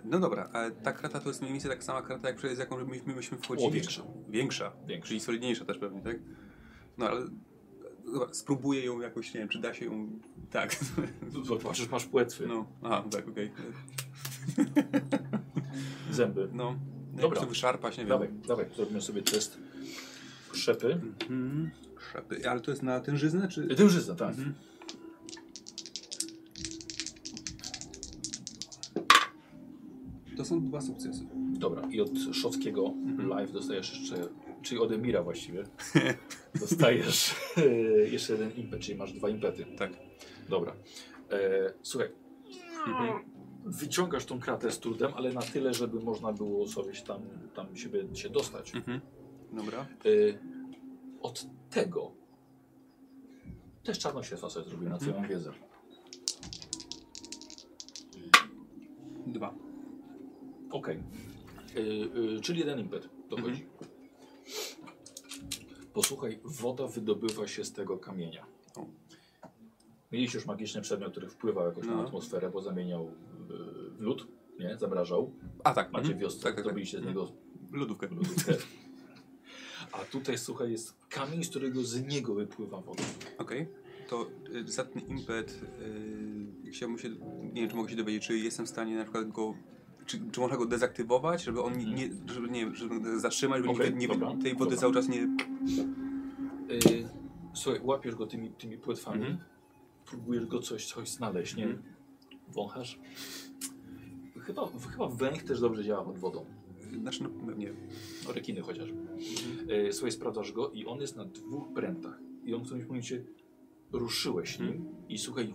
Speaker 4: no dobra, a ta krata to jest mniej więcej taka sama krata, jak przed, z jaką myśmy, myśmy wchodzili.
Speaker 2: O, większa.
Speaker 4: Większa.
Speaker 2: Większa.
Speaker 4: Czyli solidniejsza też pewnie, tak? No ale dobra, spróbuję ją jakoś, nie wiem, czy da się ją... Tak. <laughs>
Speaker 2: Zobaczysz, masz płetwy,
Speaker 4: No, aha, tak, okej.
Speaker 2: zęby.
Speaker 4: No. No,
Speaker 2: Dobra.
Speaker 4: Dobra. wyszarpać, nie wiem.
Speaker 2: Dawaj, dawaj, zrobimy sobie test szepy.
Speaker 4: Mhm. Szepy. Ale to jest na tężyznę, czy...
Speaker 2: Dężyzna, tak.
Speaker 4: Mhm. To są dwa sukcesy.
Speaker 2: Dobra, i od Szockiego
Speaker 4: Mhm.
Speaker 2: live dostajesz jeszcze, czyli od Emira
Speaker 4: <laughs>
Speaker 2: właściwie, dostajesz e, jeszcze jeden impet, czyli masz dwa impety.
Speaker 4: Tak.
Speaker 2: Dobra. E, słuchaj,
Speaker 4: Mhm.
Speaker 2: wyciągasz tą kratę z trudem, ale na tyle, żeby można było sobie się tam, tam siebie, się dostać.
Speaker 4: Dobra.
Speaker 2: E, od tego też czarnoksięstwa sobie zrobił na
Speaker 4: Mhm.
Speaker 2: twoją wiedzę.
Speaker 4: Dwa.
Speaker 2: Okej. Y, y, czyli jeden impet dochodzi.
Speaker 4: Mhm.
Speaker 2: Posłuchaj, woda wydobywa się z tego kamienia.
Speaker 4: O.
Speaker 2: Mieliście już magiczny przedmiot, który wpływał jakoś na
Speaker 4: No.
Speaker 2: atmosferę, bo zamieniał y, w lód, nie? Zamrażał.
Speaker 4: A tak,
Speaker 2: Macie
Speaker 4: mhm.
Speaker 2: wiosce,
Speaker 4: Tak, tak, tak.
Speaker 2: zrobiliście z niego
Speaker 4: Lodówkę.
Speaker 2: lodówkę. A tutaj, słuchaj, jest kamień, z którego z niego wypływa woda.
Speaker 4: Okej. To y, zatny impet. Y, chciałbym się. Nie wiem, czy mogę się dowiedzieć, czy jestem w stanie na przykład go. Czy, czy można go dezaktywować, żeby on nie, żeby, nie, żeby go zatrzymać, żeby
Speaker 2: Okej,
Speaker 4: nie, nie,
Speaker 2: dobra,
Speaker 4: tej wody
Speaker 2: dobra.
Speaker 4: cały czas nie.
Speaker 2: Y, słuchaj, łapiesz go tymi, tymi płetwami,
Speaker 4: Mhm.
Speaker 2: próbujesz go coś, coś znaleźć, nie?
Speaker 4: Mhm.
Speaker 2: Wąchasz. Chyba, chyba węch też dobrze działa pod wodą.
Speaker 4: Znaczy, no, pewnie.
Speaker 2: No, Rekiny chociaż.
Speaker 4: Mhm.
Speaker 2: Y, słuchaj, sprawdzasz go i on jest na dwóch prętach. I on w którymś momencie ruszyłeś nim
Speaker 4: Mhm.
Speaker 2: i słuchaj,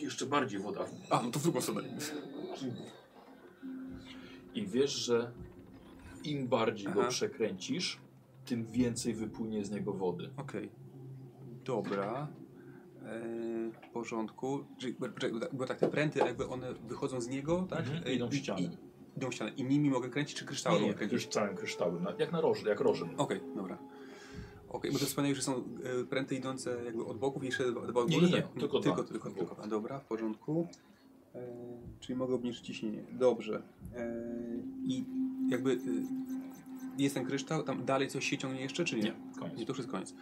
Speaker 2: jeszcze bardziej woda.
Speaker 4: A, no to w drugą stronę.
Speaker 2: I wiesz, że im bardziej go
Speaker 4: Aha.
Speaker 2: przekręcisz, tym więcej wypłynie z niego wody.
Speaker 4: Okej. Dobra. E, W porządku. Czyli, poczekaj, bo tak- bo tak te pręty, jakby one wychodzą z niego, tak?
Speaker 2: Mhm,
Speaker 4: E,
Speaker 2: idą w
Speaker 4: i-
Speaker 2: ścianę.
Speaker 4: I, idą w ścianę. I nimi mogę kręcić, czy kryształem
Speaker 2: Nie, nie,
Speaker 4: mogę kręcić?
Speaker 2: kryształem, kryształem. na- Jak na roży, jak rożem.
Speaker 4: Okej, dobra. Okej, bo to wspomniałeś, że są e, pręty idące jakby od boków i jeszcze dwa dwa od
Speaker 2: Nie,
Speaker 4: góry,
Speaker 2: nie, nie,
Speaker 4: tak?
Speaker 2: tylko
Speaker 4: tylko,
Speaker 2: dwa.
Speaker 4: tylko, tylko. A, dobra, w porządku. E, czyli mogę obniżyć ciśnienie. Dobrze. E, I jakby e, jest ten kryształ, tam dalej coś się ciągnie jeszcze, czy nie?
Speaker 2: Nie, koniec.
Speaker 4: Nie, to już jest koniec.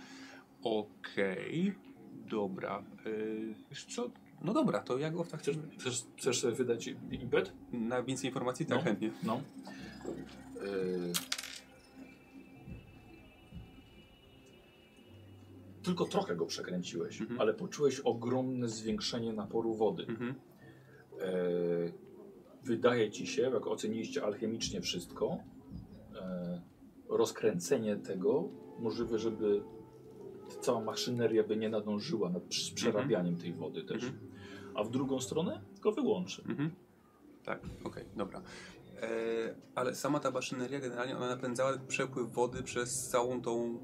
Speaker 4: Okej, dobra. E, wiesz co? No dobra, to jak go w tak
Speaker 2: Chcesz, chcesz, chcesz sobie wydać impet?
Speaker 4: Na więcej informacji? Tak,
Speaker 2: No.
Speaker 4: chętnie.
Speaker 2: No. Y... Tylko trochę go przekręciłeś,
Speaker 4: Mhm.
Speaker 2: ale poczułeś ogromne zwiększenie naporu wody.
Speaker 4: Mhm.
Speaker 2: Y... Wydaje ci się, jak oceniliście alchemicznie wszystko, y... rozkręcenie tego możliwe, żeby cała maszyneria by nie nadążyła nad przy- z przerabianiem tej wody też. A w drugą stronę go wyłączy.
Speaker 4: Mhm. Tak, okej, dobra. E, ale sama ta maszyneria generalnie ona napędzała przepływ wody przez całą tą,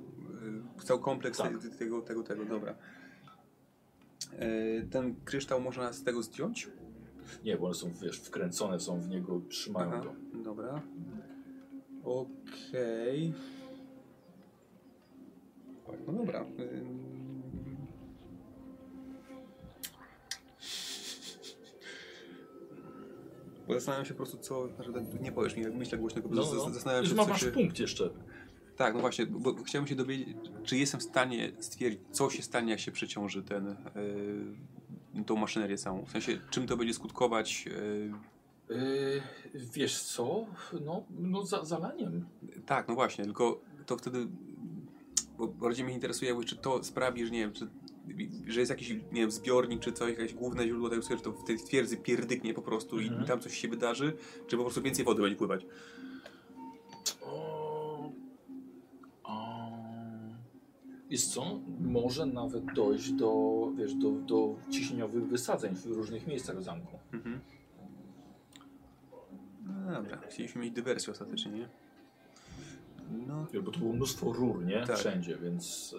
Speaker 4: e, cały kompleks
Speaker 2: Tak.
Speaker 4: te- tego, tego, tego, dobra. E, ten kryształ można z tego zdjąć?
Speaker 2: Nie, bo one są wiesz, wkręcone, są w niego, trzymają
Speaker 4: Aha,
Speaker 2: go.
Speaker 4: dobra. Okej. Tak, No dobra. Ym. Bo zastanawiam się po prostu co, znaczy, tak, nie powiesz mi, jak myślę głośno, tylko no, zastanawiam się
Speaker 2: ma,
Speaker 4: co
Speaker 2: masz
Speaker 4: się...
Speaker 2: punkt jeszcze.
Speaker 4: Tak, no właśnie, bo bo chciałbym się dowiedzieć, czy jestem w stanie stwierdzić, co się stanie, jak się przeciąży ten, yy, tą maszynerię samą. W sensie, czym to będzie skutkować, yy,
Speaker 2: Yy, wiesz co? No, no za, zalaniem.
Speaker 4: Tak, no właśnie, tylko to wtedy. Bo bardziej mnie interesuje, jakby, czy to sprawi, że nie wiem, czy, że jest jakiś nie wiem, zbiornik, czy coś, jakieś główne źródło tego, że to w tej twierdzy pierdyknie po prostu i tam coś się wydarzy, czy po prostu więcej wody będzie pływać.
Speaker 2: O, o, jest co? Może nawet dojść do, wiesz, do, do ciśnieniowych wysadzeń w różnych miejscach w zamku.
Speaker 4: No dobra, chcieliśmy mieć dywersję ostatecznie, nie? No,
Speaker 2: Wiesz, Bo tu było mnóstwo rur, nie?
Speaker 4: Tak.
Speaker 2: Wszędzie, więc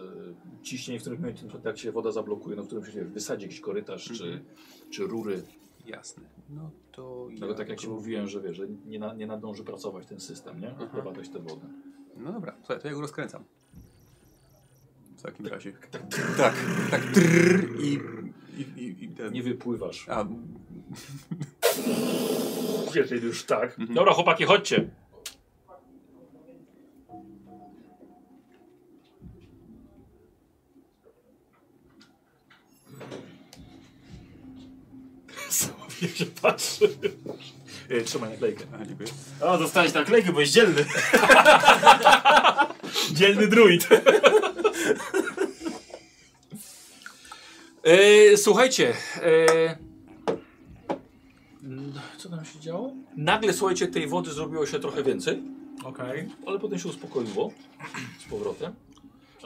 Speaker 2: yy, ciśnienie w którymś momencie, no, tak się woda zablokuje, no w którymś wiesz, wysadzi jakiś korytarz
Speaker 4: Mhm.
Speaker 2: czy, czy rury.
Speaker 4: jasne. No to. Mhm.
Speaker 2: Dlatego tak jak ci
Speaker 4: jako-
Speaker 2: mówiłem, że wiesz, że nie, na, nie nadąży pracować ten system, nie? Odprowadzać tę wodę.
Speaker 4: No dobra, słuchaj, to ja go rozkręcam. W takim razie. Tak, tak, trrr, i I, i, i ten.
Speaker 2: Nie wypływasz.
Speaker 4: A,
Speaker 12: Jeżeli już tak. Dobra, chłopaki, chodźcie. <laughs> Samownie się patrzy. Ej, Trzymaj naklejkę.
Speaker 11: A, dziękuję.
Speaker 5: A, dostałeś naklejkę, bo jest <laughs> dzielny.
Speaker 12: Dzielny druid. e, słuchajcie. E, mm, co tam się działo? Nagle, słuchajcie, tej wody zrobiło się trochę więcej.
Speaker 10: Okej.
Speaker 2: Ale potem się uspokoiło z powrotem.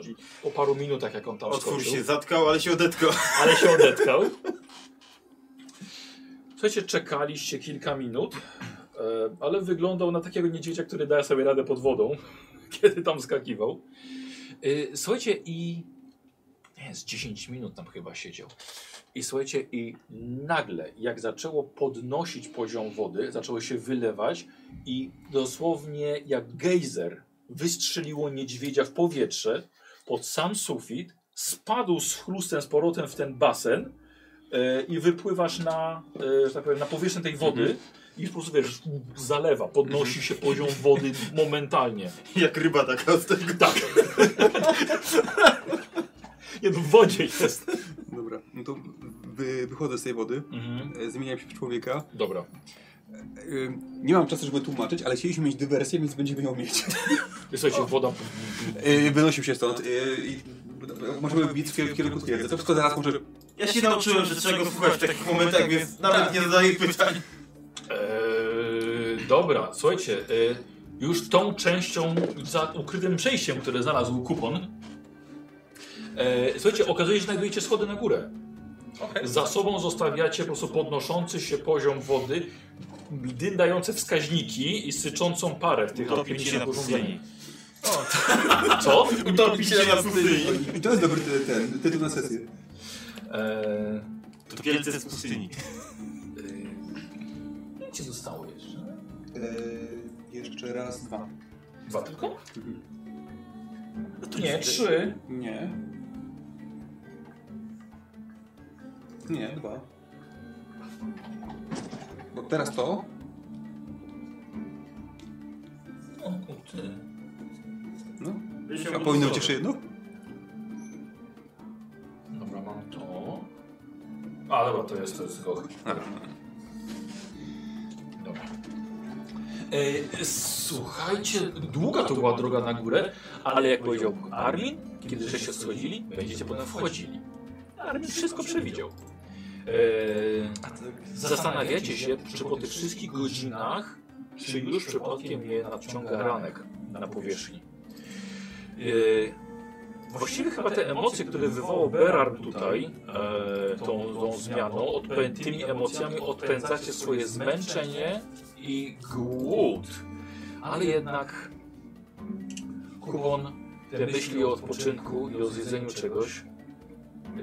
Speaker 2: Czyli Po paru minutach, jak on tam
Speaker 5: Otwór
Speaker 2: skoczył,
Speaker 5: się zatkał, ale się odetkał.
Speaker 2: ale się odetkał. Słuchajcie, czekaliście kilka minut, e, ale wyglądał na takiego niedźwiedzia, który daje sobie radę pod wodą, <laughs> kiedy tam skakiwał. E, Słuchajcie, i nie, z 10 minut tam chyba siedział. I słuchajcie, i nagle, jak zaczęło podnosić poziom wody, zaczęło się wylewać i dosłownie jak gejzer wystrzeliło niedźwiedzia w powietrze pod sam sufit, spadł z chlustem, z powrotem w ten basen e, i wypływasz na, e, że tak powiem, na powierzchnię tej wody i po prostu wiesz, zalewa, podnosi się poziom wody momentalnie.
Speaker 5: <laughs> Jak ryba taka z tego.
Speaker 2: Tak. Nie, no w wodzie jest.
Speaker 4: dobra, no to wy, wychodzę z tej wody, e, zmieniam się w człowieka.
Speaker 2: Dobra.
Speaker 4: E, nie mam czasu, żeby tłumaczyć, ale chcieliśmy mieć dywersję, więc będziemy ją mieć.
Speaker 2: Słuchajcie, woda
Speaker 4: E, wynosił się stąd. e, i, możemy bić w kierunku twierdzy. To wszystko zaraz może...
Speaker 5: Ja się nauczyłem, że czego słuchać w takich momentach, więc nawet Tak, nie zadaję pytań.
Speaker 2: Eee, dobra, słuchajcie, eee, już tą częścią za ukrytym przejściem, które znalazł kupon. Eee, słuchajcie, okazuje się, że znajdujecie schody na górę. Za sobą zostawiacie po prostu podnoszący się poziom wody, dyndające wskaźniki i syczącą parę w tych
Speaker 3: Utopić się na pustyni.
Speaker 2: Co?
Speaker 5: Utopić się na pustyni.
Speaker 4: I to jest dobry ty- ten, tytuł na sesję.
Speaker 2: Eee,
Speaker 3: To wielce z pustyni.
Speaker 2: ile ci zostało jeszcze?
Speaker 4: E, jeszcze raz, dwa.
Speaker 2: Dwa tylko? Nie, trzy.
Speaker 4: Nie. Nie, dwa. Bo teraz to.
Speaker 2: O kurczę.
Speaker 4: No. A powinno być jeszcze jedno?
Speaker 2: Dobra, mam to. A, dobra, to jest, to jest tylko... Dobra. E, słuchajcie, długa to była droga na górę, ale jak powiedział Armin, kiedy żeście schodzili, będziecie potem wchodzili. Armin wszystko przewidział. E, zastanawiacie się, czy po tych wszystkich godzinach, czy już przypadkiem nie nadciąga ranek na powierzchni. E, Właściwie chyba te emocje, które wywołał Berard tutaj, e, tą, tą zmianą, odpę, tymi emocjami odpędzacie swoje zmęczenie i głód. Ale jednak Kubon, te myśli o odpoczynku i o zjedzeniu czegoś,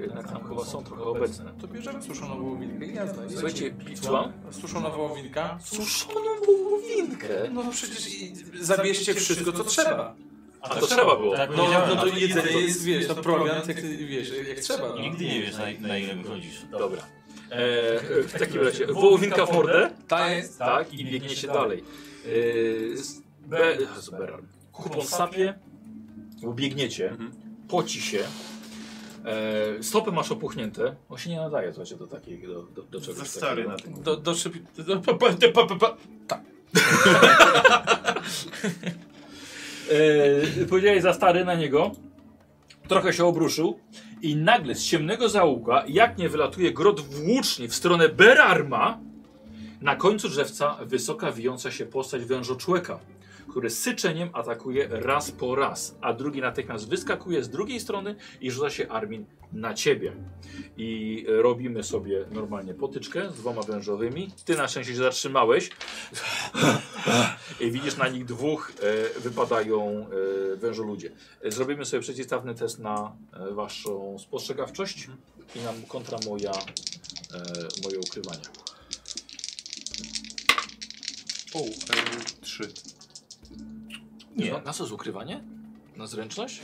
Speaker 2: jednak tam chyba są trochę obecne.
Speaker 10: To bierzemy suszoną wołowinkę i jazda. I
Speaker 2: Słuchajcie,
Speaker 10: lecimy.
Speaker 2: pizza,
Speaker 10: Suszona wołowinka.
Speaker 2: suszoną wołowinkę.
Speaker 10: <laughs> No przecież i <laughs> zabierzcie wszystko, co trzeba.
Speaker 2: A to trzeba było.
Speaker 3: Tak,
Speaker 10: No,
Speaker 3: powiedziałem.
Speaker 10: no to jedzenie jest, wiesz, to prowiant, jak, wiesz, jak trzeba. No.
Speaker 3: Nigdy nie wiesz, na, na ile wychodzisz.
Speaker 2: Dobra. E, w takim razie, wołowinka w mordę.
Speaker 10: Ta jest...
Speaker 2: tak, i biegniecie dalej. Yy, z- be, z Berar. Kupon sapie, bo biegniecie, poci się, e, stopy masz opuchnięte, on się nie nadaje słuchajcie, do takiej, do, do, do czegoś
Speaker 5: Za stary na tym.
Speaker 10: Do, do szyb... Do, pa, pa, pa, pa, pa.
Speaker 12: E, powiedziałeś za stary na niego. Trochę się obruszył i nagle z ciemnego zaułka, jak nie wylatuje grot włóczni w stronę Berarma,
Speaker 2: Na końcu drzewca wysoka, wijąca się postać wężoczłeka, który syczeniem atakuje raz po raz, a drugi natychmiast wyskakuje z drugiej strony i rzuca się Armin na ciebie. I e, robimy sobie normalnie potyczkę z dwoma wężowymi. Ty na szczęście się zatrzymałeś. I widzisz na nich dwóch e, wypadają e, wężoludzie. E, Zrobimy sobie przeciwstawny test na e, waszą spostrzegawczość i nam kontra moja, e, moje ukrywanie.
Speaker 4: O, e, trzy.
Speaker 2: Nie. Na, na co jest ukrywanie? Na zręczność?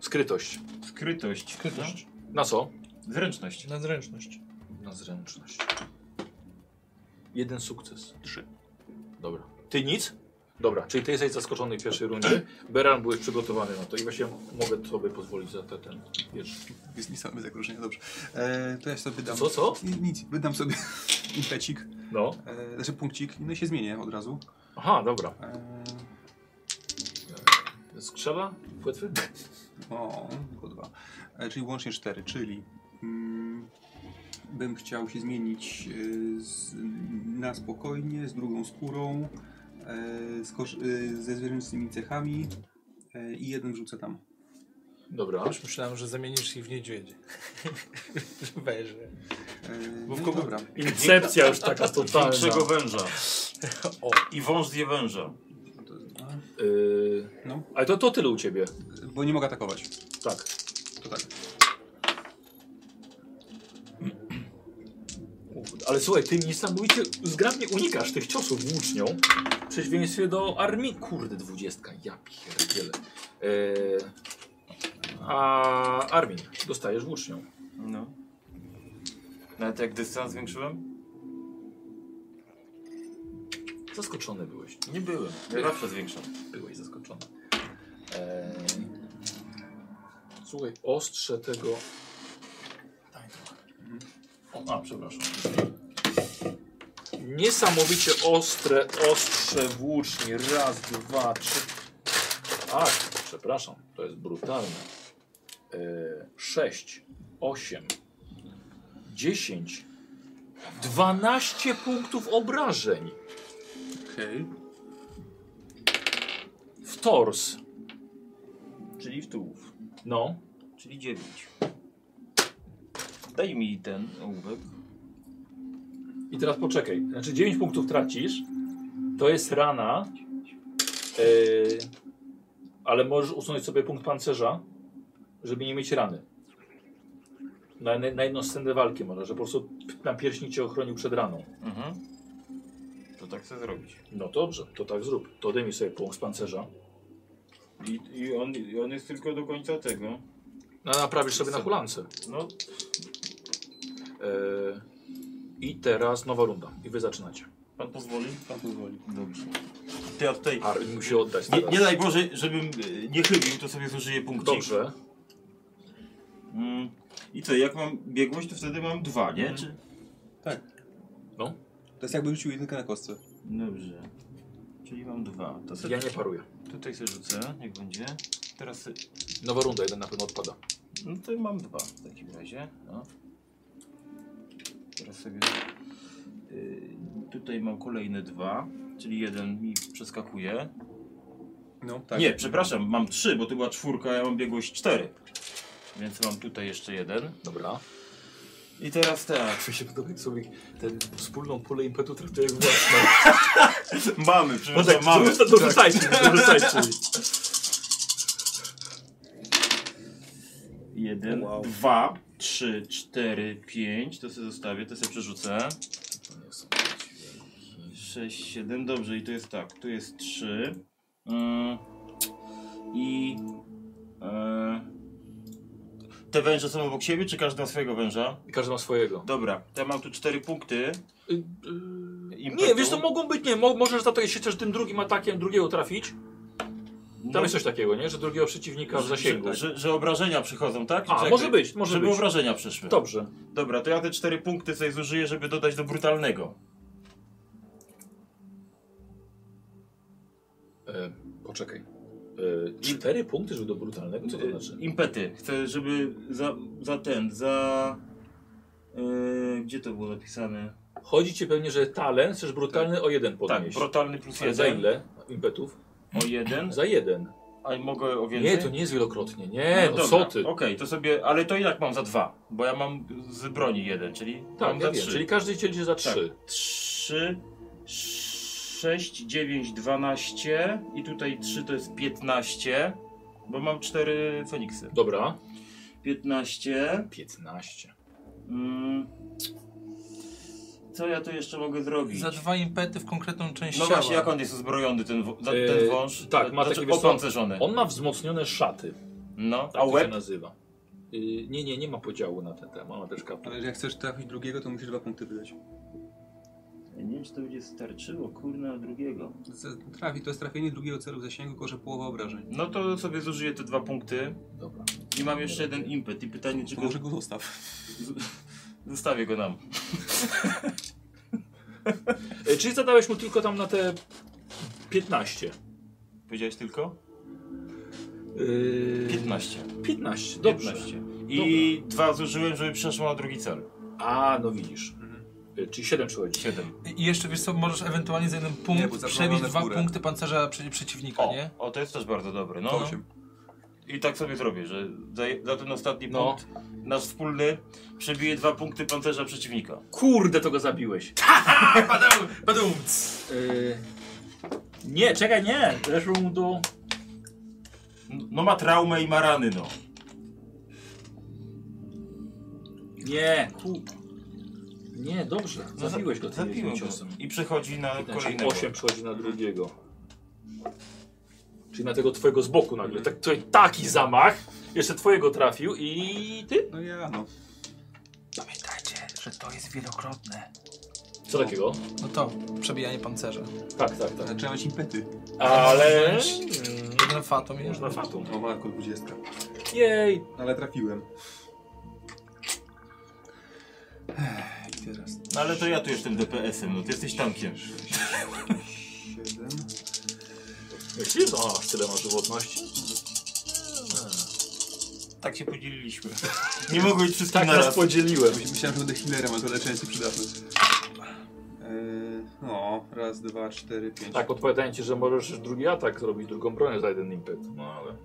Speaker 2: Skrytość.
Speaker 3: Skrytość.
Speaker 2: Na co?
Speaker 5: no,
Speaker 2: Zręczność.
Speaker 10: Na zręczność.
Speaker 2: Na zręczność. Jeden sukces. Trzy. Dobra. Ty nic? Dobra, czyli ty jesteś zaskoczony w pierwszej rundzie. Beran byłeś przygotowany na to i właśnie mogę sobie pozwolić za te, ten wiesz.
Speaker 11: Jest mi same zagrożenie, dobrze. E, to ja sobie dam.
Speaker 2: Co, co?
Speaker 11: Ni- Nic, wydam sobie <laughs> impecik,
Speaker 2: No.
Speaker 11: e, znaczy punkcik, no i się zmienię od razu.
Speaker 2: Aha, dobra.
Speaker 11: E,
Speaker 2: Skrzela? Płetwy?
Speaker 11: o, tylko dwa. E, czyli łącznie cztery, czyli mm, bym chciał się zmienić e, z, na spokojnie, z drugą skórą, e, z kosz, e, ze zwierzęcymi cechami e, i jeden wrzucę tam.
Speaker 2: Dobra.
Speaker 10: Już myślałem, że zamienisz się w niedźwiedzie. <laughs> Wejrze.
Speaker 11: E,
Speaker 10: Bo w
Speaker 11: no i
Speaker 10: kogo-
Speaker 11: dobra.
Speaker 12: Incepcja już taka totalna.
Speaker 5: Większego Tak. <laughs> węża. I wąż zje węża.
Speaker 11: To jest dwa.
Speaker 2: Yy,
Speaker 11: No.
Speaker 2: Ale to, to tyle u ciebie.
Speaker 11: Bo nie mogę atakować.
Speaker 2: Tak.
Speaker 11: To tak.
Speaker 2: Kurde, Ale słuchaj, ty niesamowicie zgrabnie unikasz tych ciosów włócznią w przeciwieństwie do armii. Kurde, dwudziestka, ja pierdzielę. Eee, a Armin, dostajesz włócznią.
Speaker 5: No. Nawet jak dystans zwiększyłem?
Speaker 2: Zaskoczony byłeś.
Speaker 5: Nie byłem. Ja zawsze zwiększam.
Speaker 2: Byłeś zaskoczony. Eee, słuchaj, ostrze tego... Daj trochę. O, a, przepraszam. Niesamowicie ostre, ostrze włócznie. Raz, dwa, trzy. A, przepraszam, to jest brutalne. Eee, sześć, osiem, dziesięć, dwanaście punktów obrażeń.
Speaker 11: Okej.
Speaker 2: W tors.
Speaker 5: Czyli w tułów.
Speaker 2: No.
Speaker 5: Czyli 9. Daj mi ten ołówek.
Speaker 2: I teraz poczekaj. Znaczy 9 punktów tracisz. To jest rana. Yy, ale możesz usunąć sobie punkt pancerza, żeby nie mieć rany. Na, na jedną scenę walki może, że po prostu na pierśni cię ochronił przed raną.
Speaker 5: Mhm. To tak chcę zrobić.
Speaker 2: No dobrze, to tak zrób. To odejmij sobie punkt z pancerza.
Speaker 5: I, i, on, I on jest tylko do końca tego.
Speaker 2: No naprawisz sobie na hulance.
Speaker 5: No,
Speaker 2: Yy, I teraz nowa runda. I wy zaczynacie.
Speaker 5: pan pozwoli?
Speaker 11: Pan pozwoli.
Speaker 5: Dobrze. To ja tutaj...
Speaker 2: Ar musi oddać
Speaker 5: Nie,
Speaker 2: teraz.
Speaker 5: nie daj Boże, żebym e, nie chybił, to sobie zużyję punkcik.
Speaker 2: Dobrze.
Speaker 5: Mm. I co, jak mam biegłość, to wtedy mam dwa, nie?
Speaker 2: Mhm.
Speaker 5: Czy...
Speaker 11: To jest jakby rzucił jedynkę na kostce.
Speaker 5: Dobrze. Czyli mam dwa. To sobie
Speaker 2: Ja nie paruję.
Speaker 5: tutaj sobie rzucę, niech będzie. Teraz se-
Speaker 2: Nowa runda, jeden na pewno odpada.
Speaker 5: No to mam dwa w takim razie. No. Teraz sobie. y, tutaj mam kolejne dwa, czyli jeden mi przeskakuje.
Speaker 11: No, tak.
Speaker 5: Nie, przepraszam, mam trzy, bo to była czwórka, a ja mam biegłość cztery. Więc mam tutaj jeszcze jeden.
Speaker 2: Dobra.
Speaker 5: I teraz tak.
Speaker 2: Mi się podoba, jak sobie ten wspólną pulę impetu traktuje jak <laughs> własną. Tak,
Speaker 5: Mamy,
Speaker 2: No
Speaker 5: przepraszam, mamy.
Speaker 2: dorzucajcie, <laughs> dorzucajcie.
Speaker 5: Jeden, dwa, trzy, cztery, pięć. To sobie zostawię, to sobie przerzucę. Sześć, siedem, dobrze. I to jest tak, tu jest trzy. Mm, I... E, te węże są obok siebie, czy każdy ma swojego węża?
Speaker 2: I każdy ma swojego.
Speaker 5: Dobra, to ja mam tu cztery punkty. Impetu.
Speaker 2: Y, Nie, wiesz to mogą być, nie, mo możesz za to, jeśli chcesz tym drugim atakiem drugiego trafić, tam
Speaker 5: No,
Speaker 2: jest coś takiego, nie, że drugiego przeciwnika w zasięgu.
Speaker 5: Że, że, że obrażenia przychodzą, tak?
Speaker 2: A,
Speaker 5: Czekaj,
Speaker 2: może być, może
Speaker 5: Żeby
Speaker 2: być.
Speaker 5: obrażenia przyszły.
Speaker 2: Dobrze.
Speaker 5: Dobra, to ja te cztery punkty sobie zużyję, żeby dodać do brutalnego.
Speaker 2: E, poczekaj. E, cztery punkty, żeby do brutalnego, co to znaczy?
Speaker 5: e, Impety. Chcę, żeby za, za ten, za... e, gdzie to było napisane?
Speaker 2: Chodzi ci pewnie, że talent chcesz brutalny o jeden
Speaker 5: Tak,
Speaker 2: podnieść.
Speaker 5: brutalny plus
Speaker 2: A za
Speaker 5: jeden.
Speaker 2: ile impetów?
Speaker 5: O jeden.
Speaker 2: Za jeden.
Speaker 5: A mogę o więcej?
Speaker 2: Nie, to nie jest wielokrotnie, nie, no,
Speaker 5: dobra.
Speaker 2: co ty.
Speaker 5: Okej, to sobie, ale to i tak mam za dwa, bo ja mam z broni jeden, czyli
Speaker 2: Tak,
Speaker 5: mam za
Speaker 2: ja wiem,
Speaker 5: trzy.
Speaker 2: czyli każdy cię idzie za trzy.
Speaker 5: Tak, trzy, sześć, dziewięć, dwanaście i tutaj trzy to jest piętnaście, bo mam cztery Feniksy.
Speaker 2: Dobra.
Speaker 5: Piętnaście.
Speaker 2: 15.
Speaker 5: Mm. Co ja tu jeszcze mogę zrobić?
Speaker 10: Za dwa impety w konkretną część
Speaker 5: No
Speaker 10: ciała.
Speaker 5: właśnie, jak on jest uzbrojony, ten, wo- za-
Speaker 2: Yy,
Speaker 5: ten wąż?
Speaker 2: tak, ma
Speaker 5: znaczy,
Speaker 2: takie, wiesz co,
Speaker 5: opancerzony.
Speaker 2: On ma wzmocnione szaty.
Speaker 5: No,
Speaker 2: Tak
Speaker 5: a
Speaker 2: to się
Speaker 5: łeb?
Speaker 2: nazywa. Y, nie, nie, nie ma podziału na ten temat. Ona też kaptur.
Speaker 11: Ale jak chcesz trafić drugiego, to musisz dwa punkty wydać.
Speaker 6: Ja nie wiem, czy to będzie starczyło, kurna, drugiego.
Speaker 11: Z- Trafi, to jest trafienie drugiego celu w zasięgu, kosze połowa obrażeń.
Speaker 5: No to sobie zużyję te dwa punkty
Speaker 2: Dobra.
Speaker 5: i mam jeszcze jeden impet i pytanie, czy
Speaker 11: To
Speaker 5: go...
Speaker 11: może go zostaw.
Speaker 5: <laughs> Zostawię go nam.
Speaker 2: Y, czyli zadałeś mu tylko tam na te 15.
Speaker 5: Powiedziałeś tylko?
Speaker 2: Y,
Speaker 5: 15.
Speaker 2: 15, dobrze.
Speaker 5: 15. I dwa zużyłem, żeby przeszło na drugi cel.
Speaker 2: A, no widzisz.
Speaker 5: Mhm.
Speaker 2: Y, Czyli 7 przychodzi.
Speaker 5: 7.
Speaker 10: I jeszcze wiesz co, możesz ewentualnie za jeden
Speaker 11: Nie,
Speaker 10: punkt
Speaker 11: bo
Speaker 10: przebić
Speaker 11: zaplanowane
Speaker 10: dwa
Speaker 11: w górę.
Speaker 10: punkty pancerza przy, przeciwnika,
Speaker 5: O,
Speaker 10: nie?
Speaker 5: o, to jest też bardzo dobre. No.
Speaker 11: To osiem.
Speaker 5: I tak sobie zrobię, że za, za ten ostatni
Speaker 2: No.
Speaker 5: punkt, nasz wspólny, przebije dwa punkty pancerza przeciwnika.
Speaker 2: Kurde, to go zabiłeś. Y, nie, czekaj, nie. Weszło mu do...
Speaker 5: No, no ma traumę i ma rany, no.
Speaker 2: Nie, ku... Nie, dobrze.
Speaker 5: no
Speaker 2: Zabiłeś go tym
Speaker 5: zabiłem
Speaker 2: jednym
Speaker 5: go.
Speaker 2: ciosem.
Speaker 5: I przechodzi na
Speaker 2: Czyli
Speaker 5: kolejnego.
Speaker 2: 8 Znaczy, przychodzi na drugiego. Czyli na tego twojego z boku nagle. Tak, tutaj taki zamach. Jeszcze twojego trafił i ty?
Speaker 11: No ja, no.
Speaker 10: Pamiętajcie, że to jest wielokrotne.
Speaker 2: Co takiego?
Speaker 10: No to, przebijanie pancerza.
Speaker 2: Tak, tak, tak.
Speaker 11: Zaczynamy mieć impety.
Speaker 2: Ale...
Speaker 10: Jeden fatom i
Speaker 2: Można fatą.
Speaker 11: O, Marko, 20.
Speaker 2: Jej,
Speaker 11: Ale trafiłem.
Speaker 5: No ale to ja tu jestem DPS-em, no ty jesteś tankiem.
Speaker 11: 7.
Speaker 2: Myślisz, że ona aż tyle ma żywotności?
Speaker 5: Tak się podzieliliśmy. Nie mogło być wszystkim
Speaker 2: Tak
Speaker 5: na
Speaker 2: nas
Speaker 5: raz.
Speaker 2: podzieliłem.
Speaker 11: Myślałem, że będę healerem, ale to leczenie jest przydatne. Eee, no, raz, dwa, cztery, pięć.
Speaker 2: Tak, odpowiadają ci, że możesz drugi atak zrobić, drugą bronię za jeden impet. No ale...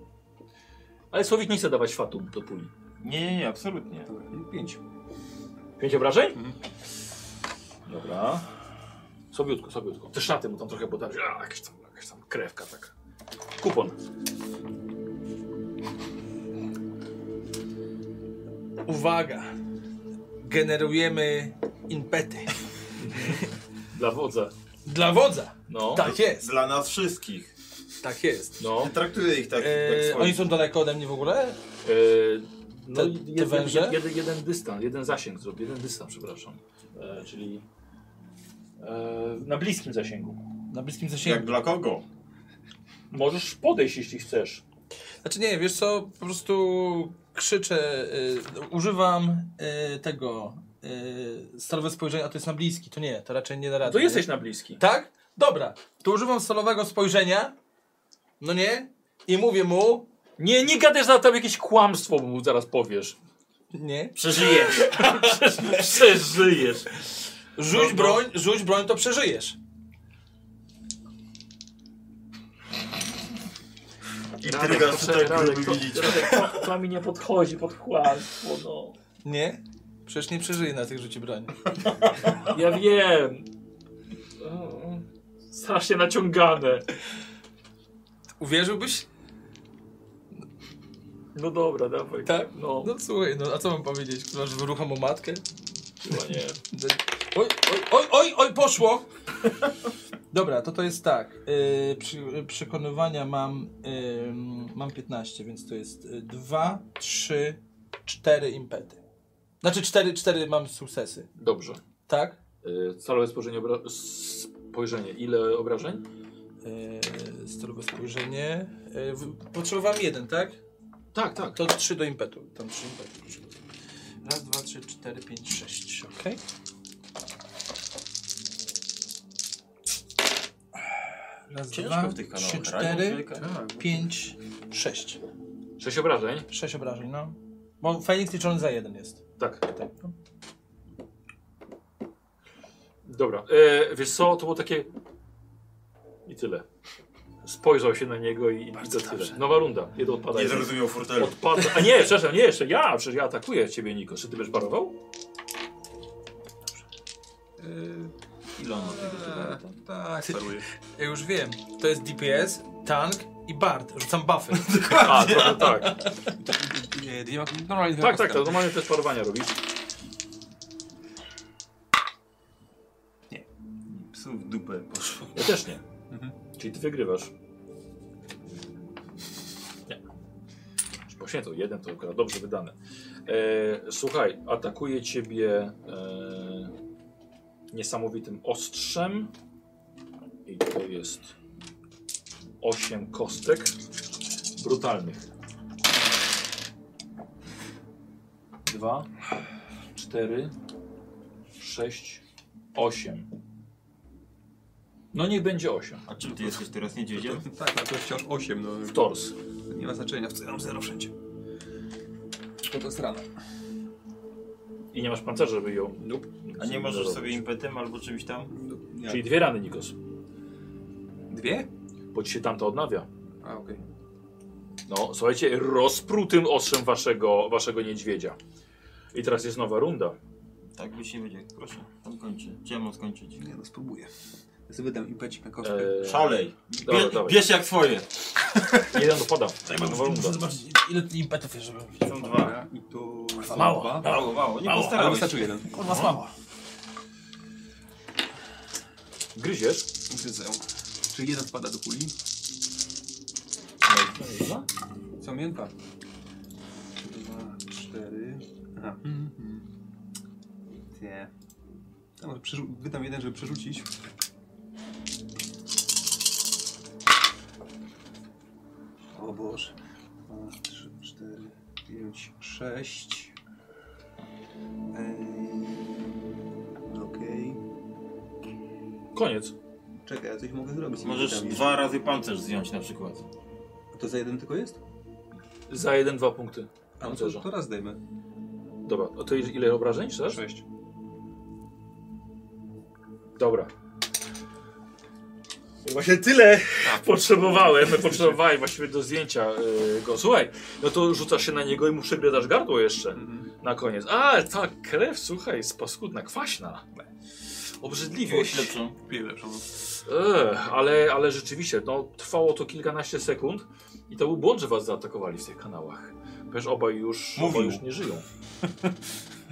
Speaker 2: Ale Słowik nie chce dawać fatum do puli.
Speaker 5: Nie, nie, nie, absolutnie.
Speaker 11: Dobra, pięć.
Speaker 2: Pięć obrażeń? Dobra. Sobiutko, sobiutko. Te szaty mu tam trochę podarły. A, Jakaś tam, jakaś tam krewka taka. Kupon.
Speaker 10: Uwaga! Generujemy impety.
Speaker 2: Dla wodza.
Speaker 10: Dla wodza!
Speaker 2: No.
Speaker 10: Tak jest,
Speaker 5: Dla nas wszystkich.
Speaker 10: tak jest.
Speaker 2: No.
Speaker 5: Traktuję ich tak, jak
Speaker 10: Eee,
Speaker 5: swoich.
Speaker 10: oni są daleko ode mnie w ogóle?
Speaker 2: E, no
Speaker 10: Te-
Speaker 2: i
Speaker 10: te
Speaker 2: jeden,
Speaker 10: węże?
Speaker 2: jeden, jeden dystans, jeden zasięg zrobię, jeden dystans, przepraszam. E, czyli e, na bliskim zasięgu.
Speaker 10: Na bliskim
Speaker 5: Jak
Speaker 10: zasięgu.
Speaker 5: dla kogo?
Speaker 2: Możesz podejść, jeśli chcesz.
Speaker 10: Znaczy nie, wiesz co, po prostu krzyczę, y, używam y, tego y, stalowe spojrzenie, a to jest na bliski, to nie, to raczej nie da rady.
Speaker 2: To
Speaker 10: nie?
Speaker 2: jesteś na bliski.
Speaker 10: Tak? Dobra, to używam stalowego spojrzenia, no nie? I mówię mu,
Speaker 2: Nie, nie gadasz za tam jakieś kłamstwo, bo mu zaraz powiesz.
Speaker 10: nie,
Speaker 5: Przeżyjesz.
Speaker 2: Przeżyjesz.
Speaker 10: rzuć broń, rzuć broń, to przeżyjesz.
Speaker 2: No,
Speaker 5: Intryga z tak gruby widzicie.
Speaker 2: mi nie podchodzi pod kłamstwo, no.
Speaker 10: Nie? Przecież nie przeżyję na tych rzucie broni.
Speaker 2: Ja wiem. O, Strasznie naciągane.
Speaker 10: Uwierzyłbyś?
Speaker 2: No dobra, dawaj.
Speaker 10: Tak?
Speaker 2: No.
Speaker 10: No słuchaj, no a co mam powiedzieć? Masz wyruchomą matkę?
Speaker 2: Chyba nie.
Speaker 10: Oj, oj, oj, oj, oj, poszło! Dobra, to to jest tak. Yy, przy, przekonywania mam, yy, mam 15, więc to jest y, 2, 3, 4 impety. Znaczy 4, 4 mam sukcesy,
Speaker 2: Dobrze.
Speaker 10: tak?
Speaker 2: Y, Calowe spojrzenie, obra... spojrzenie. Ile obrażeń?
Speaker 10: Yy, stalowe spojrzenie. Yy, w- potrzebowałem jeden, tak?
Speaker 2: Tak, tak.
Speaker 10: To 3 do impetu. Tam 3 impetu. Raz, dwa, trzy, cztery, pięć, sześć. Okej. Raz,
Speaker 5: Ciężko
Speaker 10: dwa,
Speaker 5: w tych kanałach.
Speaker 10: trzy,
Speaker 5: Ranią
Speaker 10: cztery,
Speaker 5: człowieka.
Speaker 10: pięć, sześć.
Speaker 2: Sześć obrażeń?
Speaker 10: Sześć obrażeń, no. Bo Feniks liczony za jeden jest.
Speaker 2: Tak.
Speaker 10: Tak.
Speaker 2: Dobra. E, wiesz co, to było takie... I tyle. Spojrzał się na niego i i to tyle. Nowa runda. Jeden odpada.
Speaker 5: Nie
Speaker 2: jeden.
Speaker 5: zrozumiał furtelu.
Speaker 2: Odpada. A nie, przepraszam, nie jeszcze. Ja, przecież ja atakuję ciebie, Niko. Czy ty będziesz parował?
Speaker 5: Ile on ma tego
Speaker 11: Eee, tak, paruję.
Speaker 10: Ja już wiem. To jest DPS, tank i Bard. Rzucam <laughs> buffy.
Speaker 2: A, trochę tak.
Speaker 11: Nie, dwiema, normalnie dwiema
Speaker 2: Tak, tak, to
Speaker 11: kostkami.
Speaker 2: normalnie też parowania robisz.
Speaker 5: Psu w dupę poszło.
Speaker 2: Ja też nie. Czyli ty wygrywasz. poświęcą. Jeden to akurat dobrze wydane. E, słuchaj, atakuje ciebie e, niesamowitym ostrzem. I to jest 8 kostek brutalnych. 2, 4, 6, 8. No niech będzie 8.
Speaker 5: A czym ty jesteś teraz niedźwiedziem?
Speaker 4: Tak, ale to wciąż 8, no
Speaker 2: W tors.
Speaker 4: nie ma znaczenia, w mam 0 wszędzie. No to jest rana.
Speaker 2: I nie masz pancerza, żeby ją.
Speaker 4: Nope.
Speaker 5: A nie możesz
Speaker 2: zarobić.
Speaker 5: sobie impetem albo czymś tam?
Speaker 4: No, jak?
Speaker 2: Czyli dwie rany, Nikos.
Speaker 4: Dwie?
Speaker 2: Bo ci się tamto odnawia.
Speaker 4: A, okej.
Speaker 2: No, słuchajcie, rozprutym ostrzem waszego, waszego niedźwiedzia. I teraz jest nowa runda.
Speaker 5: Tak być nie będzie. Proszę, tam kończy. Gdzie ja mam skończyć?
Speaker 4: Nie no, spróbuję. Ja sobie dam impecik na kostkę.
Speaker 2: Eee,
Speaker 5: Szalej!
Speaker 2: dobra,
Speaker 5: Bie,
Speaker 2: dobra.
Speaker 5: bierz jak twoje!
Speaker 2: Jeden dopada. Nowa runda.
Speaker 3: Muszę zobaczyć, ile ty impetów jest, żebym widział.
Speaker 5: Są dwa.
Speaker 11: I to są
Speaker 3: Mało,
Speaker 11: dwa.
Speaker 5: Mało, mało, nie
Speaker 3: Mało,
Speaker 4: Ale
Speaker 5: postarałeś się.
Speaker 4: wystarczył jeden.
Speaker 3: Kurwa, słabo.
Speaker 2: Gryziesz.
Speaker 4: Gryzę. Czyli jeden wpada do puli. Co mięta? Dwa, cztery. Aha. Nie. Ja może przerzu- wydam jeden, żeby przerzucić. O Boże. Dwa, trzy, cztery, pięć, sześć. Eee, Okej.
Speaker 2: Koniec.
Speaker 4: Czekaj, ja coś mogę zrobić. z tymi
Speaker 5: Możesz
Speaker 4: bitami.
Speaker 5: dwa razy pancerz zdjąć na przykład.
Speaker 4: To za jeden tylko jest?
Speaker 2: Za jeden, dwa punkty.
Speaker 4: A no
Speaker 2: Pancerza.
Speaker 4: to, to raz zdejmę.
Speaker 2: Dobra, a to ile obrażeń chcesz?
Speaker 4: Sześć.
Speaker 2: Dobra. Właśnie tyle potrzebowałem, potrzebowałem właściwie do zdjęcia y, go. Słuchaj, no to rzucasz się na niego i mu przegryzasz gardło jeszcze
Speaker 4: Mhm.
Speaker 2: na koniec. A, ta krew, słuchaj, jest paskudna, kwaśna. Obrzydliwie.
Speaker 5: Wziąłeś lepszą.
Speaker 4: Piję lepszą.
Speaker 2: Ech, ale, ale rzeczywiście, no, trwało to kilkanaście sekund i to był błąd, że was zaatakowali w tych kanałach. Przecież obaj już,
Speaker 5: Mówił.
Speaker 2: obaj już nie żyją.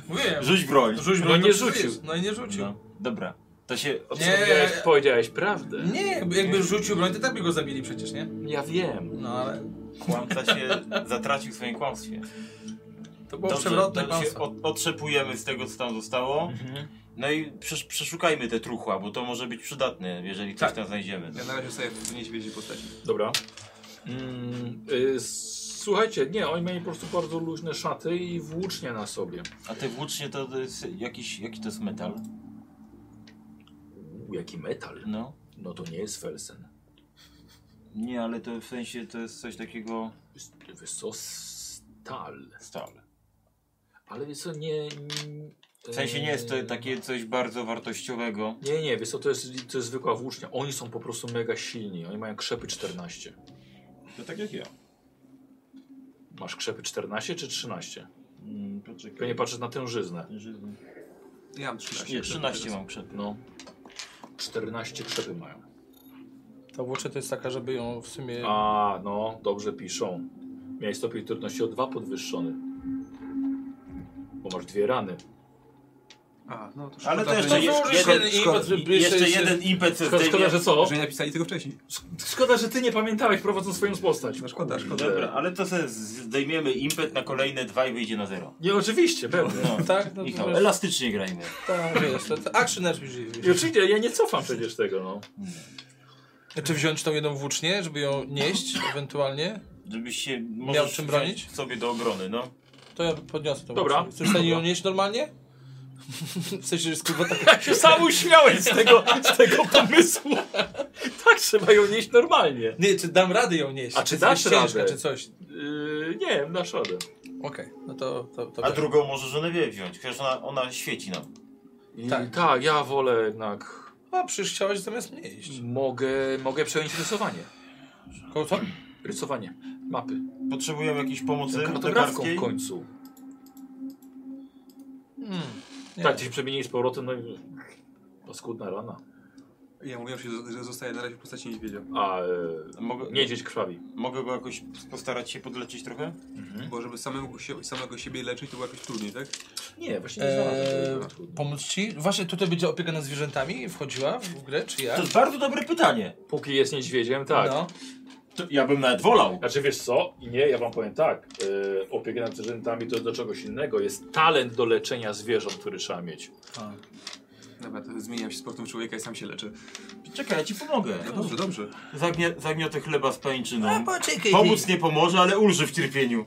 Speaker 10: Mówiłem.
Speaker 5: Rzuć broń.
Speaker 10: Rzuć
Speaker 2: No
Speaker 10: broń,
Speaker 2: nie
Speaker 10: to
Speaker 2: rzucił.
Speaker 10: rzucisz. No i nie rzucił.
Speaker 5: No, dobra. To się od...
Speaker 10: Nie.
Speaker 2: Powiedziałeś, powiedziałeś prawdę.
Speaker 10: Nie, jakby rzucił broń, to tak by go zabili przecież, nie?
Speaker 2: Ja wiem.
Speaker 10: No ale
Speaker 5: kłamca się zatracił w swoim kłamstwie.
Speaker 10: to było przewrotne
Speaker 5: to się
Speaker 10: kłamstwo.
Speaker 5: od, otrzepujemy z tego, co tam zostało. No i przesz, przeszukajmy te truchła, bo to może być przydatne, jeżeli coś
Speaker 10: Tak.
Speaker 5: tam znajdziemy. no.
Speaker 4: Ja na razie sobie w niedźwiedzi postaci.
Speaker 2: Dobra. Mm, y, s- słuchajcie, nie, oni mieli po prostu bardzo luźne szaty i włócznie na sobie.
Speaker 5: A te włócznie to, to jest jakiś, jaki to jest metal?
Speaker 2: Uuu, jaki metal.
Speaker 5: No.
Speaker 2: No to nie jest felsen.
Speaker 5: Nie, ale to w sensie to jest coś takiego...
Speaker 2: Wiesz co, stal.
Speaker 5: Stal.
Speaker 2: Ale wiesz co, nie... mm,
Speaker 5: W sensie nie jest to
Speaker 2: y,
Speaker 5: takie coś bardzo wartościowego.
Speaker 2: Nie, nie, wiesz co, to jest, to jest zwykła włócznia. Oni są po prostu mega silni. Oni mają krzepy 14.
Speaker 5: To tak jak ja.
Speaker 2: Masz krzepy 14 czy 13?
Speaker 5: Mm, poczekaj.
Speaker 2: Pewnie patrzysz na tę żyznę.
Speaker 4: Ja mam 13.
Speaker 5: Nie, 13 mam krzepy.
Speaker 2: No. 14 krzepy mają.
Speaker 10: Ta włócznia to jest taka, żeby ją w sumie...
Speaker 2: A, no, dobrze piszą. Miałeś stopień trudności o dwa podwyższony. Bo masz dwie rany.
Speaker 4: A, no to
Speaker 5: Ale
Speaker 4: szkoda,
Speaker 5: też
Speaker 4: że
Speaker 5: to
Speaker 4: nie-
Speaker 5: są-
Speaker 10: Złożysz
Speaker 5: Szko-
Speaker 10: jeden impet, żeby
Speaker 5: Jeszcze
Speaker 10: się-
Speaker 5: jeden impet se
Speaker 2: Szkoda,
Speaker 5: zdejmie.
Speaker 2: szkoda, że co?
Speaker 4: że nie napisali tego wcześniej.
Speaker 2: Szkoda, że ty nie pamiętałeś prowadząc swoją postać.
Speaker 4: No szkoda, szkoda.
Speaker 5: Dobra, ale to sobie zdejmiemy impet na kolejne dwa i wyjdzie na zero.
Speaker 2: Nie, oczywiście, pewnie.
Speaker 5: No.
Speaker 10: Tak, no
Speaker 5: Michał,
Speaker 10: to wiesz,
Speaker 5: elastycznie grajmy.
Speaker 10: tak, wiesz, to, to action
Speaker 2: I
Speaker 10: RPG.
Speaker 2: oczywiście, ja nie cofam przecież tego, no.
Speaker 10: Czy wziąć tą jedną włócznię, żeby ją nieść ewentualnie?
Speaker 5: Żebyś się
Speaker 10: Miał
Speaker 5: możesz
Speaker 10: czym
Speaker 5: wziąć
Speaker 10: bronić?
Speaker 5: sobie do obrony, no.
Speaker 10: To ja podniosę tą
Speaker 2: Dobra.
Speaker 10: włócznię. Chcesz w stanie ją nieść normalnie? <laughs> W sensie, że jest kurwa taka...
Speaker 2: Ja się sam uśmiałeś z tego, z tego pomysłu. Tak, trzeba ją nieść normalnie.
Speaker 10: Nie, czy dam radę ją nieść?
Speaker 2: A czy
Speaker 10: To jest
Speaker 2: dasz
Speaker 10: ciężka,
Speaker 2: radę?
Speaker 10: czy coś?
Speaker 2: Yy, nie, na szadę.
Speaker 10: Okej, no to... to, to
Speaker 5: A
Speaker 10: tak.
Speaker 5: drugą może żonę wie wziąć, chociaż ona, ona świeci nam.
Speaker 2: Tak. tak, ja wolę jednak...
Speaker 10: A, przecież chciałeś zamiast mnie iść.
Speaker 2: Mogę, mogę przejąć rysowanie.
Speaker 10: Koło co?
Speaker 2: Rysowanie mapy.
Speaker 5: Potrzebujemy jakiejś pomocy
Speaker 2: Kartografką
Speaker 5: lekarskiej.
Speaker 2: w końcu.
Speaker 10: Hmm. Nie.
Speaker 2: Tak, ty się przemienili z powrotem, no i... Paskudna rana.
Speaker 4: Ja mówiłem, się, że zostaje na razie w postaci niedźwiedzia.
Speaker 2: A e,
Speaker 5: Mogę,
Speaker 2: niedźwiedź krwawi.
Speaker 5: mogę go jakoś postarać się podleczyć trochę?
Speaker 4: Bo żeby samego, się, samego siebie leczyć, to było jakoś trudniej, tak?
Speaker 2: Nie, właśnie nie znalazłem.
Speaker 10: Eee,
Speaker 2: tego.
Speaker 10: pomóc ci? Właśnie tutaj będzie opieka nad zwierzętami wchodziła w grę, czy
Speaker 5: To
Speaker 10: jak?
Speaker 5: jest bardzo dobre pytanie.
Speaker 2: Póki jest niedźwiedziem, tak.
Speaker 10: No.
Speaker 5: To ja bym nawet wolał.
Speaker 2: Znaczy wiesz co? Nie, ja wam powiem tak. Yy, opiekę nad zwierzętami to jest do czegoś innego. Jest talent do leczenia zwierząt, który trzeba mieć.
Speaker 4: Dobra, to zmieniam się z portem człowieka i sam się leczę.
Speaker 5: Czekaj, ja ci pomogę.
Speaker 4: No dobrze, dobrze.
Speaker 5: Zagnie- Zagniotę chleba z
Speaker 10: A
Speaker 5: pajęczyną.
Speaker 10: poczekaj,
Speaker 5: Pomóc nie pomoże, ale ulży w cierpieniu.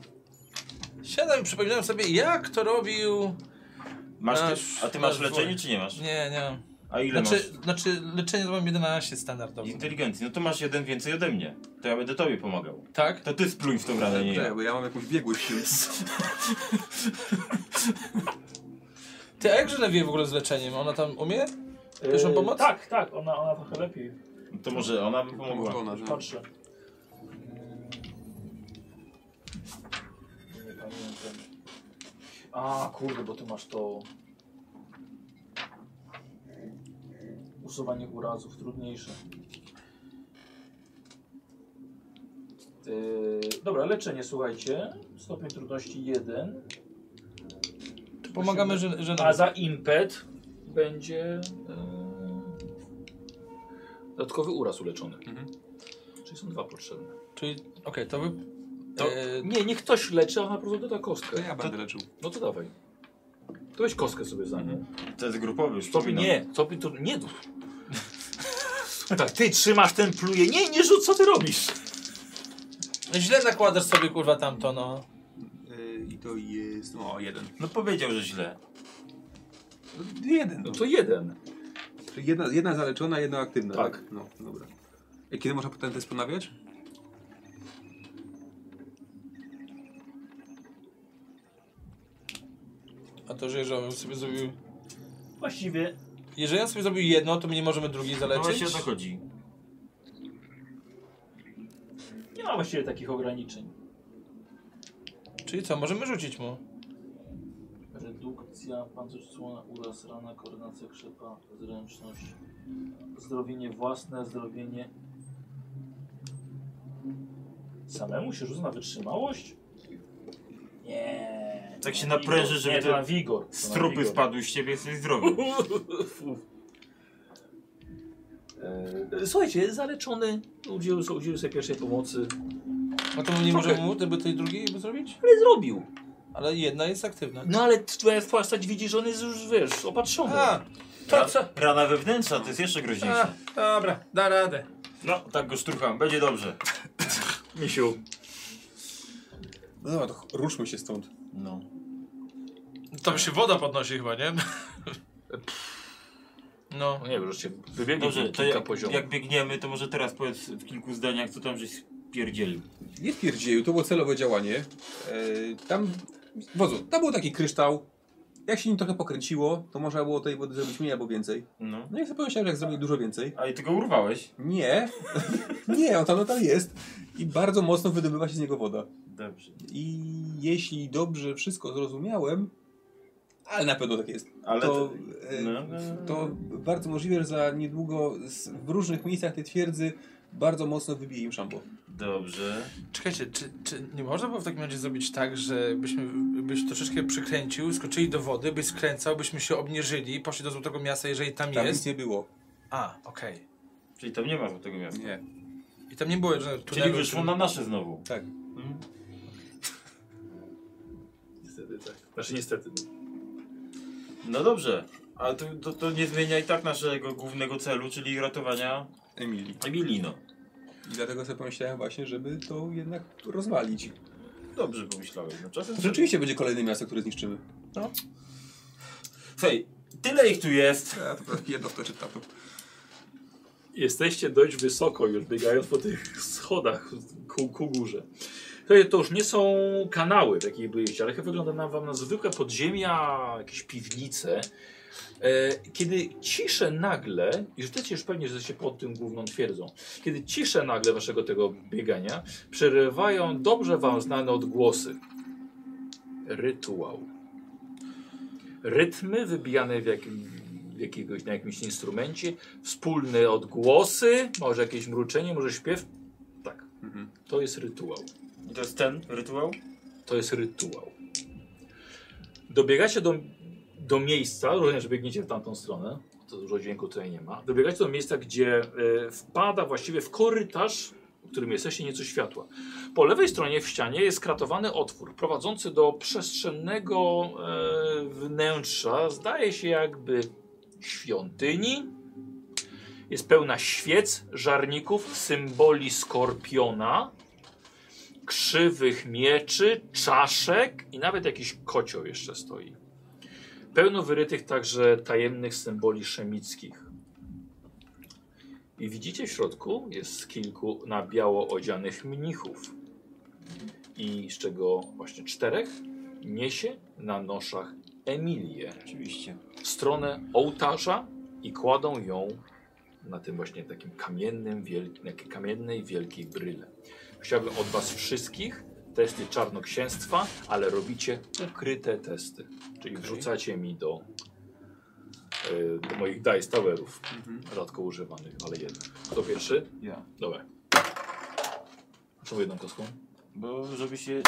Speaker 10: siadam i przypominam sobie, jak to robił...
Speaker 5: Masz
Speaker 10: Masz-
Speaker 5: ty, a ty masz
Speaker 10: masz
Speaker 5: leczenie
Speaker 10: dwoje.
Speaker 5: czy nie masz?
Speaker 10: Nie, nie.
Speaker 5: A ile
Speaker 10: Znaczy, znaczy leczenie to mam 11
Speaker 5: masz?
Speaker 10: standardowo.
Speaker 5: Inteligencji. No to masz jeden więcej ode mnie. To ja będę tobie pomagał.
Speaker 10: Tak?
Speaker 5: To ty spluń w tą ranę, nie
Speaker 4: Czekaj,
Speaker 5: ja.
Speaker 4: bo ja mam jakąś biegłość w tym.
Speaker 10: Ty, a jak żona wie w ogóle z leczeniem? Ona tam umie? Pierwszą
Speaker 5: Yy,
Speaker 13: E,
Speaker 10: pomoc?
Speaker 13: Tak, tak, ona, ona trochę lepiej.
Speaker 5: No To może ona by
Speaker 4: Może
Speaker 5: pomogła.
Speaker 4: ona, że...
Speaker 13: Patrzę. A, kurde, bo ty masz to... Usuwanie urazów, trudniejsze. Yy, dobra, leczenie, słuchajcie. Stopień trudności 1.
Speaker 10: Pomagamy że, że
Speaker 13: A za impet będzie... yy,
Speaker 2: Dodatkowy uraz uleczony. Czyli są dwa potrzebne.
Speaker 10: Czyli, okej, to wy...
Speaker 2: To-
Speaker 10: E,
Speaker 2: Nie, nie ktoś leczy, a ona po prostu doda
Speaker 4: To
Speaker 2: kostkę.
Speaker 4: ja będę leczył.
Speaker 2: No to dawaj. To weź kostkę sobie za nie.
Speaker 5: To jest grupowy już.
Speaker 2: Co by nie, co by to nie duch. Tak, ty trzymasz ten pluje. Nie, nie rzuć, co ty robisz?
Speaker 10: źle nakładasz sobie, kurwa, tamto, no.
Speaker 4: Yy, I to jest... O, jeden.
Speaker 5: No powiedział, że źle.
Speaker 4: No, Jeden.
Speaker 2: No
Speaker 4: No.
Speaker 2: to jeden.
Speaker 4: Czyli jedna, jedna zaleczona, jedna aktywna.
Speaker 2: Tak.
Speaker 4: Tak. No, dobra. I kiedy można potem test ponawiać?
Speaker 10: A to, że jeżeli on sobie zrobił...
Speaker 13: Właściwie
Speaker 10: Jeżeli on sobie zrobił jedno, to my nie możemy drugiej
Speaker 5: No
Speaker 10: zaleczyć?
Speaker 5: właśnie o to chodzi.
Speaker 13: nie ma właściwie takich ograniczeń.
Speaker 10: Czyli co, możemy rzucić mu?
Speaker 13: Redukcja, pancerz słona, uraz, rana, koordynacja, krzepa, zręczność, zdrowienie własne, zdrowienie... Samemu się rzuca na wytrzymałość? Nie.
Speaker 5: Tak
Speaker 13: to
Speaker 5: się
Speaker 13: na
Speaker 5: napręży,
Speaker 13: wigor.
Speaker 5: żeby
Speaker 13: Nie, to
Speaker 5: te
Speaker 13: na wigor. to na
Speaker 5: Strupy
Speaker 13: wigor.
Speaker 5: spadły z ciebie, jesteś zdrowy.
Speaker 2: E, Słuchajcie, zaleczony udzielił, so- udzielił sobie pierwszej pomocy.
Speaker 10: No to nie możemy mu żeby tej drugiej zrobić?
Speaker 2: Ale zrobił.
Speaker 10: Ale jedna jest aktywna.
Speaker 2: No ale twoja postać widzi, że on jest już, wiesz, opatrzony.
Speaker 10: A, <laughs> to co?
Speaker 5: Rana wewnętrzna to jest jeszcze
Speaker 10: A,
Speaker 5: groźniejsze.
Speaker 10: dobra, da radę.
Speaker 5: No, tak go szturcham, będzie dobrze.
Speaker 2: Misiu.
Speaker 4: No dobra, to ch- ruszmy się stąd.
Speaker 5: No.
Speaker 10: Tam się woda podnosi chyba, <laughs> nie? No.
Speaker 2: No nie wiem, że się wybiegnie
Speaker 5: Dobrze, to
Speaker 2: kilka
Speaker 5: jak,
Speaker 2: poziomów.
Speaker 5: jak biegniemy, to może teraz powiedz w kilku zdaniach, co tam żeś pierdzielił.
Speaker 4: Nie pierdzieju, to było celowe działanie. E, tam, wodzu, tam był taki kryształ. Jak się nim trochę pokręciło, to można było tej wody zrobić mniej albo więcej.
Speaker 5: No.
Speaker 4: No i sobie pomyślałem, jak zrobić dużo więcej.
Speaker 5: A i ty go urwałeś?
Speaker 4: Nie, <laughs> nie, on tam nadal jest. I bardzo mocno wydobywa się z niego woda.
Speaker 5: Dobrze.
Speaker 4: I jeśli dobrze wszystko zrozumiałem, ale na pewno tak jest,
Speaker 5: Ale
Speaker 4: to,
Speaker 5: to...
Speaker 4: e,
Speaker 5: No, no, no.
Speaker 4: to bardzo możliwe, że za niedługo z, w różnych miejscach tej twierdzy bardzo mocno wybije im szambo.
Speaker 5: Dobrze.
Speaker 10: Czekajcie, czy, czy nie można było w takim razie zrobić tak, że byśmy, byś troszeczkę przykręcił, skoczyli do wody, byś skręcał, byśmy się obniżyli, poszli do Złotego Miasta, jeżeli tam,
Speaker 4: Tam Tak nic
Speaker 10: jest.
Speaker 4: nie było.
Speaker 10: A, okej.
Speaker 5: Czyli tam nie ma tego miasta.
Speaker 4: Nie.
Speaker 10: I tam nie było żadnego tunelu.
Speaker 5: Czyli wyszło na nasze znowu.
Speaker 4: Tak.
Speaker 2: Niestety tak. Znaczy niestety.
Speaker 5: No dobrze. A to, to, to nie zmienia i tak naszego głównego celu, czyli ratowania
Speaker 4: Emilii.
Speaker 5: Emilii, no.
Speaker 4: I dlatego sobie pomyślałem właśnie, żeby to jednak rozwalić.
Speaker 5: Dobrze pomyślałeś. No czasem...
Speaker 4: Rzeczywiście będzie kolejne miasto, które zniszczymy.
Speaker 5: Słuchaj, tyle ich tu jest.
Speaker 4: Ja to jedno w to czytam.
Speaker 2: Jesteście dość wysoko już biegając po tych schodach ku, ku górze. To, to już nie są kanały, w jakich byliście, ale chyba wygląda na wam na zwykłe podziemia, jakieś piwnice. E, kiedy ciszę nagle, i jesteście już pewnie, że jesteście pod tym główną twierdzą, kiedy ciszę nagle waszego tego biegania przerywają dobrze wam znane odgłosy. Rytuał. Rytmy wybijane w jakim, w jakiegoś, na jakimś instrumencie, wspólne odgłosy, może jakieś mruczenie, może śpiew. Tak.
Speaker 4: Mhm.
Speaker 2: To jest rytuał.
Speaker 5: I to jest ten rytuał?
Speaker 2: To jest rytuał. Dobiegacie do, do miejsca, rozumiem, że biegniecie w tamtą stronę, to dużo dźwięku tutaj nie ma. Dobiegacie do miejsca, gdzie e, wpada właściwie w korytarz, którym jesteście nieco światła. Po lewej stronie w ścianie jest kratowany otwór prowadzący do przestrzennego e, wnętrza, zdaje się jakby świątyni. Jest pełna świec, żarników, symboli skorpiona, krzywych mieczy, czaszek i nawet jakiś kocioł jeszcze stoi. Pełno wyrytych także tajemnych symboli szemickich. I widzicie w środku jest kilku na biało odzianych mnichów. I z czego właśnie czterech niesie na noszach Emilię
Speaker 5: Oczywiście.
Speaker 2: w stronę ołtarza i kładą ją na tym właśnie takim kamiennym, wielki, na takiej kamiennej wielkiej bryle. Chciałbym od was wszystkich testy czarnoksięstwa, ale robicie ukryte testy. Czyli wrzucacie mi do, y, do moich dice towerów, rzadko używanych, ale jednak. Kto pierwszy?
Speaker 14: Ja.
Speaker 2: Dobra. Czemu jedną kostką?
Speaker 5: Bo żeby się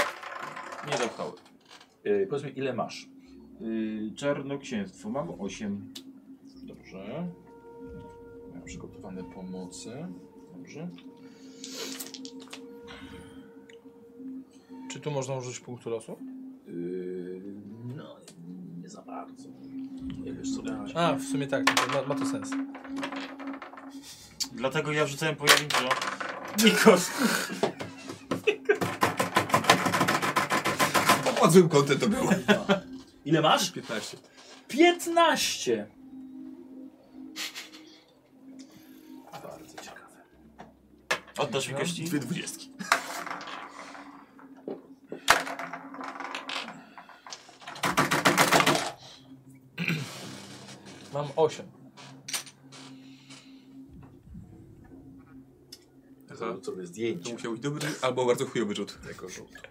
Speaker 5: nie zapchały.
Speaker 2: Yy, powiedz mi, ile masz?
Speaker 5: Yy, czarnoksięstwo. Mam 8.
Speaker 2: Dobrze. Mam przygotowane pomocy. Dobrze.
Speaker 10: Czy tu można użyć punktu losu?
Speaker 2: Yy, no, nie za bardzo. Nie wiesz co dać.
Speaker 10: A, w sumie tak, to ma, ma to sens.
Speaker 5: Dlatego ja wrzucałem pojedynczo. Nikos.
Speaker 4: Pod złym kątem to <laughs> było.
Speaker 15: Ile masz?
Speaker 4: 15.
Speaker 15: 15!
Speaker 2: Bardzo ciekawe.
Speaker 5: Oddasz mi kości?
Speaker 4: Dwie dwudziestki.
Speaker 10: Mam 8.
Speaker 4: Aha.
Speaker 2: To jest
Speaker 4: To
Speaker 2: zdjęcie
Speaker 4: musiał być dobry albo bardzo chujowy rzut.
Speaker 2: tego żółtu.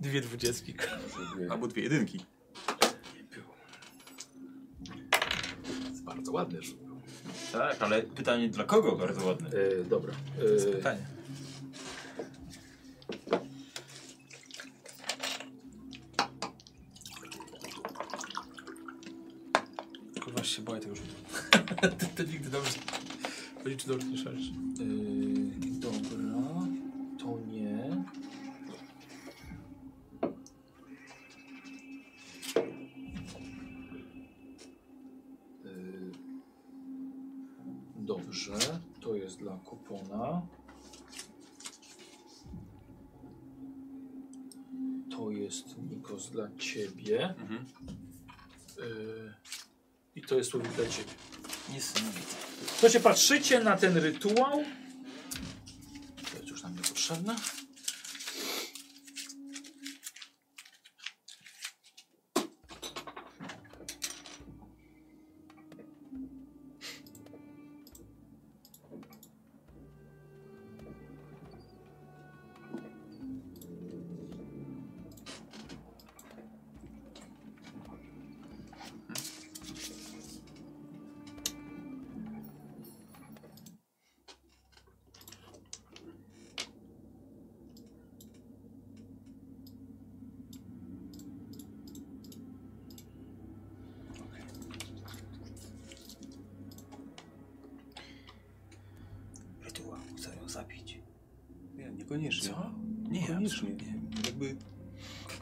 Speaker 10: Dwie dwudziestki.
Speaker 4: Albo dwie jedynki.
Speaker 2: Jest bardzo ładny żółt.
Speaker 5: Tak, ale pytanie dla kogo bardzo ładne.
Speaker 2: Yy, dobra.
Speaker 10: To
Speaker 2: Yy,
Speaker 10: pytanie. Kurwa się boję tego rzutu. <laughs> ty, ty nigdy dobrze... Chodzi czy dobrze nie szalisz.
Speaker 2: yy, dobra. To nie. Yy, Dobrze, to jest dla kupona. To jest Nikos dla ciebie. Yy, I to jest Ulrik dla ciebie.
Speaker 14: Niesamowite.
Speaker 15: Słuchajcie, patrzycie na ten rytuał.
Speaker 14: To jest już nam niepotrzebne.
Speaker 16: Rytuał, chcę ją zabić. Nie, niekoniecznie.
Speaker 14: Co?
Speaker 4: Nie,
Speaker 14: absolutnie
Speaker 4: koniecznie. Jakby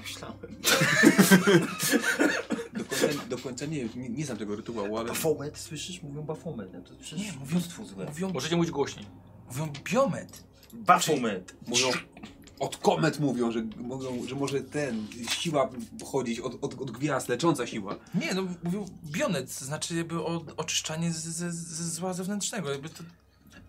Speaker 5: Myślałem.
Speaker 4: <laughs> do końca, do końca nie, nie, nie znam tego rytuału, ale
Speaker 5: Bafomet, słyszysz? Mówią bafomet. No To przecież
Speaker 14: Nie, mówią-
Speaker 5: mnóstwo złe.
Speaker 14: Mówią,
Speaker 2: Możecie mówić głośniej.
Speaker 14: mówią biomet.
Speaker 5: Bafomet.
Speaker 4: mówią, od komet mówią, że, mogą, że może ten, siła pochodzić od, od, od gwiazd, lecząca siła.
Speaker 10: Nie, no mówił bionet, znaczy jakby o, oczyszczanie z, z, z zła zewnętrznego. Jakby to,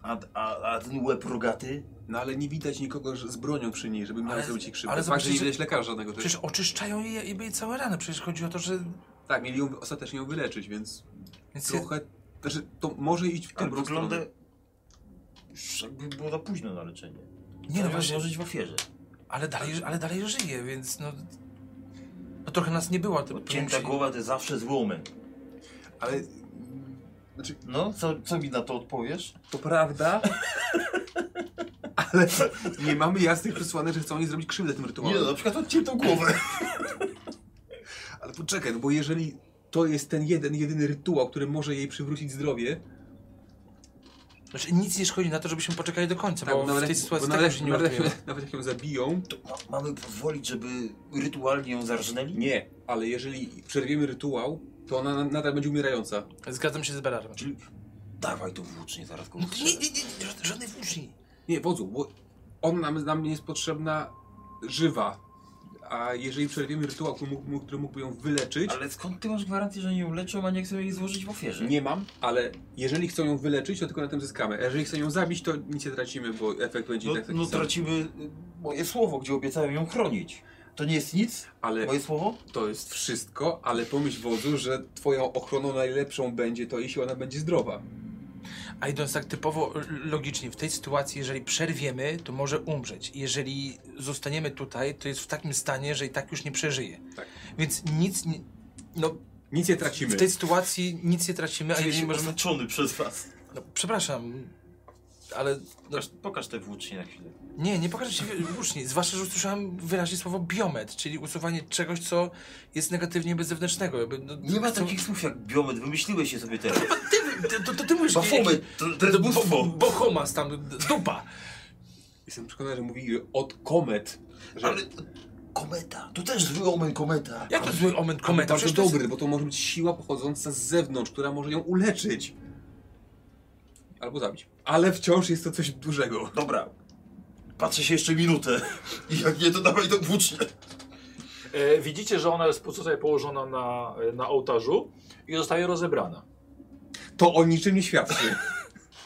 Speaker 5: A, a, a ten łeb rogaty?
Speaker 4: No ale nie widać nikogo że- z bronią przy niej, żeby miała
Speaker 10: Ale-
Speaker 4: zrobić jej krzywdę.
Speaker 10: ale
Speaker 4: Ale Fakt, że nie
Speaker 10: zobaczycie,
Speaker 4: widać lekarza żadnego też.
Speaker 10: przecież oczyszczają jej, jej całe rany, przecież chodzi o to, że...
Speaker 4: Tak, mieli ją ostatecznie ją wyleczyć, więc
Speaker 10: Więc
Speaker 4: trochę... Znaczy, to może iść w
Speaker 5: Ale
Speaker 4: dobrą
Speaker 5: wygląda...
Speaker 4: stronę.
Speaker 5: Już jakby było za późno na leczenie.
Speaker 10: nie no
Speaker 5: Zamiast
Speaker 10: właśnie,
Speaker 5: Żyć w ofierze.
Speaker 10: ale dalej, ale dalej żyje, więc no... No trochę nas nie było. To
Speaker 5: Odcięta głowa to jest zawsze zły moment.
Speaker 4: Ale... mm, Znaczy,
Speaker 5: No, co, co mi na to odpowiesz?
Speaker 4: to prawda, <laughs> ale nie mamy jasnych przesłanek, że chcą jej zrobić krzywdę tym rytuałem.
Speaker 5: no, przykład odciętą <laughs> głowę.
Speaker 4: Ale poczekaj, no bo jeżeli to jest ten jeden, jedyny rytuał, który może jej przywrócić zdrowie,
Speaker 10: Znaczy nic nie szkodzi na to, żebyśmy poczekali do końca, bo w
Speaker 4: nawet
Speaker 10: tej
Speaker 4: jak-
Speaker 10: sytuacji
Speaker 4: bo
Speaker 10: tak
Speaker 4: nawet,
Speaker 10: się nie
Speaker 4: nawet,
Speaker 10: uratujemy.
Speaker 4: nawet, nawet jak ją zabiją,
Speaker 5: To ma- No, mamy pozwolić, żeby rytualnie ją zarżnęli?
Speaker 4: nie, ale jeżeli przerwiemy rytuał, to ona na- nadal będzie umierająca.
Speaker 10: Zgadzam się z Berarem.
Speaker 5: Czyli dawaj to włócznie, zaraz go
Speaker 10: No, Nie, nie, nie, nie, ża- żadnej włóczni.
Speaker 4: Nie, wodzu, bo ona nam, nam jest potrzebna żywa. A jeżeli przerwiemy rytuał, który, mógł, mógł- który mógłby ją wyleczyć,
Speaker 5: Ale skąd ty masz gwarancję, że nie uleczą, a nie chcą jej złożyć w ofierze?
Speaker 4: nie mam, ale jeżeli chcą ją wyleczyć, to tylko na tym zyskamy. A jeżeli chcą ją zabić, to nic nie tracimy, bo efekt będzie
Speaker 5: No,
Speaker 4: i tak taki
Speaker 5: no
Speaker 4: sam.
Speaker 5: tracimy y, moje słowo, gdzie obiecałem ją chronić. To nie jest nic?
Speaker 4: Ale
Speaker 5: Moje słowo?
Speaker 4: to jest wszystko, ale pomyśl, wodzu, że twoją ochroną najlepszą będzie to, jeśli ona będzie zdrowa.
Speaker 10: A idąc tak typowo l- logicznie, w tej sytuacji, jeżeli przerwiemy, to może umrzeć. Jeżeli zostaniemy tutaj, to jest w takim stanie, że i tak już nie przeżyje.
Speaker 4: Tak.
Speaker 10: Więc nic nie... No,
Speaker 4: Nic nie tracimy.
Speaker 10: w tej sytuacji nic nie
Speaker 5: Tak,
Speaker 10: tracimy, a
Speaker 17: Czuję
Speaker 10: jeżeli
Speaker 17: się
Speaker 10: możemy...
Speaker 17: oznaczony przez was.
Speaker 10: No, przepraszam, ale... No,
Speaker 17: Pokaż, pokaż te włócznie na chwilę.
Speaker 10: nie, nie pokażę się włóczni. Zwłaszcza, że usłyszałem wyraźnie słowo biomet, czyli usuwanie czegoś, co jest negatywnie jakby zewnętrznego. Jakby, no,
Speaker 5: Nie ma
Speaker 10: chcą-
Speaker 5: takich słów jak biomet, wymyśliłeś je sobie teraz. <laughs>
Speaker 10: Ty, to, to ty mówisz...
Speaker 5: Bafomet, to, to jest
Speaker 10: bo-
Speaker 5: bóstwo.
Speaker 10: Bohomas tam, dupa.
Speaker 4: Jestem przekonany, że mówi od komet. Że
Speaker 5: Ale kometa, to też zły omen kometa.
Speaker 10: Jak to zły omen kometa?
Speaker 4: bardzo
Speaker 10: Przecież to jest-
Speaker 4: dobry, bo to może być siła pochodząca z zewnątrz, która może ją uleczyć. Albo zabić. Ale wciąż jest to coś dużego.
Speaker 5: Dobra, patrzę się jeszcze minutę. <laughs> I jak nie, to dawaj to włócznie.
Speaker 2: E, widzicie, że ona jest pozostaje położona na, na ołtarzu i zostaje rozebrana.
Speaker 4: To o niczym nie świadczy. <laughs>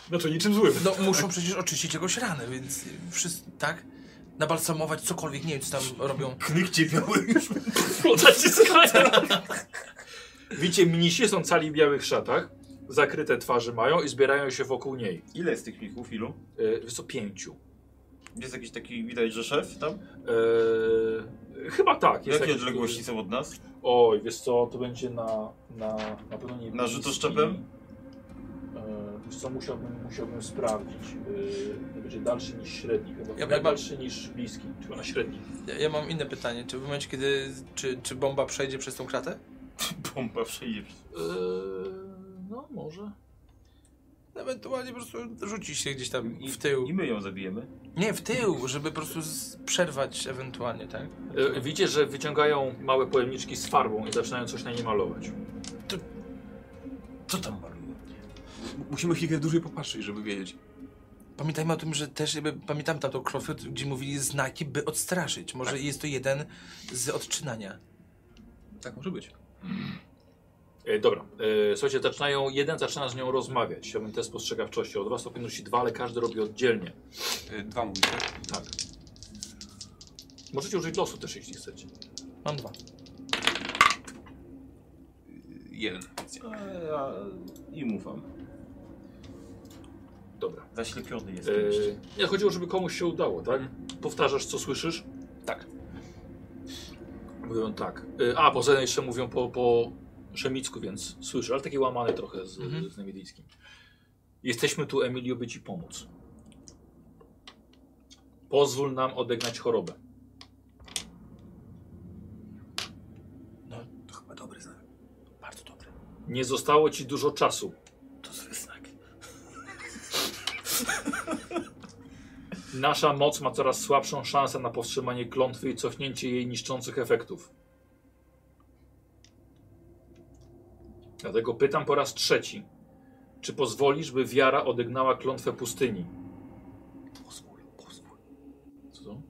Speaker 2: Znaczy niczym złym.
Speaker 10: No muszą przecież oczyścić jakąś ranę, więc y, wszyscy, tak? Nabalsamować cokolwiek, nie wiem co tam robią.
Speaker 5: Knykcie miały już.
Speaker 2: Podacie skraja. Widzicie, mnisi są cali w białych szatach, zakryte twarzy mają i zbierają się wokół niej.
Speaker 17: Ile jest tych michów? Ilu?
Speaker 2: E, wiesz co, pięciu.
Speaker 17: Jest jakiś taki, widać, że szef tam?
Speaker 2: E, chyba tak. jest
Speaker 17: Jakie
Speaker 2: jakiś-
Speaker 17: odległości są od nas?
Speaker 2: Oj, wiesz co, to będzie na, na, na pewno nie...
Speaker 17: Na rzutoszczepem?
Speaker 2: E, Wiesz co, musiałbym, musiałbym sprawdzić. E, to będzie dalszy niż średni chyba.
Speaker 10: Ja
Speaker 2: Ja
Speaker 10: bym-
Speaker 2: Dalszy niż bliski, chyba na średni. E,
Speaker 10: Ja, ja mam inne pytanie, czy w momencie kiedy, czy, czy bomba przejdzie przez tą kratę?
Speaker 17: Bomba przejdzie. przez-
Speaker 2: E, no, może.
Speaker 10: Ewentualnie po prostu rzuci się gdzieś tam w tył.
Speaker 17: I my ją zabijemy.
Speaker 10: Nie, w tył, żeby po prostu z- przerwać ewentualnie, tak?
Speaker 2: E, widzicie, że wyciągają małe pojemniczki z farbą i zaczynają coś na nie malować.
Speaker 5: Co tam maluje?
Speaker 4: Musimy chwilkę dłużej popatrzeć, żeby wiedzieć.
Speaker 10: Pamiętajmy o tym, że też jakby, pamiętam tamtą Crawford, gdzie mówili znaki, by odstraszyć. Może
Speaker 2: Tak.
Speaker 10: jest to jeden z odczynania.
Speaker 4: Tak może być.
Speaker 2: E, dobra, e, słuchajcie, zaczynają, jeden zaczyna z nią rozmawiać. Chciałbym test spostrzegawczości. Od was to powinno się dwa, ale każdy robi oddzielnie.
Speaker 4: E, Dwa mówicie.
Speaker 2: Tak. Możecie użyć losu też, jeśli chcecie.
Speaker 10: Mam dwa.
Speaker 4: Jeden.
Speaker 17: A, ja im ufam.
Speaker 2: Dobra.
Speaker 17: Zaślepiony
Speaker 2: E,
Speaker 17: jestem
Speaker 10: Eee.
Speaker 17: jeszcze.
Speaker 2: nie, chodziło, żeby komuś się udało, tak?
Speaker 5: Mhm.
Speaker 2: Powtarzasz, co słyszysz?
Speaker 10: Tak.
Speaker 2: Mówią tak. E, a, poza tym jeszcze mówią po, po szemicku, więc słyszę, ale takie łamane trochę z,
Speaker 10: Mhm.
Speaker 2: z niemieckim. Jesteśmy tu, Emilio, by ci pomóc. Pozwól nam odegnać chorobę.
Speaker 5: No, To chyba dobry znak. Bardzo dobry.
Speaker 2: Nie zostało ci dużo czasu.
Speaker 5: To zły znak.
Speaker 2: Nasza moc ma coraz słabszą szansę na powstrzymanie klątwy i cofnięcie jej niszczących efektów. Dlatego pytam po raz trzeci. Czy pozwolisz, by wiara odegnała klątwę pustyni?
Speaker 4: Pozwól, pozwól.
Speaker 2: Co to?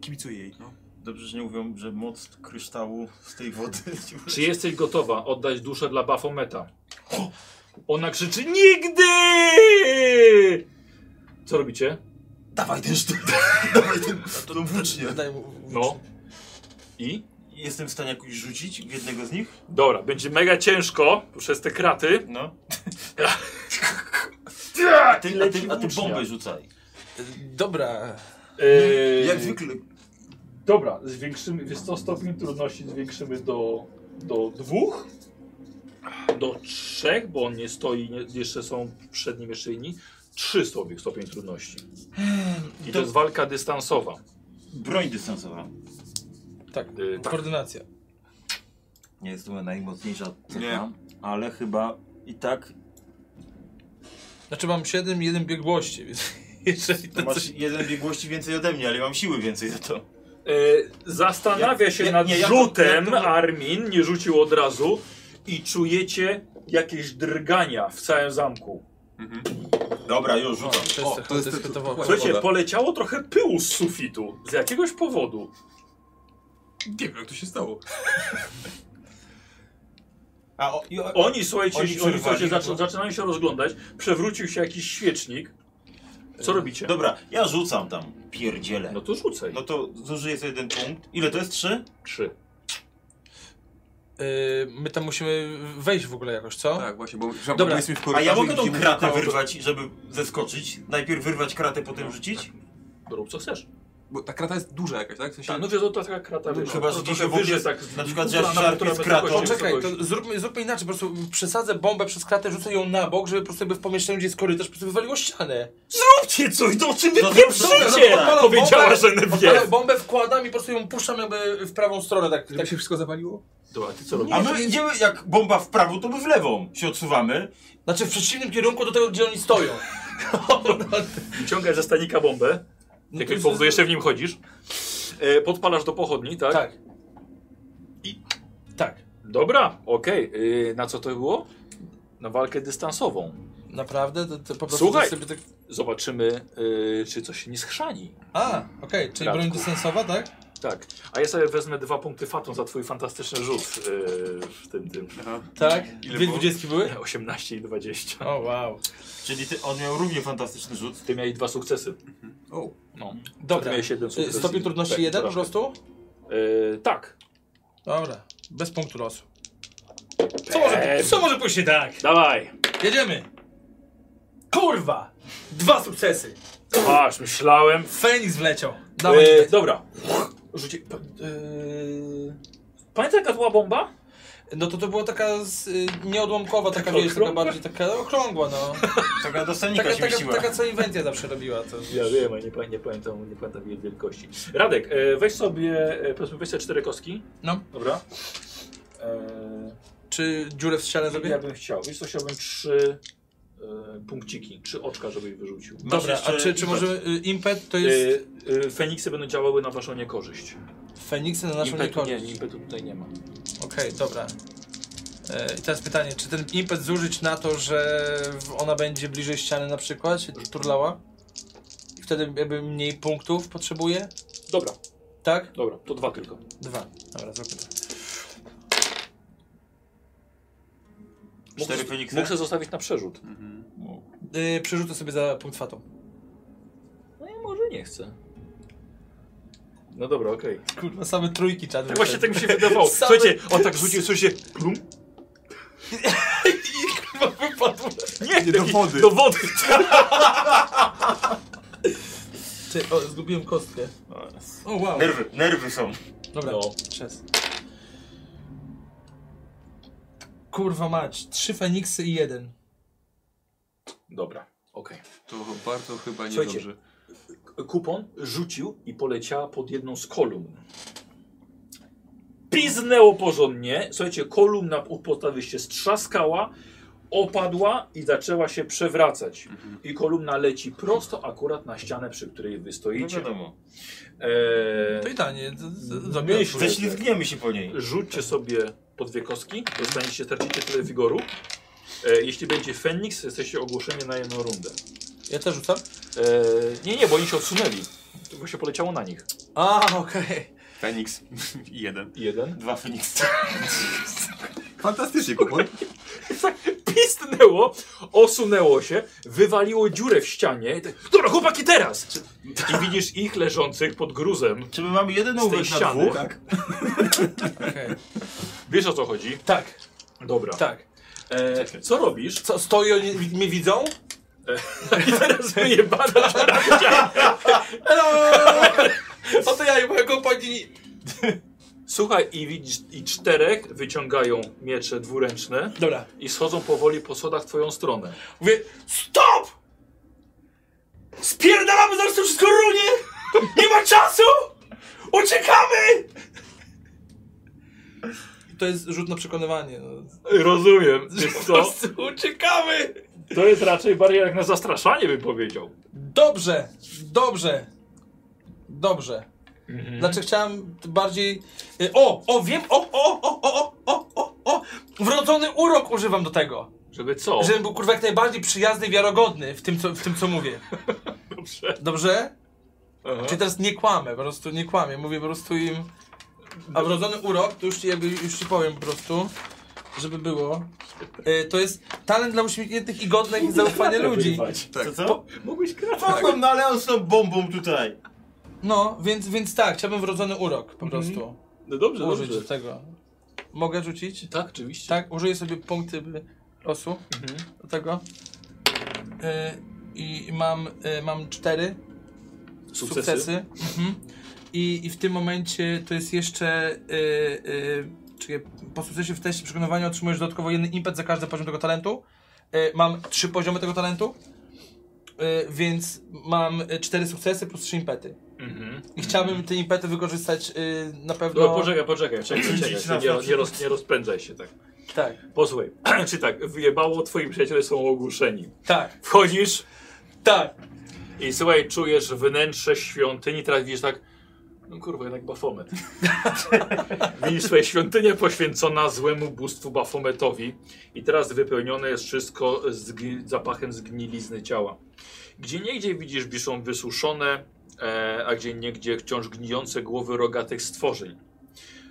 Speaker 4: Kibicuję jej, no.
Speaker 17: Dobrze, że nie mówią, że moc kryształu z tej wody. <laughs>
Speaker 2: Czy jesteś gotowa oddać duszę dla Bafometa? Ona krzyczy NIGDY! Co robicie?
Speaker 5: Dawaj
Speaker 17: <laughs>
Speaker 5: ten No sztylet. dawaj ten, tą włócznię.
Speaker 10: Daj mu...
Speaker 2: No. I?
Speaker 17: Jestem w stanie jakoś rzucić w jednego z nich?
Speaker 2: Dobra, będzie mega ciężko przez te kraty.
Speaker 5: <laughs>
Speaker 17: No.
Speaker 2: Ja,
Speaker 17: A ty, a ty, a ty bombę rzucaj.
Speaker 10: Dobra.
Speaker 4: Eee,
Speaker 5: Jak
Speaker 2: Eee,
Speaker 5: zwykle.
Speaker 2: Dobra, zwiększymy, wiesz co, stopień trudności zwiększymy do, do dwóch, do trzech, bo on nie stoi, nie, jeszcze są przed nim jeszcze inni. Trzy stopień, stopień trudności. I Ehm, to jest walka dystansowa.
Speaker 17: Broń dystansowa.
Speaker 10: Tak.
Speaker 2: Y, tak.
Speaker 10: Koordynacja.
Speaker 5: Nie jest to moja najmocniejsza cecha,
Speaker 17: Nie.
Speaker 5: ale chyba i tak
Speaker 10: Znaczy mam 7 i 1 biegłości, więc <laughs> jeżeli
Speaker 5: To
Speaker 10: to
Speaker 5: masz
Speaker 10: coś...
Speaker 5: jeden biegłości więcej ode mnie, ale mam siły więcej za to.
Speaker 2: E, zastanawia
Speaker 5: Ja-
Speaker 2: się
Speaker 5: ja-
Speaker 2: nad
Speaker 5: nie, ja to-
Speaker 2: rzutem
Speaker 5: ja to-
Speaker 2: Armin, nie rzucił od razu i czujecie jakieś drgania w całym zamku.
Speaker 5: Dobra, już rzucam.
Speaker 10: To jest,
Speaker 4: to jest-
Speaker 10: gotowo.
Speaker 4: to-
Speaker 2: Słuchajcie,
Speaker 4: Woda.
Speaker 2: poleciało trochę pyłu z sufitu z jakiegoś powodu.
Speaker 4: Nie wiem, jak to się stało.
Speaker 5: A, o, i o,
Speaker 2: Oni, słuchajcie,
Speaker 5: Oni
Speaker 2: oni, słuchajcie
Speaker 5: przerwali,
Speaker 2: zaczą,
Speaker 5: no.
Speaker 2: zaczynają się rozglądać, przewrócił się jakiś świecznik.
Speaker 5: No.
Speaker 2: Co robicie?
Speaker 5: dobra, ja rzucam tam. Pierdzielę.
Speaker 2: No to rzucaj.
Speaker 5: No to zużyję sobie jeden punkt. Ile to jest? Trzy?
Speaker 2: Trzy.
Speaker 10: Yy, my tam musimy wejść w ogóle jakoś, co?
Speaker 4: Tak, właśnie, bo, Dobra.
Speaker 10: Dobra.
Speaker 4: bo jesteśmy w
Speaker 5: A
Speaker 4: korytarzu.
Speaker 5: ja mogę
Speaker 4: i
Speaker 5: tą
Speaker 4: widzimy
Speaker 5: kratę
Speaker 4: koło-
Speaker 5: wyrwać, żeby zeskoczyć? Najpierw wyrwać kratę, potem rzucić?
Speaker 2: Rób co chcesz.
Speaker 4: Bo ta krata jest duża jakaś, tak? W sensie...
Speaker 2: Tak, no wiesz, to taka krata
Speaker 5: No
Speaker 2: wiesz,
Speaker 5: chyba,
Speaker 2: to
Speaker 5: że
Speaker 2: trochę
Speaker 5: dzisiaj w ogóle-
Speaker 2: wyżej tak z-
Speaker 5: na przykład, że ja
Speaker 2: ubrana,
Speaker 5: szarpię
Speaker 2: która
Speaker 5: z
Speaker 2: będzie
Speaker 5: kratą.
Speaker 2: kości
Speaker 10: Poczekaj,
Speaker 2: wysokości.
Speaker 10: to zróbmy, zróbmy inaczej, po prostu przesadzę bombę przez kratę, rzucę ją na bok, żeby po prostu jakby w pomieszczeniu, gdzie jest korytarz, po prostu wywaliło ścianę.
Speaker 2: Róbcie coś, to o czym wy
Speaker 5: No,
Speaker 2: pieprzycie!
Speaker 5: dobra,
Speaker 10: dobra.
Speaker 2: Powiedziała, że nie wie.
Speaker 10: Ale bombę wkładam i po prostu ją puszczam jakby w prawą stronę, tak,
Speaker 4: Żeby
Speaker 10: tak
Speaker 4: się wszystko zapaliło?
Speaker 2: Dobra, ty co robisz?
Speaker 5: A my idziemy, jak bomba w prawo, to my w lewą się odsuwamy.
Speaker 10: Znaczy w przeciwnym kierunku do tego, gdzie oni stoją.
Speaker 2: Wyciągasz ze stanika bombę.
Speaker 10: No
Speaker 2: Jak
Speaker 10: to
Speaker 2: no
Speaker 10: jest-
Speaker 2: powodu jeszcze w nim chodzisz. E, podpalasz do pochodni, tak?
Speaker 10: Tak.
Speaker 2: I-
Speaker 10: Tak.
Speaker 2: Dobra, okej. Y, Na co to było? Na walkę dystansową.
Speaker 10: Naprawdę? To, to po prostu
Speaker 2: Słuchaj.
Speaker 10: sobie tak...
Speaker 2: Zobaczymy, y, czy coś się nie schrzani.
Speaker 10: A, okej, czyli
Speaker 2: Radku.
Speaker 10: broń dystansowa, tak?
Speaker 2: Tak. A ja sobie wezmę dwa punkty fatą za twój fantastyczny rzut y, w tym, tym. <laughs>
Speaker 10: Tak.
Speaker 5: Ile
Speaker 10: Dwie
Speaker 5: było?
Speaker 10: dwudziestki były?
Speaker 2: 18 i 20.
Speaker 10: O, wow.
Speaker 5: Czyli ty, on miał równie fantastyczny rzut.
Speaker 2: Ty miałeś dwa sukcesy.
Speaker 4: O.
Speaker 2: No. Ty
Speaker 10: Dobra.
Speaker 2: miałeś jeden
Speaker 10: Y,
Speaker 2: sukces.
Speaker 10: Stopień trudności
Speaker 2: Tak,
Speaker 10: jeden po
Speaker 2: porażkę.
Speaker 10: prostu?
Speaker 2: Y, tak.
Speaker 10: Dobra. Bez punktu losu. Co
Speaker 2: Eee.
Speaker 10: może, co może pójść nie tak?
Speaker 2: Dawaj.
Speaker 10: Jedziemy! Kurwa! Dwa sukcesy!
Speaker 2: Aż myślałem.
Speaker 10: Feniks wleciał. Dawaj.
Speaker 2: E, dobra. Rzuci... p- y, Pamiętasz jaka była bomba?
Speaker 10: No to to było taka z, y, nieodłamkowa, taka,
Speaker 2: Taka
Speaker 10: wiesz, taka
Speaker 2: okrągła?
Speaker 10: bardziej taka okrągła,
Speaker 2: <laughs>
Speaker 10: no.
Speaker 5: Taka do stanika
Speaker 10: Taka,
Speaker 5: się
Speaker 10: taka,
Speaker 5: mieściła.
Speaker 10: taka co Inventia zawsze robiła. To...
Speaker 2: Ja wiem, ale nie, pamię- nie, pamiętam, nie pamiętam jej wielkości. Radek, e, weź sobie, e, powiedzmy, weź sobie cztery kostki.
Speaker 10: No. Y,
Speaker 2: Dobra.
Speaker 10: Czy dziurę w ścianę
Speaker 2: E, ja
Speaker 10: zrobię?
Speaker 2: bym chciał, wiesz co, chciałbym trzy e, punkciki, trzy oczka, żebyś wyrzucił.
Speaker 10: Dobra, a
Speaker 5: jeszcze
Speaker 10: czy, czy
Speaker 5: impet.
Speaker 10: możemy... Y, impet to
Speaker 2: E,
Speaker 10: jest...
Speaker 2: e, Feniksy będą działały na waszą niekorzyść.
Speaker 10: Feniksy na naszą
Speaker 2: impetu, Eee. nie,
Speaker 10: niekorzyść.
Speaker 2: nie, impetu tutaj nie ma.
Speaker 10: Okej, dobra. E, I teraz pytanie, czy ten impet zużyć na to, że w- ona będzie bliżej ściany na przykład, się turlała? I wtedy jakby mniej punktów potrzebuje?
Speaker 2: Dobra,
Speaker 10: Tak?
Speaker 2: dobra, to dwa tylko.
Speaker 10: Dwa. Dobra, zróbmy to.
Speaker 5: Cztery Feniksy?
Speaker 2: Muszę zostawić na przerzut.
Speaker 10: Yy, przerzucę sobie za punkt fatą.
Speaker 2: No ja może nie chcę. No dobra, okej.
Speaker 10: Kurwa, same trójki czad.
Speaker 2: Tak właśnie tak mi się wydawało. Słuchajcie, on tak rzucił, słuchajcie, plum. Nie,
Speaker 4: do
Speaker 2: taki-
Speaker 4: wody.
Speaker 2: Do wody.
Speaker 10: Czy, o, zgubiłem kostkę. O, wow.
Speaker 5: Nerwy, nerwy są.
Speaker 10: Dobra,
Speaker 2: No.
Speaker 10: przez. Kurwa mać, trzy Feniksy i jeden.
Speaker 2: Dobra, okej.
Speaker 4: To bardzo chyba
Speaker 2: Słuchajcie.
Speaker 4: niedobrze.
Speaker 2: Kupon rzucił i poleciała pod jedną z kolumn. Piznęło porządnie. Słuchajcie, kolumna u podstawy się strzaskała, opadła i zaczęła się przewracać.
Speaker 5: Mhm.
Speaker 2: I kolumna leci prosto akurat na ścianę, przy której wy
Speaker 5: No
Speaker 2: stoicie.
Speaker 5: wiadomo.
Speaker 2: Eee,
Speaker 10: To idealnie, z- z-
Speaker 2: Myślę,
Speaker 10: zabiłem.
Speaker 5: Ześlizgniemy się po niej.
Speaker 2: Rzućcie sobie po dwie kostki, dostaniecie, tracicie tyle wigoru. E, jeśli będzie Feniks, jesteście ogłoszeni na jedną rundę.
Speaker 10: Ja też rzucam?
Speaker 2: E, nie, nie, bo oni się odsunęli. Tylko się poleciało na nich.
Speaker 10: A, okej.
Speaker 4: Feniks. Jeden.
Speaker 2: Jeden.
Speaker 5: Dwa Feniksy.
Speaker 4: Fantastycznie, kupon.
Speaker 2: Pistnęło, osunęło się, wywaliło dziurę w ścianie. I tak, Dobra, chłopaki, teraz! I widzisz ich leżących pod gruzem.
Speaker 5: Czy my mamy jeden
Speaker 2: Z tej
Speaker 5: ołówek na
Speaker 2: ściany.
Speaker 5: dwóch?
Speaker 2: Tak.
Speaker 10: okej.
Speaker 2: Wiesz o co chodzi?
Speaker 10: Tak,
Speaker 2: Dobra.
Speaker 10: tak.
Speaker 2: E, co robisz? E,
Speaker 10: Co, stoi, oni wi- mnie widzą?
Speaker 2: <laughs> I teraz wyjebana żarabcia.
Speaker 10: <laughs> O to ja i moja kompanii.
Speaker 2: Słuchaj, i widzisz, i czterech wyciągają miecze dwuręczne.
Speaker 10: Dobra.
Speaker 2: i schodzą powoli po schodach w twoją stronę.
Speaker 10: Mówię, stop! Spierdalamy, zaraz to wszystko runie! Nie ma czasu! Uciekamy! To jest rzut na przekonywanie. No.
Speaker 2: Rozumiem. Wiesz <laughs>
Speaker 10: Po
Speaker 2: co?
Speaker 10: prostu uciekamy!
Speaker 2: To jest raczej bariera jak na zastraszanie, bym powiedział.
Speaker 10: Dobrze, dobrze, dobrze. Znaczy chciałem bardziej... y, O, o, wiem, o, o, o, o, o, o, o, wrodzony urok używam do tego.
Speaker 2: Żeby co?
Speaker 10: Żebym był kurwa jak najbardziej przyjazny i wiarogodny w tym, co, w tym, co mówię.
Speaker 2: <laughs> Dobrze.
Speaker 10: Dobrze?
Speaker 2: Aha.
Speaker 10: Czy teraz nie kłamę, po prostu nie kłamę, mówię po prostu im... A wrodzony urok, to już ci, jakby, już ci powiem po prostu, żeby było. Y, To jest talent dla uśmiechniętych i godnych zaufania
Speaker 2: <laughs>
Speaker 10: ludzi.
Speaker 5: Co, co?
Speaker 2: Mógłbyś grać.
Speaker 5: Mogłem, no ale on z tą bombą tutaj.
Speaker 10: No, więc, więc tak, chciałbym wrodzony urok po prostu
Speaker 2: No dobrze,
Speaker 10: użyć
Speaker 2: dobrze.
Speaker 10: do tego. Mogę rzucić?
Speaker 2: Tak, oczywiście. Mhm.
Speaker 10: Tak, użyję sobie punkty by- losu do tego. Y, I mam, y, mam cztery sukcesy. Mhm. I, I w tym momencie to jest jeszcze. Y, y, czyli po sukcesie w teście przekonywania otrzymujesz dodatkowo jeden impet za każdy poziom tego talentu. Y, mam trzy poziomy tego talentu. Y, więc mam y, cztery sukcesy plus trzy impety.
Speaker 2: Mhm.
Speaker 10: I chciałbym te impety wykorzystać y, na pewno.
Speaker 2: No, poczekaj, poczekaj, czekaj, czekaj. Nie, nie, roz, nie rozpędzaj się tak.
Speaker 10: Tak,
Speaker 2: Posłuchaj, <clears throat> czy tak, wyjebało, twoi przyjaciele są ogłuszeni.
Speaker 10: tak,
Speaker 2: Wchodzisz
Speaker 10: tak.
Speaker 2: i słuchaj, czujesz wnętrze świątyni, teraz widzisz tak, no kurwa, jednak Bafomet. widzisz, słuchaj, świątynia poświęcona złemu bóstwu Bafometowi i teraz wypełnione jest wszystko zgni- zapachem zgnilizny ciała. Gdzie niegdzie widzisz, wiszą wysuszone, e, a gdzie niegdzie wciąż gnijące głowy rogatych stworzeń.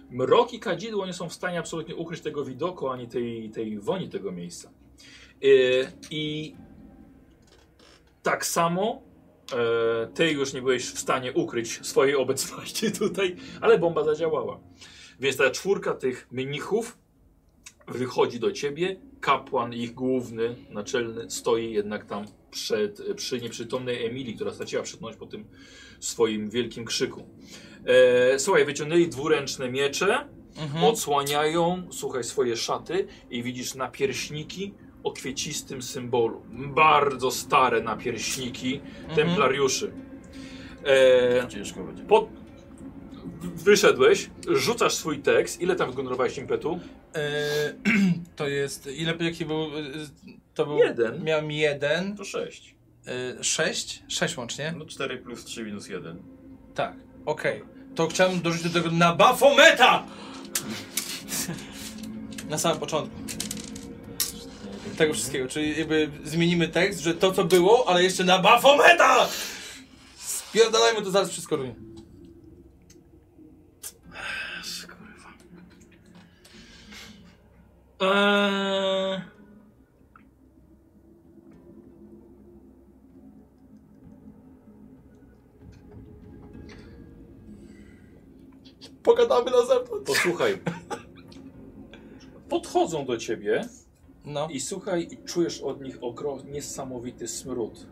Speaker 2: Mrok i kadzidło nie są w stanie absolutnie ukryć tego widoku, ani tej, tej woni tego miejsca. E, I tak samo e, ty już nie byłeś w stanie ukryć swojej obecności <laughs> tutaj, ale bomba zadziałała. Więc ta czwórka tych mnichów wychodzi do ciebie. Kapłan, ich główny, naczelny, stoi jednak tam przed, przy nieprzytomnej Emilii, która straciła przytomność po tym swoim wielkim krzyku. E, słuchaj, wyciągnęli dwuręczne miecze,
Speaker 10: Mhm.
Speaker 2: odsłaniają, słuchaj, swoje szaty i widzisz napierśniki o kwiecistym symbolu. Bardzo stare napierśniki templariuszy. E,
Speaker 5: Ciężko będzie.
Speaker 2: pod... Wyszedłeś, rzucasz swój tekst. Ile tam wygenerowałeś impetu?
Speaker 10: E, <clears throat> to jest. Ile jaki był. e, To był.
Speaker 2: Jeden.
Speaker 10: Miałem jeden.
Speaker 5: To 6.
Speaker 10: E, sześć? Sześć łącznie.
Speaker 5: No 4 plus 3 minus 1.
Speaker 10: Tak. Okej. To chciałem dorzucić do tego na Bafometa! <laughs> Na samym początku. Tego wszystkiego. Czyli jakby zmienimy tekst, że to co było, ale jeszcze na Bafometa! Spierdalajmy to zaraz wszystko runie.
Speaker 2: Eee...
Speaker 10: Pogadamy na zewnątrz. <laughs>
Speaker 2: Posłuchaj. Podchodzą do ciebie
Speaker 10: No.
Speaker 2: i słuchaj, i czujesz od nich okro- niesamowity smród.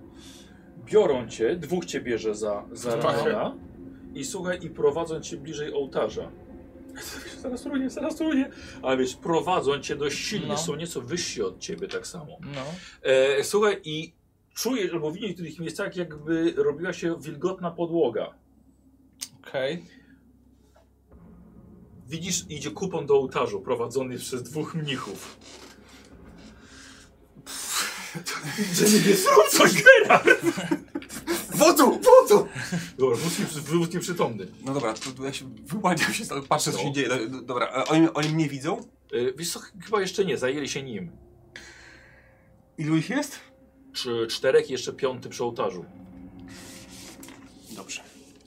Speaker 2: Biorą cię, dwóch cię bierze za, za
Speaker 10: Trochę.
Speaker 2: ramiona i słuchaj, i prowadzą cię bliżej ołtarza. <laughs> Zaraz runie, zaraz runie. A wiesz, prowadzą cię dość silnie,
Speaker 10: No.
Speaker 2: są nieco wyżsi od ciebie tak samo.
Speaker 10: No.
Speaker 2: E, słuchaj, i czujesz, albo w niektórych miejscach jakby robiła się wilgotna podłoga.
Speaker 10: Okej.
Speaker 2: Widzisz, idzie kupon do ołtarzu prowadzony przez dwóch <laughs> mnichów. Że nie zrób coś, Gerard!
Speaker 4: Wodzu! Wodzu!
Speaker 2: Dobra, wódz nieprzy- wódz nieprzytomny.
Speaker 4: No dobra, to, to ja się wyłaniam się, stąd, patrzę co
Speaker 2: No.
Speaker 4: się dzieje. Do- do- Dobra, a oni, oni mnie widzą?
Speaker 2: E, Wiesz co, chyba jeszcze nie, zajęli się nim.
Speaker 4: Ilu ich jest?
Speaker 2: Czy czterech, jeszcze piąty przy ołtarzu.
Speaker 4: Dobrze.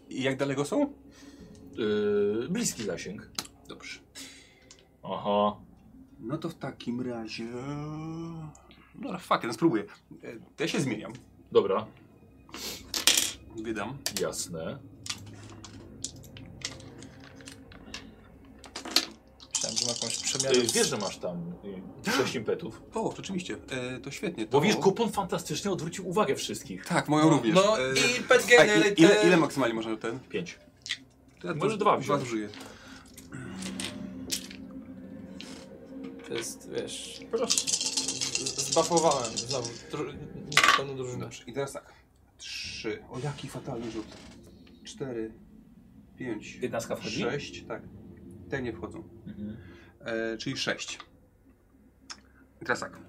Speaker 4: I jak daleko są?
Speaker 2: E, bliski zasięg.
Speaker 4: Dobrze.
Speaker 2: Aha.
Speaker 4: No to w takim razie... Dobra, fuck, no spróbuję. E, To ja się zmieniam.
Speaker 2: Dobra,
Speaker 4: Wydam.
Speaker 2: jasne.
Speaker 10: Myślałem, że ma jakąś
Speaker 2: E,
Speaker 10: przemianę.
Speaker 2: Wiesz, że masz tam e, sześć impetów.
Speaker 4: O, rzeczywiście, e, to świetnie. To...
Speaker 2: Bo wiesz, kupon fantastycznie odwrócił uwagę wszystkich.
Speaker 4: Tak, moją również.
Speaker 10: No
Speaker 4: E,
Speaker 10: i pet
Speaker 4: a, i,
Speaker 10: generator.
Speaker 4: ile, ile maksymalnie można ten?
Speaker 2: Pięć.
Speaker 4: Ja
Speaker 2: Może
Speaker 4: to-
Speaker 2: dwa
Speaker 4: Dwa
Speaker 2: wziąć.
Speaker 4: zużyję.
Speaker 10: To jest, wiesz... Zbafowałem znowu dru- pełną drużynę.
Speaker 4: Dobrze, i teraz tak. Trzy. O, jaki fatalny rzut. Cztery. Pięć.
Speaker 2: Jedenastka wchodzi? Mhm.
Speaker 4: Sześć, tak. Te nie wchodzą. E, czyli sześć. I teraz tak.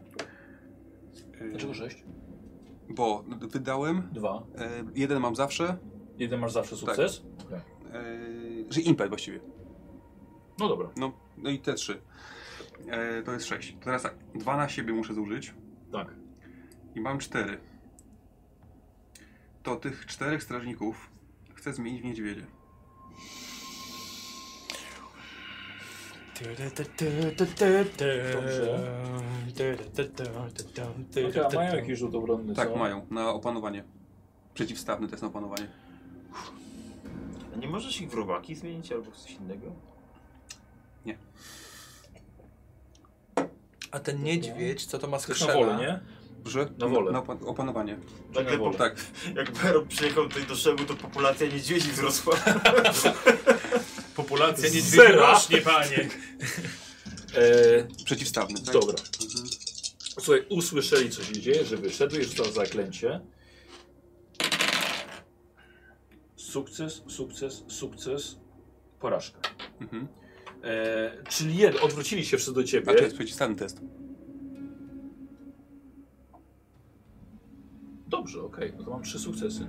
Speaker 4: E,
Speaker 2: Dlaczego 6?
Speaker 4: Bo wydałem,
Speaker 2: 2.
Speaker 4: e, jeden mam zawsze,
Speaker 2: Jeden masz
Speaker 4: Tak.
Speaker 2: zawsze sukces? Okej.
Speaker 4: e, że impet właściwie.
Speaker 2: No dobra.
Speaker 4: No, no i te trzy. E, to jest sześć. To teraz tak, dwa na siebie muszę zużyć
Speaker 2: Tak.
Speaker 4: i mam cztery. To tych czterech strażników chcę zmienić w niedźwiedzie.
Speaker 2: Okay, Y, a mają jakiś rzut obronny,
Speaker 4: Tak,
Speaker 2: co?
Speaker 4: mają, na opanowanie. Przeciwstawny test na opanowanie.
Speaker 5: A nie możesz ich w robaki zmienić albo w coś innego?
Speaker 10: A ten niedźwiedź, co to ma
Speaker 2: Też na
Speaker 10: skrzela?
Speaker 2: wolę, nie?
Speaker 4: Że?
Speaker 2: Na wolę.
Speaker 4: Na opa- opanowanie.
Speaker 2: Czy na wolę?
Speaker 4: Tak,
Speaker 5: Jak Baron przyjechał tutaj do Szegu, to populacja niedźwiedzi
Speaker 4: <laughs>
Speaker 5: wzrosła.
Speaker 18: Populacja niedźwiedzi
Speaker 2: Zera.
Speaker 18: rośnie, panie.
Speaker 2: E,
Speaker 4: przeciwstawny. Tak?
Speaker 2: Dobra. Słuchaj, usłyszeli co się dzieje, że wyszedłeś, rzucał zaklęcie. Sukces, sukces, sukces, porażka.
Speaker 4: Mhm.
Speaker 2: E, czyli jed, odwrócili się wszyscy do
Speaker 4: A
Speaker 5: Tak
Speaker 4: to
Speaker 2: ciebie.
Speaker 4: jest przeciwstawny test.
Speaker 2: Dobrze, okej, no to mam trzy sukcesy.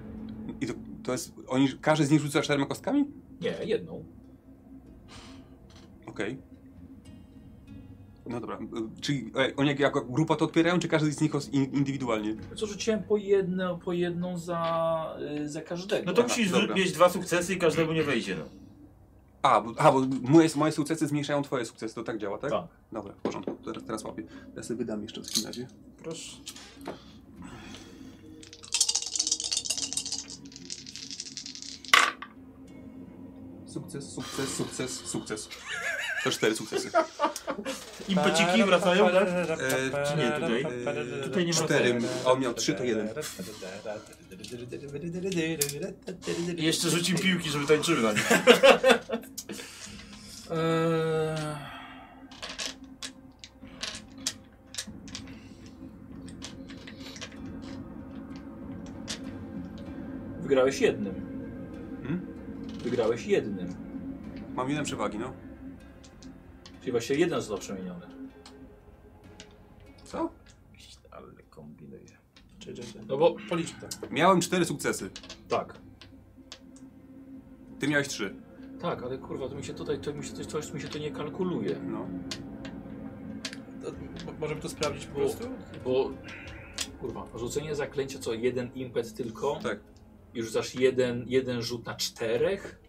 Speaker 4: I to, to jest, oni, każdy z nich rzuca czterema kostkami?
Speaker 2: Nie, jedną.
Speaker 4: Okej. No dobra, y, czyli e, oni jak- jako grupa to odpierają, czy każdy z nich os- in- indywidualnie?
Speaker 2: Co rzuciłem po jedną, po jedną za, y, za każdego.
Speaker 5: No to
Speaker 4: Aha,
Speaker 5: musisz
Speaker 4: dobra.
Speaker 5: mieć dwa sukcesy i każdemu nie wejdzie, no.
Speaker 4: A, bo, a, bo moje, moje sukcesy zmniejszają twoje sukcesy, to tak działa, tak?
Speaker 2: Tak.
Speaker 4: Dobra, w porządku, teraz, teraz łapię. Ja sobie wydam jeszcze w takim razie.
Speaker 5: Proszę.
Speaker 4: Sukces, sukces, sukces, sukces. To cztery sukcesy.
Speaker 5: Impeciki wracają, tak?
Speaker 4: E,
Speaker 5: Czy nie tutaj? Tutaj nie
Speaker 4: cztery,
Speaker 5: wracają.
Speaker 4: a on miał trzy, to jeden.
Speaker 5: I Jeszcze rzucim piłki, żeby tańczyły na nie.
Speaker 4: <laughs>
Speaker 2: Eee... Wygrałeś jednym.
Speaker 5: Mhm.
Speaker 4: Hmm?
Speaker 2: Wygrałeś jednym.
Speaker 4: Mam jeden przewagi, no.
Speaker 2: Czyli właśnie jeden został przemieniony.
Speaker 4: Co?
Speaker 5: Ale kombinuję.
Speaker 2: No bo policzmy tak.
Speaker 4: Miałem cztery sukcesy,
Speaker 2: Tak.
Speaker 4: ty miałeś trzy.
Speaker 2: Tak, ale kurwa, to mi się tutaj, to mi się, to, to mi się to nie kalkuluje.
Speaker 4: No.
Speaker 10: Mo- Możemy to sprawdzić po
Speaker 2: Bo,
Speaker 10: prostu?
Speaker 2: bo kurwa, rzucenie zaklęcia co jeden impet tylko
Speaker 4: Tak.
Speaker 2: i rzucasz jeden, jeden rzut na czterech?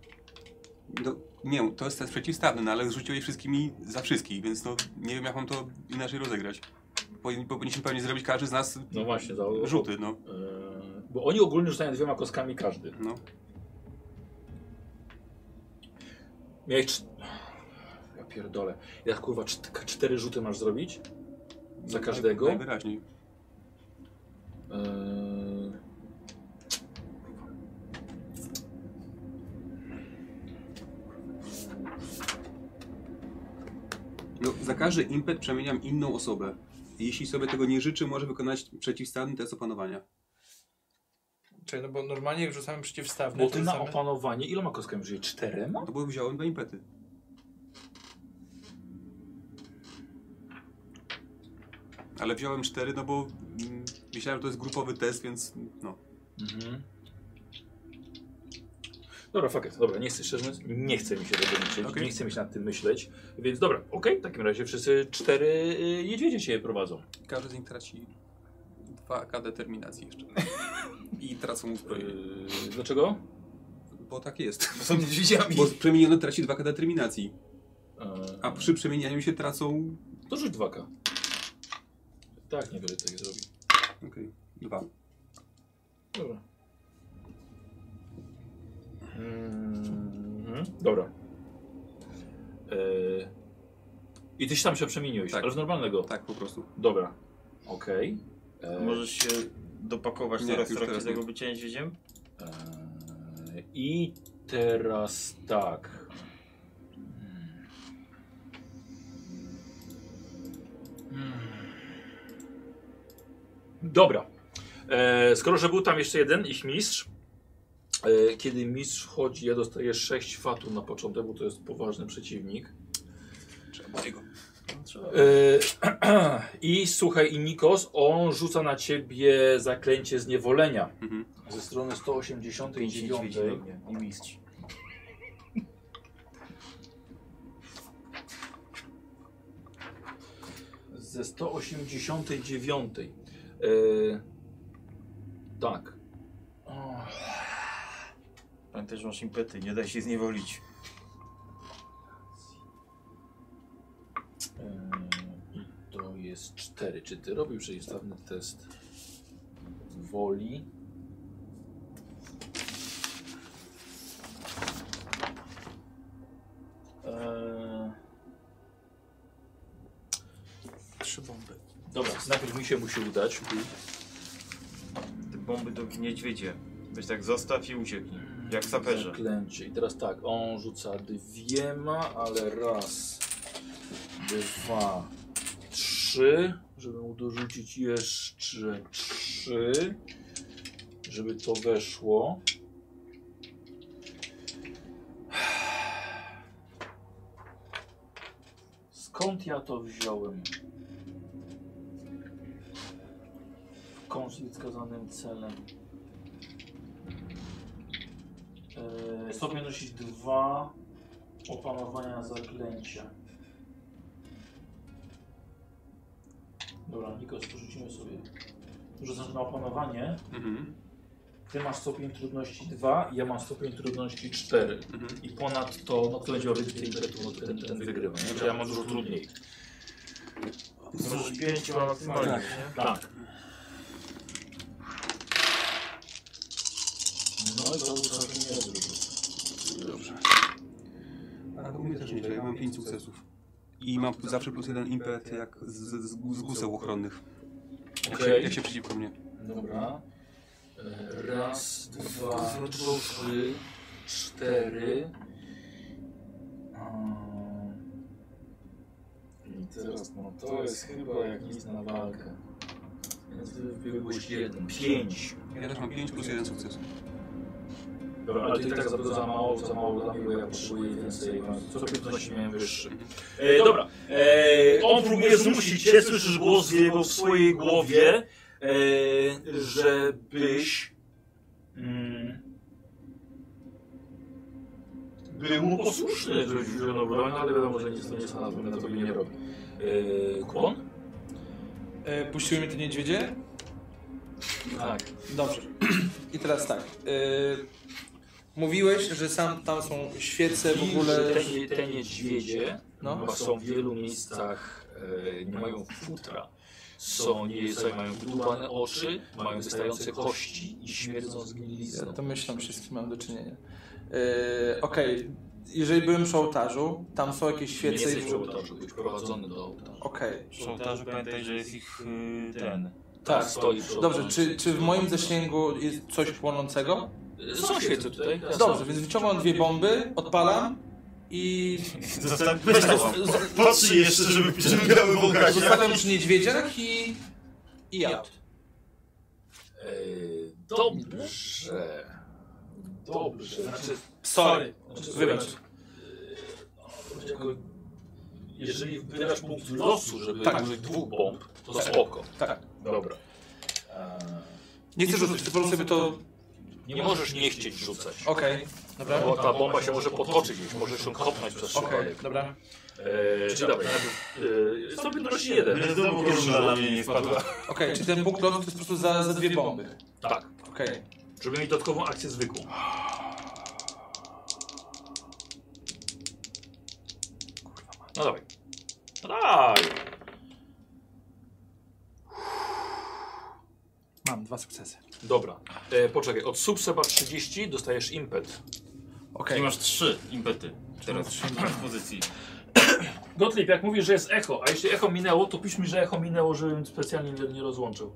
Speaker 4: No, nie wiem, to jest test przeciwstawny, no, ale rzuciłeś wszystkimi za wszystkich, więc no nie wiem jak mam to inaczej rozegrać. Powinni- Powinniśmy pewnie zrobić każdy z nas
Speaker 2: No właśnie, za,
Speaker 4: rzuty, no.
Speaker 2: Eee, bo oni ogólnie rzucają dwiema kostkami każdy.
Speaker 4: no.
Speaker 2: Miałeś. cz- Ja pierdolę. Jak kurwa, czt- k- cztery rzuty masz zrobić? Za każdego? Eee,
Speaker 4: Najwyraźniej.
Speaker 2: E,
Speaker 4: No, za każdy impet przemieniam inną osobę. Jeśli sobie tego nie życzy, może wykonać przeciwstawny test opanowania.
Speaker 10: Czyli, no bo normalnie jak rzucamy przeciwstawne,
Speaker 2: bo
Speaker 10: to
Speaker 2: ty na
Speaker 10: rzucamy...
Speaker 2: opanowanie. Iloma kostkami rzuciłeś? Czterema?
Speaker 4: No bo wziąłem dwa impety. Ale wziąłem cztery, no bo mm, myślałem, że to jest grupowy test, więc no.
Speaker 2: Mhm. Dobra, fuck it. Dobra, nie chcę szczerze mówiąc, nie chcę mi się tego liczyć,
Speaker 4: Okej.
Speaker 2: nie chcę mi się nad tym myśleć. Więc dobra, okej, w takim razie wszyscy cztery y, niedźwiedzie cię prowadzą.
Speaker 4: Każdy z nich traci 2K determinacji jeszcze. I tracą mu zbroję.
Speaker 2: Yy, dlaczego?
Speaker 4: Bo tak jest.
Speaker 5: Są niedźwiedziami.
Speaker 4: <laughs> Bo przemieniony traci 2K determinacji.
Speaker 2: Yy,
Speaker 4: A przy przemienianiu się tracą...
Speaker 2: Y, To rzuć 2K. Tak, niewiele tego zrobi.
Speaker 4: Okej, dwa.
Speaker 2: Dobra. Mhm. Dobra. Yy... I tyś tam się przemieniłeś,
Speaker 4: Tak.
Speaker 2: ale w normalnego.
Speaker 4: Tak, po prostu.
Speaker 2: Dobra. Okej. Eee,
Speaker 5: Możesz się dopakować
Speaker 4: Nie,
Speaker 5: teraz
Speaker 4: już
Speaker 5: w trakcie
Speaker 4: teraz
Speaker 5: tego
Speaker 4: nie.
Speaker 5: bycia niedźwiedziem?
Speaker 2: eee, I teraz tak. Hmm. Hmm. Dobra. Eee, skoro, że był tam jeszcze jeden, ich mistrz, E, Kiedy mistrz wchodzi, ja dostaję 6 fatum na początek, bo to jest poważny przeciwnik.
Speaker 4: Trzeba go.
Speaker 5: trzeba.
Speaker 2: Y, <clears throat> I słuchaj, i Nikos, on rzuca na ciebie zaklęcie zniewolenia.
Speaker 4: Mhm.
Speaker 2: Ze strony 189.
Speaker 19: i mistrz.
Speaker 2: Ze 189. Y, tak. O,
Speaker 5: Pamiętaj, że masz impety, nie daj się zniewolić.
Speaker 2: y, I to jest 4. Czy ty robił przeciwstawny test woli? Eee...
Speaker 20: Trzy bomby.
Speaker 2: Dobra, najpierw mi się musi udać.
Speaker 5: Te bomby do niedźwiedzie. Weź tak zostaw i ucieknij. Jak saperze.
Speaker 2: Zaklęcie. I teraz tak, on rzuca dwiema, ale raz, dwa, trzy, żeby mu dorzucić jeszcze trzy, żeby to weszło. Skąd ja to wziąłem? W konflikt z wskazanym celem. Eee, stopień nosić dwa opanowania zaklęcia. Dobra, Nikos, porzucimy sobie. Rzucasz na opanowanie.
Speaker 4: Mhm.
Speaker 2: Ty masz stopień trudności 2, ja mam stopień trudności 4.
Speaker 4: Mhm.
Speaker 2: I ponadto, no kto będzie miał więcej impetu, no to ten, ten wygrywa. Nie? Że Ja mam dużo trudniej.
Speaker 5: Możesz pięciu maksymalnie.
Speaker 4: Tak.
Speaker 5: nie?
Speaker 2: Tak. No i to nie
Speaker 4: Dobrze. A u mnie też nieźle, ja mam 5 sukcesów. I mam zawsze plus jeden impet jak z, z, z guseł ochronnych. Jak, się,
Speaker 2: Okej.
Speaker 4: jak się przeciwko mnie.
Speaker 2: Dobra. E, Raz, dwa, trzy, cztery. Mm. I teraz no to jest chyba jakiś na walkę. Więc wy- wybiegłeś jeden, pięć.
Speaker 4: Ja też mam 5 plus jeden sukces.
Speaker 2: Dobra, ale to i tak za, za mało, za mało dla mnie, bo ja potrzebuję więcej. Co 15 miałem wyższy.
Speaker 19: E, dobra. E, on próbuje zmusić cię, słyszysz głos w jego w swojej głowie, e, żebyś mm, był mu posłuszny.
Speaker 2: Że zielono broń, ale wiadomo, że nic to nie znalazłem, na to by nie robił. E, Kłon?
Speaker 10: E, puściły mnie te niedźwiedzie?
Speaker 2: Tak.
Speaker 10: Dobrze. <clears throat> I teraz tak. E, mówiłeś, że sam tam są świece w ogóle.
Speaker 2: Te, te niedźwiedzie
Speaker 10: No.
Speaker 2: chyba są w wielu miejscach, e, nie mają futra. Są, nie są, mają wydłubane oczy, mają wystające kości i śmierdzą
Speaker 10: Ja
Speaker 2: zgnilizną.
Speaker 10: domyślam się, z kim mam do czynienia. E, Okej, jeżeli byłem przy ołtarzu, tam są jakieś
Speaker 2: Nie
Speaker 10: świece
Speaker 2: jesteś
Speaker 10: i...
Speaker 2: przy ołtarzu, być prowadzony do ołtarza.
Speaker 10: Okej,
Speaker 5: Ołtarzu pamiętaj, że jest ich y, ten.
Speaker 10: tak.
Speaker 2: Stoi przy
Speaker 10: Dobrze,
Speaker 2: ołtarzu.
Speaker 10: czy, czy w moim zasięgu jest coś płonącego?
Speaker 2: E, Są świece tutaj. tak, są.
Speaker 10: Dobrze, więc wyciągam dwie bomby, odpalam i
Speaker 5: Zostaw, weź to, patrz jeszcze, żeby, żeby grały w ołtarzu.
Speaker 10: zostawiam przy niedźwiedziach i... i ja.
Speaker 2: E, Dobrze. Dobrze, znaczy
Speaker 10: Sorry,
Speaker 2: Znaczy,
Speaker 10: wybacz.
Speaker 2: słuchaj, jako- Jeżeli wybierasz punkt losu, żeby
Speaker 10: Tak.
Speaker 2: użyć dwóch bomb, to spoko.
Speaker 10: Tak.
Speaker 2: Dobra. Eee,
Speaker 10: Nie chcę rzucić, po prostu sobie to...
Speaker 2: Nie możesz nie chcieć rzucać.
Speaker 10: Okej, dobra.
Speaker 2: Bo ta bomba się może potoczyć gdzieś, możesz ją kopnąć przez
Speaker 10: Okej,
Speaker 2: przypadek.
Speaker 10: dobra.
Speaker 2: Eee, Czy dobra, najpierw, eee, sobie nosi jeden.
Speaker 5: Będzie znowu korona na mnie nie spadła.
Speaker 10: Okej, czy ten punkt lotu to jest po prostu za, za dwie bomby?
Speaker 2: Tak,
Speaker 10: Okej.
Speaker 2: żeby mieć dodatkową akcję zwykłą. No dawaj. No dawaj.
Speaker 10: Mam dwa sukcesy.
Speaker 2: Dobra, e, poczekaj, od subseba 30 dostajesz impet.
Speaker 10: Okej.
Speaker 5: I masz trzy impety. Teraz w pozycji.
Speaker 2: Gotlip, jak mówisz, że jest echo, a jeśli echo minęło, to pisz mi, że echo minęło, żebym specjalnie nie- nie rozłączył.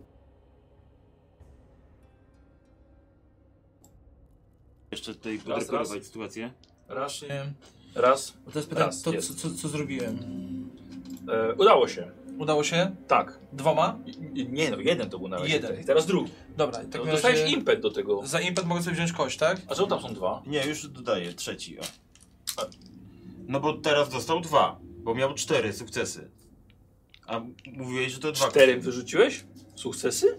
Speaker 5: Jeszcze tutaj
Speaker 2: raz.
Speaker 5: podrekorować sytuację.
Speaker 10: Okay.
Speaker 2: Raz.
Speaker 10: To jest pytanie,
Speaker 2: Raz,
Speaker 10: to,
Speaker 2: jest.
Speaker 10: co, co, co zrobiłem?
Speaker 2: E, udało się.
Speaker 10: Udało się?
Speaker 2: Tak.
Speaker 10: Dwoma?
Speaker 2: I- i- Nie no, jeden to był na razie.
Speaker 10: Jeden.
Speaker 2: Ten. I Teraz drugi.
Speaker 10: Dobra, i tak
Speaker 2: No,
Speaker 10: na
Speaker 2: dostajesz
Speaker 10: razie-
Speaker 2: impet do tego.
Speaker 10: Za impet mogę sobie wziąć kość, tak?
Speaker 2: A czemu tam są dwa?
Speaker 5: Nie, już dodaję, trzeci. O. No bo teraz dostał dwa, bo miał cztery sukcesy. A mówiłeś, że to dwa.
Speaker 2: Cztery wyrzuciłeś? Sukcesy?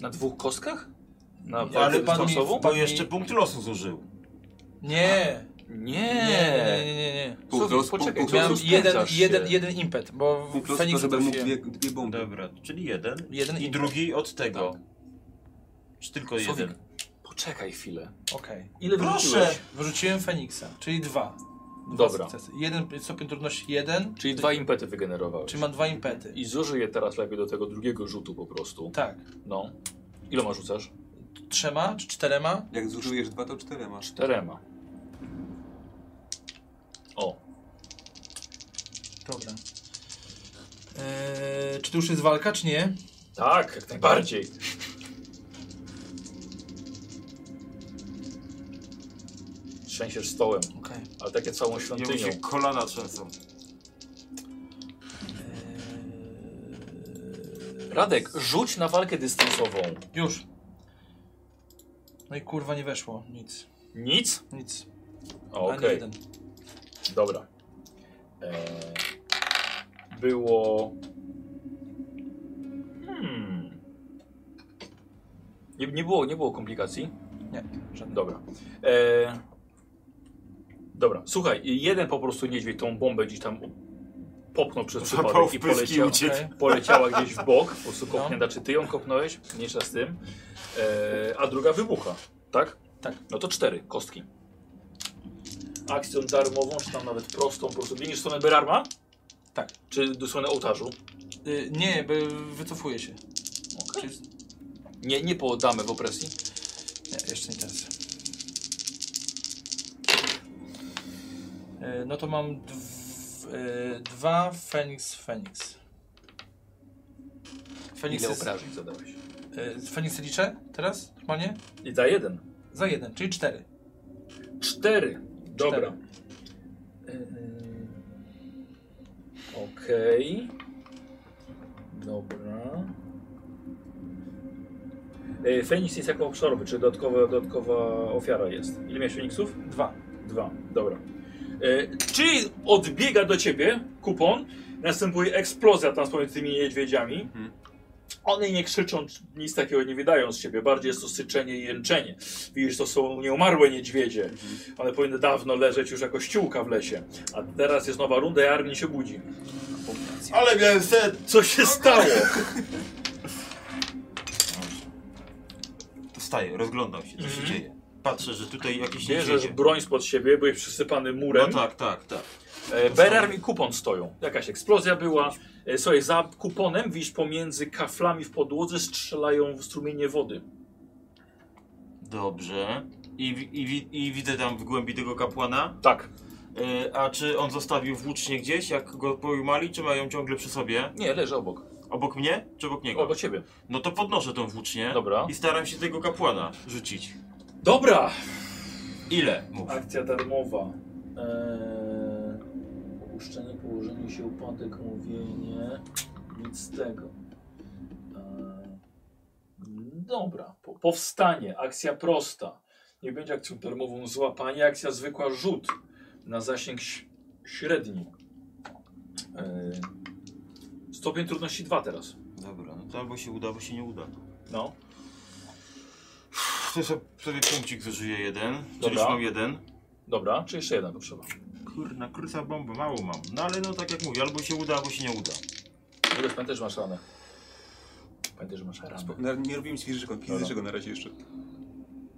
Speaker 2: Na dwóch kostkach? Na
Speaker 5: No, ale
Speaker 2: walkę
Speaker 5: pan, mi,
Speaker 2: dystansową?
Speaker 5: pan jeszcze punkt losu zużył.
Speaker 10: Nie,
Speaker 2: Nie.
Speaker 10: nie, nie, nie. nie.
Speaker 2: Słowik,
Speaker 4: Punkt rozpo-
Speaker 2: Poczekaj,
Speaker 4: punkt
Speaker 2: co
Speaker 10: Miałem
Speaker 2: rozpędzasz
Speaker 10: jeden,
Speaker 2: się?
Speaker 10: jeden, jeden impet, bo w
Speaker 4: Punkt losu, to
Speaker 10: Feniks
Speaker 4: żeby mógł dwie,
Speaker 10: trafiłem.
Speaker 4: dwie bomby.
Speaker 5: Dobra, czyli jeden.
Speaker 10: Jeden
Speaker 5: I
Speaker 10: impet.
Speaker 5: drugi od tego. Czy tylko
Speaker 2: Słowik.
Speaker 5: jeden?
Speaker 2: Poczekaj chwilę.
Speaker 10: Okej.
Speaker 2: Ile wyrzuciłeś?
Speaker 10: Wyrzuciłem Feniksa, czyli dwa. dwa
Speaker 2: Dobra.
Speaker 10: Sukcesy. Jeden stopień trudności jeden,
Speaker 2: Czyli dwa impety wygenerowałeś.
Speaker 10: czyli mam dwa impety.
Speaker 2: I zużyję teraz lepiej do tego drugiego rzutu po prostu.
Speaker 10: Tak.
Speaker 2: No. Iloma rzucasz?
Speaker 10: Trzema czy czterema?
Speaker 4: Jak zużyjesz dwa, to cztery masz.
Speaker 2: Czterema. O,
Speaker 10: Dobra. Eee, czy to już jest walka, czy nie?
Speaker 2: tak, jak najbardziej. Trzęsiesz stołem,
Speaker 10: Okej.
Speaker 2: ale takie całą
Speaker 5: Ja mi
Speaker 2: świątynią.
Speaker 5: się kolana trzęsą.
Speaker 2: Radek, rzuć na walkę dystansową.
Speaker 10: Już. No i kurwa nie weszło. Nic.
Speaker 2: Nic?
Speaker 10: Nic.
Speaker 2: O,
Speaker 10: Ani
Speaker 2: Okej,
Speaker 10: jeden.
Speaker 2: dobra. Eee, było... Hmm. Nie, nie, było, nie było komplikacji?
Speaker 10: Nie, żadnych.
Speaker 2: Dobra. E... Dobra, słuchaj, jeden po prostu niedźwiedź tą bombę gdzieś tam popnął przez
Speaker 5: Złapał
Speaker 2: przypadek i
Speaker 5: wpyski i
Speaker 2: poleciała, e,
Speaker 5: uciekł.
Speaker 10: Okej.
Speaker 2: poleciała gdzieś w bok, po prostu
Speaker 10: No.
Speaker 2: kopnięta. Czy ty ją kopnąłeś? Mniejsza z tym. E... A druga wybucha, tak?
Speaker 10: Tak.
Speaker 2: No to cztery kostki. Akcją darmową, czy tam nawet prostą, po prostu biegniesz w stronę Berarma?
Speaker 10: Tak.
Speaker 2: Czy do strony ołtarzu?
Speaker 10: Y, nie, bo wycofuję się.
Speaker 2: Czy... Nie, nie po damę w opresji.
Speaker 10: Nie, jeszcze nie teraz. E, No to mam dw- e, dwa Feniks Feniks. Feniks
Speaker 2: Ile
Speaker 10: jest,
Speaker 2: obrażeń zadałeś?
Speaker 10: e, Feniksy liczę teraz? Normalnie?
Speaker 2: I za jeden.
Speaker 10: Za jeden, czyli cztery.
Speaker 2: Cztery. Dobra.
Speaker 10: Cztery. E,
Speaker 2: Okej. Dobra. E, Feniks jest jako obszarowy, czy dodatkowa, dodatkowa ofiara jest. Ile miałeś Feniksów?
Speaker 10: Dwa.
Speaker 2: Dwa. Dobra. E, Czyli odbiega do ciebie kupon, następuje eksplozja tam pomiędzy tymi niedźwiedziami.
Speaker 4: Mhm.
Speaker 2: One nie krzyczą, nic takiego nie wydają z siebie, bardziej jest to syczenie i jęczenie. Widzisz, to są nieumarłe niedźwiedzie. One powinny dawno leżeć już jako ściółka w lesie. A teraz jest nowa runda i Armin się budzi.
Speaker 5: Ale miałem set!
Speaker 2: Co się stało?
Speaker 5: Wstaję, rozglądam się, co się
Speaker 2: Mhm.
Speaker 5: dzieje. Patrzę, że tutaj jakieś
Speaker 2: Bierzesz
Speaker 5: niedźwiedzie.
Speaker 2: broń spod siebie, byłeś przysypany
Speaker 5: No
Speaker 2: murem.
Speaker 5: tak, tak, tak.
Speaker 2: E, Berarm i kupon stoją. Jakaś eksplozja była. E, Słuchaj, za kuponem widzisz pomiędzy kaflami w podłodze strzelają w strumienie wody.
Speaker 5: Dobrze. I, wi- i, wi- I widzę tam w głębi tego kapłana.
Speaker 2: Tak.
Speaker 5: E, a czy on zostawił włócznie gdzieś, jak go pojmali, czy mają ciągle przy sobie?
Speaker 2: Nie, leży obok.
Speaker 5: Obok mnie, czy obok niego?
Speaker 2: Obok ciebie.
Speaker 5: No to podnoszę tą włócznię
Speaker 2: Dobra.
Speaker 5: i staram się tego kapłana rzucić.
Speaker 2: Dobra!
Speaker 5: Ile? Mów.
Speaker 2: Akcja darmowa. Eee, opuszczenie, położenie się, upadek, mówienie. Nic z tego. Eee, dobra. Po, powstanie. Akcja prosta. Nie będzie akcją darmową złapanie. Akcja zwykła rzut na zasięg ś- średni. Eee, stopień trudności 2 teraz.
Speaker 5: Dobra, no to albo się uda, albo się nie uda.
Speaker 2: No.
Speaker 5: To sobie, sobie punkcik zużyję jeden, czyli
Speaker 2: Dobra.
Speaker 5: już mam jeden.
Speaker 2: Dobra, czy jeszcze jedna potrzeba?
Speaker 5: Kurna, kruca bomba, mało mam. No ale no tak jak mówię, albo się uda, albo się nie uda.
Speaker 2: Juliusz, pamiętaj, że masz ranę. Pamiętaj, że masz ranę.
Speaker 4: Na, nie robimy nic fizycznego, fizycznego na razie jeszcze.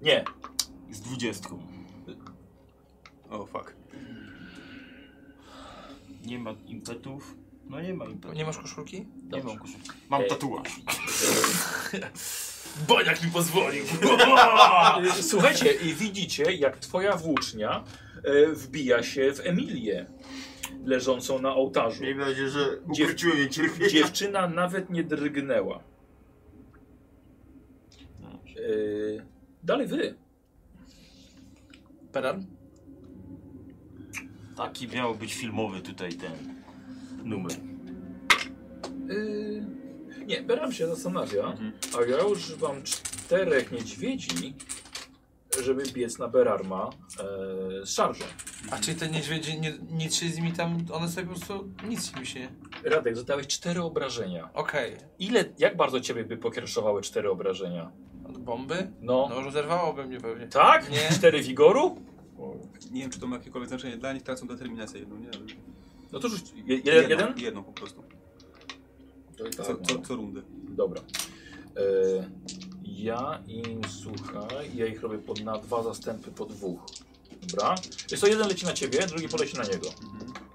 Speaker 2: Nie,
Speaker 5: Z dwudziestką.
Speaker 4: O, fuck.
Speaker 5: Nie ma impetów. No nie ma impetów.
Speaker 10: e, Nie masz koszulki?
Speaker 5: Nie mam koszulki. Mam
Speaker 2: Ej.
Speaker 5: tatuaż.
Speaker 2: Boniak mi pozwolił. Słuchajcie, i widzicie, jak twoja włócznia e, wbija się w Emilię, leżącą na ołtarzu.
Speaker 5: Miejmy nadzieję, że
Speaker 2: Dziew-
Speaker 5: ukryciłem jej cierpienie.
Speaker 2: Dziewczyna nawet nie drgnęła. E, dalej wy.
Speaker 10: Peran?
Speaker 5: Taki miał być filmowy tutaj ten numer.
Speaker 2: Yy, Mhm. nie, Beram się zastanawia, a ja używam czterech niedźwiedzi żeby biec na Berarma e, z szarżą.
Speaker 10: A czyli te niedźwiedzie, nie, nic się z nimi tam, one sobie po prostu, nic mi się...
Speaker 2: Radek, zadałeś cztery obrażenia.
Speaker 10: Okej,
Speaker 2: Ile, jak bardzo ciebie by pokierszowały cztery obrażenia?
Speaker 10: od bomby?
Speaker 2: No,
Speaker 10: No, rozerwałoby mnie pewnie.
Speaker 2: tak?
Speaker 10: Nie.
Speaker 2: Cztery wigoru?
Speaker 4: Nie wiem, czy to ma jakiekolwiek znaczenie. Dla nich tracą determinację jedną, nie?
Speaker 2: No to rzuć, je, jeden? jeden?
Speaker 4: Jedną po prostu.
Speaker 2: To i tak,
Speaker 4: Co,
Speaker 2: no.
Speaker 4: co, co rundę.
Speaker 2: Dobra. E, ja im słuchaj, ja ich robię pod, na dwa zastępy po dwóch. Dobra. Jest to jeden leci na ciebie, drugi poleci na niego.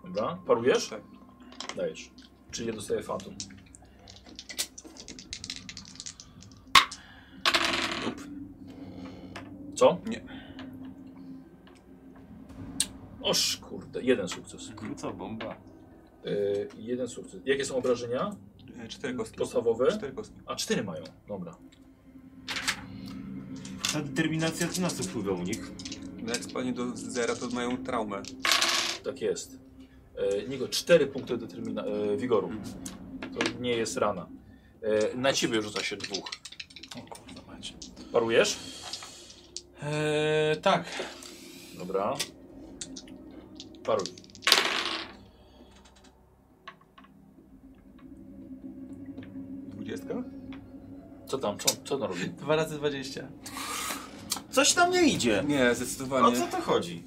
Speaker 2: Dobra. Parujesz?
Speaker 4: Tak.
Speaker 2: Dajesz. Czyli ja dostaję fatum. Co?
Speaker 4: Nie.
Speaker 2: Oż kurde, jeden sukces.
Speaker 5: Króca bomba.
Speaker 2: E, jeden sukces. Jakie są obrażenia
Speaker 4: E, Cztery kostki.
Speaker 2: podstawowe?
Speaker 4: Cztery kostki.
Speaker 2: A cztery mają. Dobra.
Speaker 5: Ta determinacja co nas wpływa u nich?
Speaker 4: No jak spadnie do zera, to mają traumę.
Speaker 2: Tak jest. E, Nigo, 4 punkty determina e, wigoru.
Speaker 10: Mhm.
Speaker 2: To nie jest rana. E, na ciebie rzuca się dwóch.
Speaker 10: O kurwa macie.
Speaker 2: Parujesz?
Speaker 10: Eee, tak.
Speaker 2: Dobra. Paruj.
Speaker 4: Dwudziestka?
Speaker 2: Co tam? Co, co tam robi?
Speaker 10: 2 razy 20.
Speaker 5: Coś tam nie idzie.
Speaker 4: Nie,
Speaker 5: O
Speaker 4: zdecydowanie.
Speaker 5: co to chodzi?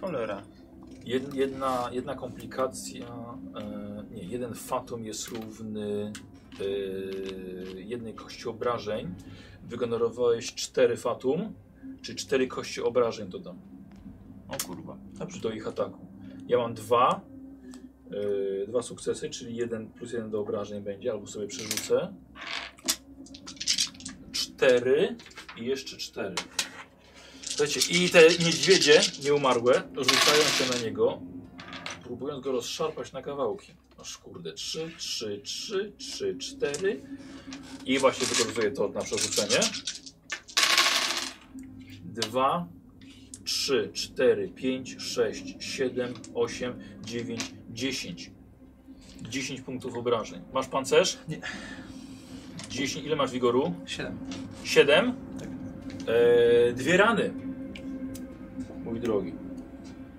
Speaker 5: Cholera.
Speaker 2: Jed, jedna, jedna komplikacja. E, nie, jeden fatum jest równy e, jednej kości obrażeń. Wygenerowałeś 4 fatum, czy 4 kości obrażeń dodam.
Speaker 5: O kurwa.
Speaker 2: Dobrze. do ich ataku. Ja mam dwa, yy, dwa sukcesy, czyli jeden plus jeden do obrażeń będzie, albo sobie przerzucę. Cztery i jeszcze cztery. Słuchajcie, i te niedźwiedzie nieumarłe rzucają się na niego, próbując go rozszarpać na kawałki. Aż kurde, trzy, trzy, trzy, trzy, cztery. I właśnie wykorzystuję to na przerzucenie. Dwa, 3, 4, 5, 6, 7, 8, 9, 10. 10 punktów obrażeń. Masz pancerz?
Speaker 10: Nie.
Speaker 2: 10, ile masz wigoru?
Speaker 10: 7.
Speaker 2: 7? Eee, dwie rany. Mój drogi.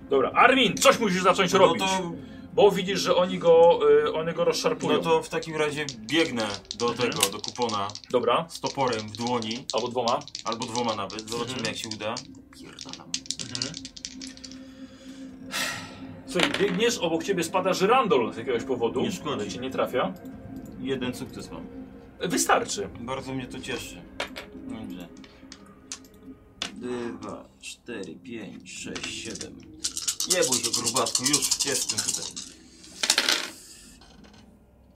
Speaker 2: Dobra, Armin, coś musisz zacząć
Speaker 5: No
Speaker 2: robić.
Speaker 5: to,
Speaker 2: Bo widzisz, że oni go, y, one go rozszarpują.
Speaker 5: no to w takim razie biegnę do
Speaker 2: Mhm.
Speaker 5: tego, do kupona
Speaker 2: Dobra,
Speaker 5: z toporem w dłoni,
Speaker 2: albo dwoma.
Speaker 5: albo dwoma nawet. Zobaczymy
Speaker 2: Mhm.
Speaker 5: jak się uda. Pierdolam.
Speaker 2: Słuchaj, biegniesz, obok ciebie spada żyrandol z jakiegoś powodu.
Speaker 5: Nie szkodzi.
Speaker 2: ale cię nie trafia.
Speaker 5: Jeden sukces mam.
Speaker 2: Wystarczy.
Speaker 5: Bardzo mnie to cieszy. Dobrze. Dwa, cztery, pięć, sześć, siedem. Nie bój się grubatku, już jestem tutaj.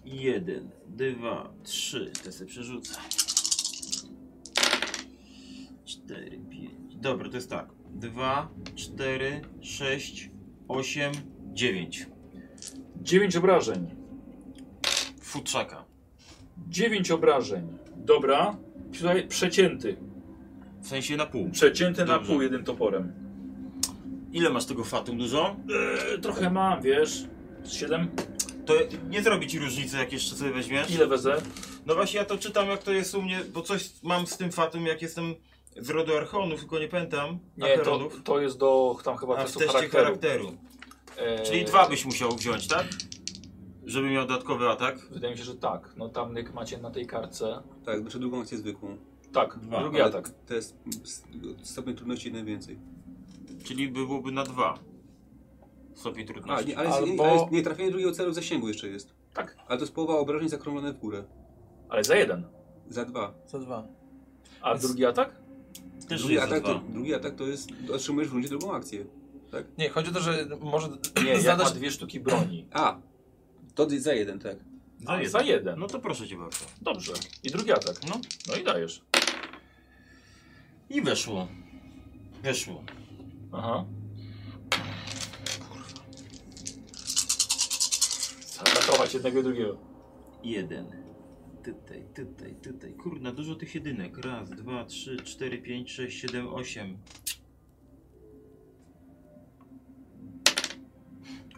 Speaker 5: Jeden, dwa, trzy. Te sobie przerzucę. Cztery, pięć. Dobra, to jest tak. Dwa, cztery, sześć, osiem, dziewięć.
Speaker 2: 9 obrażeń.
Speaker 5: Futrzaka.
Speaker 2: 9 obrażeń. Dobra. Tutaj przecięty.
Speaker 5: W sensie na pół.
Speaker 2: Przecięty na
Speaker 5: Dobrze.
Speaker 2: pół jednym toporem.
Speaker 5: Ile masz tego fatum dużo?
Speaker 2: E, Trochę mam, wiesz. 7.
Speaker 5: To nie zrobi ci różnicy, jak jeszcze sobie weźmiesz?
Speaker 2: Ile wezę?
Speaker 5: No właśnie, ja to czytam, jak to jest u mnie, bo coś mam z tym fatum, jak jestem z rodu Archonów, tylko nie pamiętam.
Speaker 2: Nie, to,
Speaker 5: Acheronów.
Speaker 2: to jest do tam chyba
Speaker 5: A w
Speaker 2: testu
Speaker 5: teście charakteru.
Speaker 2: charakteru. E,
Speaker 5: Czyli dwa byś musiał wziąć, tak? Żeby miał dodatkowy atak.
Speaker 2: Wydaje mi się, że tak. No tam jak macie na tej kartce.
Speaker 4: Tak, znaczy drugą akcję zwykłą.
Speaker 2: Tak,
Speaker 5: Dwa.
Speaker 2: drugi
Speaker 4: Ale
Speaker 2: atak.
Speaker 4: To jest s- stopień trudności jeden więcej.
Speaker 5: Czyli byłoby na dwa. Stopień
Speaker 4: A,
Speaker 5: trudności.
Speaker 4: nie, ale, jest,
Speaker 10: Albo-
Speaker 4: ale jest, nie, trafienie drugiego celu w zasięgu jeszcze jest.
Speaker 2: Tak.
Speaker 4: Ale to jest połowa obrażeń zakrąglone w górę.
Speaker 2: Ale za jeden.
Speaker 4: Za dwa.
Speaker 10: Za 2.
Speaker 2: A drugi atak?
Speaker 5: Też
Speaker 4: Drugi
Speaker 5: jest za
Speaker 4: atak,
Speaker 5: dwa.
Speaker 4: to, drugi atak to jest, otrzymujesz w rundzie drugą akcję.
Speaker 10: Nie, chodzi o to, że może <clears throat>
Speaker 5: <clears throat>
Speaker 2: Nie, jak ma
Speaker 10: zadasz...
Speaker 2: dwie sztuki broni.
Speaker 4: A, to jest za jeden, tak.
Speaker 5: Za
Speaker 2: A,
Speaker 5: jeden.
Speaker 2: za jeden.
Speaker 5: No to proszę cię bardzo.
Speaker 2: Dobrze. I drugi atak.
Speaker 5: No.
Speaker 2: No i dajesz.
Speaker 5: I weszło. Weszło.
Speaker 2: Aha. Trzeba atakować jednego i drugiego.
Speaker 5: Jeden. Tutaj, tutaj, tutaj. Kurna, dużo tych jedynek. Raz, dwa, trzy, cztery, pięć, sześć, siedem, osiem.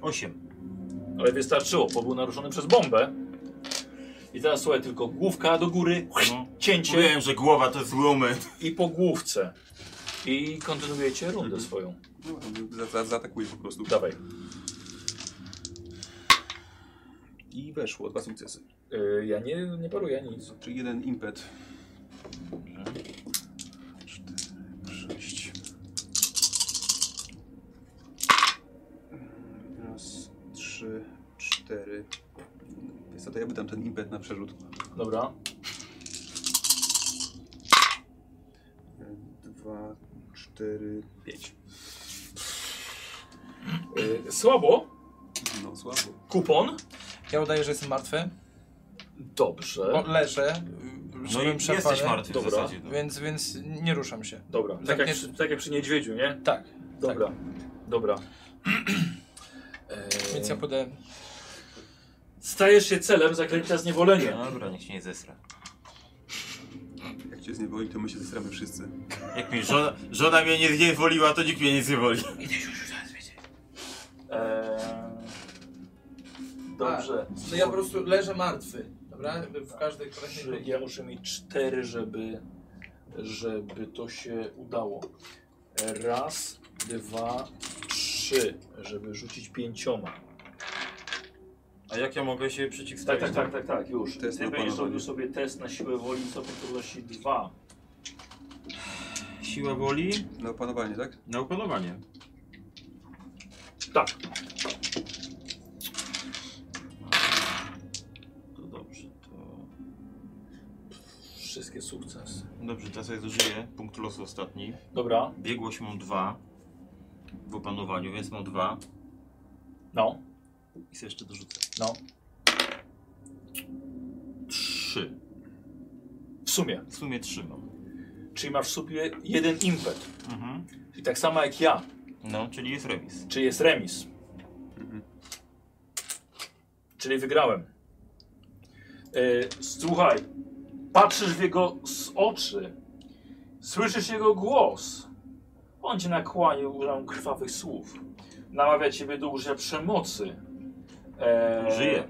Speaker 5: Osiem.
Speaker 2: Ale wystarczyło, bo był naruszony przez bombę. I teraz słuchaj, tylko główka do góry, cięcie
Speaker 5: Mówiłem, że głowa to jest lumen.
Speaker 2: i po główce. I kontynuujecie rundę swoją.
Speaker 4: No, za, za, zaatakuję po prostu.
Speaker 2: Dawaj.
Speaker 4: I weszło, dwa sukcesy.
Speaker 2: Y, ja nie, nie paruję nic.
Speaker 4: Czyli jeden impet. Cztery, sześć. Raz, trzy, cztery. Jest to, to ja by tam ten impet na przerzut.
Speaker 2: Dobra.
Speaker 4: Dwa, cztery, pięć.
Speaker 2: Y, słabo.
Speaker 4: No słabo.
Speaker 2: Kupon.
Speaker 10: Ja udaję, że jestem martwy. Bo
Speaker 2: Dobrze.
Speaker 10: leżę, y,
Speaker 5: No
Speaker 10: żebym
Speaker 5: i jesteś
Speaker 10: przepadł.
Speaker 5: martwy
Speaker 2: Dobra.
Speaker 5: w zasadzie. No.
Speaker 10: Więc, więc nie ruszam się.
Speaker 2: Dobra. Tak
Speaker 10: Tak
Speaker 2: jak,
Speaker 10: nie-
Speaker 2: przy, tak jak przy niedźwiedziu, nie?
Speaker 10: Tak.
Speaker 2: Dobra. Dobra. Y,
Speaker 10: Więc ja podaję.
Speaker 2: Stajesz się celem zaklęcia zniewolenia.
Speaker 5: Dobra, niech się nie zesra.
Speaker 4: Jak cię zniewoli, to my się zestramy wszyscy.
Speaker 5: Jak mi żona, żona mnie nie zniewoliła, to nikt mnie nie zniewoli.
Speaker 2: Eee, dobrze.
Speaker 10: To No ja po prostu leżę martwy. Dobra? W każdej
Speaker 2: Trzy,
Speaker 10: kolejnej.
Speaker 2: ja muszę mieć cztery, żeby, żeby to się udało. Raz, dwa, trzy, żeby rzucić pięcioma.
Speaker 5: A jak ja mogę się
Speaker 2: Tak,
Speaker 5: przeciwstawić?
Speaker 2: tak, tak, tak, tak już.
Speaker 4: Test
Speaker 2: Ty
Speaker 4: na
Speaker 2: będziesz
Speaker 4: panowanie.
Speaker 2: robił sobie test na siłę woli i sobotliwości dwa.
Speaker 5: Siła woli?
Speaker 4: Na opanowanie, tak?
Speaker 5: Na opanowanie.
Speaker 2: Tak,
Speaker 5: To dobrze, to...
Speaker 2: wszystkie sukcesy.
Speaker 5: Dobrze, to ja sobie zużyję. Punkt losu ostatni.
Speaker 2: Dobra,
Speaker 5: Biegłość mam dwa w opanowaniu, więc mam dwa.
Speaker 2: no,
Speaker 5: I sobie jeszcze dorzucę.
Speaker 2: no,
Speaker 5: Trzy.
Speaker 2: w sumie.
Speaker 5: W sumie trzy mam.
Speaker 2: Czyli masz w sobie jeden impet.
Speaker 5: Mhm.
Speaker 2: I tak samo jak ja,
Speaker 5: No, czyli jest remis.
Speaker 2: czyli jest remis.
Speaker 5: Mhm.
Speaker 2: Czyli wygrałem. E, słuchaj, patrzysz w jego z oczy, słyszysz jego głos. On cię nakłania użył krwawych słów. Namawia ciebie do użycia przemocy. E,
Speaker 5: Żyje.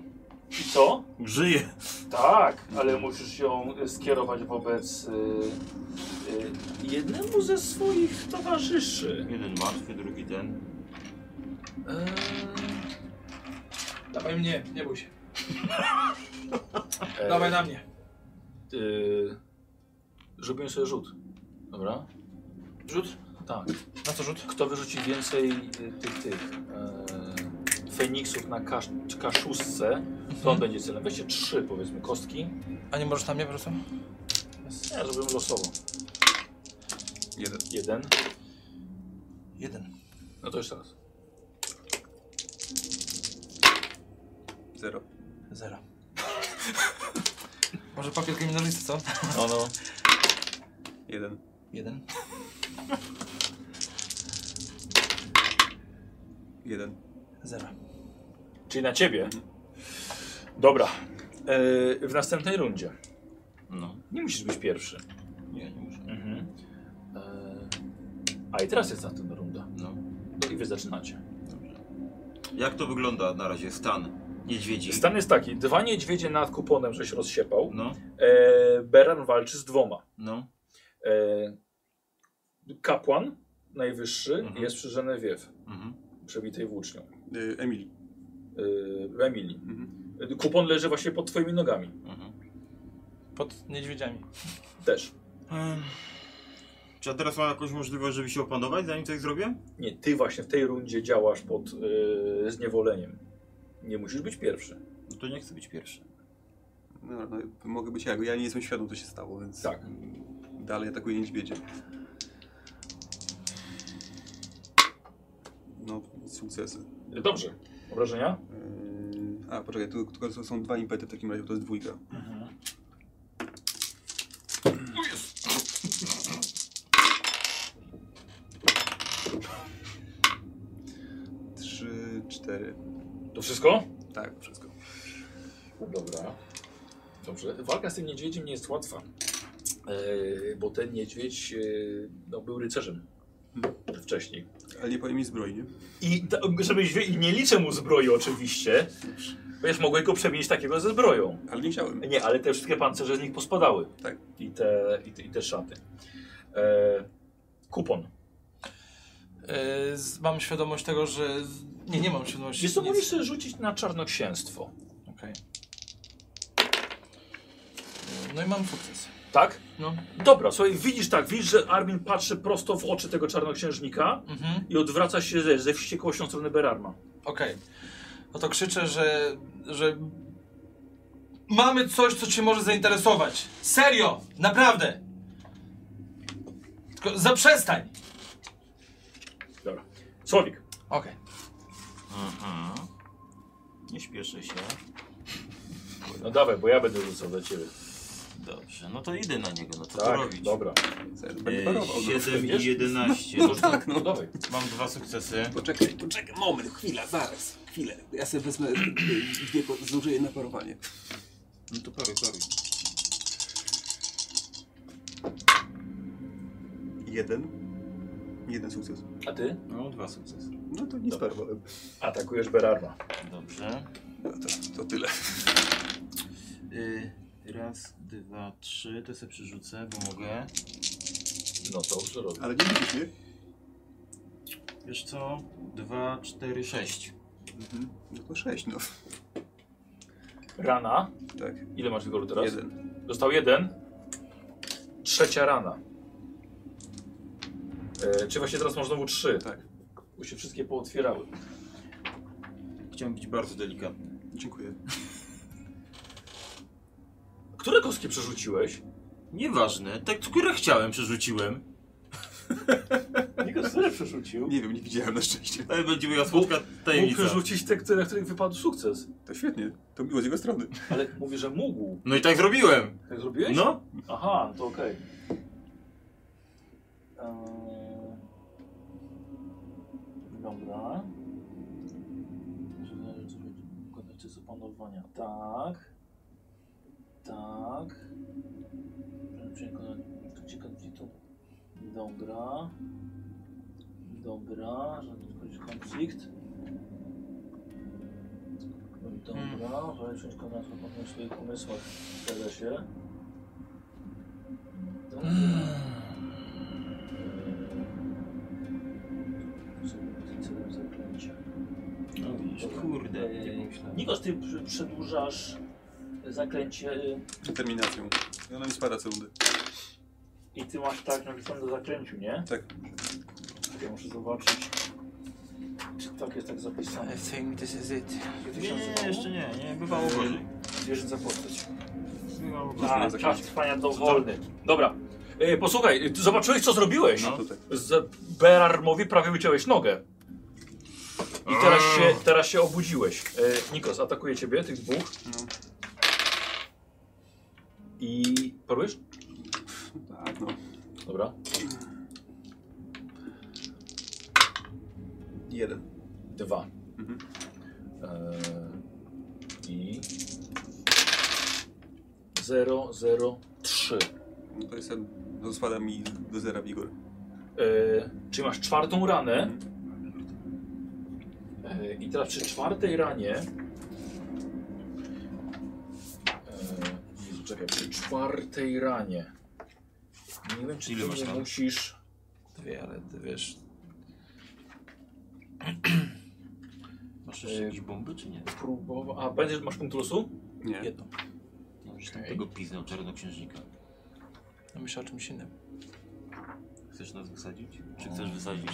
Speaker 2: I co?
Speaker 5: Żyje.
Speaker 2: Tak, ale musisz ją e, skierować wobec e, e, jednemu ze swoich towarzyszy.
Speaker 5: Jeden martwy, drugi ten.
Speaker 10: Eee, Dawaj mnie, nie bój się.
Speaker 2: E,
Speaker 10: Dawaj na mnie.
Speaker 2: Yy, zrobimy sobie rzut. Dobra?
Speaker 10: Rzut?
Speaker 2: Tak.
Speaker 10: Na co rzut?
Speaker 2: Kto wyrzuci więcej y, tych, tych e, Feniksów na kasz, kaszusce, to
Speaker 10: Mhm.
Speaker 2: on będzie celem. Weźcie trzy, powiedzmy, kostki.
Speaker 10: A nie możesz na mnie po prostu?
Speaker 2: Ja zrobię losowo.
Speaker 4: Jeden.
Speaker 2: Jeden.
Speaker 21: Jeden.
Speaker 2: No to jeszcze raz.
Speaker 4: Zero.
Speaker 21: Zero.
Speaker 10: <laughs> Może papier kryminalisty, co?
Speaker 2: No, no.
Speaker 4: Jeden.
Speaker 21: Jeden.
Speaker 4: Jeden.
Speaker 21: Zero.
Speaker 2: Czyli na ciebie. Dobra. E, w następnej rundzie.
Speaker 5: No.
Speaker 2: Nie musisz być pierwszy.
Speaker 5: Nie, nie muszę.
Speaker 2: Mhm. E, a i teraz jest następna runda.
Speaker 5: No.
Speaker 2: No i wy zaczynacie.
Speaker 5: Jak to wygląda na razie? Stan niedźwiedzi.
Speaker 2: Stan jest taki. Dwa niedźwiedzie nad kuponem, żeś rozsiepał.
Speaker 5: No,
Speaker 2: E, Beran walczy z dwoma.
Speaker 5: no.
Speaker 2: E, kapłan najwyższy
Speaker 5: Mhm.
Speaker 2: jest przy Genevieve,
Speaker 5: Mhm.
Speaker 2: przebitej włócznią.
Speaker 4: Y, Emily.
Speaker 2: E, Emilii.
Speaker 4: Mhm.
Speaker 2: Kupon leży właśnie pod twoimi nogami.
Speaker 5: Mhm.
Speaker 10: Pod niedźwiedziami.
Speaker 2: Też.
Speaker 5: Ym. Czy ja teraz mam jakąś możliwość, żeby się opanować, zanim coś zrobię?
Speaker 2: Nie, ty właśnie w tej rundzie działasz pod e, zniewoleniem. Nie musisz być pierwszy.
Speaker 5: No to nie chcę być pierwszy.
Speaker 4: No, no, mogę być jak. Ja nie jestem świadom, co się stało, więc
Speaker 2: Tak.
Speaker 4: dalej atakuję niedźwiedzie. No, sukcesy.
Speaker 2: Dobrze. Obrażenia?
Speaker 4: Yy, A, poczekaj, tu tylko są- są dwa impety w takim razie, bo to jest dwójka. Trzy, cztery.
Speaker 2: To wszystko?
Speaker 4: Tak, wszystko.
Speaker 2: Dobra. Dobrze. Walka z tym niedźwiedziem nie jest łatwa. E, bo ten niedźwiedź e, no, był rycerzem wcześniej.
Speaker 4: Ale nie powiem mi zbrojnie.
Speaker 2: I ta, żebyś wie, i nie liczę mu zbroi oczywiście, Wiesz, mogłeś go przemienić takiego ze zbroją.
Speaker 4: Ale nie chciałem.
Speaker 2: Nie, ale te wszystkie pancerze z nich pospadały.
Speaker 4: Tak.
Speaker 2: I te, i te, i te szaty. E, kupon.
Speaker 10: E, z- mam świadomość tego, że. Nie, nie mam świadomości.
Speaker 2: Wiesz co,
Speaker 10: nic.
Speaker 2: możesz sobie rzucić na czarnoksięstwo.
Speaker 10: Okej. No i mam sukces.
Speaker 2: Tak?
Speaker 10: No.
Speaker 2: Dobra, słuchaj, widzisz tak, widzisz, że Armin patrzy prosto w oczy tego czarnoksiężnika
Speaker 10: Mhm.
Speaker 2: i odwraca się ze, ze wściekłością w stronę Berarma.
Speaker 10: Okej. No to krzyczę, że, że mamy coś, co cię może zainteresować. Serio! Naprawdę! Tylko zaprzestań!
Speaker 2: Dobra. Słowik.
Speaker 10: Okej.
Speaker 5: Mhm. Nie śpieszę się.
Speaker 2: No dawaj, bo ja będę rzucał za ciebie.
Speaker 5: Dobrze, no to idę na niego, no co tu
Speaker 2: Tak,
Speaker 5: robić?
Speaker 2: dobra.
Speaker 5: Tak,
Speaker 4: Będę parował.
Speaker 5: 7
Speaker 2: wiesz?
Speaker 5: E, i 11.
Speaker 4: Tak,
Speaker 2: No
Speaker 4: no.
Speaker 2: dawaj.
Speaker 5: Mam dwa sukcesy.
Speaker 4: Poczekaj, poczekaj, moment, chwila, zaraz, chwilę. Ja sobie wezmę dwie, po- zużyję na parowanie.
Speaker 5: No to prawie, prawie.
Speaker 4: Jeden. Jeden sukces.
Speaker 2: A ty?
Speaker 5: No, dwa sukcesy.
Speaker 4: No to nie sparowałem.
Speaker 2: Atakujesz Berarma.
Speaker 5: Dobrze.
Speaker 4: No to, to tyle.
Speaker 5: Y, raz, dwa, trzy. To sobie przerzucę, bo mogę.
Speaker 2: No to już robię.
Speaker 4: Ale nie widzisz mnie?
Speaker 5: Wiesz co? Dwa, cztery, sześć.
Speaker 4: Mhm. No to sześć, no.
Speaker 2: Rana.
Speaker 4: Tak,
Speaker 2: Ile masz wygoru teraz?
Speaker 4: jeden.
Speaker 2: Dostał jeden. Trzecia rana. E, czy właśnie teraz masz znowu trzy?
Speaker 4: Tak.
Speaker 2: Bo się wszystkie pootwierały.
Speaker 5: Chciałem być bardzo delikatny.
Speaker 4: Dziękuję.
Speaker 2: Które kostki przerzuciłeś?
Speaker 5: Nieważne. Te, które chciałem, przerzuciłem.
Speaker 2: Nikos też przerzucił.
Speaker 4: Nie wiem, nie widziałem na szczęście.
Speaker 5: Ale będzie moja słodka
Speaker 2: Mógł
Speaker 5: tajemnica.
Speaker 2: przerzucić te, które- na których wypadł sukces.
Speaker 4: To świetnie. To miło z jego strony.
Speaker 2: Ale mówię, że mógł.
Speaker 5: No i tak zrobiłem.
Speaker 2: Tak zrobiłeś?
Speaker 5: No.
Speaker 2: Aha, to okej. Eee, Dobra. Że należy zrobić wykonać czysto panowania. Tak. Tak. Przekonanie w konfliktu. Dobra. Dobra, że odchodzi konflikt. Dobra, żeby wziąć konflikt w swoich umysłach. Zgadza się. Dobra. Eee, Celem zaklęcia.
Speaker 5: No widzisz,
Speaker 2: Dobra.
Speaker 5: kurde,
Speaker 2: Eee,
Speaker 5: nie pomyślałem.
Speaker 2: Nikos, ty przy- przedłużasz zaklęcie y,
Speaker 4: Determinacją. No, I ona mi spada co rundę.
Speaker 2: i ty masz tak napisane do zaklęciu, nie?
Speaker 4: Tak.
Speaker 2: Ja muszę zobaczyć, czy tak jest tak zapisane.
Speaker 10: I think this is it.
Speaker 5: Nie, nie, nie, jeszcze nie, nie, bywało gorzej.
Speaker 2: Zwierzęca postać.
Speaker 5: Bywało
Speaker 10: Tak,
Speaker 5: gorzej.
Speaker 2: A,
Speaker 4: zaklęcie.
Speaker 2: czas trwania dowolny. Dobra. E, posłuchaj, y, ty zobaczyłeś co zrobiłeś.
Speaker 5: No.
Speaker 4: Tutaj.
Speaker 2: Z Berarmowi prawie wyciąłeś nogę. I teraz się, teraz się obudziłeś. E, Nikos, atakuje ciebie, tych dwóch.
Speaker 4: No.
Speaker 2: I parujesz?
Speaker 4: Tak, no.
Speaker 2: Dobra.
Speaker 4: Jeden.
Speaker 2: Dwa.
Speaker 4: Mhm.
Speaker 2: Eee, I. zero zero trzy.
Speaker 4: No to jestem... No spada mi do zera wigor.
Speaker 2: Eee, czyli masz czwartą ranę. Eee, I teraz przy czwartej ranie. Eee, Jezu, czekaj, przy czwartej ranie. Nie wiem, czy
Speaker 5: Ile
Speaker 2: ty
Speaker 5: masz
Speaker 2: nie
Speaker 5: ran?
Speaker 2: musisz.
Speaker 10: Dwie, ale ty wiesz.
Speaker 5: Masz jeszcze jakieś bomby, czy nie?
Speaker 2: Próbowa... A, będziesz, masz punkt losu?
Speaker 4: Nie.
Speaker 10: Jedno.
Speaker 5: Nie wiem, czy tam tego piznął czarnoksiężnika.
Speaker 10: No myślę o czymś innym.
Speaker 5: Chcesz nas wysadzić? Czy chcesz wysadzić?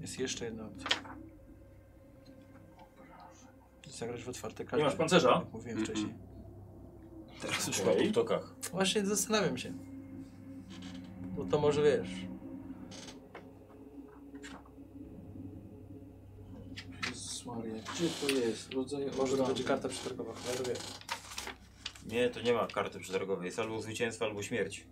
Speaker 10: Jest jeszcze jedna opcja. Zagrać w otwarte karty.
Speaker 2: Nie masz pancerza?
Speaker 10: Jak mówiłem wcześniej.
Speaker 5: Teraz już
Speaker 2: Okej.
Speaker 5: po tokach.
Speaker 10: Właśnie zastanawiam się. Bo to może wiesz. Jezus Maria, gdzie to jest? Rodzaje... Może to będzie karta przetargowa, cholera wie.
Speaker 5: Nie, to nie ma karty przetargowej. Jest albo zwycięstwo, albo śmierć.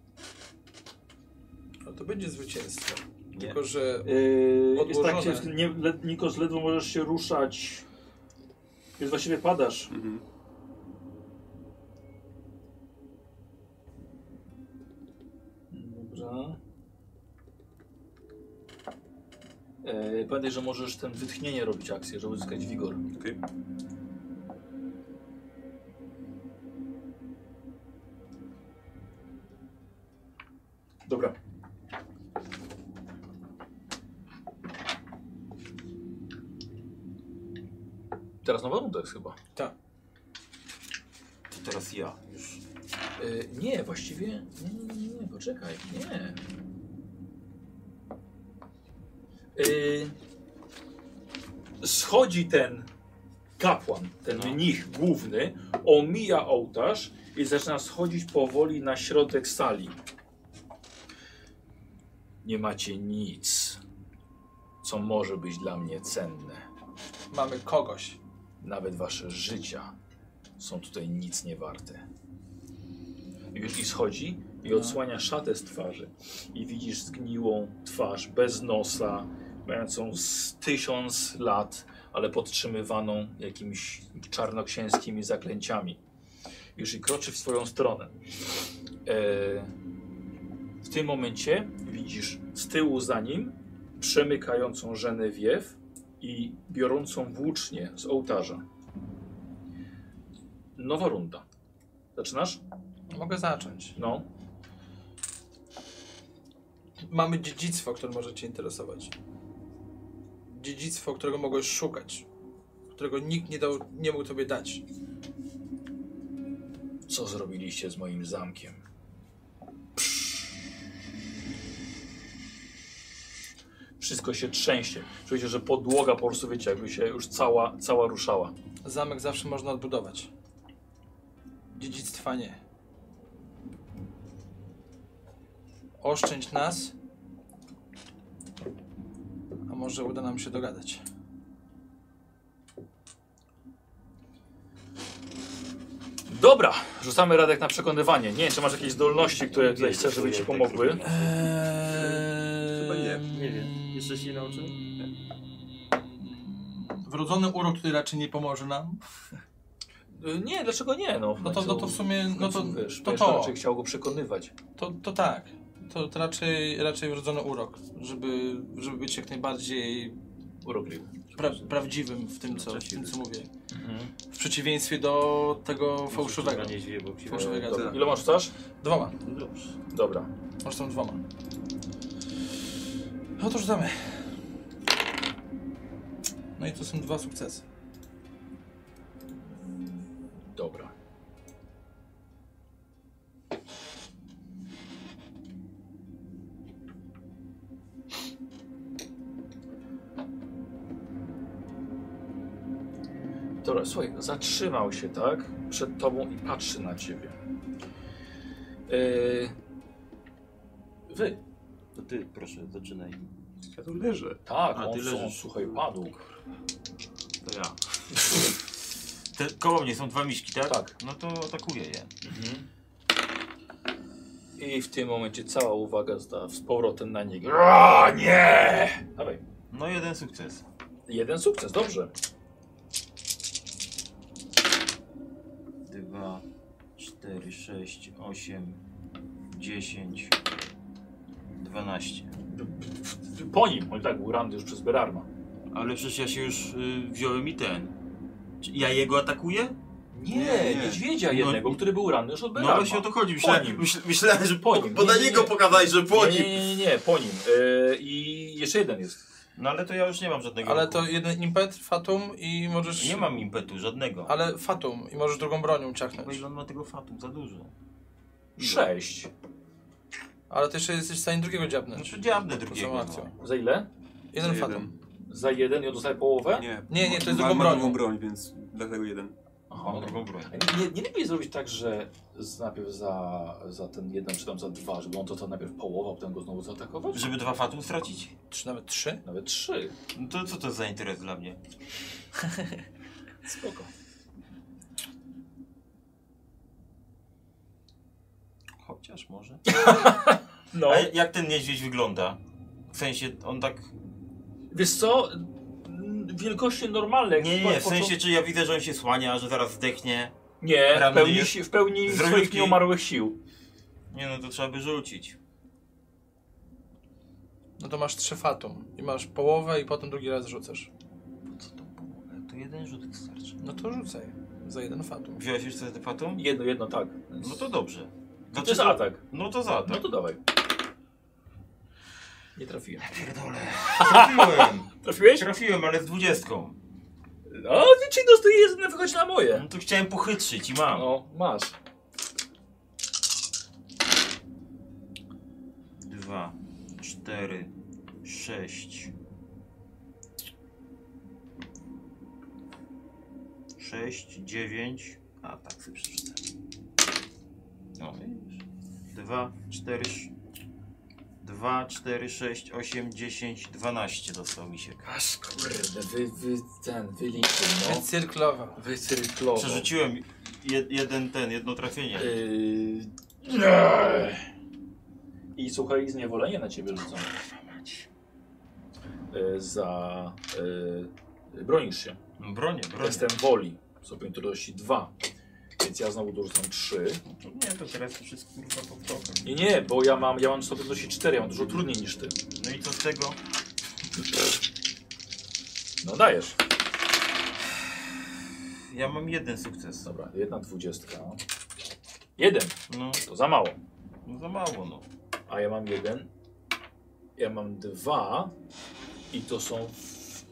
Speaker 10: No to będzie zwycięstwo.
Speaker 5: Nie.
Speaker 10: Tylko, że
Speaker 2: Yy, jest
Speaker 10: Odłożone.
Speaker 2: tak, ciężko, nie, le, Nikos, ledwo możesz się ruszać. Więc właściwie padasz.
Speaker 4: Mhm.
Speaker 2: Dobra. E, pamiętaj, że możesz ten wytchnienie robić akcję, żeby uzyskać wigor.
Speaker 4: Okej.
Speaker 2: Dobra. Teraz nowa runda jest chyba.
Speaker 5: Tak. To teraz ja. Już.
Speaker 2: E, nie, właściwie. Nie, nie, nie, nie, poczekaj. Nie. E, schodzi ten kapłan, ten mnich główny, omija ołtarz i zaczyna schodzić powoli na środek sali. Nie macie nic, co może być dla mnie cenne.
Speaker 10: Mamy kogoś.
Speaker 2: Nawet wasze życia są tutaj nic nie warte. I Już i schodzi i odsłania szatę z twarzy. I widzisz zgniłą twarz, bez nosa, mającą z tysiąc lat, ale podtrzymywaną jakimiś czarnoksięskimi zaklęciami. Już i kroczy w swoją stronę. E, w tym momencie widzisz z tyłu za nim przemykającą Żenewiew i biorącą włócznie z ołtarza. Nowa runda. Zaczynasz?
Speaker 10: Mogę zacząć.
Speaker 2: No.
Speaker 10: Mamy dziedzictwo, które może Cię interesować. Dziedzictwo, którego mogłeś szukać. Którego nikt nie, dał, nie mógł Tobie dać.
Speaker 2: Co zrobiliście z moim zamkiem? Wszystko się trzęsie. Czujecie, że podłoga po prostu, wiecie, jakby się już cała, cała ruszała.
Speaker 10: Zamek zawsze można odbudować. Dziedzictwa nie. Oszczędź nas. A może uda nam się dogadać.
Speaker 2: Dobra, rzucamy Radek na przekonywanie. Nie wiem, czy masz jakieś zdolności, które tutaj chcesz, żeby ci pomogły.
Speaker 10: Chyba
Speaker 4: nie.
Speaker 5: Nie wiem. Jeszcze się nie nauczyłem?
Speaker 10: Wrodzony urok tutaj raczej nie pomoże nam.
Speaker 2: Y, Nie, dlaczego nie? No,
Speaker 10: No to, no to w sumie, no to
Speaker 2: końcu, wiesz,
Speaker 10: to,
Speaker 2: wiesz,
Speaker 10: to,
Speaker 2: raczej chciał go przekonywać.
Speaker 10: to, to tak. To, to raczej, raczej wrodzony urok, żeby, żeby być jak najbardziej
Speaker 2: Urokliwy.
Speaker 10: pra, prawdziwym w tym, co, w tym, co mówię. W przeciwieństwie do tego fałszywego.
Speaker 5: Nie źle, bo się
Speaker 10: Fałszywego.
Speaker 4: Dobra.
Speaker 2: Ile masz rzucasz?
Speaker 10: Dwoma.
Speaker 5: Dobrze.
Speaker 2: Dobra.
Speaker 10: Może są dwoma. No to rzucamy. No i to są dwa sukcesy.
Speaker 2: Dobra. Dobra, słuchaj, zatrzymał się, tak? Przed tobą i patrzy na ciebie. Yy, wy.
Speaker 5: To ty, proszę, zaczynaj.
Speaker 4: Ja tu leżę.
Speaker 2: Tak,
Speaker 5: A,
Speaker 2: on,
Speaker 5: ty
Speaker 2: ty on,
Speaker 5: leżysz.
Speaker 2: słuchaj, padł.
Speaker 5: To ja. Te, koło mnie są dwa miśki, tak?
Speaker 2: Tak.
Speaker 5: No to atakuję je.
Speaker 2: I w tym momencie cała uwaga zda z powrotem na niego. Ra, nie! Dawaj.
Speaker 5: No jeden sukces.
Speaker 2: Jeden sukces, dobrze.
Speaker 5: Dwa, cztery, sześć, osiem, dziesięć, dwanaście.
Speaker 2: Po nim, on i tak był ranny już przez Berarma.
Speaker 5: Ale przecież ja się już y, wziąłem i ten. Czy Ja jego atakuję?
Speaker 2: Nie,
Speaker 4: Nie, nie.
Speaker 2: niedźwiedzia
Speaker 5: No-
Speaker 2: jednego, który był ranny już od
Speaker 5: No
Speaker 2: Berarma.
Speaker 5: właśnie o to chodzi.
Speaker 2: Po nim.
Speaker 5: Myślałem, myśl, myślałem że
Speaker 2: Po
Speaker 5: po
Speaker 2: nim.
Speaker 5: Bo na
Speaker 2: Nie, nie,
Speaker 5: niego
Speaker 2: nie.
Speaker 5: pokazałeś, że po
Speaker 2: nie,
Speaker 5: nim.
Speaker 2: nie, nie, nie, po nim. Yy, I jeszcze jeden jest.
Speaker 5: No ale to ja już nie mam żadnego.
Speaker 10: Ale
Speaker 5: ruchu.
Speaker 10: to jeden impet, fatum i możesz...
Speaker 5: Nie mam impetu żadnego.
Speaker 10: Ale fatum i możesz drugą bronią
Speaker 5: Bo
Speaker 10: ciachnąć.
Speaker 5: ile on ma tego fatum? Za dużo.
Speaker 2: Sześć.
Speaker 10: Ale ty jeszcze jesteś w stanie drugiego
Speaker 5: No
Speaker 10: dziabnąć.
Speaker 5: to diabnę
Speaker 10: To samą
Speaker 5: drugiego. no.
Speaker 10: akcją.
Speaker 2: Za ile?
Speaker 10: Jeden
Speaker 4: Za
Speaker 10: fatum.
Speaker 2: Za jeden i on dostaje połowę?
Speaker 4: Nie,
Speaker 10: Nie, nie, to jest
Speaker 4: ma,
Speaker 10: drugą
Speaker 4: ma
Speaker 10: bronią.
Speaker 4: drugą broń, więc dlatego jeden.
Speaker 2: Aha,
Speaker 5: Mam drugą broń.
Speaker 2: Nie, nie lepiej zrobić tak, że z- najpierw za, za ten jeden, czy tam za dwa, żeby on to, to najpierw połowa, a potem go znowu zaatakować?
Speaker 5: Żeby dwa fatum stracić?
Speaker 10: Czy nawet trzy?
Speaker 2: Nawet trzy.
Speaker 5: No to co to za interes dla mnie?
Speaker 2: Spoko.
Speaker 5: Chociaż może.
Speaker 2: No.
Speaker 5: A jak ten niedźwiedź wygląda? W sensie on tak.
Speaker 2: Wiesz co? Wielkości normalne.
Speaker 5: Nie,
Speaker 2: jak
Speaker 5: nie,
Speaker 2: po-
Speaker 5: nie. W
Speaker 2: po-
Speaker 5: sensie, czy ja widzę, że on się słania, że zaraz zdechnie.
Speaker 2: Nie, w
Speaker 5: ranny
Speaker 2: pełni,
Speaker 5: jest.
Speaker 2: si- w pełni
Speaker 5: Z
Speaker 2: swoich
Speaker 5: ręki.
Speaker 2: nieumarłych sił.
Speaker 5: Nie no, to trzeba by rzucić.
Speaker 10: No to masz trzy fatum. I masz połowę i potem drugi raz rzucasz.
Speaker 22: Co to było? To jeden rzut wystarczy.
Speaker 10: No to rzucaj. Za jeden fatum.
Speaker 5: Wziąłeś już wtedy patą?
Speaker 2: Jedno, jedno, tak.
Speaker 5: No to dobrze.
Speaker 2: To jest atak.
Speaker 5: No to za
Speaker 2: No
Speaker 5: tak.
Speaker 2: to dawaj. Nie trafiłem.
Speaker 5: Pierdolę. Trafiłem. <laughs>
Speaker 2: Trafiłeś?
Speaker 5: Trafiłem, ale z dwudziestką.
Speaker 2: O, wiecie, dostaję jedno, wychodzi na moje.
Speaker 5: No to chciałem pochytrzyć i mam.
Speaker 2: No, masz.
Speaker 5: Dwa, cztery, sześć. Sześć, dziewięć. A tak sobie przeczytałem. No widzisz. Dwa, cztery, sz- dwa, cztery, sześć, osiem, dziesięć, dwanaście dostał mi się.
Speaker 2: Aż kurde, wy, wy, ten, wyliczył, no.
Speaker 10: Cyrklowa.
Speaker 2: Wycyrklowo.
Speaker 5: Przerzuciłem jed, jeden ten, jedno trafienie.
Speaker 2: Yy... I słuchaj, zniewolenie na ciebie rzucam. Yy, za... Yy, bronisz się.
Speaker 5: Bronię, bronię.
Speaker 2: Testem woli. Stopień trudności 2. Więc ja znowu dorzucam 3.
Speaker 5: Nie, to teraz już jest kurwa pod tokiem.
Speaker 2: Nie, nie, bo ja mam, ja mam stopień trudności 4, ja mam dużo trudniej niż ty.
Speaker 5: No i co z tego?
Speaker 2: No dajesz.
Speaker 5: Ja mam jeden sukces.
Speaker 2: Dobra, jedna dwudziestka. Jeden,
Speaker 5: No,
Speaker 2: to za mało.
Speaker 5: no za mało no.
Speaker 2: A ja mam jeden. Ja mam dwa. I to są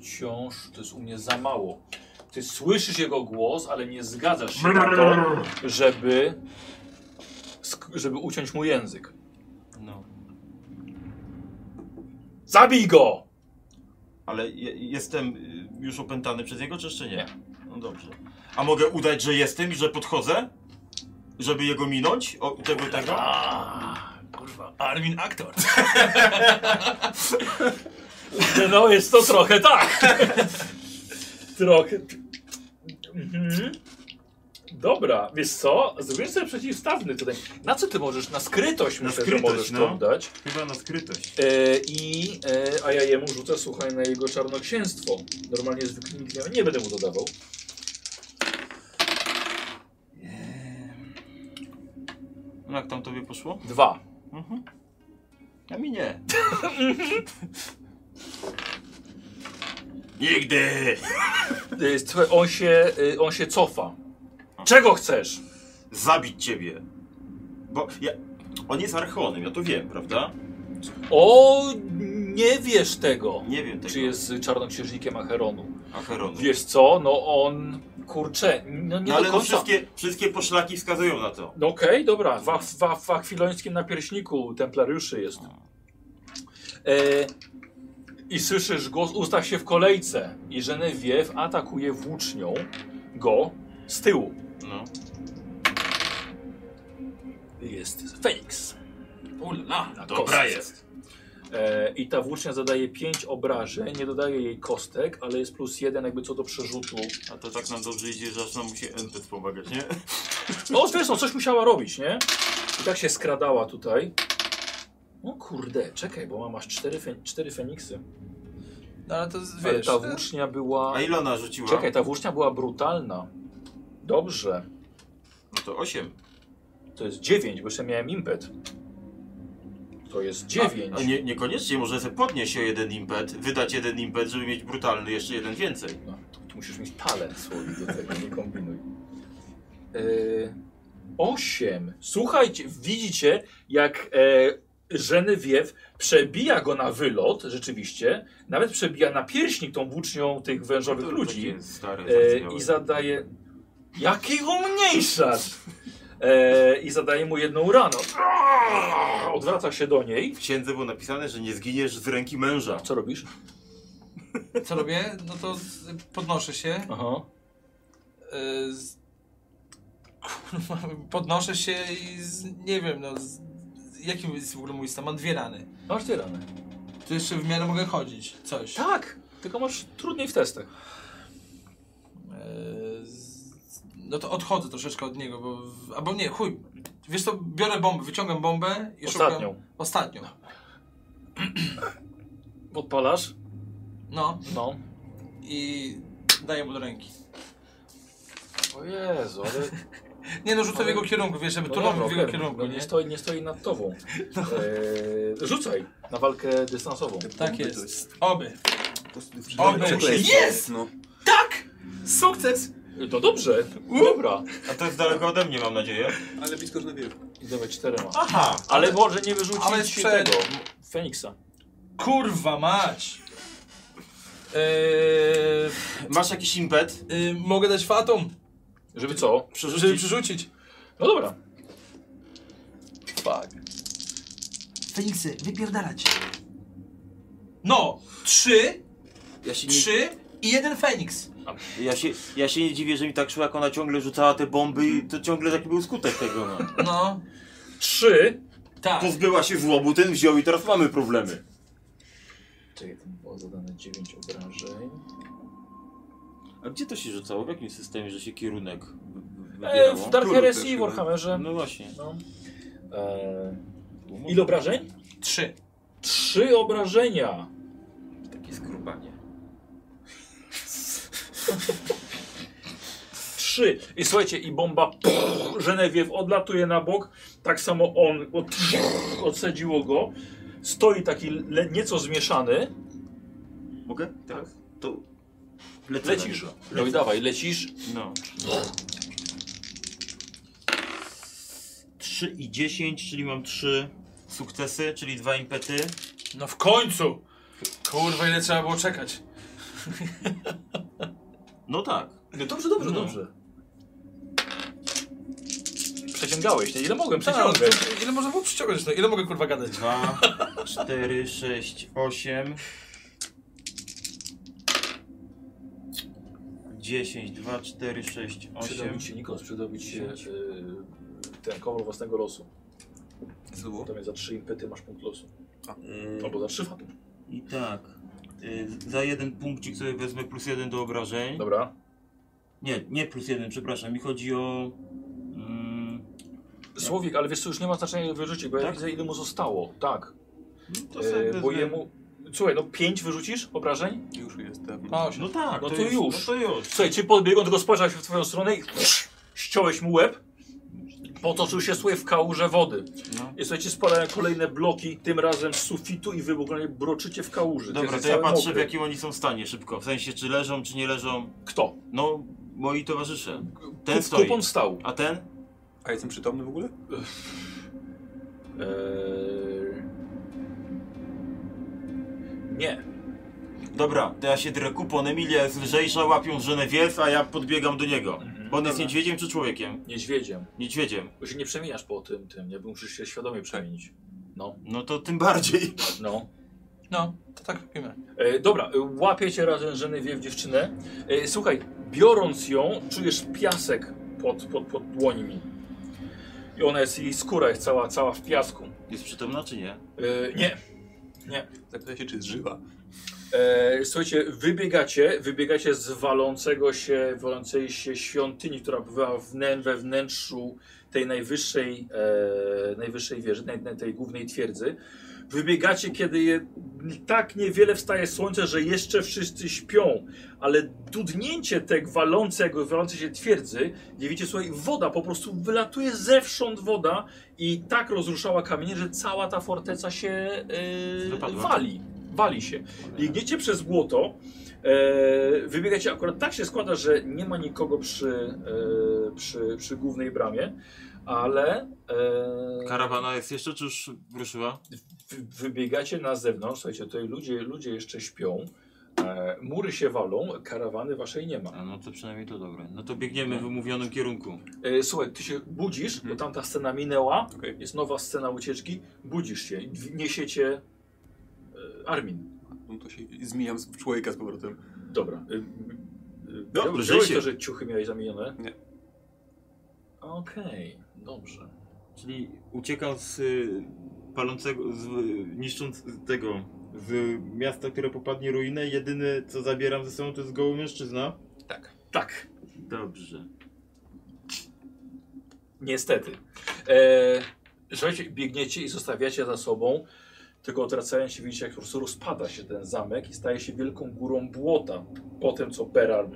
Speaker 2: wciąż, to jest u mnie za mało. Ty słyszysz jego głos, ale nie zgadzasz się na to, żeby, sk- żeby uciąć mu język.
Speaker 5: No.
Speaker 2: Zabij go!
Speaker 5: Ale je, jestem y, już opętany przez niego, czy jeszcze nie? No dobrze. A mogę udać, że jestem i że podchodzę? Żeby jego minąć? O, tego, tego?
Speaker 2: A, kurwa, Armin aktor. <laughs> no jest to trochę tak. trochę. Mhm. Dobra, wiesz co? Zrobię sobie przeciwstawny tutaj. Na co ty możesz? Na skrytość
Speaker 5: Na
Speaker 2: myślę,
Speaker 5: skrytość,
Speaker 2: że możesz
Speaker 5: no.
Speaker 2: to dać.
Speaker 5: Chyba na skrytość.
Speaker 2: E, I, e, a ja jemu rzucę, słuchaj, na jego czarnoksięstwo. Normalnie zwykle nikt nie, nie będę mu dodawał.
Speaker 5: No jak tam tobie poszło?
Speaker 2: Dwa.
Speaker 5: Mhm. A mi nie. <laughs> Nigdy!
Speaker 2: E, słuchaj, on się, e, on się cofa. Czego chcesz?
Speaker 5: Zabić ciebie. Bo ja... On jest archonem, ja to wiem, prawda?
Speaker 2: O, nie wiesz tego.
Speaker 5: Nie wiem tego.
Speaker 2: Czy jest czarnoksiężnikiem Acheronu?
Speaker 5: Acheronu.
Speaker 2: Wiesz co, no on, kurczę, no nie
Speaker 5: No ale
Speaker 2: do
Speaker 5: no
Speaker 2: końca.
Speaker 5: wszystkie, wszystkie poszlaki wskazują na to.
Speaker 2: No okej, dobra, w, w, w, w akwilońskim napierśniku templariuszy
Speaker 5: No.
Speaker 2: jest. E, I słyszysz głos, ustaw się w kolejce i Genevieve atakuje włócznią go z tyłu.
Speaker 5: No.
Speaker 2: Jest Feniks.
Speaker 22: Ula,
Speaker 2: Na
Speaker 5: Dobra
Speaker 2: kostce.
Speaker 5: jest.
Speaker 2: E, I ta włócznia zadaje 5 obrażeń, nie dodaje jej kostek, ale jest plus jeden jakby co do przerzutu.
Speaker 5: A to tak nam dobrze idzie, że aż nam musi NPC pomagać, nie?
Speaker 2: No wiesz, no, coś musiała robić, nie? I tak się skradała tutaj. No kurde, czekaj, bo mam aż cztery, fe, cztery Feniksy.
Speaker 10: No ale to z-
Speaker 2: Ale
Speaker 10: wiesz. znaczy,
Speaker 2: ta włócznia była...
Speaker 5: e, A ile ona rzuciła?
Speaker 2: Czekaj, ta włócznia była brutalna. Dobrze.
Speaker 5: No to 8.
Speaker 2: To jest 9, bo jeszcze miałem impet. To jest 9.
Speaker 5: A, a nie, niekoniecznie, może sobie podnieść o jeden impet, wydać jeden impet, żeby mieć brutalny jeszcze jeden więcej.
Speaker 2: No, tu, tu musisz mieć talent słowik do tego, nie kombinuj. Yy, 8. Słuchajcie, widzicie jak e, Żenewiew przebija go na wylot, rzeczywiście. Nawet przebija na pierśnik tą włócznią tych wężowych ludzi.
Speaker 5: Takie Stare,
Speaker 2: E,
Speaker 5: zardzewiałe.
Speaker 2: I zadaje. Jakiego umniejszasz? E, I zadaje mu jedną rano. Odwraca się do niej.
Speaker 5: W księdze było napisane, że nie zginiesz z ręki męża.
Speaker 2: Co robisz?
Speaker 10: Co robię? No to z- podnoszę się.
Speaker 2: Aha.
Speaker 10: y, Z... Kurwa, podnoszę się i z... nie wiem, no. Z... Jakim jest w ogóle mój stan? Mam dwie rany.
Speaker 2: Masz dwie rany.
Speaker 10: To jeszcze w miarę mogę chodzić. Coś.
Speaker 2: Tak, tylko masz trudniej w testach.
Speaker 10: Eee, z- No to odchodzę troszeczkę od niego, bo. w- Albo nie, chuj. Wiesz co, biorę bombę, wyciągam bombę i szukam.
Speaker 2: Ostatnią.
Speaker 10: Ostatnią.
Speaker 2: Podpalasz?
Speaker 10: No
Speaker 2: No.
Speaker 10: i daję mu do ręki.
Speaker 2: O Jezu, ale
Speaker 10: Nie no, rzucę w jego kierunku, wiesz, żeby
Speaker 2: No
Speaker 10: to
Speaker 2: dobra,
Speaker 10: mam w jego
Speaker 2: okej,
Speaker 10: kierunku,
Speaker 2: no
Speaker 10: nie?
Speaker 2: nie, No. stoi, nie stoi nad tobą. Eee, rzucaj na walkę dystansową.
Speaker 23: Tak jest. Oby.
Speaker 4: Oby!
Speaker 10: Jest!
Speaker 4: No.
Speaker 10: Tak! Sukces!
Speaker 2: To dobrze, dobra.
Speaker 5: A to jest daleko ode mnie, mam nadzieję.
Speaker 4: Ale blisko, że na wierzchu.
Speaker 2: Idziemy czterema.
Speaker 5: Aha!
Speaker 2: Ale może nie wyrzucić
Speaker 10: ale sprzed-
Speaker 2: tego Feniksa.
Speaker 10: Kurwa mać! Eee,
Speaker 5: Masz jakiś impet?
Speaker 10: y, mogę dać fatum,
Speaker 2: Żeby co?
Speaker 10: żeby przerzucić.
Speaker 2: No dobra.
Speaker 10: Feniksy, wypierdalać. No, trzy,
Speaker 5: Ja się, nie,
Speaker 10: trzy i jeden Feniks.
Speaker 5: ja, się, ja się nie dziwię, że mi tak szło, jak ona ciągle rzucała te bomby i to ciągle taki był skutek tego, no.
Speaker 10: No,
Speaker 2: Trzy.
Speaker 10: <laughs> tak.
Speaker 5: Pozbyła się złomu, ten wziął i teraz mamy problemy.
Speaker 2: Czekaj, tam było zadane dziewięć obrażeń.
Speaker 5: A gdzie to się rzucało? W jakim systemie, że się kierunek wy- wy-
Speaker 2: E,
Speaker 5: wybierało?
Speaker 2: w Dark
Speaker 4: Turów
Speaker 2: Heresy
Speaker 4: też
Speaker 2: i
Speaker 4: chyba.
Speaker 2: Warhammerze.
Speaker 5: No właśnie.
Speaker 2: No. E, ile obrażeń?
Speaker 10: Trzy.
Speaker 2: Trzy obrażenia.
Speaker 5: Takie skrubanie.
Speaker 2: Trzy. I słuchajcie, i bomba pff, Genevieve odlatuje na bok. Tak samo on od, odsadziło go. Stoi taki le, nieco zmieszany.
Speaker 5: Mogę? Tak. To... Lecę na
Speaker 2: Lecisz. No i dawaj, lecisz.
Speaker 5: nim. No. 3 i 10, czyli mam 3 sukcesy, czyli 2 impety.
Speaker 10: No w końcu! Kurwa, ile trzeba było czekać.
Speaker 5: No tak.
Speaker 2: No dobrze, dobrze,
Speaker 5: No.
Speaker 2: dobrze. Przeciągałeś, nie? Ile mogłem
Speaker 10: Tak, ale
Speaker 2: przeciągnąć?
Speaker 10: to- ile można było przyciągnąć? No, ile mogę kurwa gadać?
Speaker 5: <laughs> 2, 4, 6, 8. 10, 2, 4, 6, 8.
Speaker 2: Przydobić się Nikos, przydobić się
Speaker 5: Pięć.
Speaker 2: yy, ten kowal własnego losu.
Speaker 4: Znowu?
Speaker 2: Natomiast za trzy impety masz punkt losu. Albo za trzy fatum.
Speaker 5: Y, I tak. Y, Za jeden punkcik sobie wezmę plus jeden do obrażeń.
Speaker 2: Dobra.
Speaker 5: Nie, nie plus jeden, przepraszam. Mi chodzi o. Mm,
Speaker 2: Słowik, ale wiesz co, już nie ma znaczenia ile wyrzucić, bo ja
Speaker 5: Tak?
Speaker 2: widzę ile mu zostało. Tak.
Speaker 5: No to sobie
Speaker 2: E,
Speaker 5: wezmę.
Speaker 2: bo jemu... Słuchaj, no pięć wyrzucisz obrażeń?
Speaker 4: Już jest dawno.
Speaker 10: O,
Speaker 5: No tak,
Speaker 2: No to już.
Speaker 5: No to już.
Speaker 2: Słuchaj, ci podbiegł, on tylko spojrzał się w twoją stronę i ściąłeś mu łeb. Potoczył się słuchaj w kałuże wody.
Speaker 5: No.
Speaker 2: I słuchajcie, spadają kolejne bloki, tym razem z sufitu i wy w ogóle broczycie w kałuży.
Speaker 5: Dobra,
Speaker 2: Jesteś
Speaker 5: to ja
Speaker 2: cały
Speaker 5: patrzę w
Speaker 2: mokry.
Speaker 5: jakim oni są stanie szybko. W sensie, czy leżą, czy nie leżą.
Speaker 2: Kto?
Speaker 5: No, moi towarzysze. Ten
Speaker 2: Kup-
Speaker 5: stoi.
Speaker 2: Kupon stał.
Speaker 5: A ten?
Speaker 4: A jestem przytomny w ogóle?
Speaker 2: E, Eee... Nie.
Speaker 5: Dobra, to ja się drę kupon. Emilia jest lżejsza, łapią Genevieve, a ja podbiegam do niego. Bo on jest niedźwiedziem czy człowiekiem?
Speaker 2: Niedźwiedziem.
Speaker 5: Niedźwiedziem.
Speaker 2: Bo się nie przemieniasz po tym, tym, nie? Bo Musisz się świadomie przemienić. No,
Speaker 5: No to tym
Speaker 2: <laughs>
Speaker 5: bardziej.
Speaker 2: no.
Speaker 10: no, to tak robimy.
Speaker 2: E, dobra, e, łapiecie razem żeny w dziewczynę. E, słuchaj, biorąc ją, czujesz piasek pod, pod, pod dłońmi. I ona jest, jej skóra jest cała, cała w piasku.
Speaker 5: Jest przytomna czy nie?
Speaker 2: E, nie.
Speaker 4: Zapytaj się, czy jest żywa.
Speaker 2: E, słuchajcie, wybiegacie, wybiegacie z walącego się, walącej się świątyni, która była wnę, we wnętrzu tej najwyższej, e, najwyższej wieży, naj, naj- tej głównej twierdzy. Wybiegacie, kiedy je, tak niewiele wstaje słońce, że jeszcze wszyscy śpią, ale dudnięcie tego walącego, walącej się twierdzy, nie wiecie, słuchaj, woda, po prostu wylatuje zewsząd woda i tak rozruszała kamienie, że cała ta forteca się e,
Speaker 5: Wypadła.
Speaker 2: wali, wali się. Biegniecie przez błoto. E, wybiegacie akurat tak się składa, że nie ma nikogo przy, e, przy, przy głównej bramie, ale e,
Speaker 5: Karawana jest jeszcze, czy już ruszyła?
Speaker 2: wy- wybiegacie na zewnątrz. Słuchajcie, tutaj ludzie, ludzie jeszcze śpią. E, mury się walą, karawany waszej nie ma.
Speaker 5: A no to przynajmniej to dobre. No to biegniemy w umówionym kierunku.
Speaker 2: E, słuchaj, ty się budzisz, bo tamta scena minęła,
Speaker 4: Okej.
Speaker 2: jest nowa scena ucieczki, budzisz się, i w- niesiecie e, Armin.
Speaker 4: No to się zmieniam z- w człowieka z powrotem.
Speaker 2: Dobra. E, e,
Speaker 5: No,
Speaker 2: wziąłeś
Speaker 5: lżej się.
Speaker 2: to, że ciuchy miałeś zamienione?
Speaker 4: Nie.
Speaker 2: Okej, dobrze.
Speaker 5: Czyli uciekał z y, palącego, z, y, niszcząc z tego, z miasta, które popadnie ruinę. Jedyny co zabieram ze sobą to jest goły mężczyzna.
Speaker 2: Tak,
Speaker 5: Dobrze.
Speaker 2: niestety. E, słuchajcie, biegniecie i zostawiacie za sobą, tylko odracając się widzicie, jak po prostu rozpada się ten zamek i staje się wielką górą błota po tym, co Berar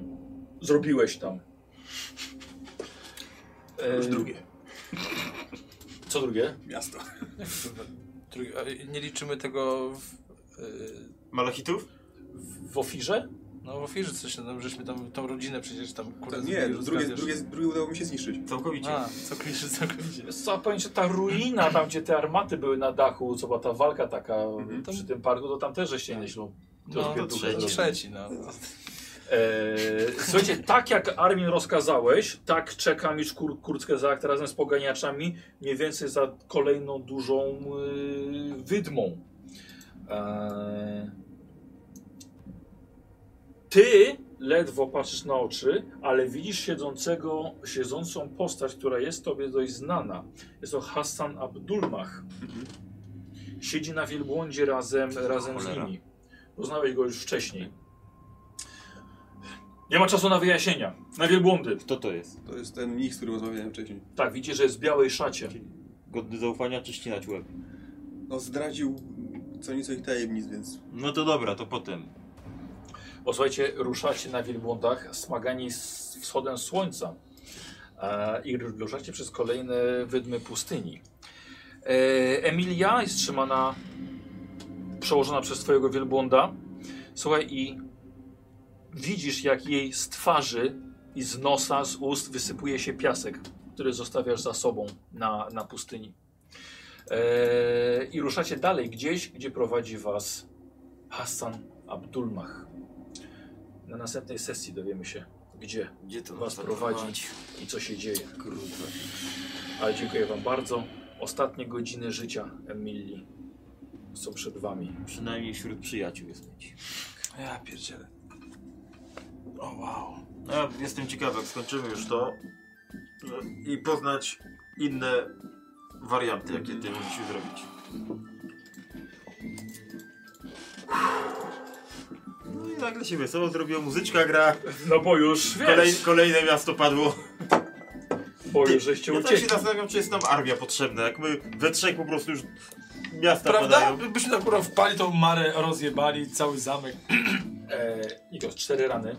Speaker 2: zrobiłeś tam.
Speaker 4: Już drugie.
Speaker 2: Co drugie?
Speaker 4: Miasto.
Speaker 10: Drugi- a Nie liczymy tego w, y,
Speaker 5: Malachitów?
Speaker 2: W ofirze?
Speaker 10: no w ofirze coś, no żeśmy tam tą rodzinę przecież tam kurde
Speaker 4: Nie,
Speaker 10: zrobili,
Speaker 4: drugie,
Speaker 10: rozgrabiasz.
Speaker 4: drugie, drugie udało mi się zniszczyć.
Speaker 5: Całkowicie.
Speaker 10: A, co kliszy całkowicie.
Speaker 2: Wiesz Co, powiem ci, ta ruina, tam gdzie te armaty były na dachu, co była ta walka taka przy tym parku, to tam też żeście nieźle.
Speaker 10: No, to
Speaker 2: odpierdół
Speaker 10: trzeci,
Speaker 2: zrobił.
Speaker 10: trzeci, no.
Speaker 2: Eee, słuchajcie, tak jak Armin rozkazałeś, tak czekam już kur, kurtkę za akta razem z poganiaczami, mniej więcej za kolejną dużą yy, wydmą. Eee, ty ledwo patrzysz na oczy, ale widzisz siedzącego, siedzącą postać, która jest tobie dość znana. Jest to Hassan Abdulmach. Siedzi na wielbłądzie razem, razem z nimi. Poznałeś go już wcześniej. Nie ma czasu na wyjaśnienia. Na wielbłądy.
Speaker 5: Kto to jest?
Speaker 4: To jest ten mnich, z którym rozmawiałem wcześniej.
Speaker 2: Tak, widzisz, że jest w białej szacie.
Speaker 5: Godny zaufania czy ścinać łeb?
Speaker 4: No zdradził co nieco ich tajemnic, więc
Speaker 5: No to dobra, to potem.
Speaker 2: Posłuchajcie, ruszacie na wielbłądach, smagani z wschodem słońca e, i ruszacie przez kolejne wydmy pustyni. E, Emilia jest trzymana, przełożona przez twojego wielbłąda. Słuchaj, i widzisz, jak jej z twarzy i z nosa, z ust wysypuje się piasek, który zostawiasz za sobą na, na pustyni. E, I ruszacie dalej gdzieś, gdzie prowadzi was Hassan Abdulmach. Na następnej sesji dowiemy się, gdzie
Speaker 5: Gdzie to
Speaker 2: was
Speaker 5: nas
Speaker 2: prowadzi i co się dzieje. Ale dziękuję wam bardzo. Ostatnie godziny życia Emilii są przed wami.
Speaker 5: Przynajmniej wśród przyjaciół jest mieć.
Speaker 1: Ja pierdzielę. O wow.
Speaker 5: No, Ja jestem ciekawy, jak skończymy już to no, i poznać inne warianty, jakie ty musisz zrobić. No i nagle się wesoło zrobiło, muzyczka gra,
Speaker 2: No bo już, wiesz,
Speaker 5: kolej, kolejne miasto padło.
Speaker 2: bo już żeście
Speaker 5: Ja tak się
Speaker 2: uciekli.
Speaker 5: zastanawiam, czy jest nam armia potrzebna, jak my we trzech po prostu już miasta
Speaker 10: Prawda?
Speaker 5: padają.
Speaker 10: Byśmy na górę wpali tą marę, rozjebali cały zamek.
Speaker 2: E, Nikos, cztery rany.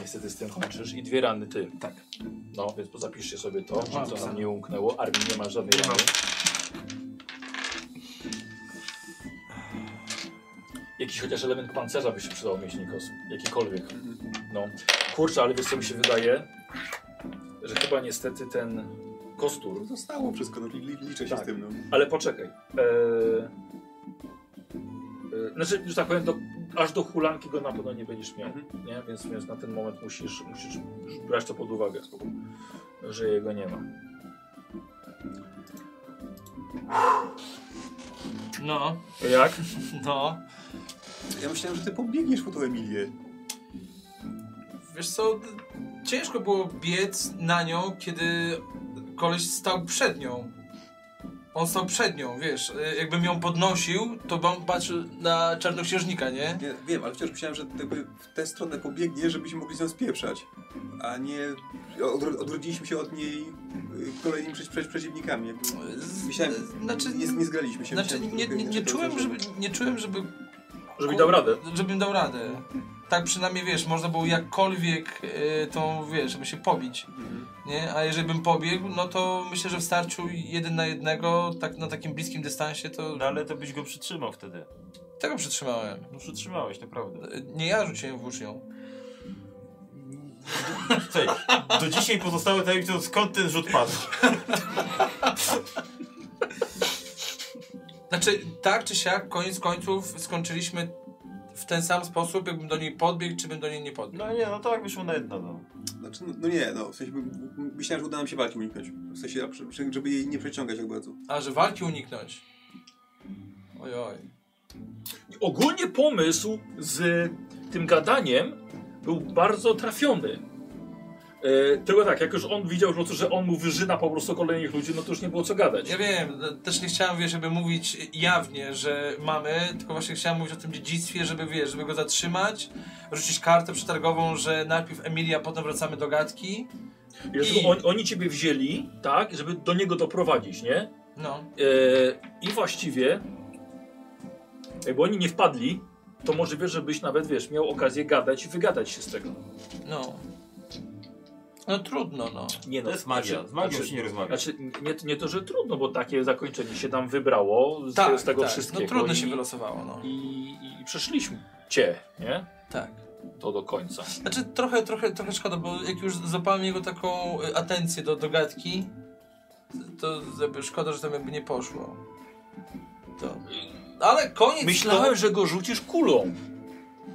Speaker 2: Niestety z tym kończysz. I dwie rany ty. No. Tak. No, więc zapiszcie sobie to, żeby to nam nie umknęło. Armii nie ma żadnej rany. Jakiś chociaż element pancerza by się przydał mieć, Nikos. Jakikolwiek. No. Kurczę, ale wiesz co mi się wydaje? Że chyba niestety ten kostur...
Speaker 4: zostało wszystko, no, li- li- liczę się
Speaker 2: Tak.
Speaker 4: z tym. No.
Speaker 2: Ale poczekaj. Eee, eee, znaczy, że tak powiem, do, aż do hulanki go na pewno nie będziesz miał. Nie? Więc, więc na ten moment musisz, musisz brać to pod uwagę, że jego nie ma.
Speaker 10: No,
Speaker 2: Jak?
Speaker 10: no.
Speaker 4: Ja myślałem, że ty pobiegniesz po tą Emilię.
Speaker 10: Wiesz co, d- ciężko było biec na nią, kiedy koleś stał przed nią. On stał przed nią, wiesz, y, jakbym ją podnosił, to bym patrzył na czarnoksiężnika, nie?
Speaker 4: Nie, wiem, ale wciąż myślałem, że jakby w tę stronę pobiegnie, żebyśmy mogli z nią spieprzać. A nie odro odrodziliśmy się od niej y, kolejnymi przeci przeci przeciwnikami. Jakby Myślałem,
Speaker 10: znaczy,
Speaker 4: nie, nie zgraliśmy się.
Speaker 10: znaczy
Speaker 4: myślałem, że
Speaker 10: nie,
Speaker 4: trochę
Speaker 10: nie, nie,
Speaker 4: inaczej to
Speaker 10: czułem, żeby,
Speaker 4: rozwiążemy.
Speaker 10: nie czułem, żeby...
Speaker 2: Żeby dał radę.
Speaker 10: Żebym dał radę. Tak przynajmniej, wiesz, można było jakkolwiek y, tą, wiesz, żeby się pobić,
Speaker 4: Mhm.
Speaker 10: nie? A jeżeli bym pobiegł, no to myślę, że w starciu jeden na jednego, tak na takim bliskim dystansie, to...
Speaker 5: No ale to byś go przytrzymał wtedy.
Speaker 10: Tego przytrzymałem.
Speaker 5: No przytrzymałeś, naprawdę.
Speaker 10: Nie ja rzuciłem włócznią.
Speaker 5: Cześć. Do dzisiaj pozostały tajemnicą skąd ten rzut padł.
Speaker 10: Znaczy, tak czy siak, koniec końców skończyliśmy w ten sam sposób, jakbym do niej podbiegł, czy bym do niej nie podbiegł.
Speaker 5: No nie, no tak wyszło na jedno, no.
Speaker 4: Znaczy, no, no nie, no, w sensie m- m- myślałem, że uda nam się walki uniknąć. W sensie, a przy- przy- żeby jej nie przeciągać jak bardzo.
Speaker 10: A, że walki uniknąć. Oj, oj.
Speaker 2: Ogólnie pomysł z tym gadaniem był bardzo trafiony. Eee, tylko tak, jak już on widział, że- że on mu wyżyna po prostu kolejnych ludzi, no to już nie było co gadać.
Speaker 10: Ja wiem, też nie chciałem, wiesz, żeby mówić jawnie, że mamy, tylko właśnie chciałem mówić o tym dziedzictwie, żeby, wiesz, żeby go zatrzymać, rzucić kartę przetargową, że najpierw Emilia, potem wracamy do gadki.
Speaker 2: I dlatego on, oni ciebie wzięli, tak, żeby do niego doprowadzić, nie?
Speaker 10: No.
Speaker 2: E, I właściwie, jakby oni nie wpadli, to możliwe, żebyś nawet, wiesz, miał okazję gadać i wygadać się z tego.
Speaker 10: No. No trudno, no.
Speaker 5: Nie no, to jest magia. Z magią
Speaker 24: znaczy-
Speaker 5: się nie rozmawia.
Speaker 2: Znaczy, nie, nie to, że trudno, bo takie zakończenie się tam wybrało z, z tego wszystkiego.
Speaker 10: No trudno
Speaker 2: i,
Speaker 10: się wylosowało, no.
Speaker 2: I, i przeszliśmy cię, nie?
Speaker 10: Tak.
Speaker 24: To do końca.
Speaker 10: Znaczy trochę, trochę, trochę szkoda, bo jak już złapałem jego taką y, atencję do, do gadki, to jakby szkoda, że tam jakby nie poszło. To. Ale koniec.
Speaker 2: Myślałem, że go rzucisz kulą.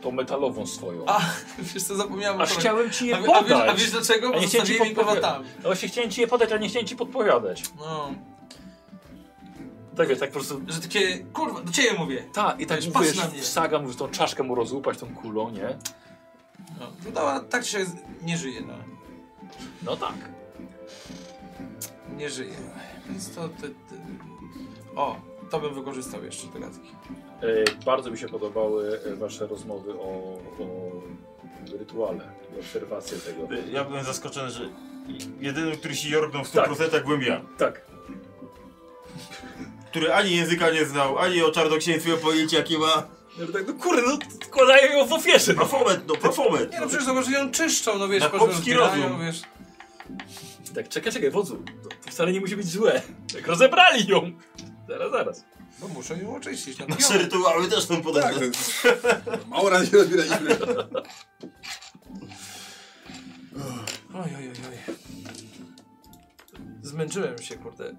Speaker 2: Tą metalową swoją.
Speaker 10: A, <laughs> Wiesz co, zapomniałem
Speaker 2: Aż
Speaker 10: o
Speaker 2: chciałem ci
Speaker 10: a,
Speaker 2: je
Speaker 10: a, wiesz,
Speaker 2: podać.
Speaker 10: a wiesz dlaczego?
Speaker 2: A
Speaker 10: Bo
Speaker 2: nie chciałem ci
Speaker 10: zostawiłem go
Speaker 2: podpowiadać.
Speaker 10: tam.
Speaker 2: No właśnie chciałem ci je podać, ale nie chciałem ci podpowiadać.
Speaker 10: No.
Speaker 2: Tak wiesz, tak po prostu...
Speaker 10: Że takie, kurwa, do ciebie mówię.
Speaker 2: Tak, i tak
Speaker 10: Wiesz,
Speaker 2: mówisz,
Speaker 10: patrz na mnie.
Speaker 2: saga, mówisz, tą czaszkę mu rozłupać tą kulą, nie?
Speaker 10: No, no dobra, tak się z- nie żyje, no.
Speaker 2: No tak.
Speaker 10: Nie żyje. Więc to, te, te... O, to bym wykorzystał jeszcze do gadki.
Speaker 24: E, Bardzo mi się podobały e, wasze rozmowy o, o rytuale, i obserwacje tego.
Speaker 5: Ja byłem zaskoczony, że jedynym, który się jorgnął w 100% byłem ja.
Speaker 2: Tak.
Speaker 5: Który ani języka nie znał, ani o czarnoksięstwie pojęcia jakie ma.
Speaker 2: No, tak, no kurde, no składają ją w ofierze, no.
Speaker 5: Profomet, no profomet.
Speaker 10: Nie no, przecież zobacz, że ją czyszczą, no wiesz,
Speaker 5: Na
Speaker 10: po prostu
Speaker 5: chłopski
Speaker 10: rozbierają,
Speaker 5: rozum.
Speaker 10: wiesz.
Speaker 2: Tak, czekaj, czekaj, wodzu. To, to wcale nie musi być złe. Jak rozebrali ją. Zaraz, zaraz.
Speaker 10: No muszą ją oczyścić. No,
Speaker 5: Nasze rytuały też są
Speaker 4: Tak,
Speaker 5: podobne.
Speaker 4: mało razy się <laughs> rozbieraliśmy.
Speaker 10: Oj, oj, oj, oj. Zmęczyłem się, kurde.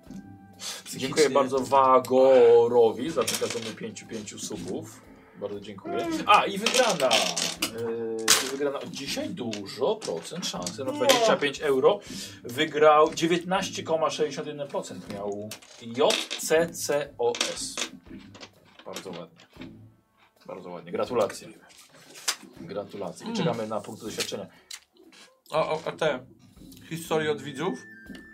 Speaker 10: Psychicznie.
Speaker 2: Dziękuję bardzo Wagorowi za przekazanie pięciu, pięciu subów. Bardzo dziękuję. A, i wygrana. Yy, wygrana od dzisiaj dużo procent szansy na 25 euro. Wygrał 19,61% miał JCCOS. Bardzo ładnie. Bardzo ładnie. Gratulacje. Gratulacje. I czekamy na punkt doświadczenia.
Speaker 10: O, o, a te historie od widzów?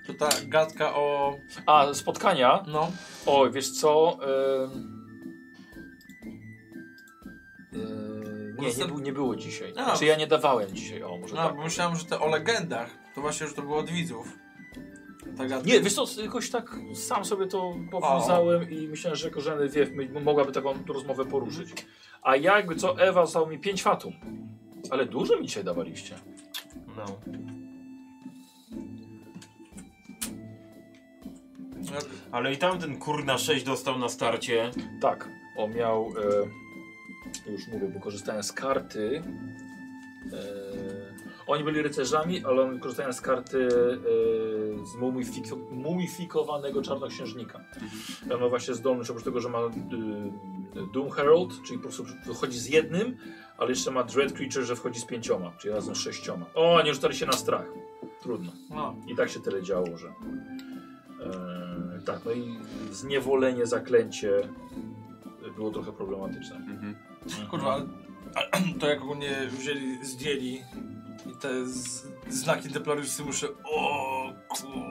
Speaker 10: To ta gadka o...
Speaker 2: A, spotkania.
Speaker 10: no.
Speaker 2: Oj, wiesz co? Ym... Yy, nie, nie, był- nie było dzisiaj.
Speaker 10: A.
Speaker 2: Znaczy ja nie dawałem dzisiaj, o może
Speaker 10: No,
Speaker 2: tak.
Speaker 10: bo myślałem, że te o legendach, to właśnie, że to było od widzów. Ta gadka.
Speaker 2: Nie, wiesz co, jakoś tak sam sobie to powiązałem i myślałem, że Korzeny wie, m- mogłaby taką rozmowę poruszyć. A ja jakby co, Ewa dał mi pięć fatum. Ale dużo mi dzisiaj dawaliście.
Speaker 5: No.
Speaker 10: Jak-
Speaker 5: Ale i tamten kurna 6 dostał na starcie.
Speaker 2: Tak, on miał, e, już mówię, bo korzystałem z karty. E, oni byli rycerzami, ale on korzystałem z karty e, z mumifiko, mumifikowanego czarnoksiężnika. On ma właśnie zdolność, oprócz tego, że ma y, Doom Herald, czyli po prostu wychodzi z jednym, ale jeszcze ma Dread Creature, że wchodzi z pięcioma, czyli razem z sześcioma. O, nie rzucali się na strach. Trudno.
Speaker 10: No.
Speaker 2: I tak się tyle działo, że. E, tak, no i zniewolenie, zaklęcie było trochę problematyczne.
Speaker 4: Mhm.
Speaker 10: no, Kurwa, ale- <clears throat> to jak ogólnie wzięli, zdjęli i te z, znaki deplorusy muszę... O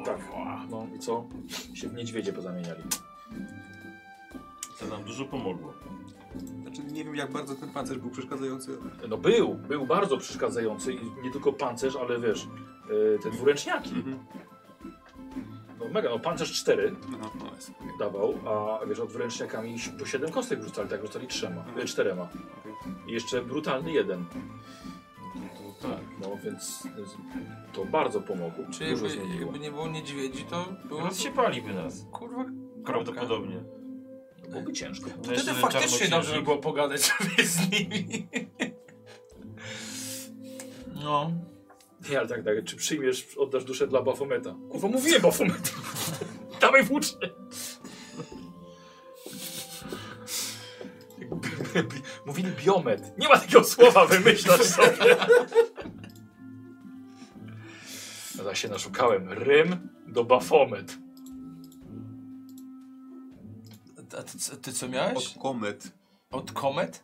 Speaker 2: Tak,
Speaker 10: kurwa.
Speaker 2: No i co? Się w niedźwiedzie pozamieniali.
Speaker 5: To nam dużo pomogło.
Speaker 25: Znaczy, nie wiem, jak bardzo ten pancerz był przeszkadzający.
Speaker 2: No był, był bardzo przeszkadzający i nie tylko pancerz, ale wiesz, e, te dwuręczniaki.
Speaker 25: Mhm.
Speaker 2: No mega, no pancerz 4
Speaker 25: No, no jest.
Speaker 2: dawał, a wiesz, od wręczniakami po 7 kostek rzucali, tak rzucali trzema, e, czterema. I jeszcze brutalny jeden. tak. No więc więc to bardzo pomogło,
Speaker 10: Czy
Speaker 2: dużo
Speaker 10: jakby,
Speaker 2: zmieniło.
Speaker 10: jakby nie było niedźwiedzi, to
Speaker 5: No,
Speaker 10: było...
Speaker 5: Rozsiepaliby nas.
Speaker 10: Kurwa,
Speaker 5: Prawdopodobnie.
Speaker 2: Byłoby ciężko.
Speaker 10: Wtedy faktycznie dobrze by było pogadać sobie z nimi. No.
Speaker 2: Nie, ale tak, tak, czy przyjmiesz, oddasz duszę dla Bafometa? Kurwa, mówiłem Bafometa. <laughs> Dawaj włócznie. <laughs> Mówili biomet. Nie ma takiego słowa, wymyślasz sobie. <laughs> No tak się naszukałem. Rym do Bafomet.
Speaker 10: A ty, co- ty co miałeś?
Speaker 25: Od komet.
Speaker 10: Od komet?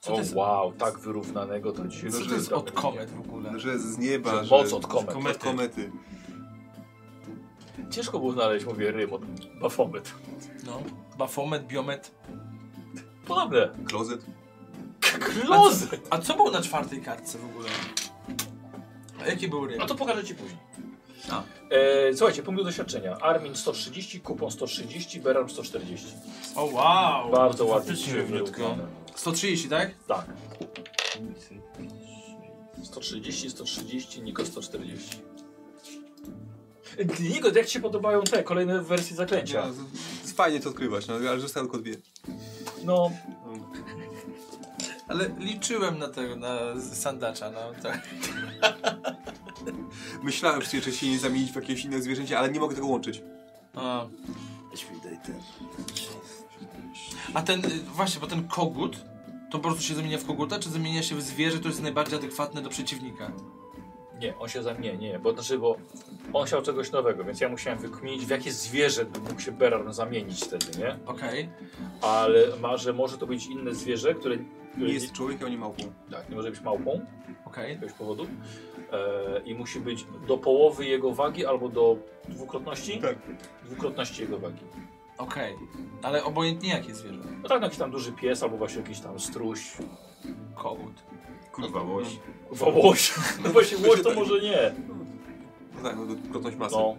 Speaker 10: Co
Speaker 2: o
Speaker 10: to jest,
Speaker 2: wow, tak wyrównanego to dzisiaj.
Speaker 10: co to jest No. od komet w ogóle?
Speaker 4: Że z nieba, że...
Speaker 2: Moc od komet.
Speaker 4: Od komety.
Speaker 2: Ciężko było znaleźć, mówię, rym od Bafomet.
Speaker 10: No. Bafomet, biomet.
Speaker 2: Podobne.
Speaker 4: Klozet.
Speaker 2: Klozet.
Speaker 10: A co było na czwartej kartce w ogóle? A jaki był rym?
Speaker 2: No to pokażę ci później.
Speaker 5: No.
Speaker 2: E, słuchajcie, punkt doświadczenia. Armin 130, Kupon 130, Beram 140.
Speaker 10: O wow!
Speaker 2: Bardzo ładnie.
Speaker 5: faktycznie
Speaker 2: się
Speaker 5: równiutko.
Speaker 2: wyrównane.
Speaker 10: 130, tak?
Speaker 2: Tak. 130, 130, Niko 140. Nigo, jak ci się podobają te kolejne wersje zaklęcia?
Speaker 4: No, z- z- fajnie to odkrywać, no, ale zostały tylko dwie.
Speaker 2: No,
Speaker 10: Ale liczyłem na tego, na sandacza, no tak.
Speaker 4: Myślałem przecież, że się nie zamienić w jakieś inne zwierzęcie, ale nie mogę tego łączyć.
Speaker 10: A. A ten, y, właśnie, bo ten kogut, to po prostu się zamienia w koguta, czy zamienia się w zwierzę, to jest najbardziej adekwatne do przeciwnika?
Speaker 2: nie, on się za mnie, nie, bo znaczy, bo on chciał czegoś nowego, więc ja musiałem wykminić, w jakie zwierzę mógł się Berar zamienić wtedy, nie?
Speaker 10: Okej.
Speaker 2: Ale ma, że może to być inne zwierzę, które, które
Speaker 4: Nie jest człowiekiem, ani małpą.
Speaker 2: tak, nie może być małpą z
Speaker 10: Okej.
Speaker 2: jakiegoś powodu e, i musi być do połowy jego wagi albo do dwukrotności?
Speaker 4: Tak.
Speaker 2: Dwukrotności jego wagi.
Speaker 10: Okej. Ale obojętnie jakie zwierzę.
Speaker 2: No tak, no jakiś tam duży pies albo właśnie jakiś tam struś,
Speaker 10: Kogut.
Speaker 5: Kurwa, łoś.
Speaker 2: Kurwa, łoś. <laughs> No właśnie łoś to może nie.
Speaker 4: No tak, no, to krotność masy.
Speaker 2: No.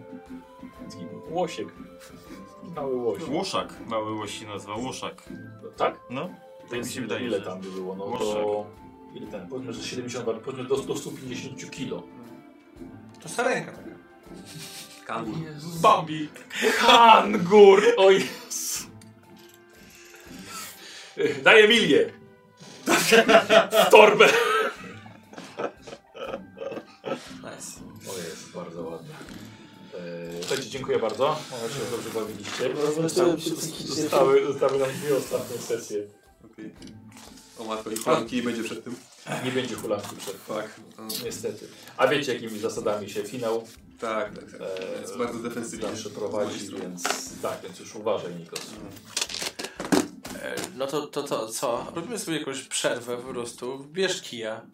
Speaker 2: Łosiek. Mały łoś.
Speaker 5: Łoszak. Mały łoś się nazywa Łoszak.
Speaker 2: Tak?
Speaker 5: No.
Speaker 2: To
Speaker 5: mi się wydaje,
Speaker 2: Ile
Speaker 5: że-
Speaker 2: tam by było? No to...
Speaker 5: Łoszek.
Speaker 2: Ile ten? Powiedzmy, że 70, ale powiedzmy do, do 150 kilo.
Speaker 10: To sarenka.
Speaker 4: Kangur.
Speaker 2: Bambi! Kangur! O Jezu. Daję milię! W torbę!
Speaker 10: Nice.
Speaker 2: O jest, bardzo E, ładne. Eee, Słuchajcie, dziękuję bardzo. Mam nadzieję, że dobrze bawiliście. Zostały, zostały nam dwie ostatnie sesje.
Speaker 4: Okej. O matko, i planki nie będzie przed tym.
Speaker 2: Nie będzie hulanki przed.
Speaker 4: Tak. No,
Speaker 2: Niestety. A wiecie, jakimi zasadami się finał
Speaker 4: tak, tak, tak.
Speaker 2: e,
Speaker 4: Jest bardzo defensywnie.
Speaker 2: zawsze prowadzi, więc tak, więc już uważaj, Nikos.
Speaker 10: E, No to, to, to co? Robimy sobie jakąś przerwę po prostu. Bierz kija.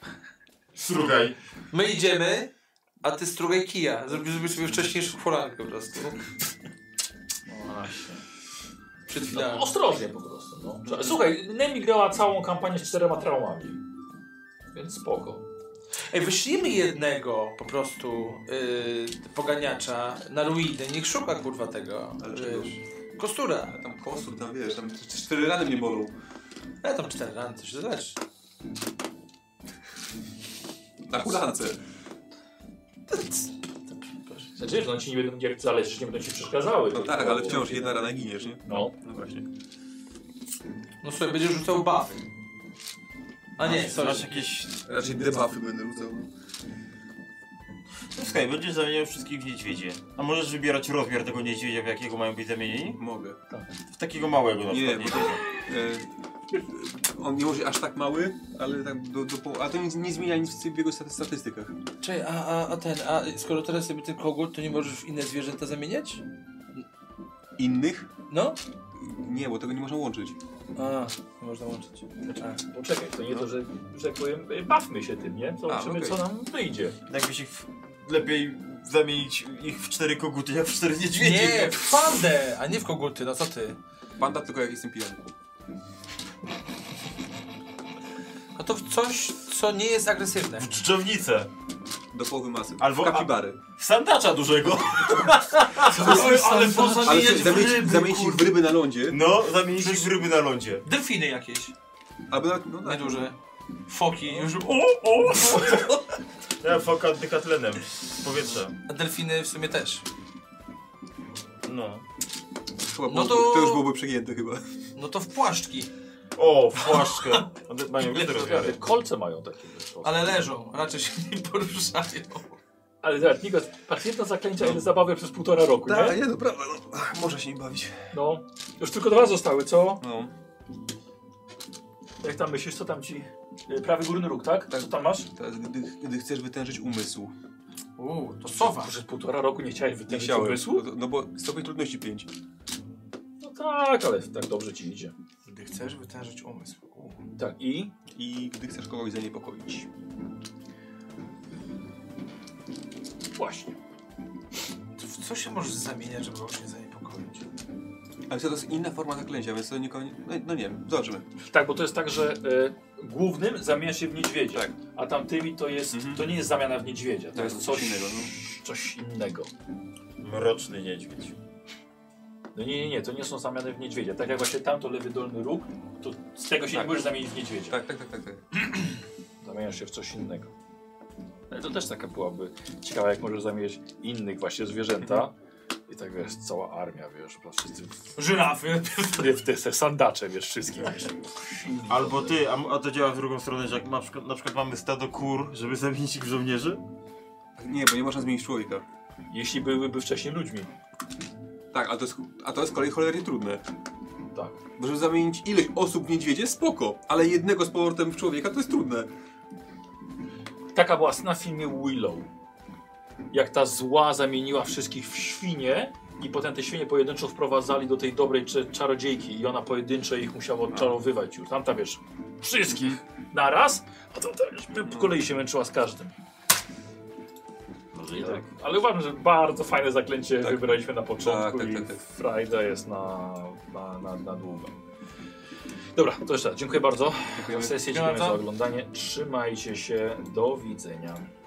Speaker 5: Strugaj.
Speaker 10: My idziemy, a ty strugaj kija. Zrobimy sobie wcześniejszą porankę po prostu. Przed
Speaker 2: No,
Speaker 10: chwilą.
Speaker 2: ostrożnie po prostu. No. Trzeba- Słuchaj, Nemi grała całą kampanię z czterema traumami. Więc spoko.
Speaker 10: Ej, wyślijmy jednego po prostu y, poganiacza na ruiny. Niech szuka kurwa tego.
Speaker 4: Ale czego?
Speaker 10: Y, kostura.
Speaker 4: Tam kostur, tam wiesz, tam c- cztery rany mnie bolą.
Speaker 10: Ja tam cztery rany, coś zlecz.
Speaker 4: Na hulance.
Speaker 2: Znaczy, że one ci nie będą nie zależeć, nie będą ci przeszkadzały.
Speaker 4: No tak, ale wciąż jedna rana giniesz, nie?
Speaker 2: No.
Speaker 4: No właśnie.
Speaker 10: No słuchaj, będziesz rzucał buffy. A nie, sorry.
Speaker 5: Masz jakieś...
Speaker 4: Raczej debuffy będę rzucał.
Speaker 5: No słuchaj, będziesz zamieniał wszystkich w niedźwiedzie. A możesz wybierać rozmiar tego niedźwiedzia, w jakiego mają być zamienieni?
Speaker 4: Mogę.
Speaker 5: W takiego małego na
Speaker 4: Nie,
Speaker 5: przykład
Speaker 4: bo-
Speaker 5: niedźwiedzia.
Speaker 4: E, on nie może aż tak mały, ale tak do, do po... A to nic, nie zmienia nic w jego staty- statystykach.
Speaker 10: Czekaj, a, a, a ten, a skoro teraz sobie ten kogut, to nie możesz w inne zwierzęta zamieniać?
Speaker 4: Innych?
Speaker 10: No?
Speaker 4: Nie, bo tego nie można łączyć.
Speaker 10: A, nie można łączyć. A.
Speaker 2: Poczekaj, to nie to, że, że tak powiem, y, bawmy się tym, nie? Zobaczymy,
Speaker 4: okej.
Speaker 2: co nam wyjdzie.
Speaker 5: Jakbyś ich... Lepiej zamienić ich w cztery koguty, jak w cztery niedźwiedzie.
Speaker 10: Nie, w pandę, a nie w koguty, no co ty?
Speaker 4: Panda tylko jak jestem pijany.
Speaker 10: A to w coś, co nie jest agresywne.
Speaker 5: W czczownicę.
Speaker 4: Do połowy masy.
Speaker 5: Albo-
Speaker 4: kapibary.
Speaker 5: W sandacza <laughs> dużego. Oj, ale
Speaker 4: Ale
Speaker 5: pozamieniać
Speaker 4: słuchaj,
Speaker 5: w
Speaker 4: zamienić,
Speaker 5: ryby,
Speaker 4: zamienić ich w
Speaker 5: kurde.
Speaker 4: ryby na lądzie.
Speaker 5: No, zamienić ich w ryby na lądzie.
Speaker 10: Delfiny jakieś,
Speaker 4: Albo nawet, no tak.
Speaker 10: nieduże. Foki, już... O!
Speaker 5: Ja foka dykatlenem. Z powietrza.
Speaker 10: A delfiny w sumie też.
Speaker 5: No.
Speaker 4: Chyba
Speaker 10: No
Speaker 4: no
Speaker 10: to-
Speaker 4: to... to już byłoby przegięte chyba.
Speaker 10: No to w płaszczki,
Speaker 5: O, w płaszczkę. One Mają
Speaker 2: Nie,
Speaker 5: wiele
Speaker 2: te
Speaker 5: rozmiary.
Speaker 2: kolce mają takie. wiesz,
Speaker 10: ale leżą, raczej się nie poruszają.
Speaker 2: Ale zobacz, Nikos, patrz, jedno zaklęcia, ile zabawy przez półtora roku,
Speaker 4: Tak,
Speaker 2: nie?
Speaker 4: nie, no prawda, no. Ach, Można się nie bawić.
Speaker 2: No. Już tylko dwa zostały, co?
Speaker 4: No.
Speaker 2: Jak tam myślisz, co tam ci... y, Prawy górny róg, tak?
Speaker 4: Tak.
Speaker 2: Co tam masz?
Speaker 4: Teraz, gdy, gdy chcesz wytężyć umysł.
Speaker 10: Uuu, to sowa.
Speaker 2: Przez półtora roku nie chciałeś
Speaker 4: Nie
Speaker 2: wytyczyć
Speaker 4: chciałem.
Speaker 2: umysłu?
Speaker 4: No, no bo stopień trudności 5.
Speaker 2: No tak, ale tak dobrze ci idzie.
Speaker 10: Gdy chcesz wytężyć umysł. Uuu.
Speaker 2: Tak, i?
Speaker 4: I gdy chcesz kogoś zaniepokoić.
Speaker 2: Właśnie.
Speaker 10: To w co się możesz zamieniać, żeby kogoś nie zaniepokoić?
Speaker 4: Ale to jest inna forma zaklęcia, więc to nikogo... No, no nie wiem, zobaczymy.
Speaker 2: Tak, bo to jest tak, że e, głównym zamienia się w niedźwiedzia,
Speaker 4: Tak. Mhm.
Speaker 2: a tamtymi to jest, to nie jest zamiana w niedźwiedzia, to
Speaker 4: Tak,
Speaker 2: jest
Speaker 4: coś
Speaker 2: coś
Speaker 4: innego, no.
Speaker 2: coś innego.
Speaker 5: Mroczny niedźwiedź.
Speaker 2: No nie, nie, nie, to nie są zamiany w niedźwiedzia. Tak jak właśnie tamto lewy dolny róg, to z tego się <clears throat>
Speaker 4: Tak.
Speaker 2: nie możesz zamienić w niedźwiedzia.
Speaker 4: Tak, tak, tak, tak. tak.
Speaker 2: Zamieniasz się w coś innego. No i to też taka byłaby ciekawa, jak możesz zamienić innych właśnie zwierzęta.
Speaker 4: Mhm.
Speaker 2: I tak wiesz, cała armia, wiesz, po prostu wszyscy w,
Speaker 10: Żyrafy.
Speaker 2: w, w te, te sandacze, wiesz, wszystkich.
Speaker 4: Tak.
Speaker 2: Wiesz.
Speaker 5: Albo ty, a, a to działa w drugą stronę, że jak na przykład, na przykład mamy stado kur, żeby zamienić ich w żołnierzy?
Speaker 4: Nie, bo nie można zmienić człowieka.
Speaker 2: Jeśli byłyby wcześniej ludźmi.
Speaker 4: Tak, a to jest, a to jest z kolei cholernie trudne.
Speaker 2: Tak.
Speaker 4: Bo żeby zamienić ileś osób w niedźwiedzie, spoko, ale jednego z powrotem w człowieka to jest trudne.
Speaker 2: Taka była scena w filmie Willow. Jak ta zła zamieniła wszystkich w świnie i potem te świnie pojedynczo wprowadzali do tej dobrej cze- czarodziejki i ona pojedynczo ich musiała odczarowywać już. Tamta wiesz, wszystkich naraz, a to też po kolei się męczyła z każdym.
Speaker 5: Może i
Speaker 2: Tak. Ale uważam, że bardzo fajne zaklęcie
Speaker 4: Tak.
Speaker 2: wybraliśmy na początku
Speaker 4: Tak, tak,
Speaker 2: i
Speaker 4: tak, tak.
Speaker 2: frajda jest na, na, na, na długo. Dobra, to jeszcze raz. Dziękuję bardzo za sesję, dziękuję za oglądanie. Trzymajcie się, do widzenia.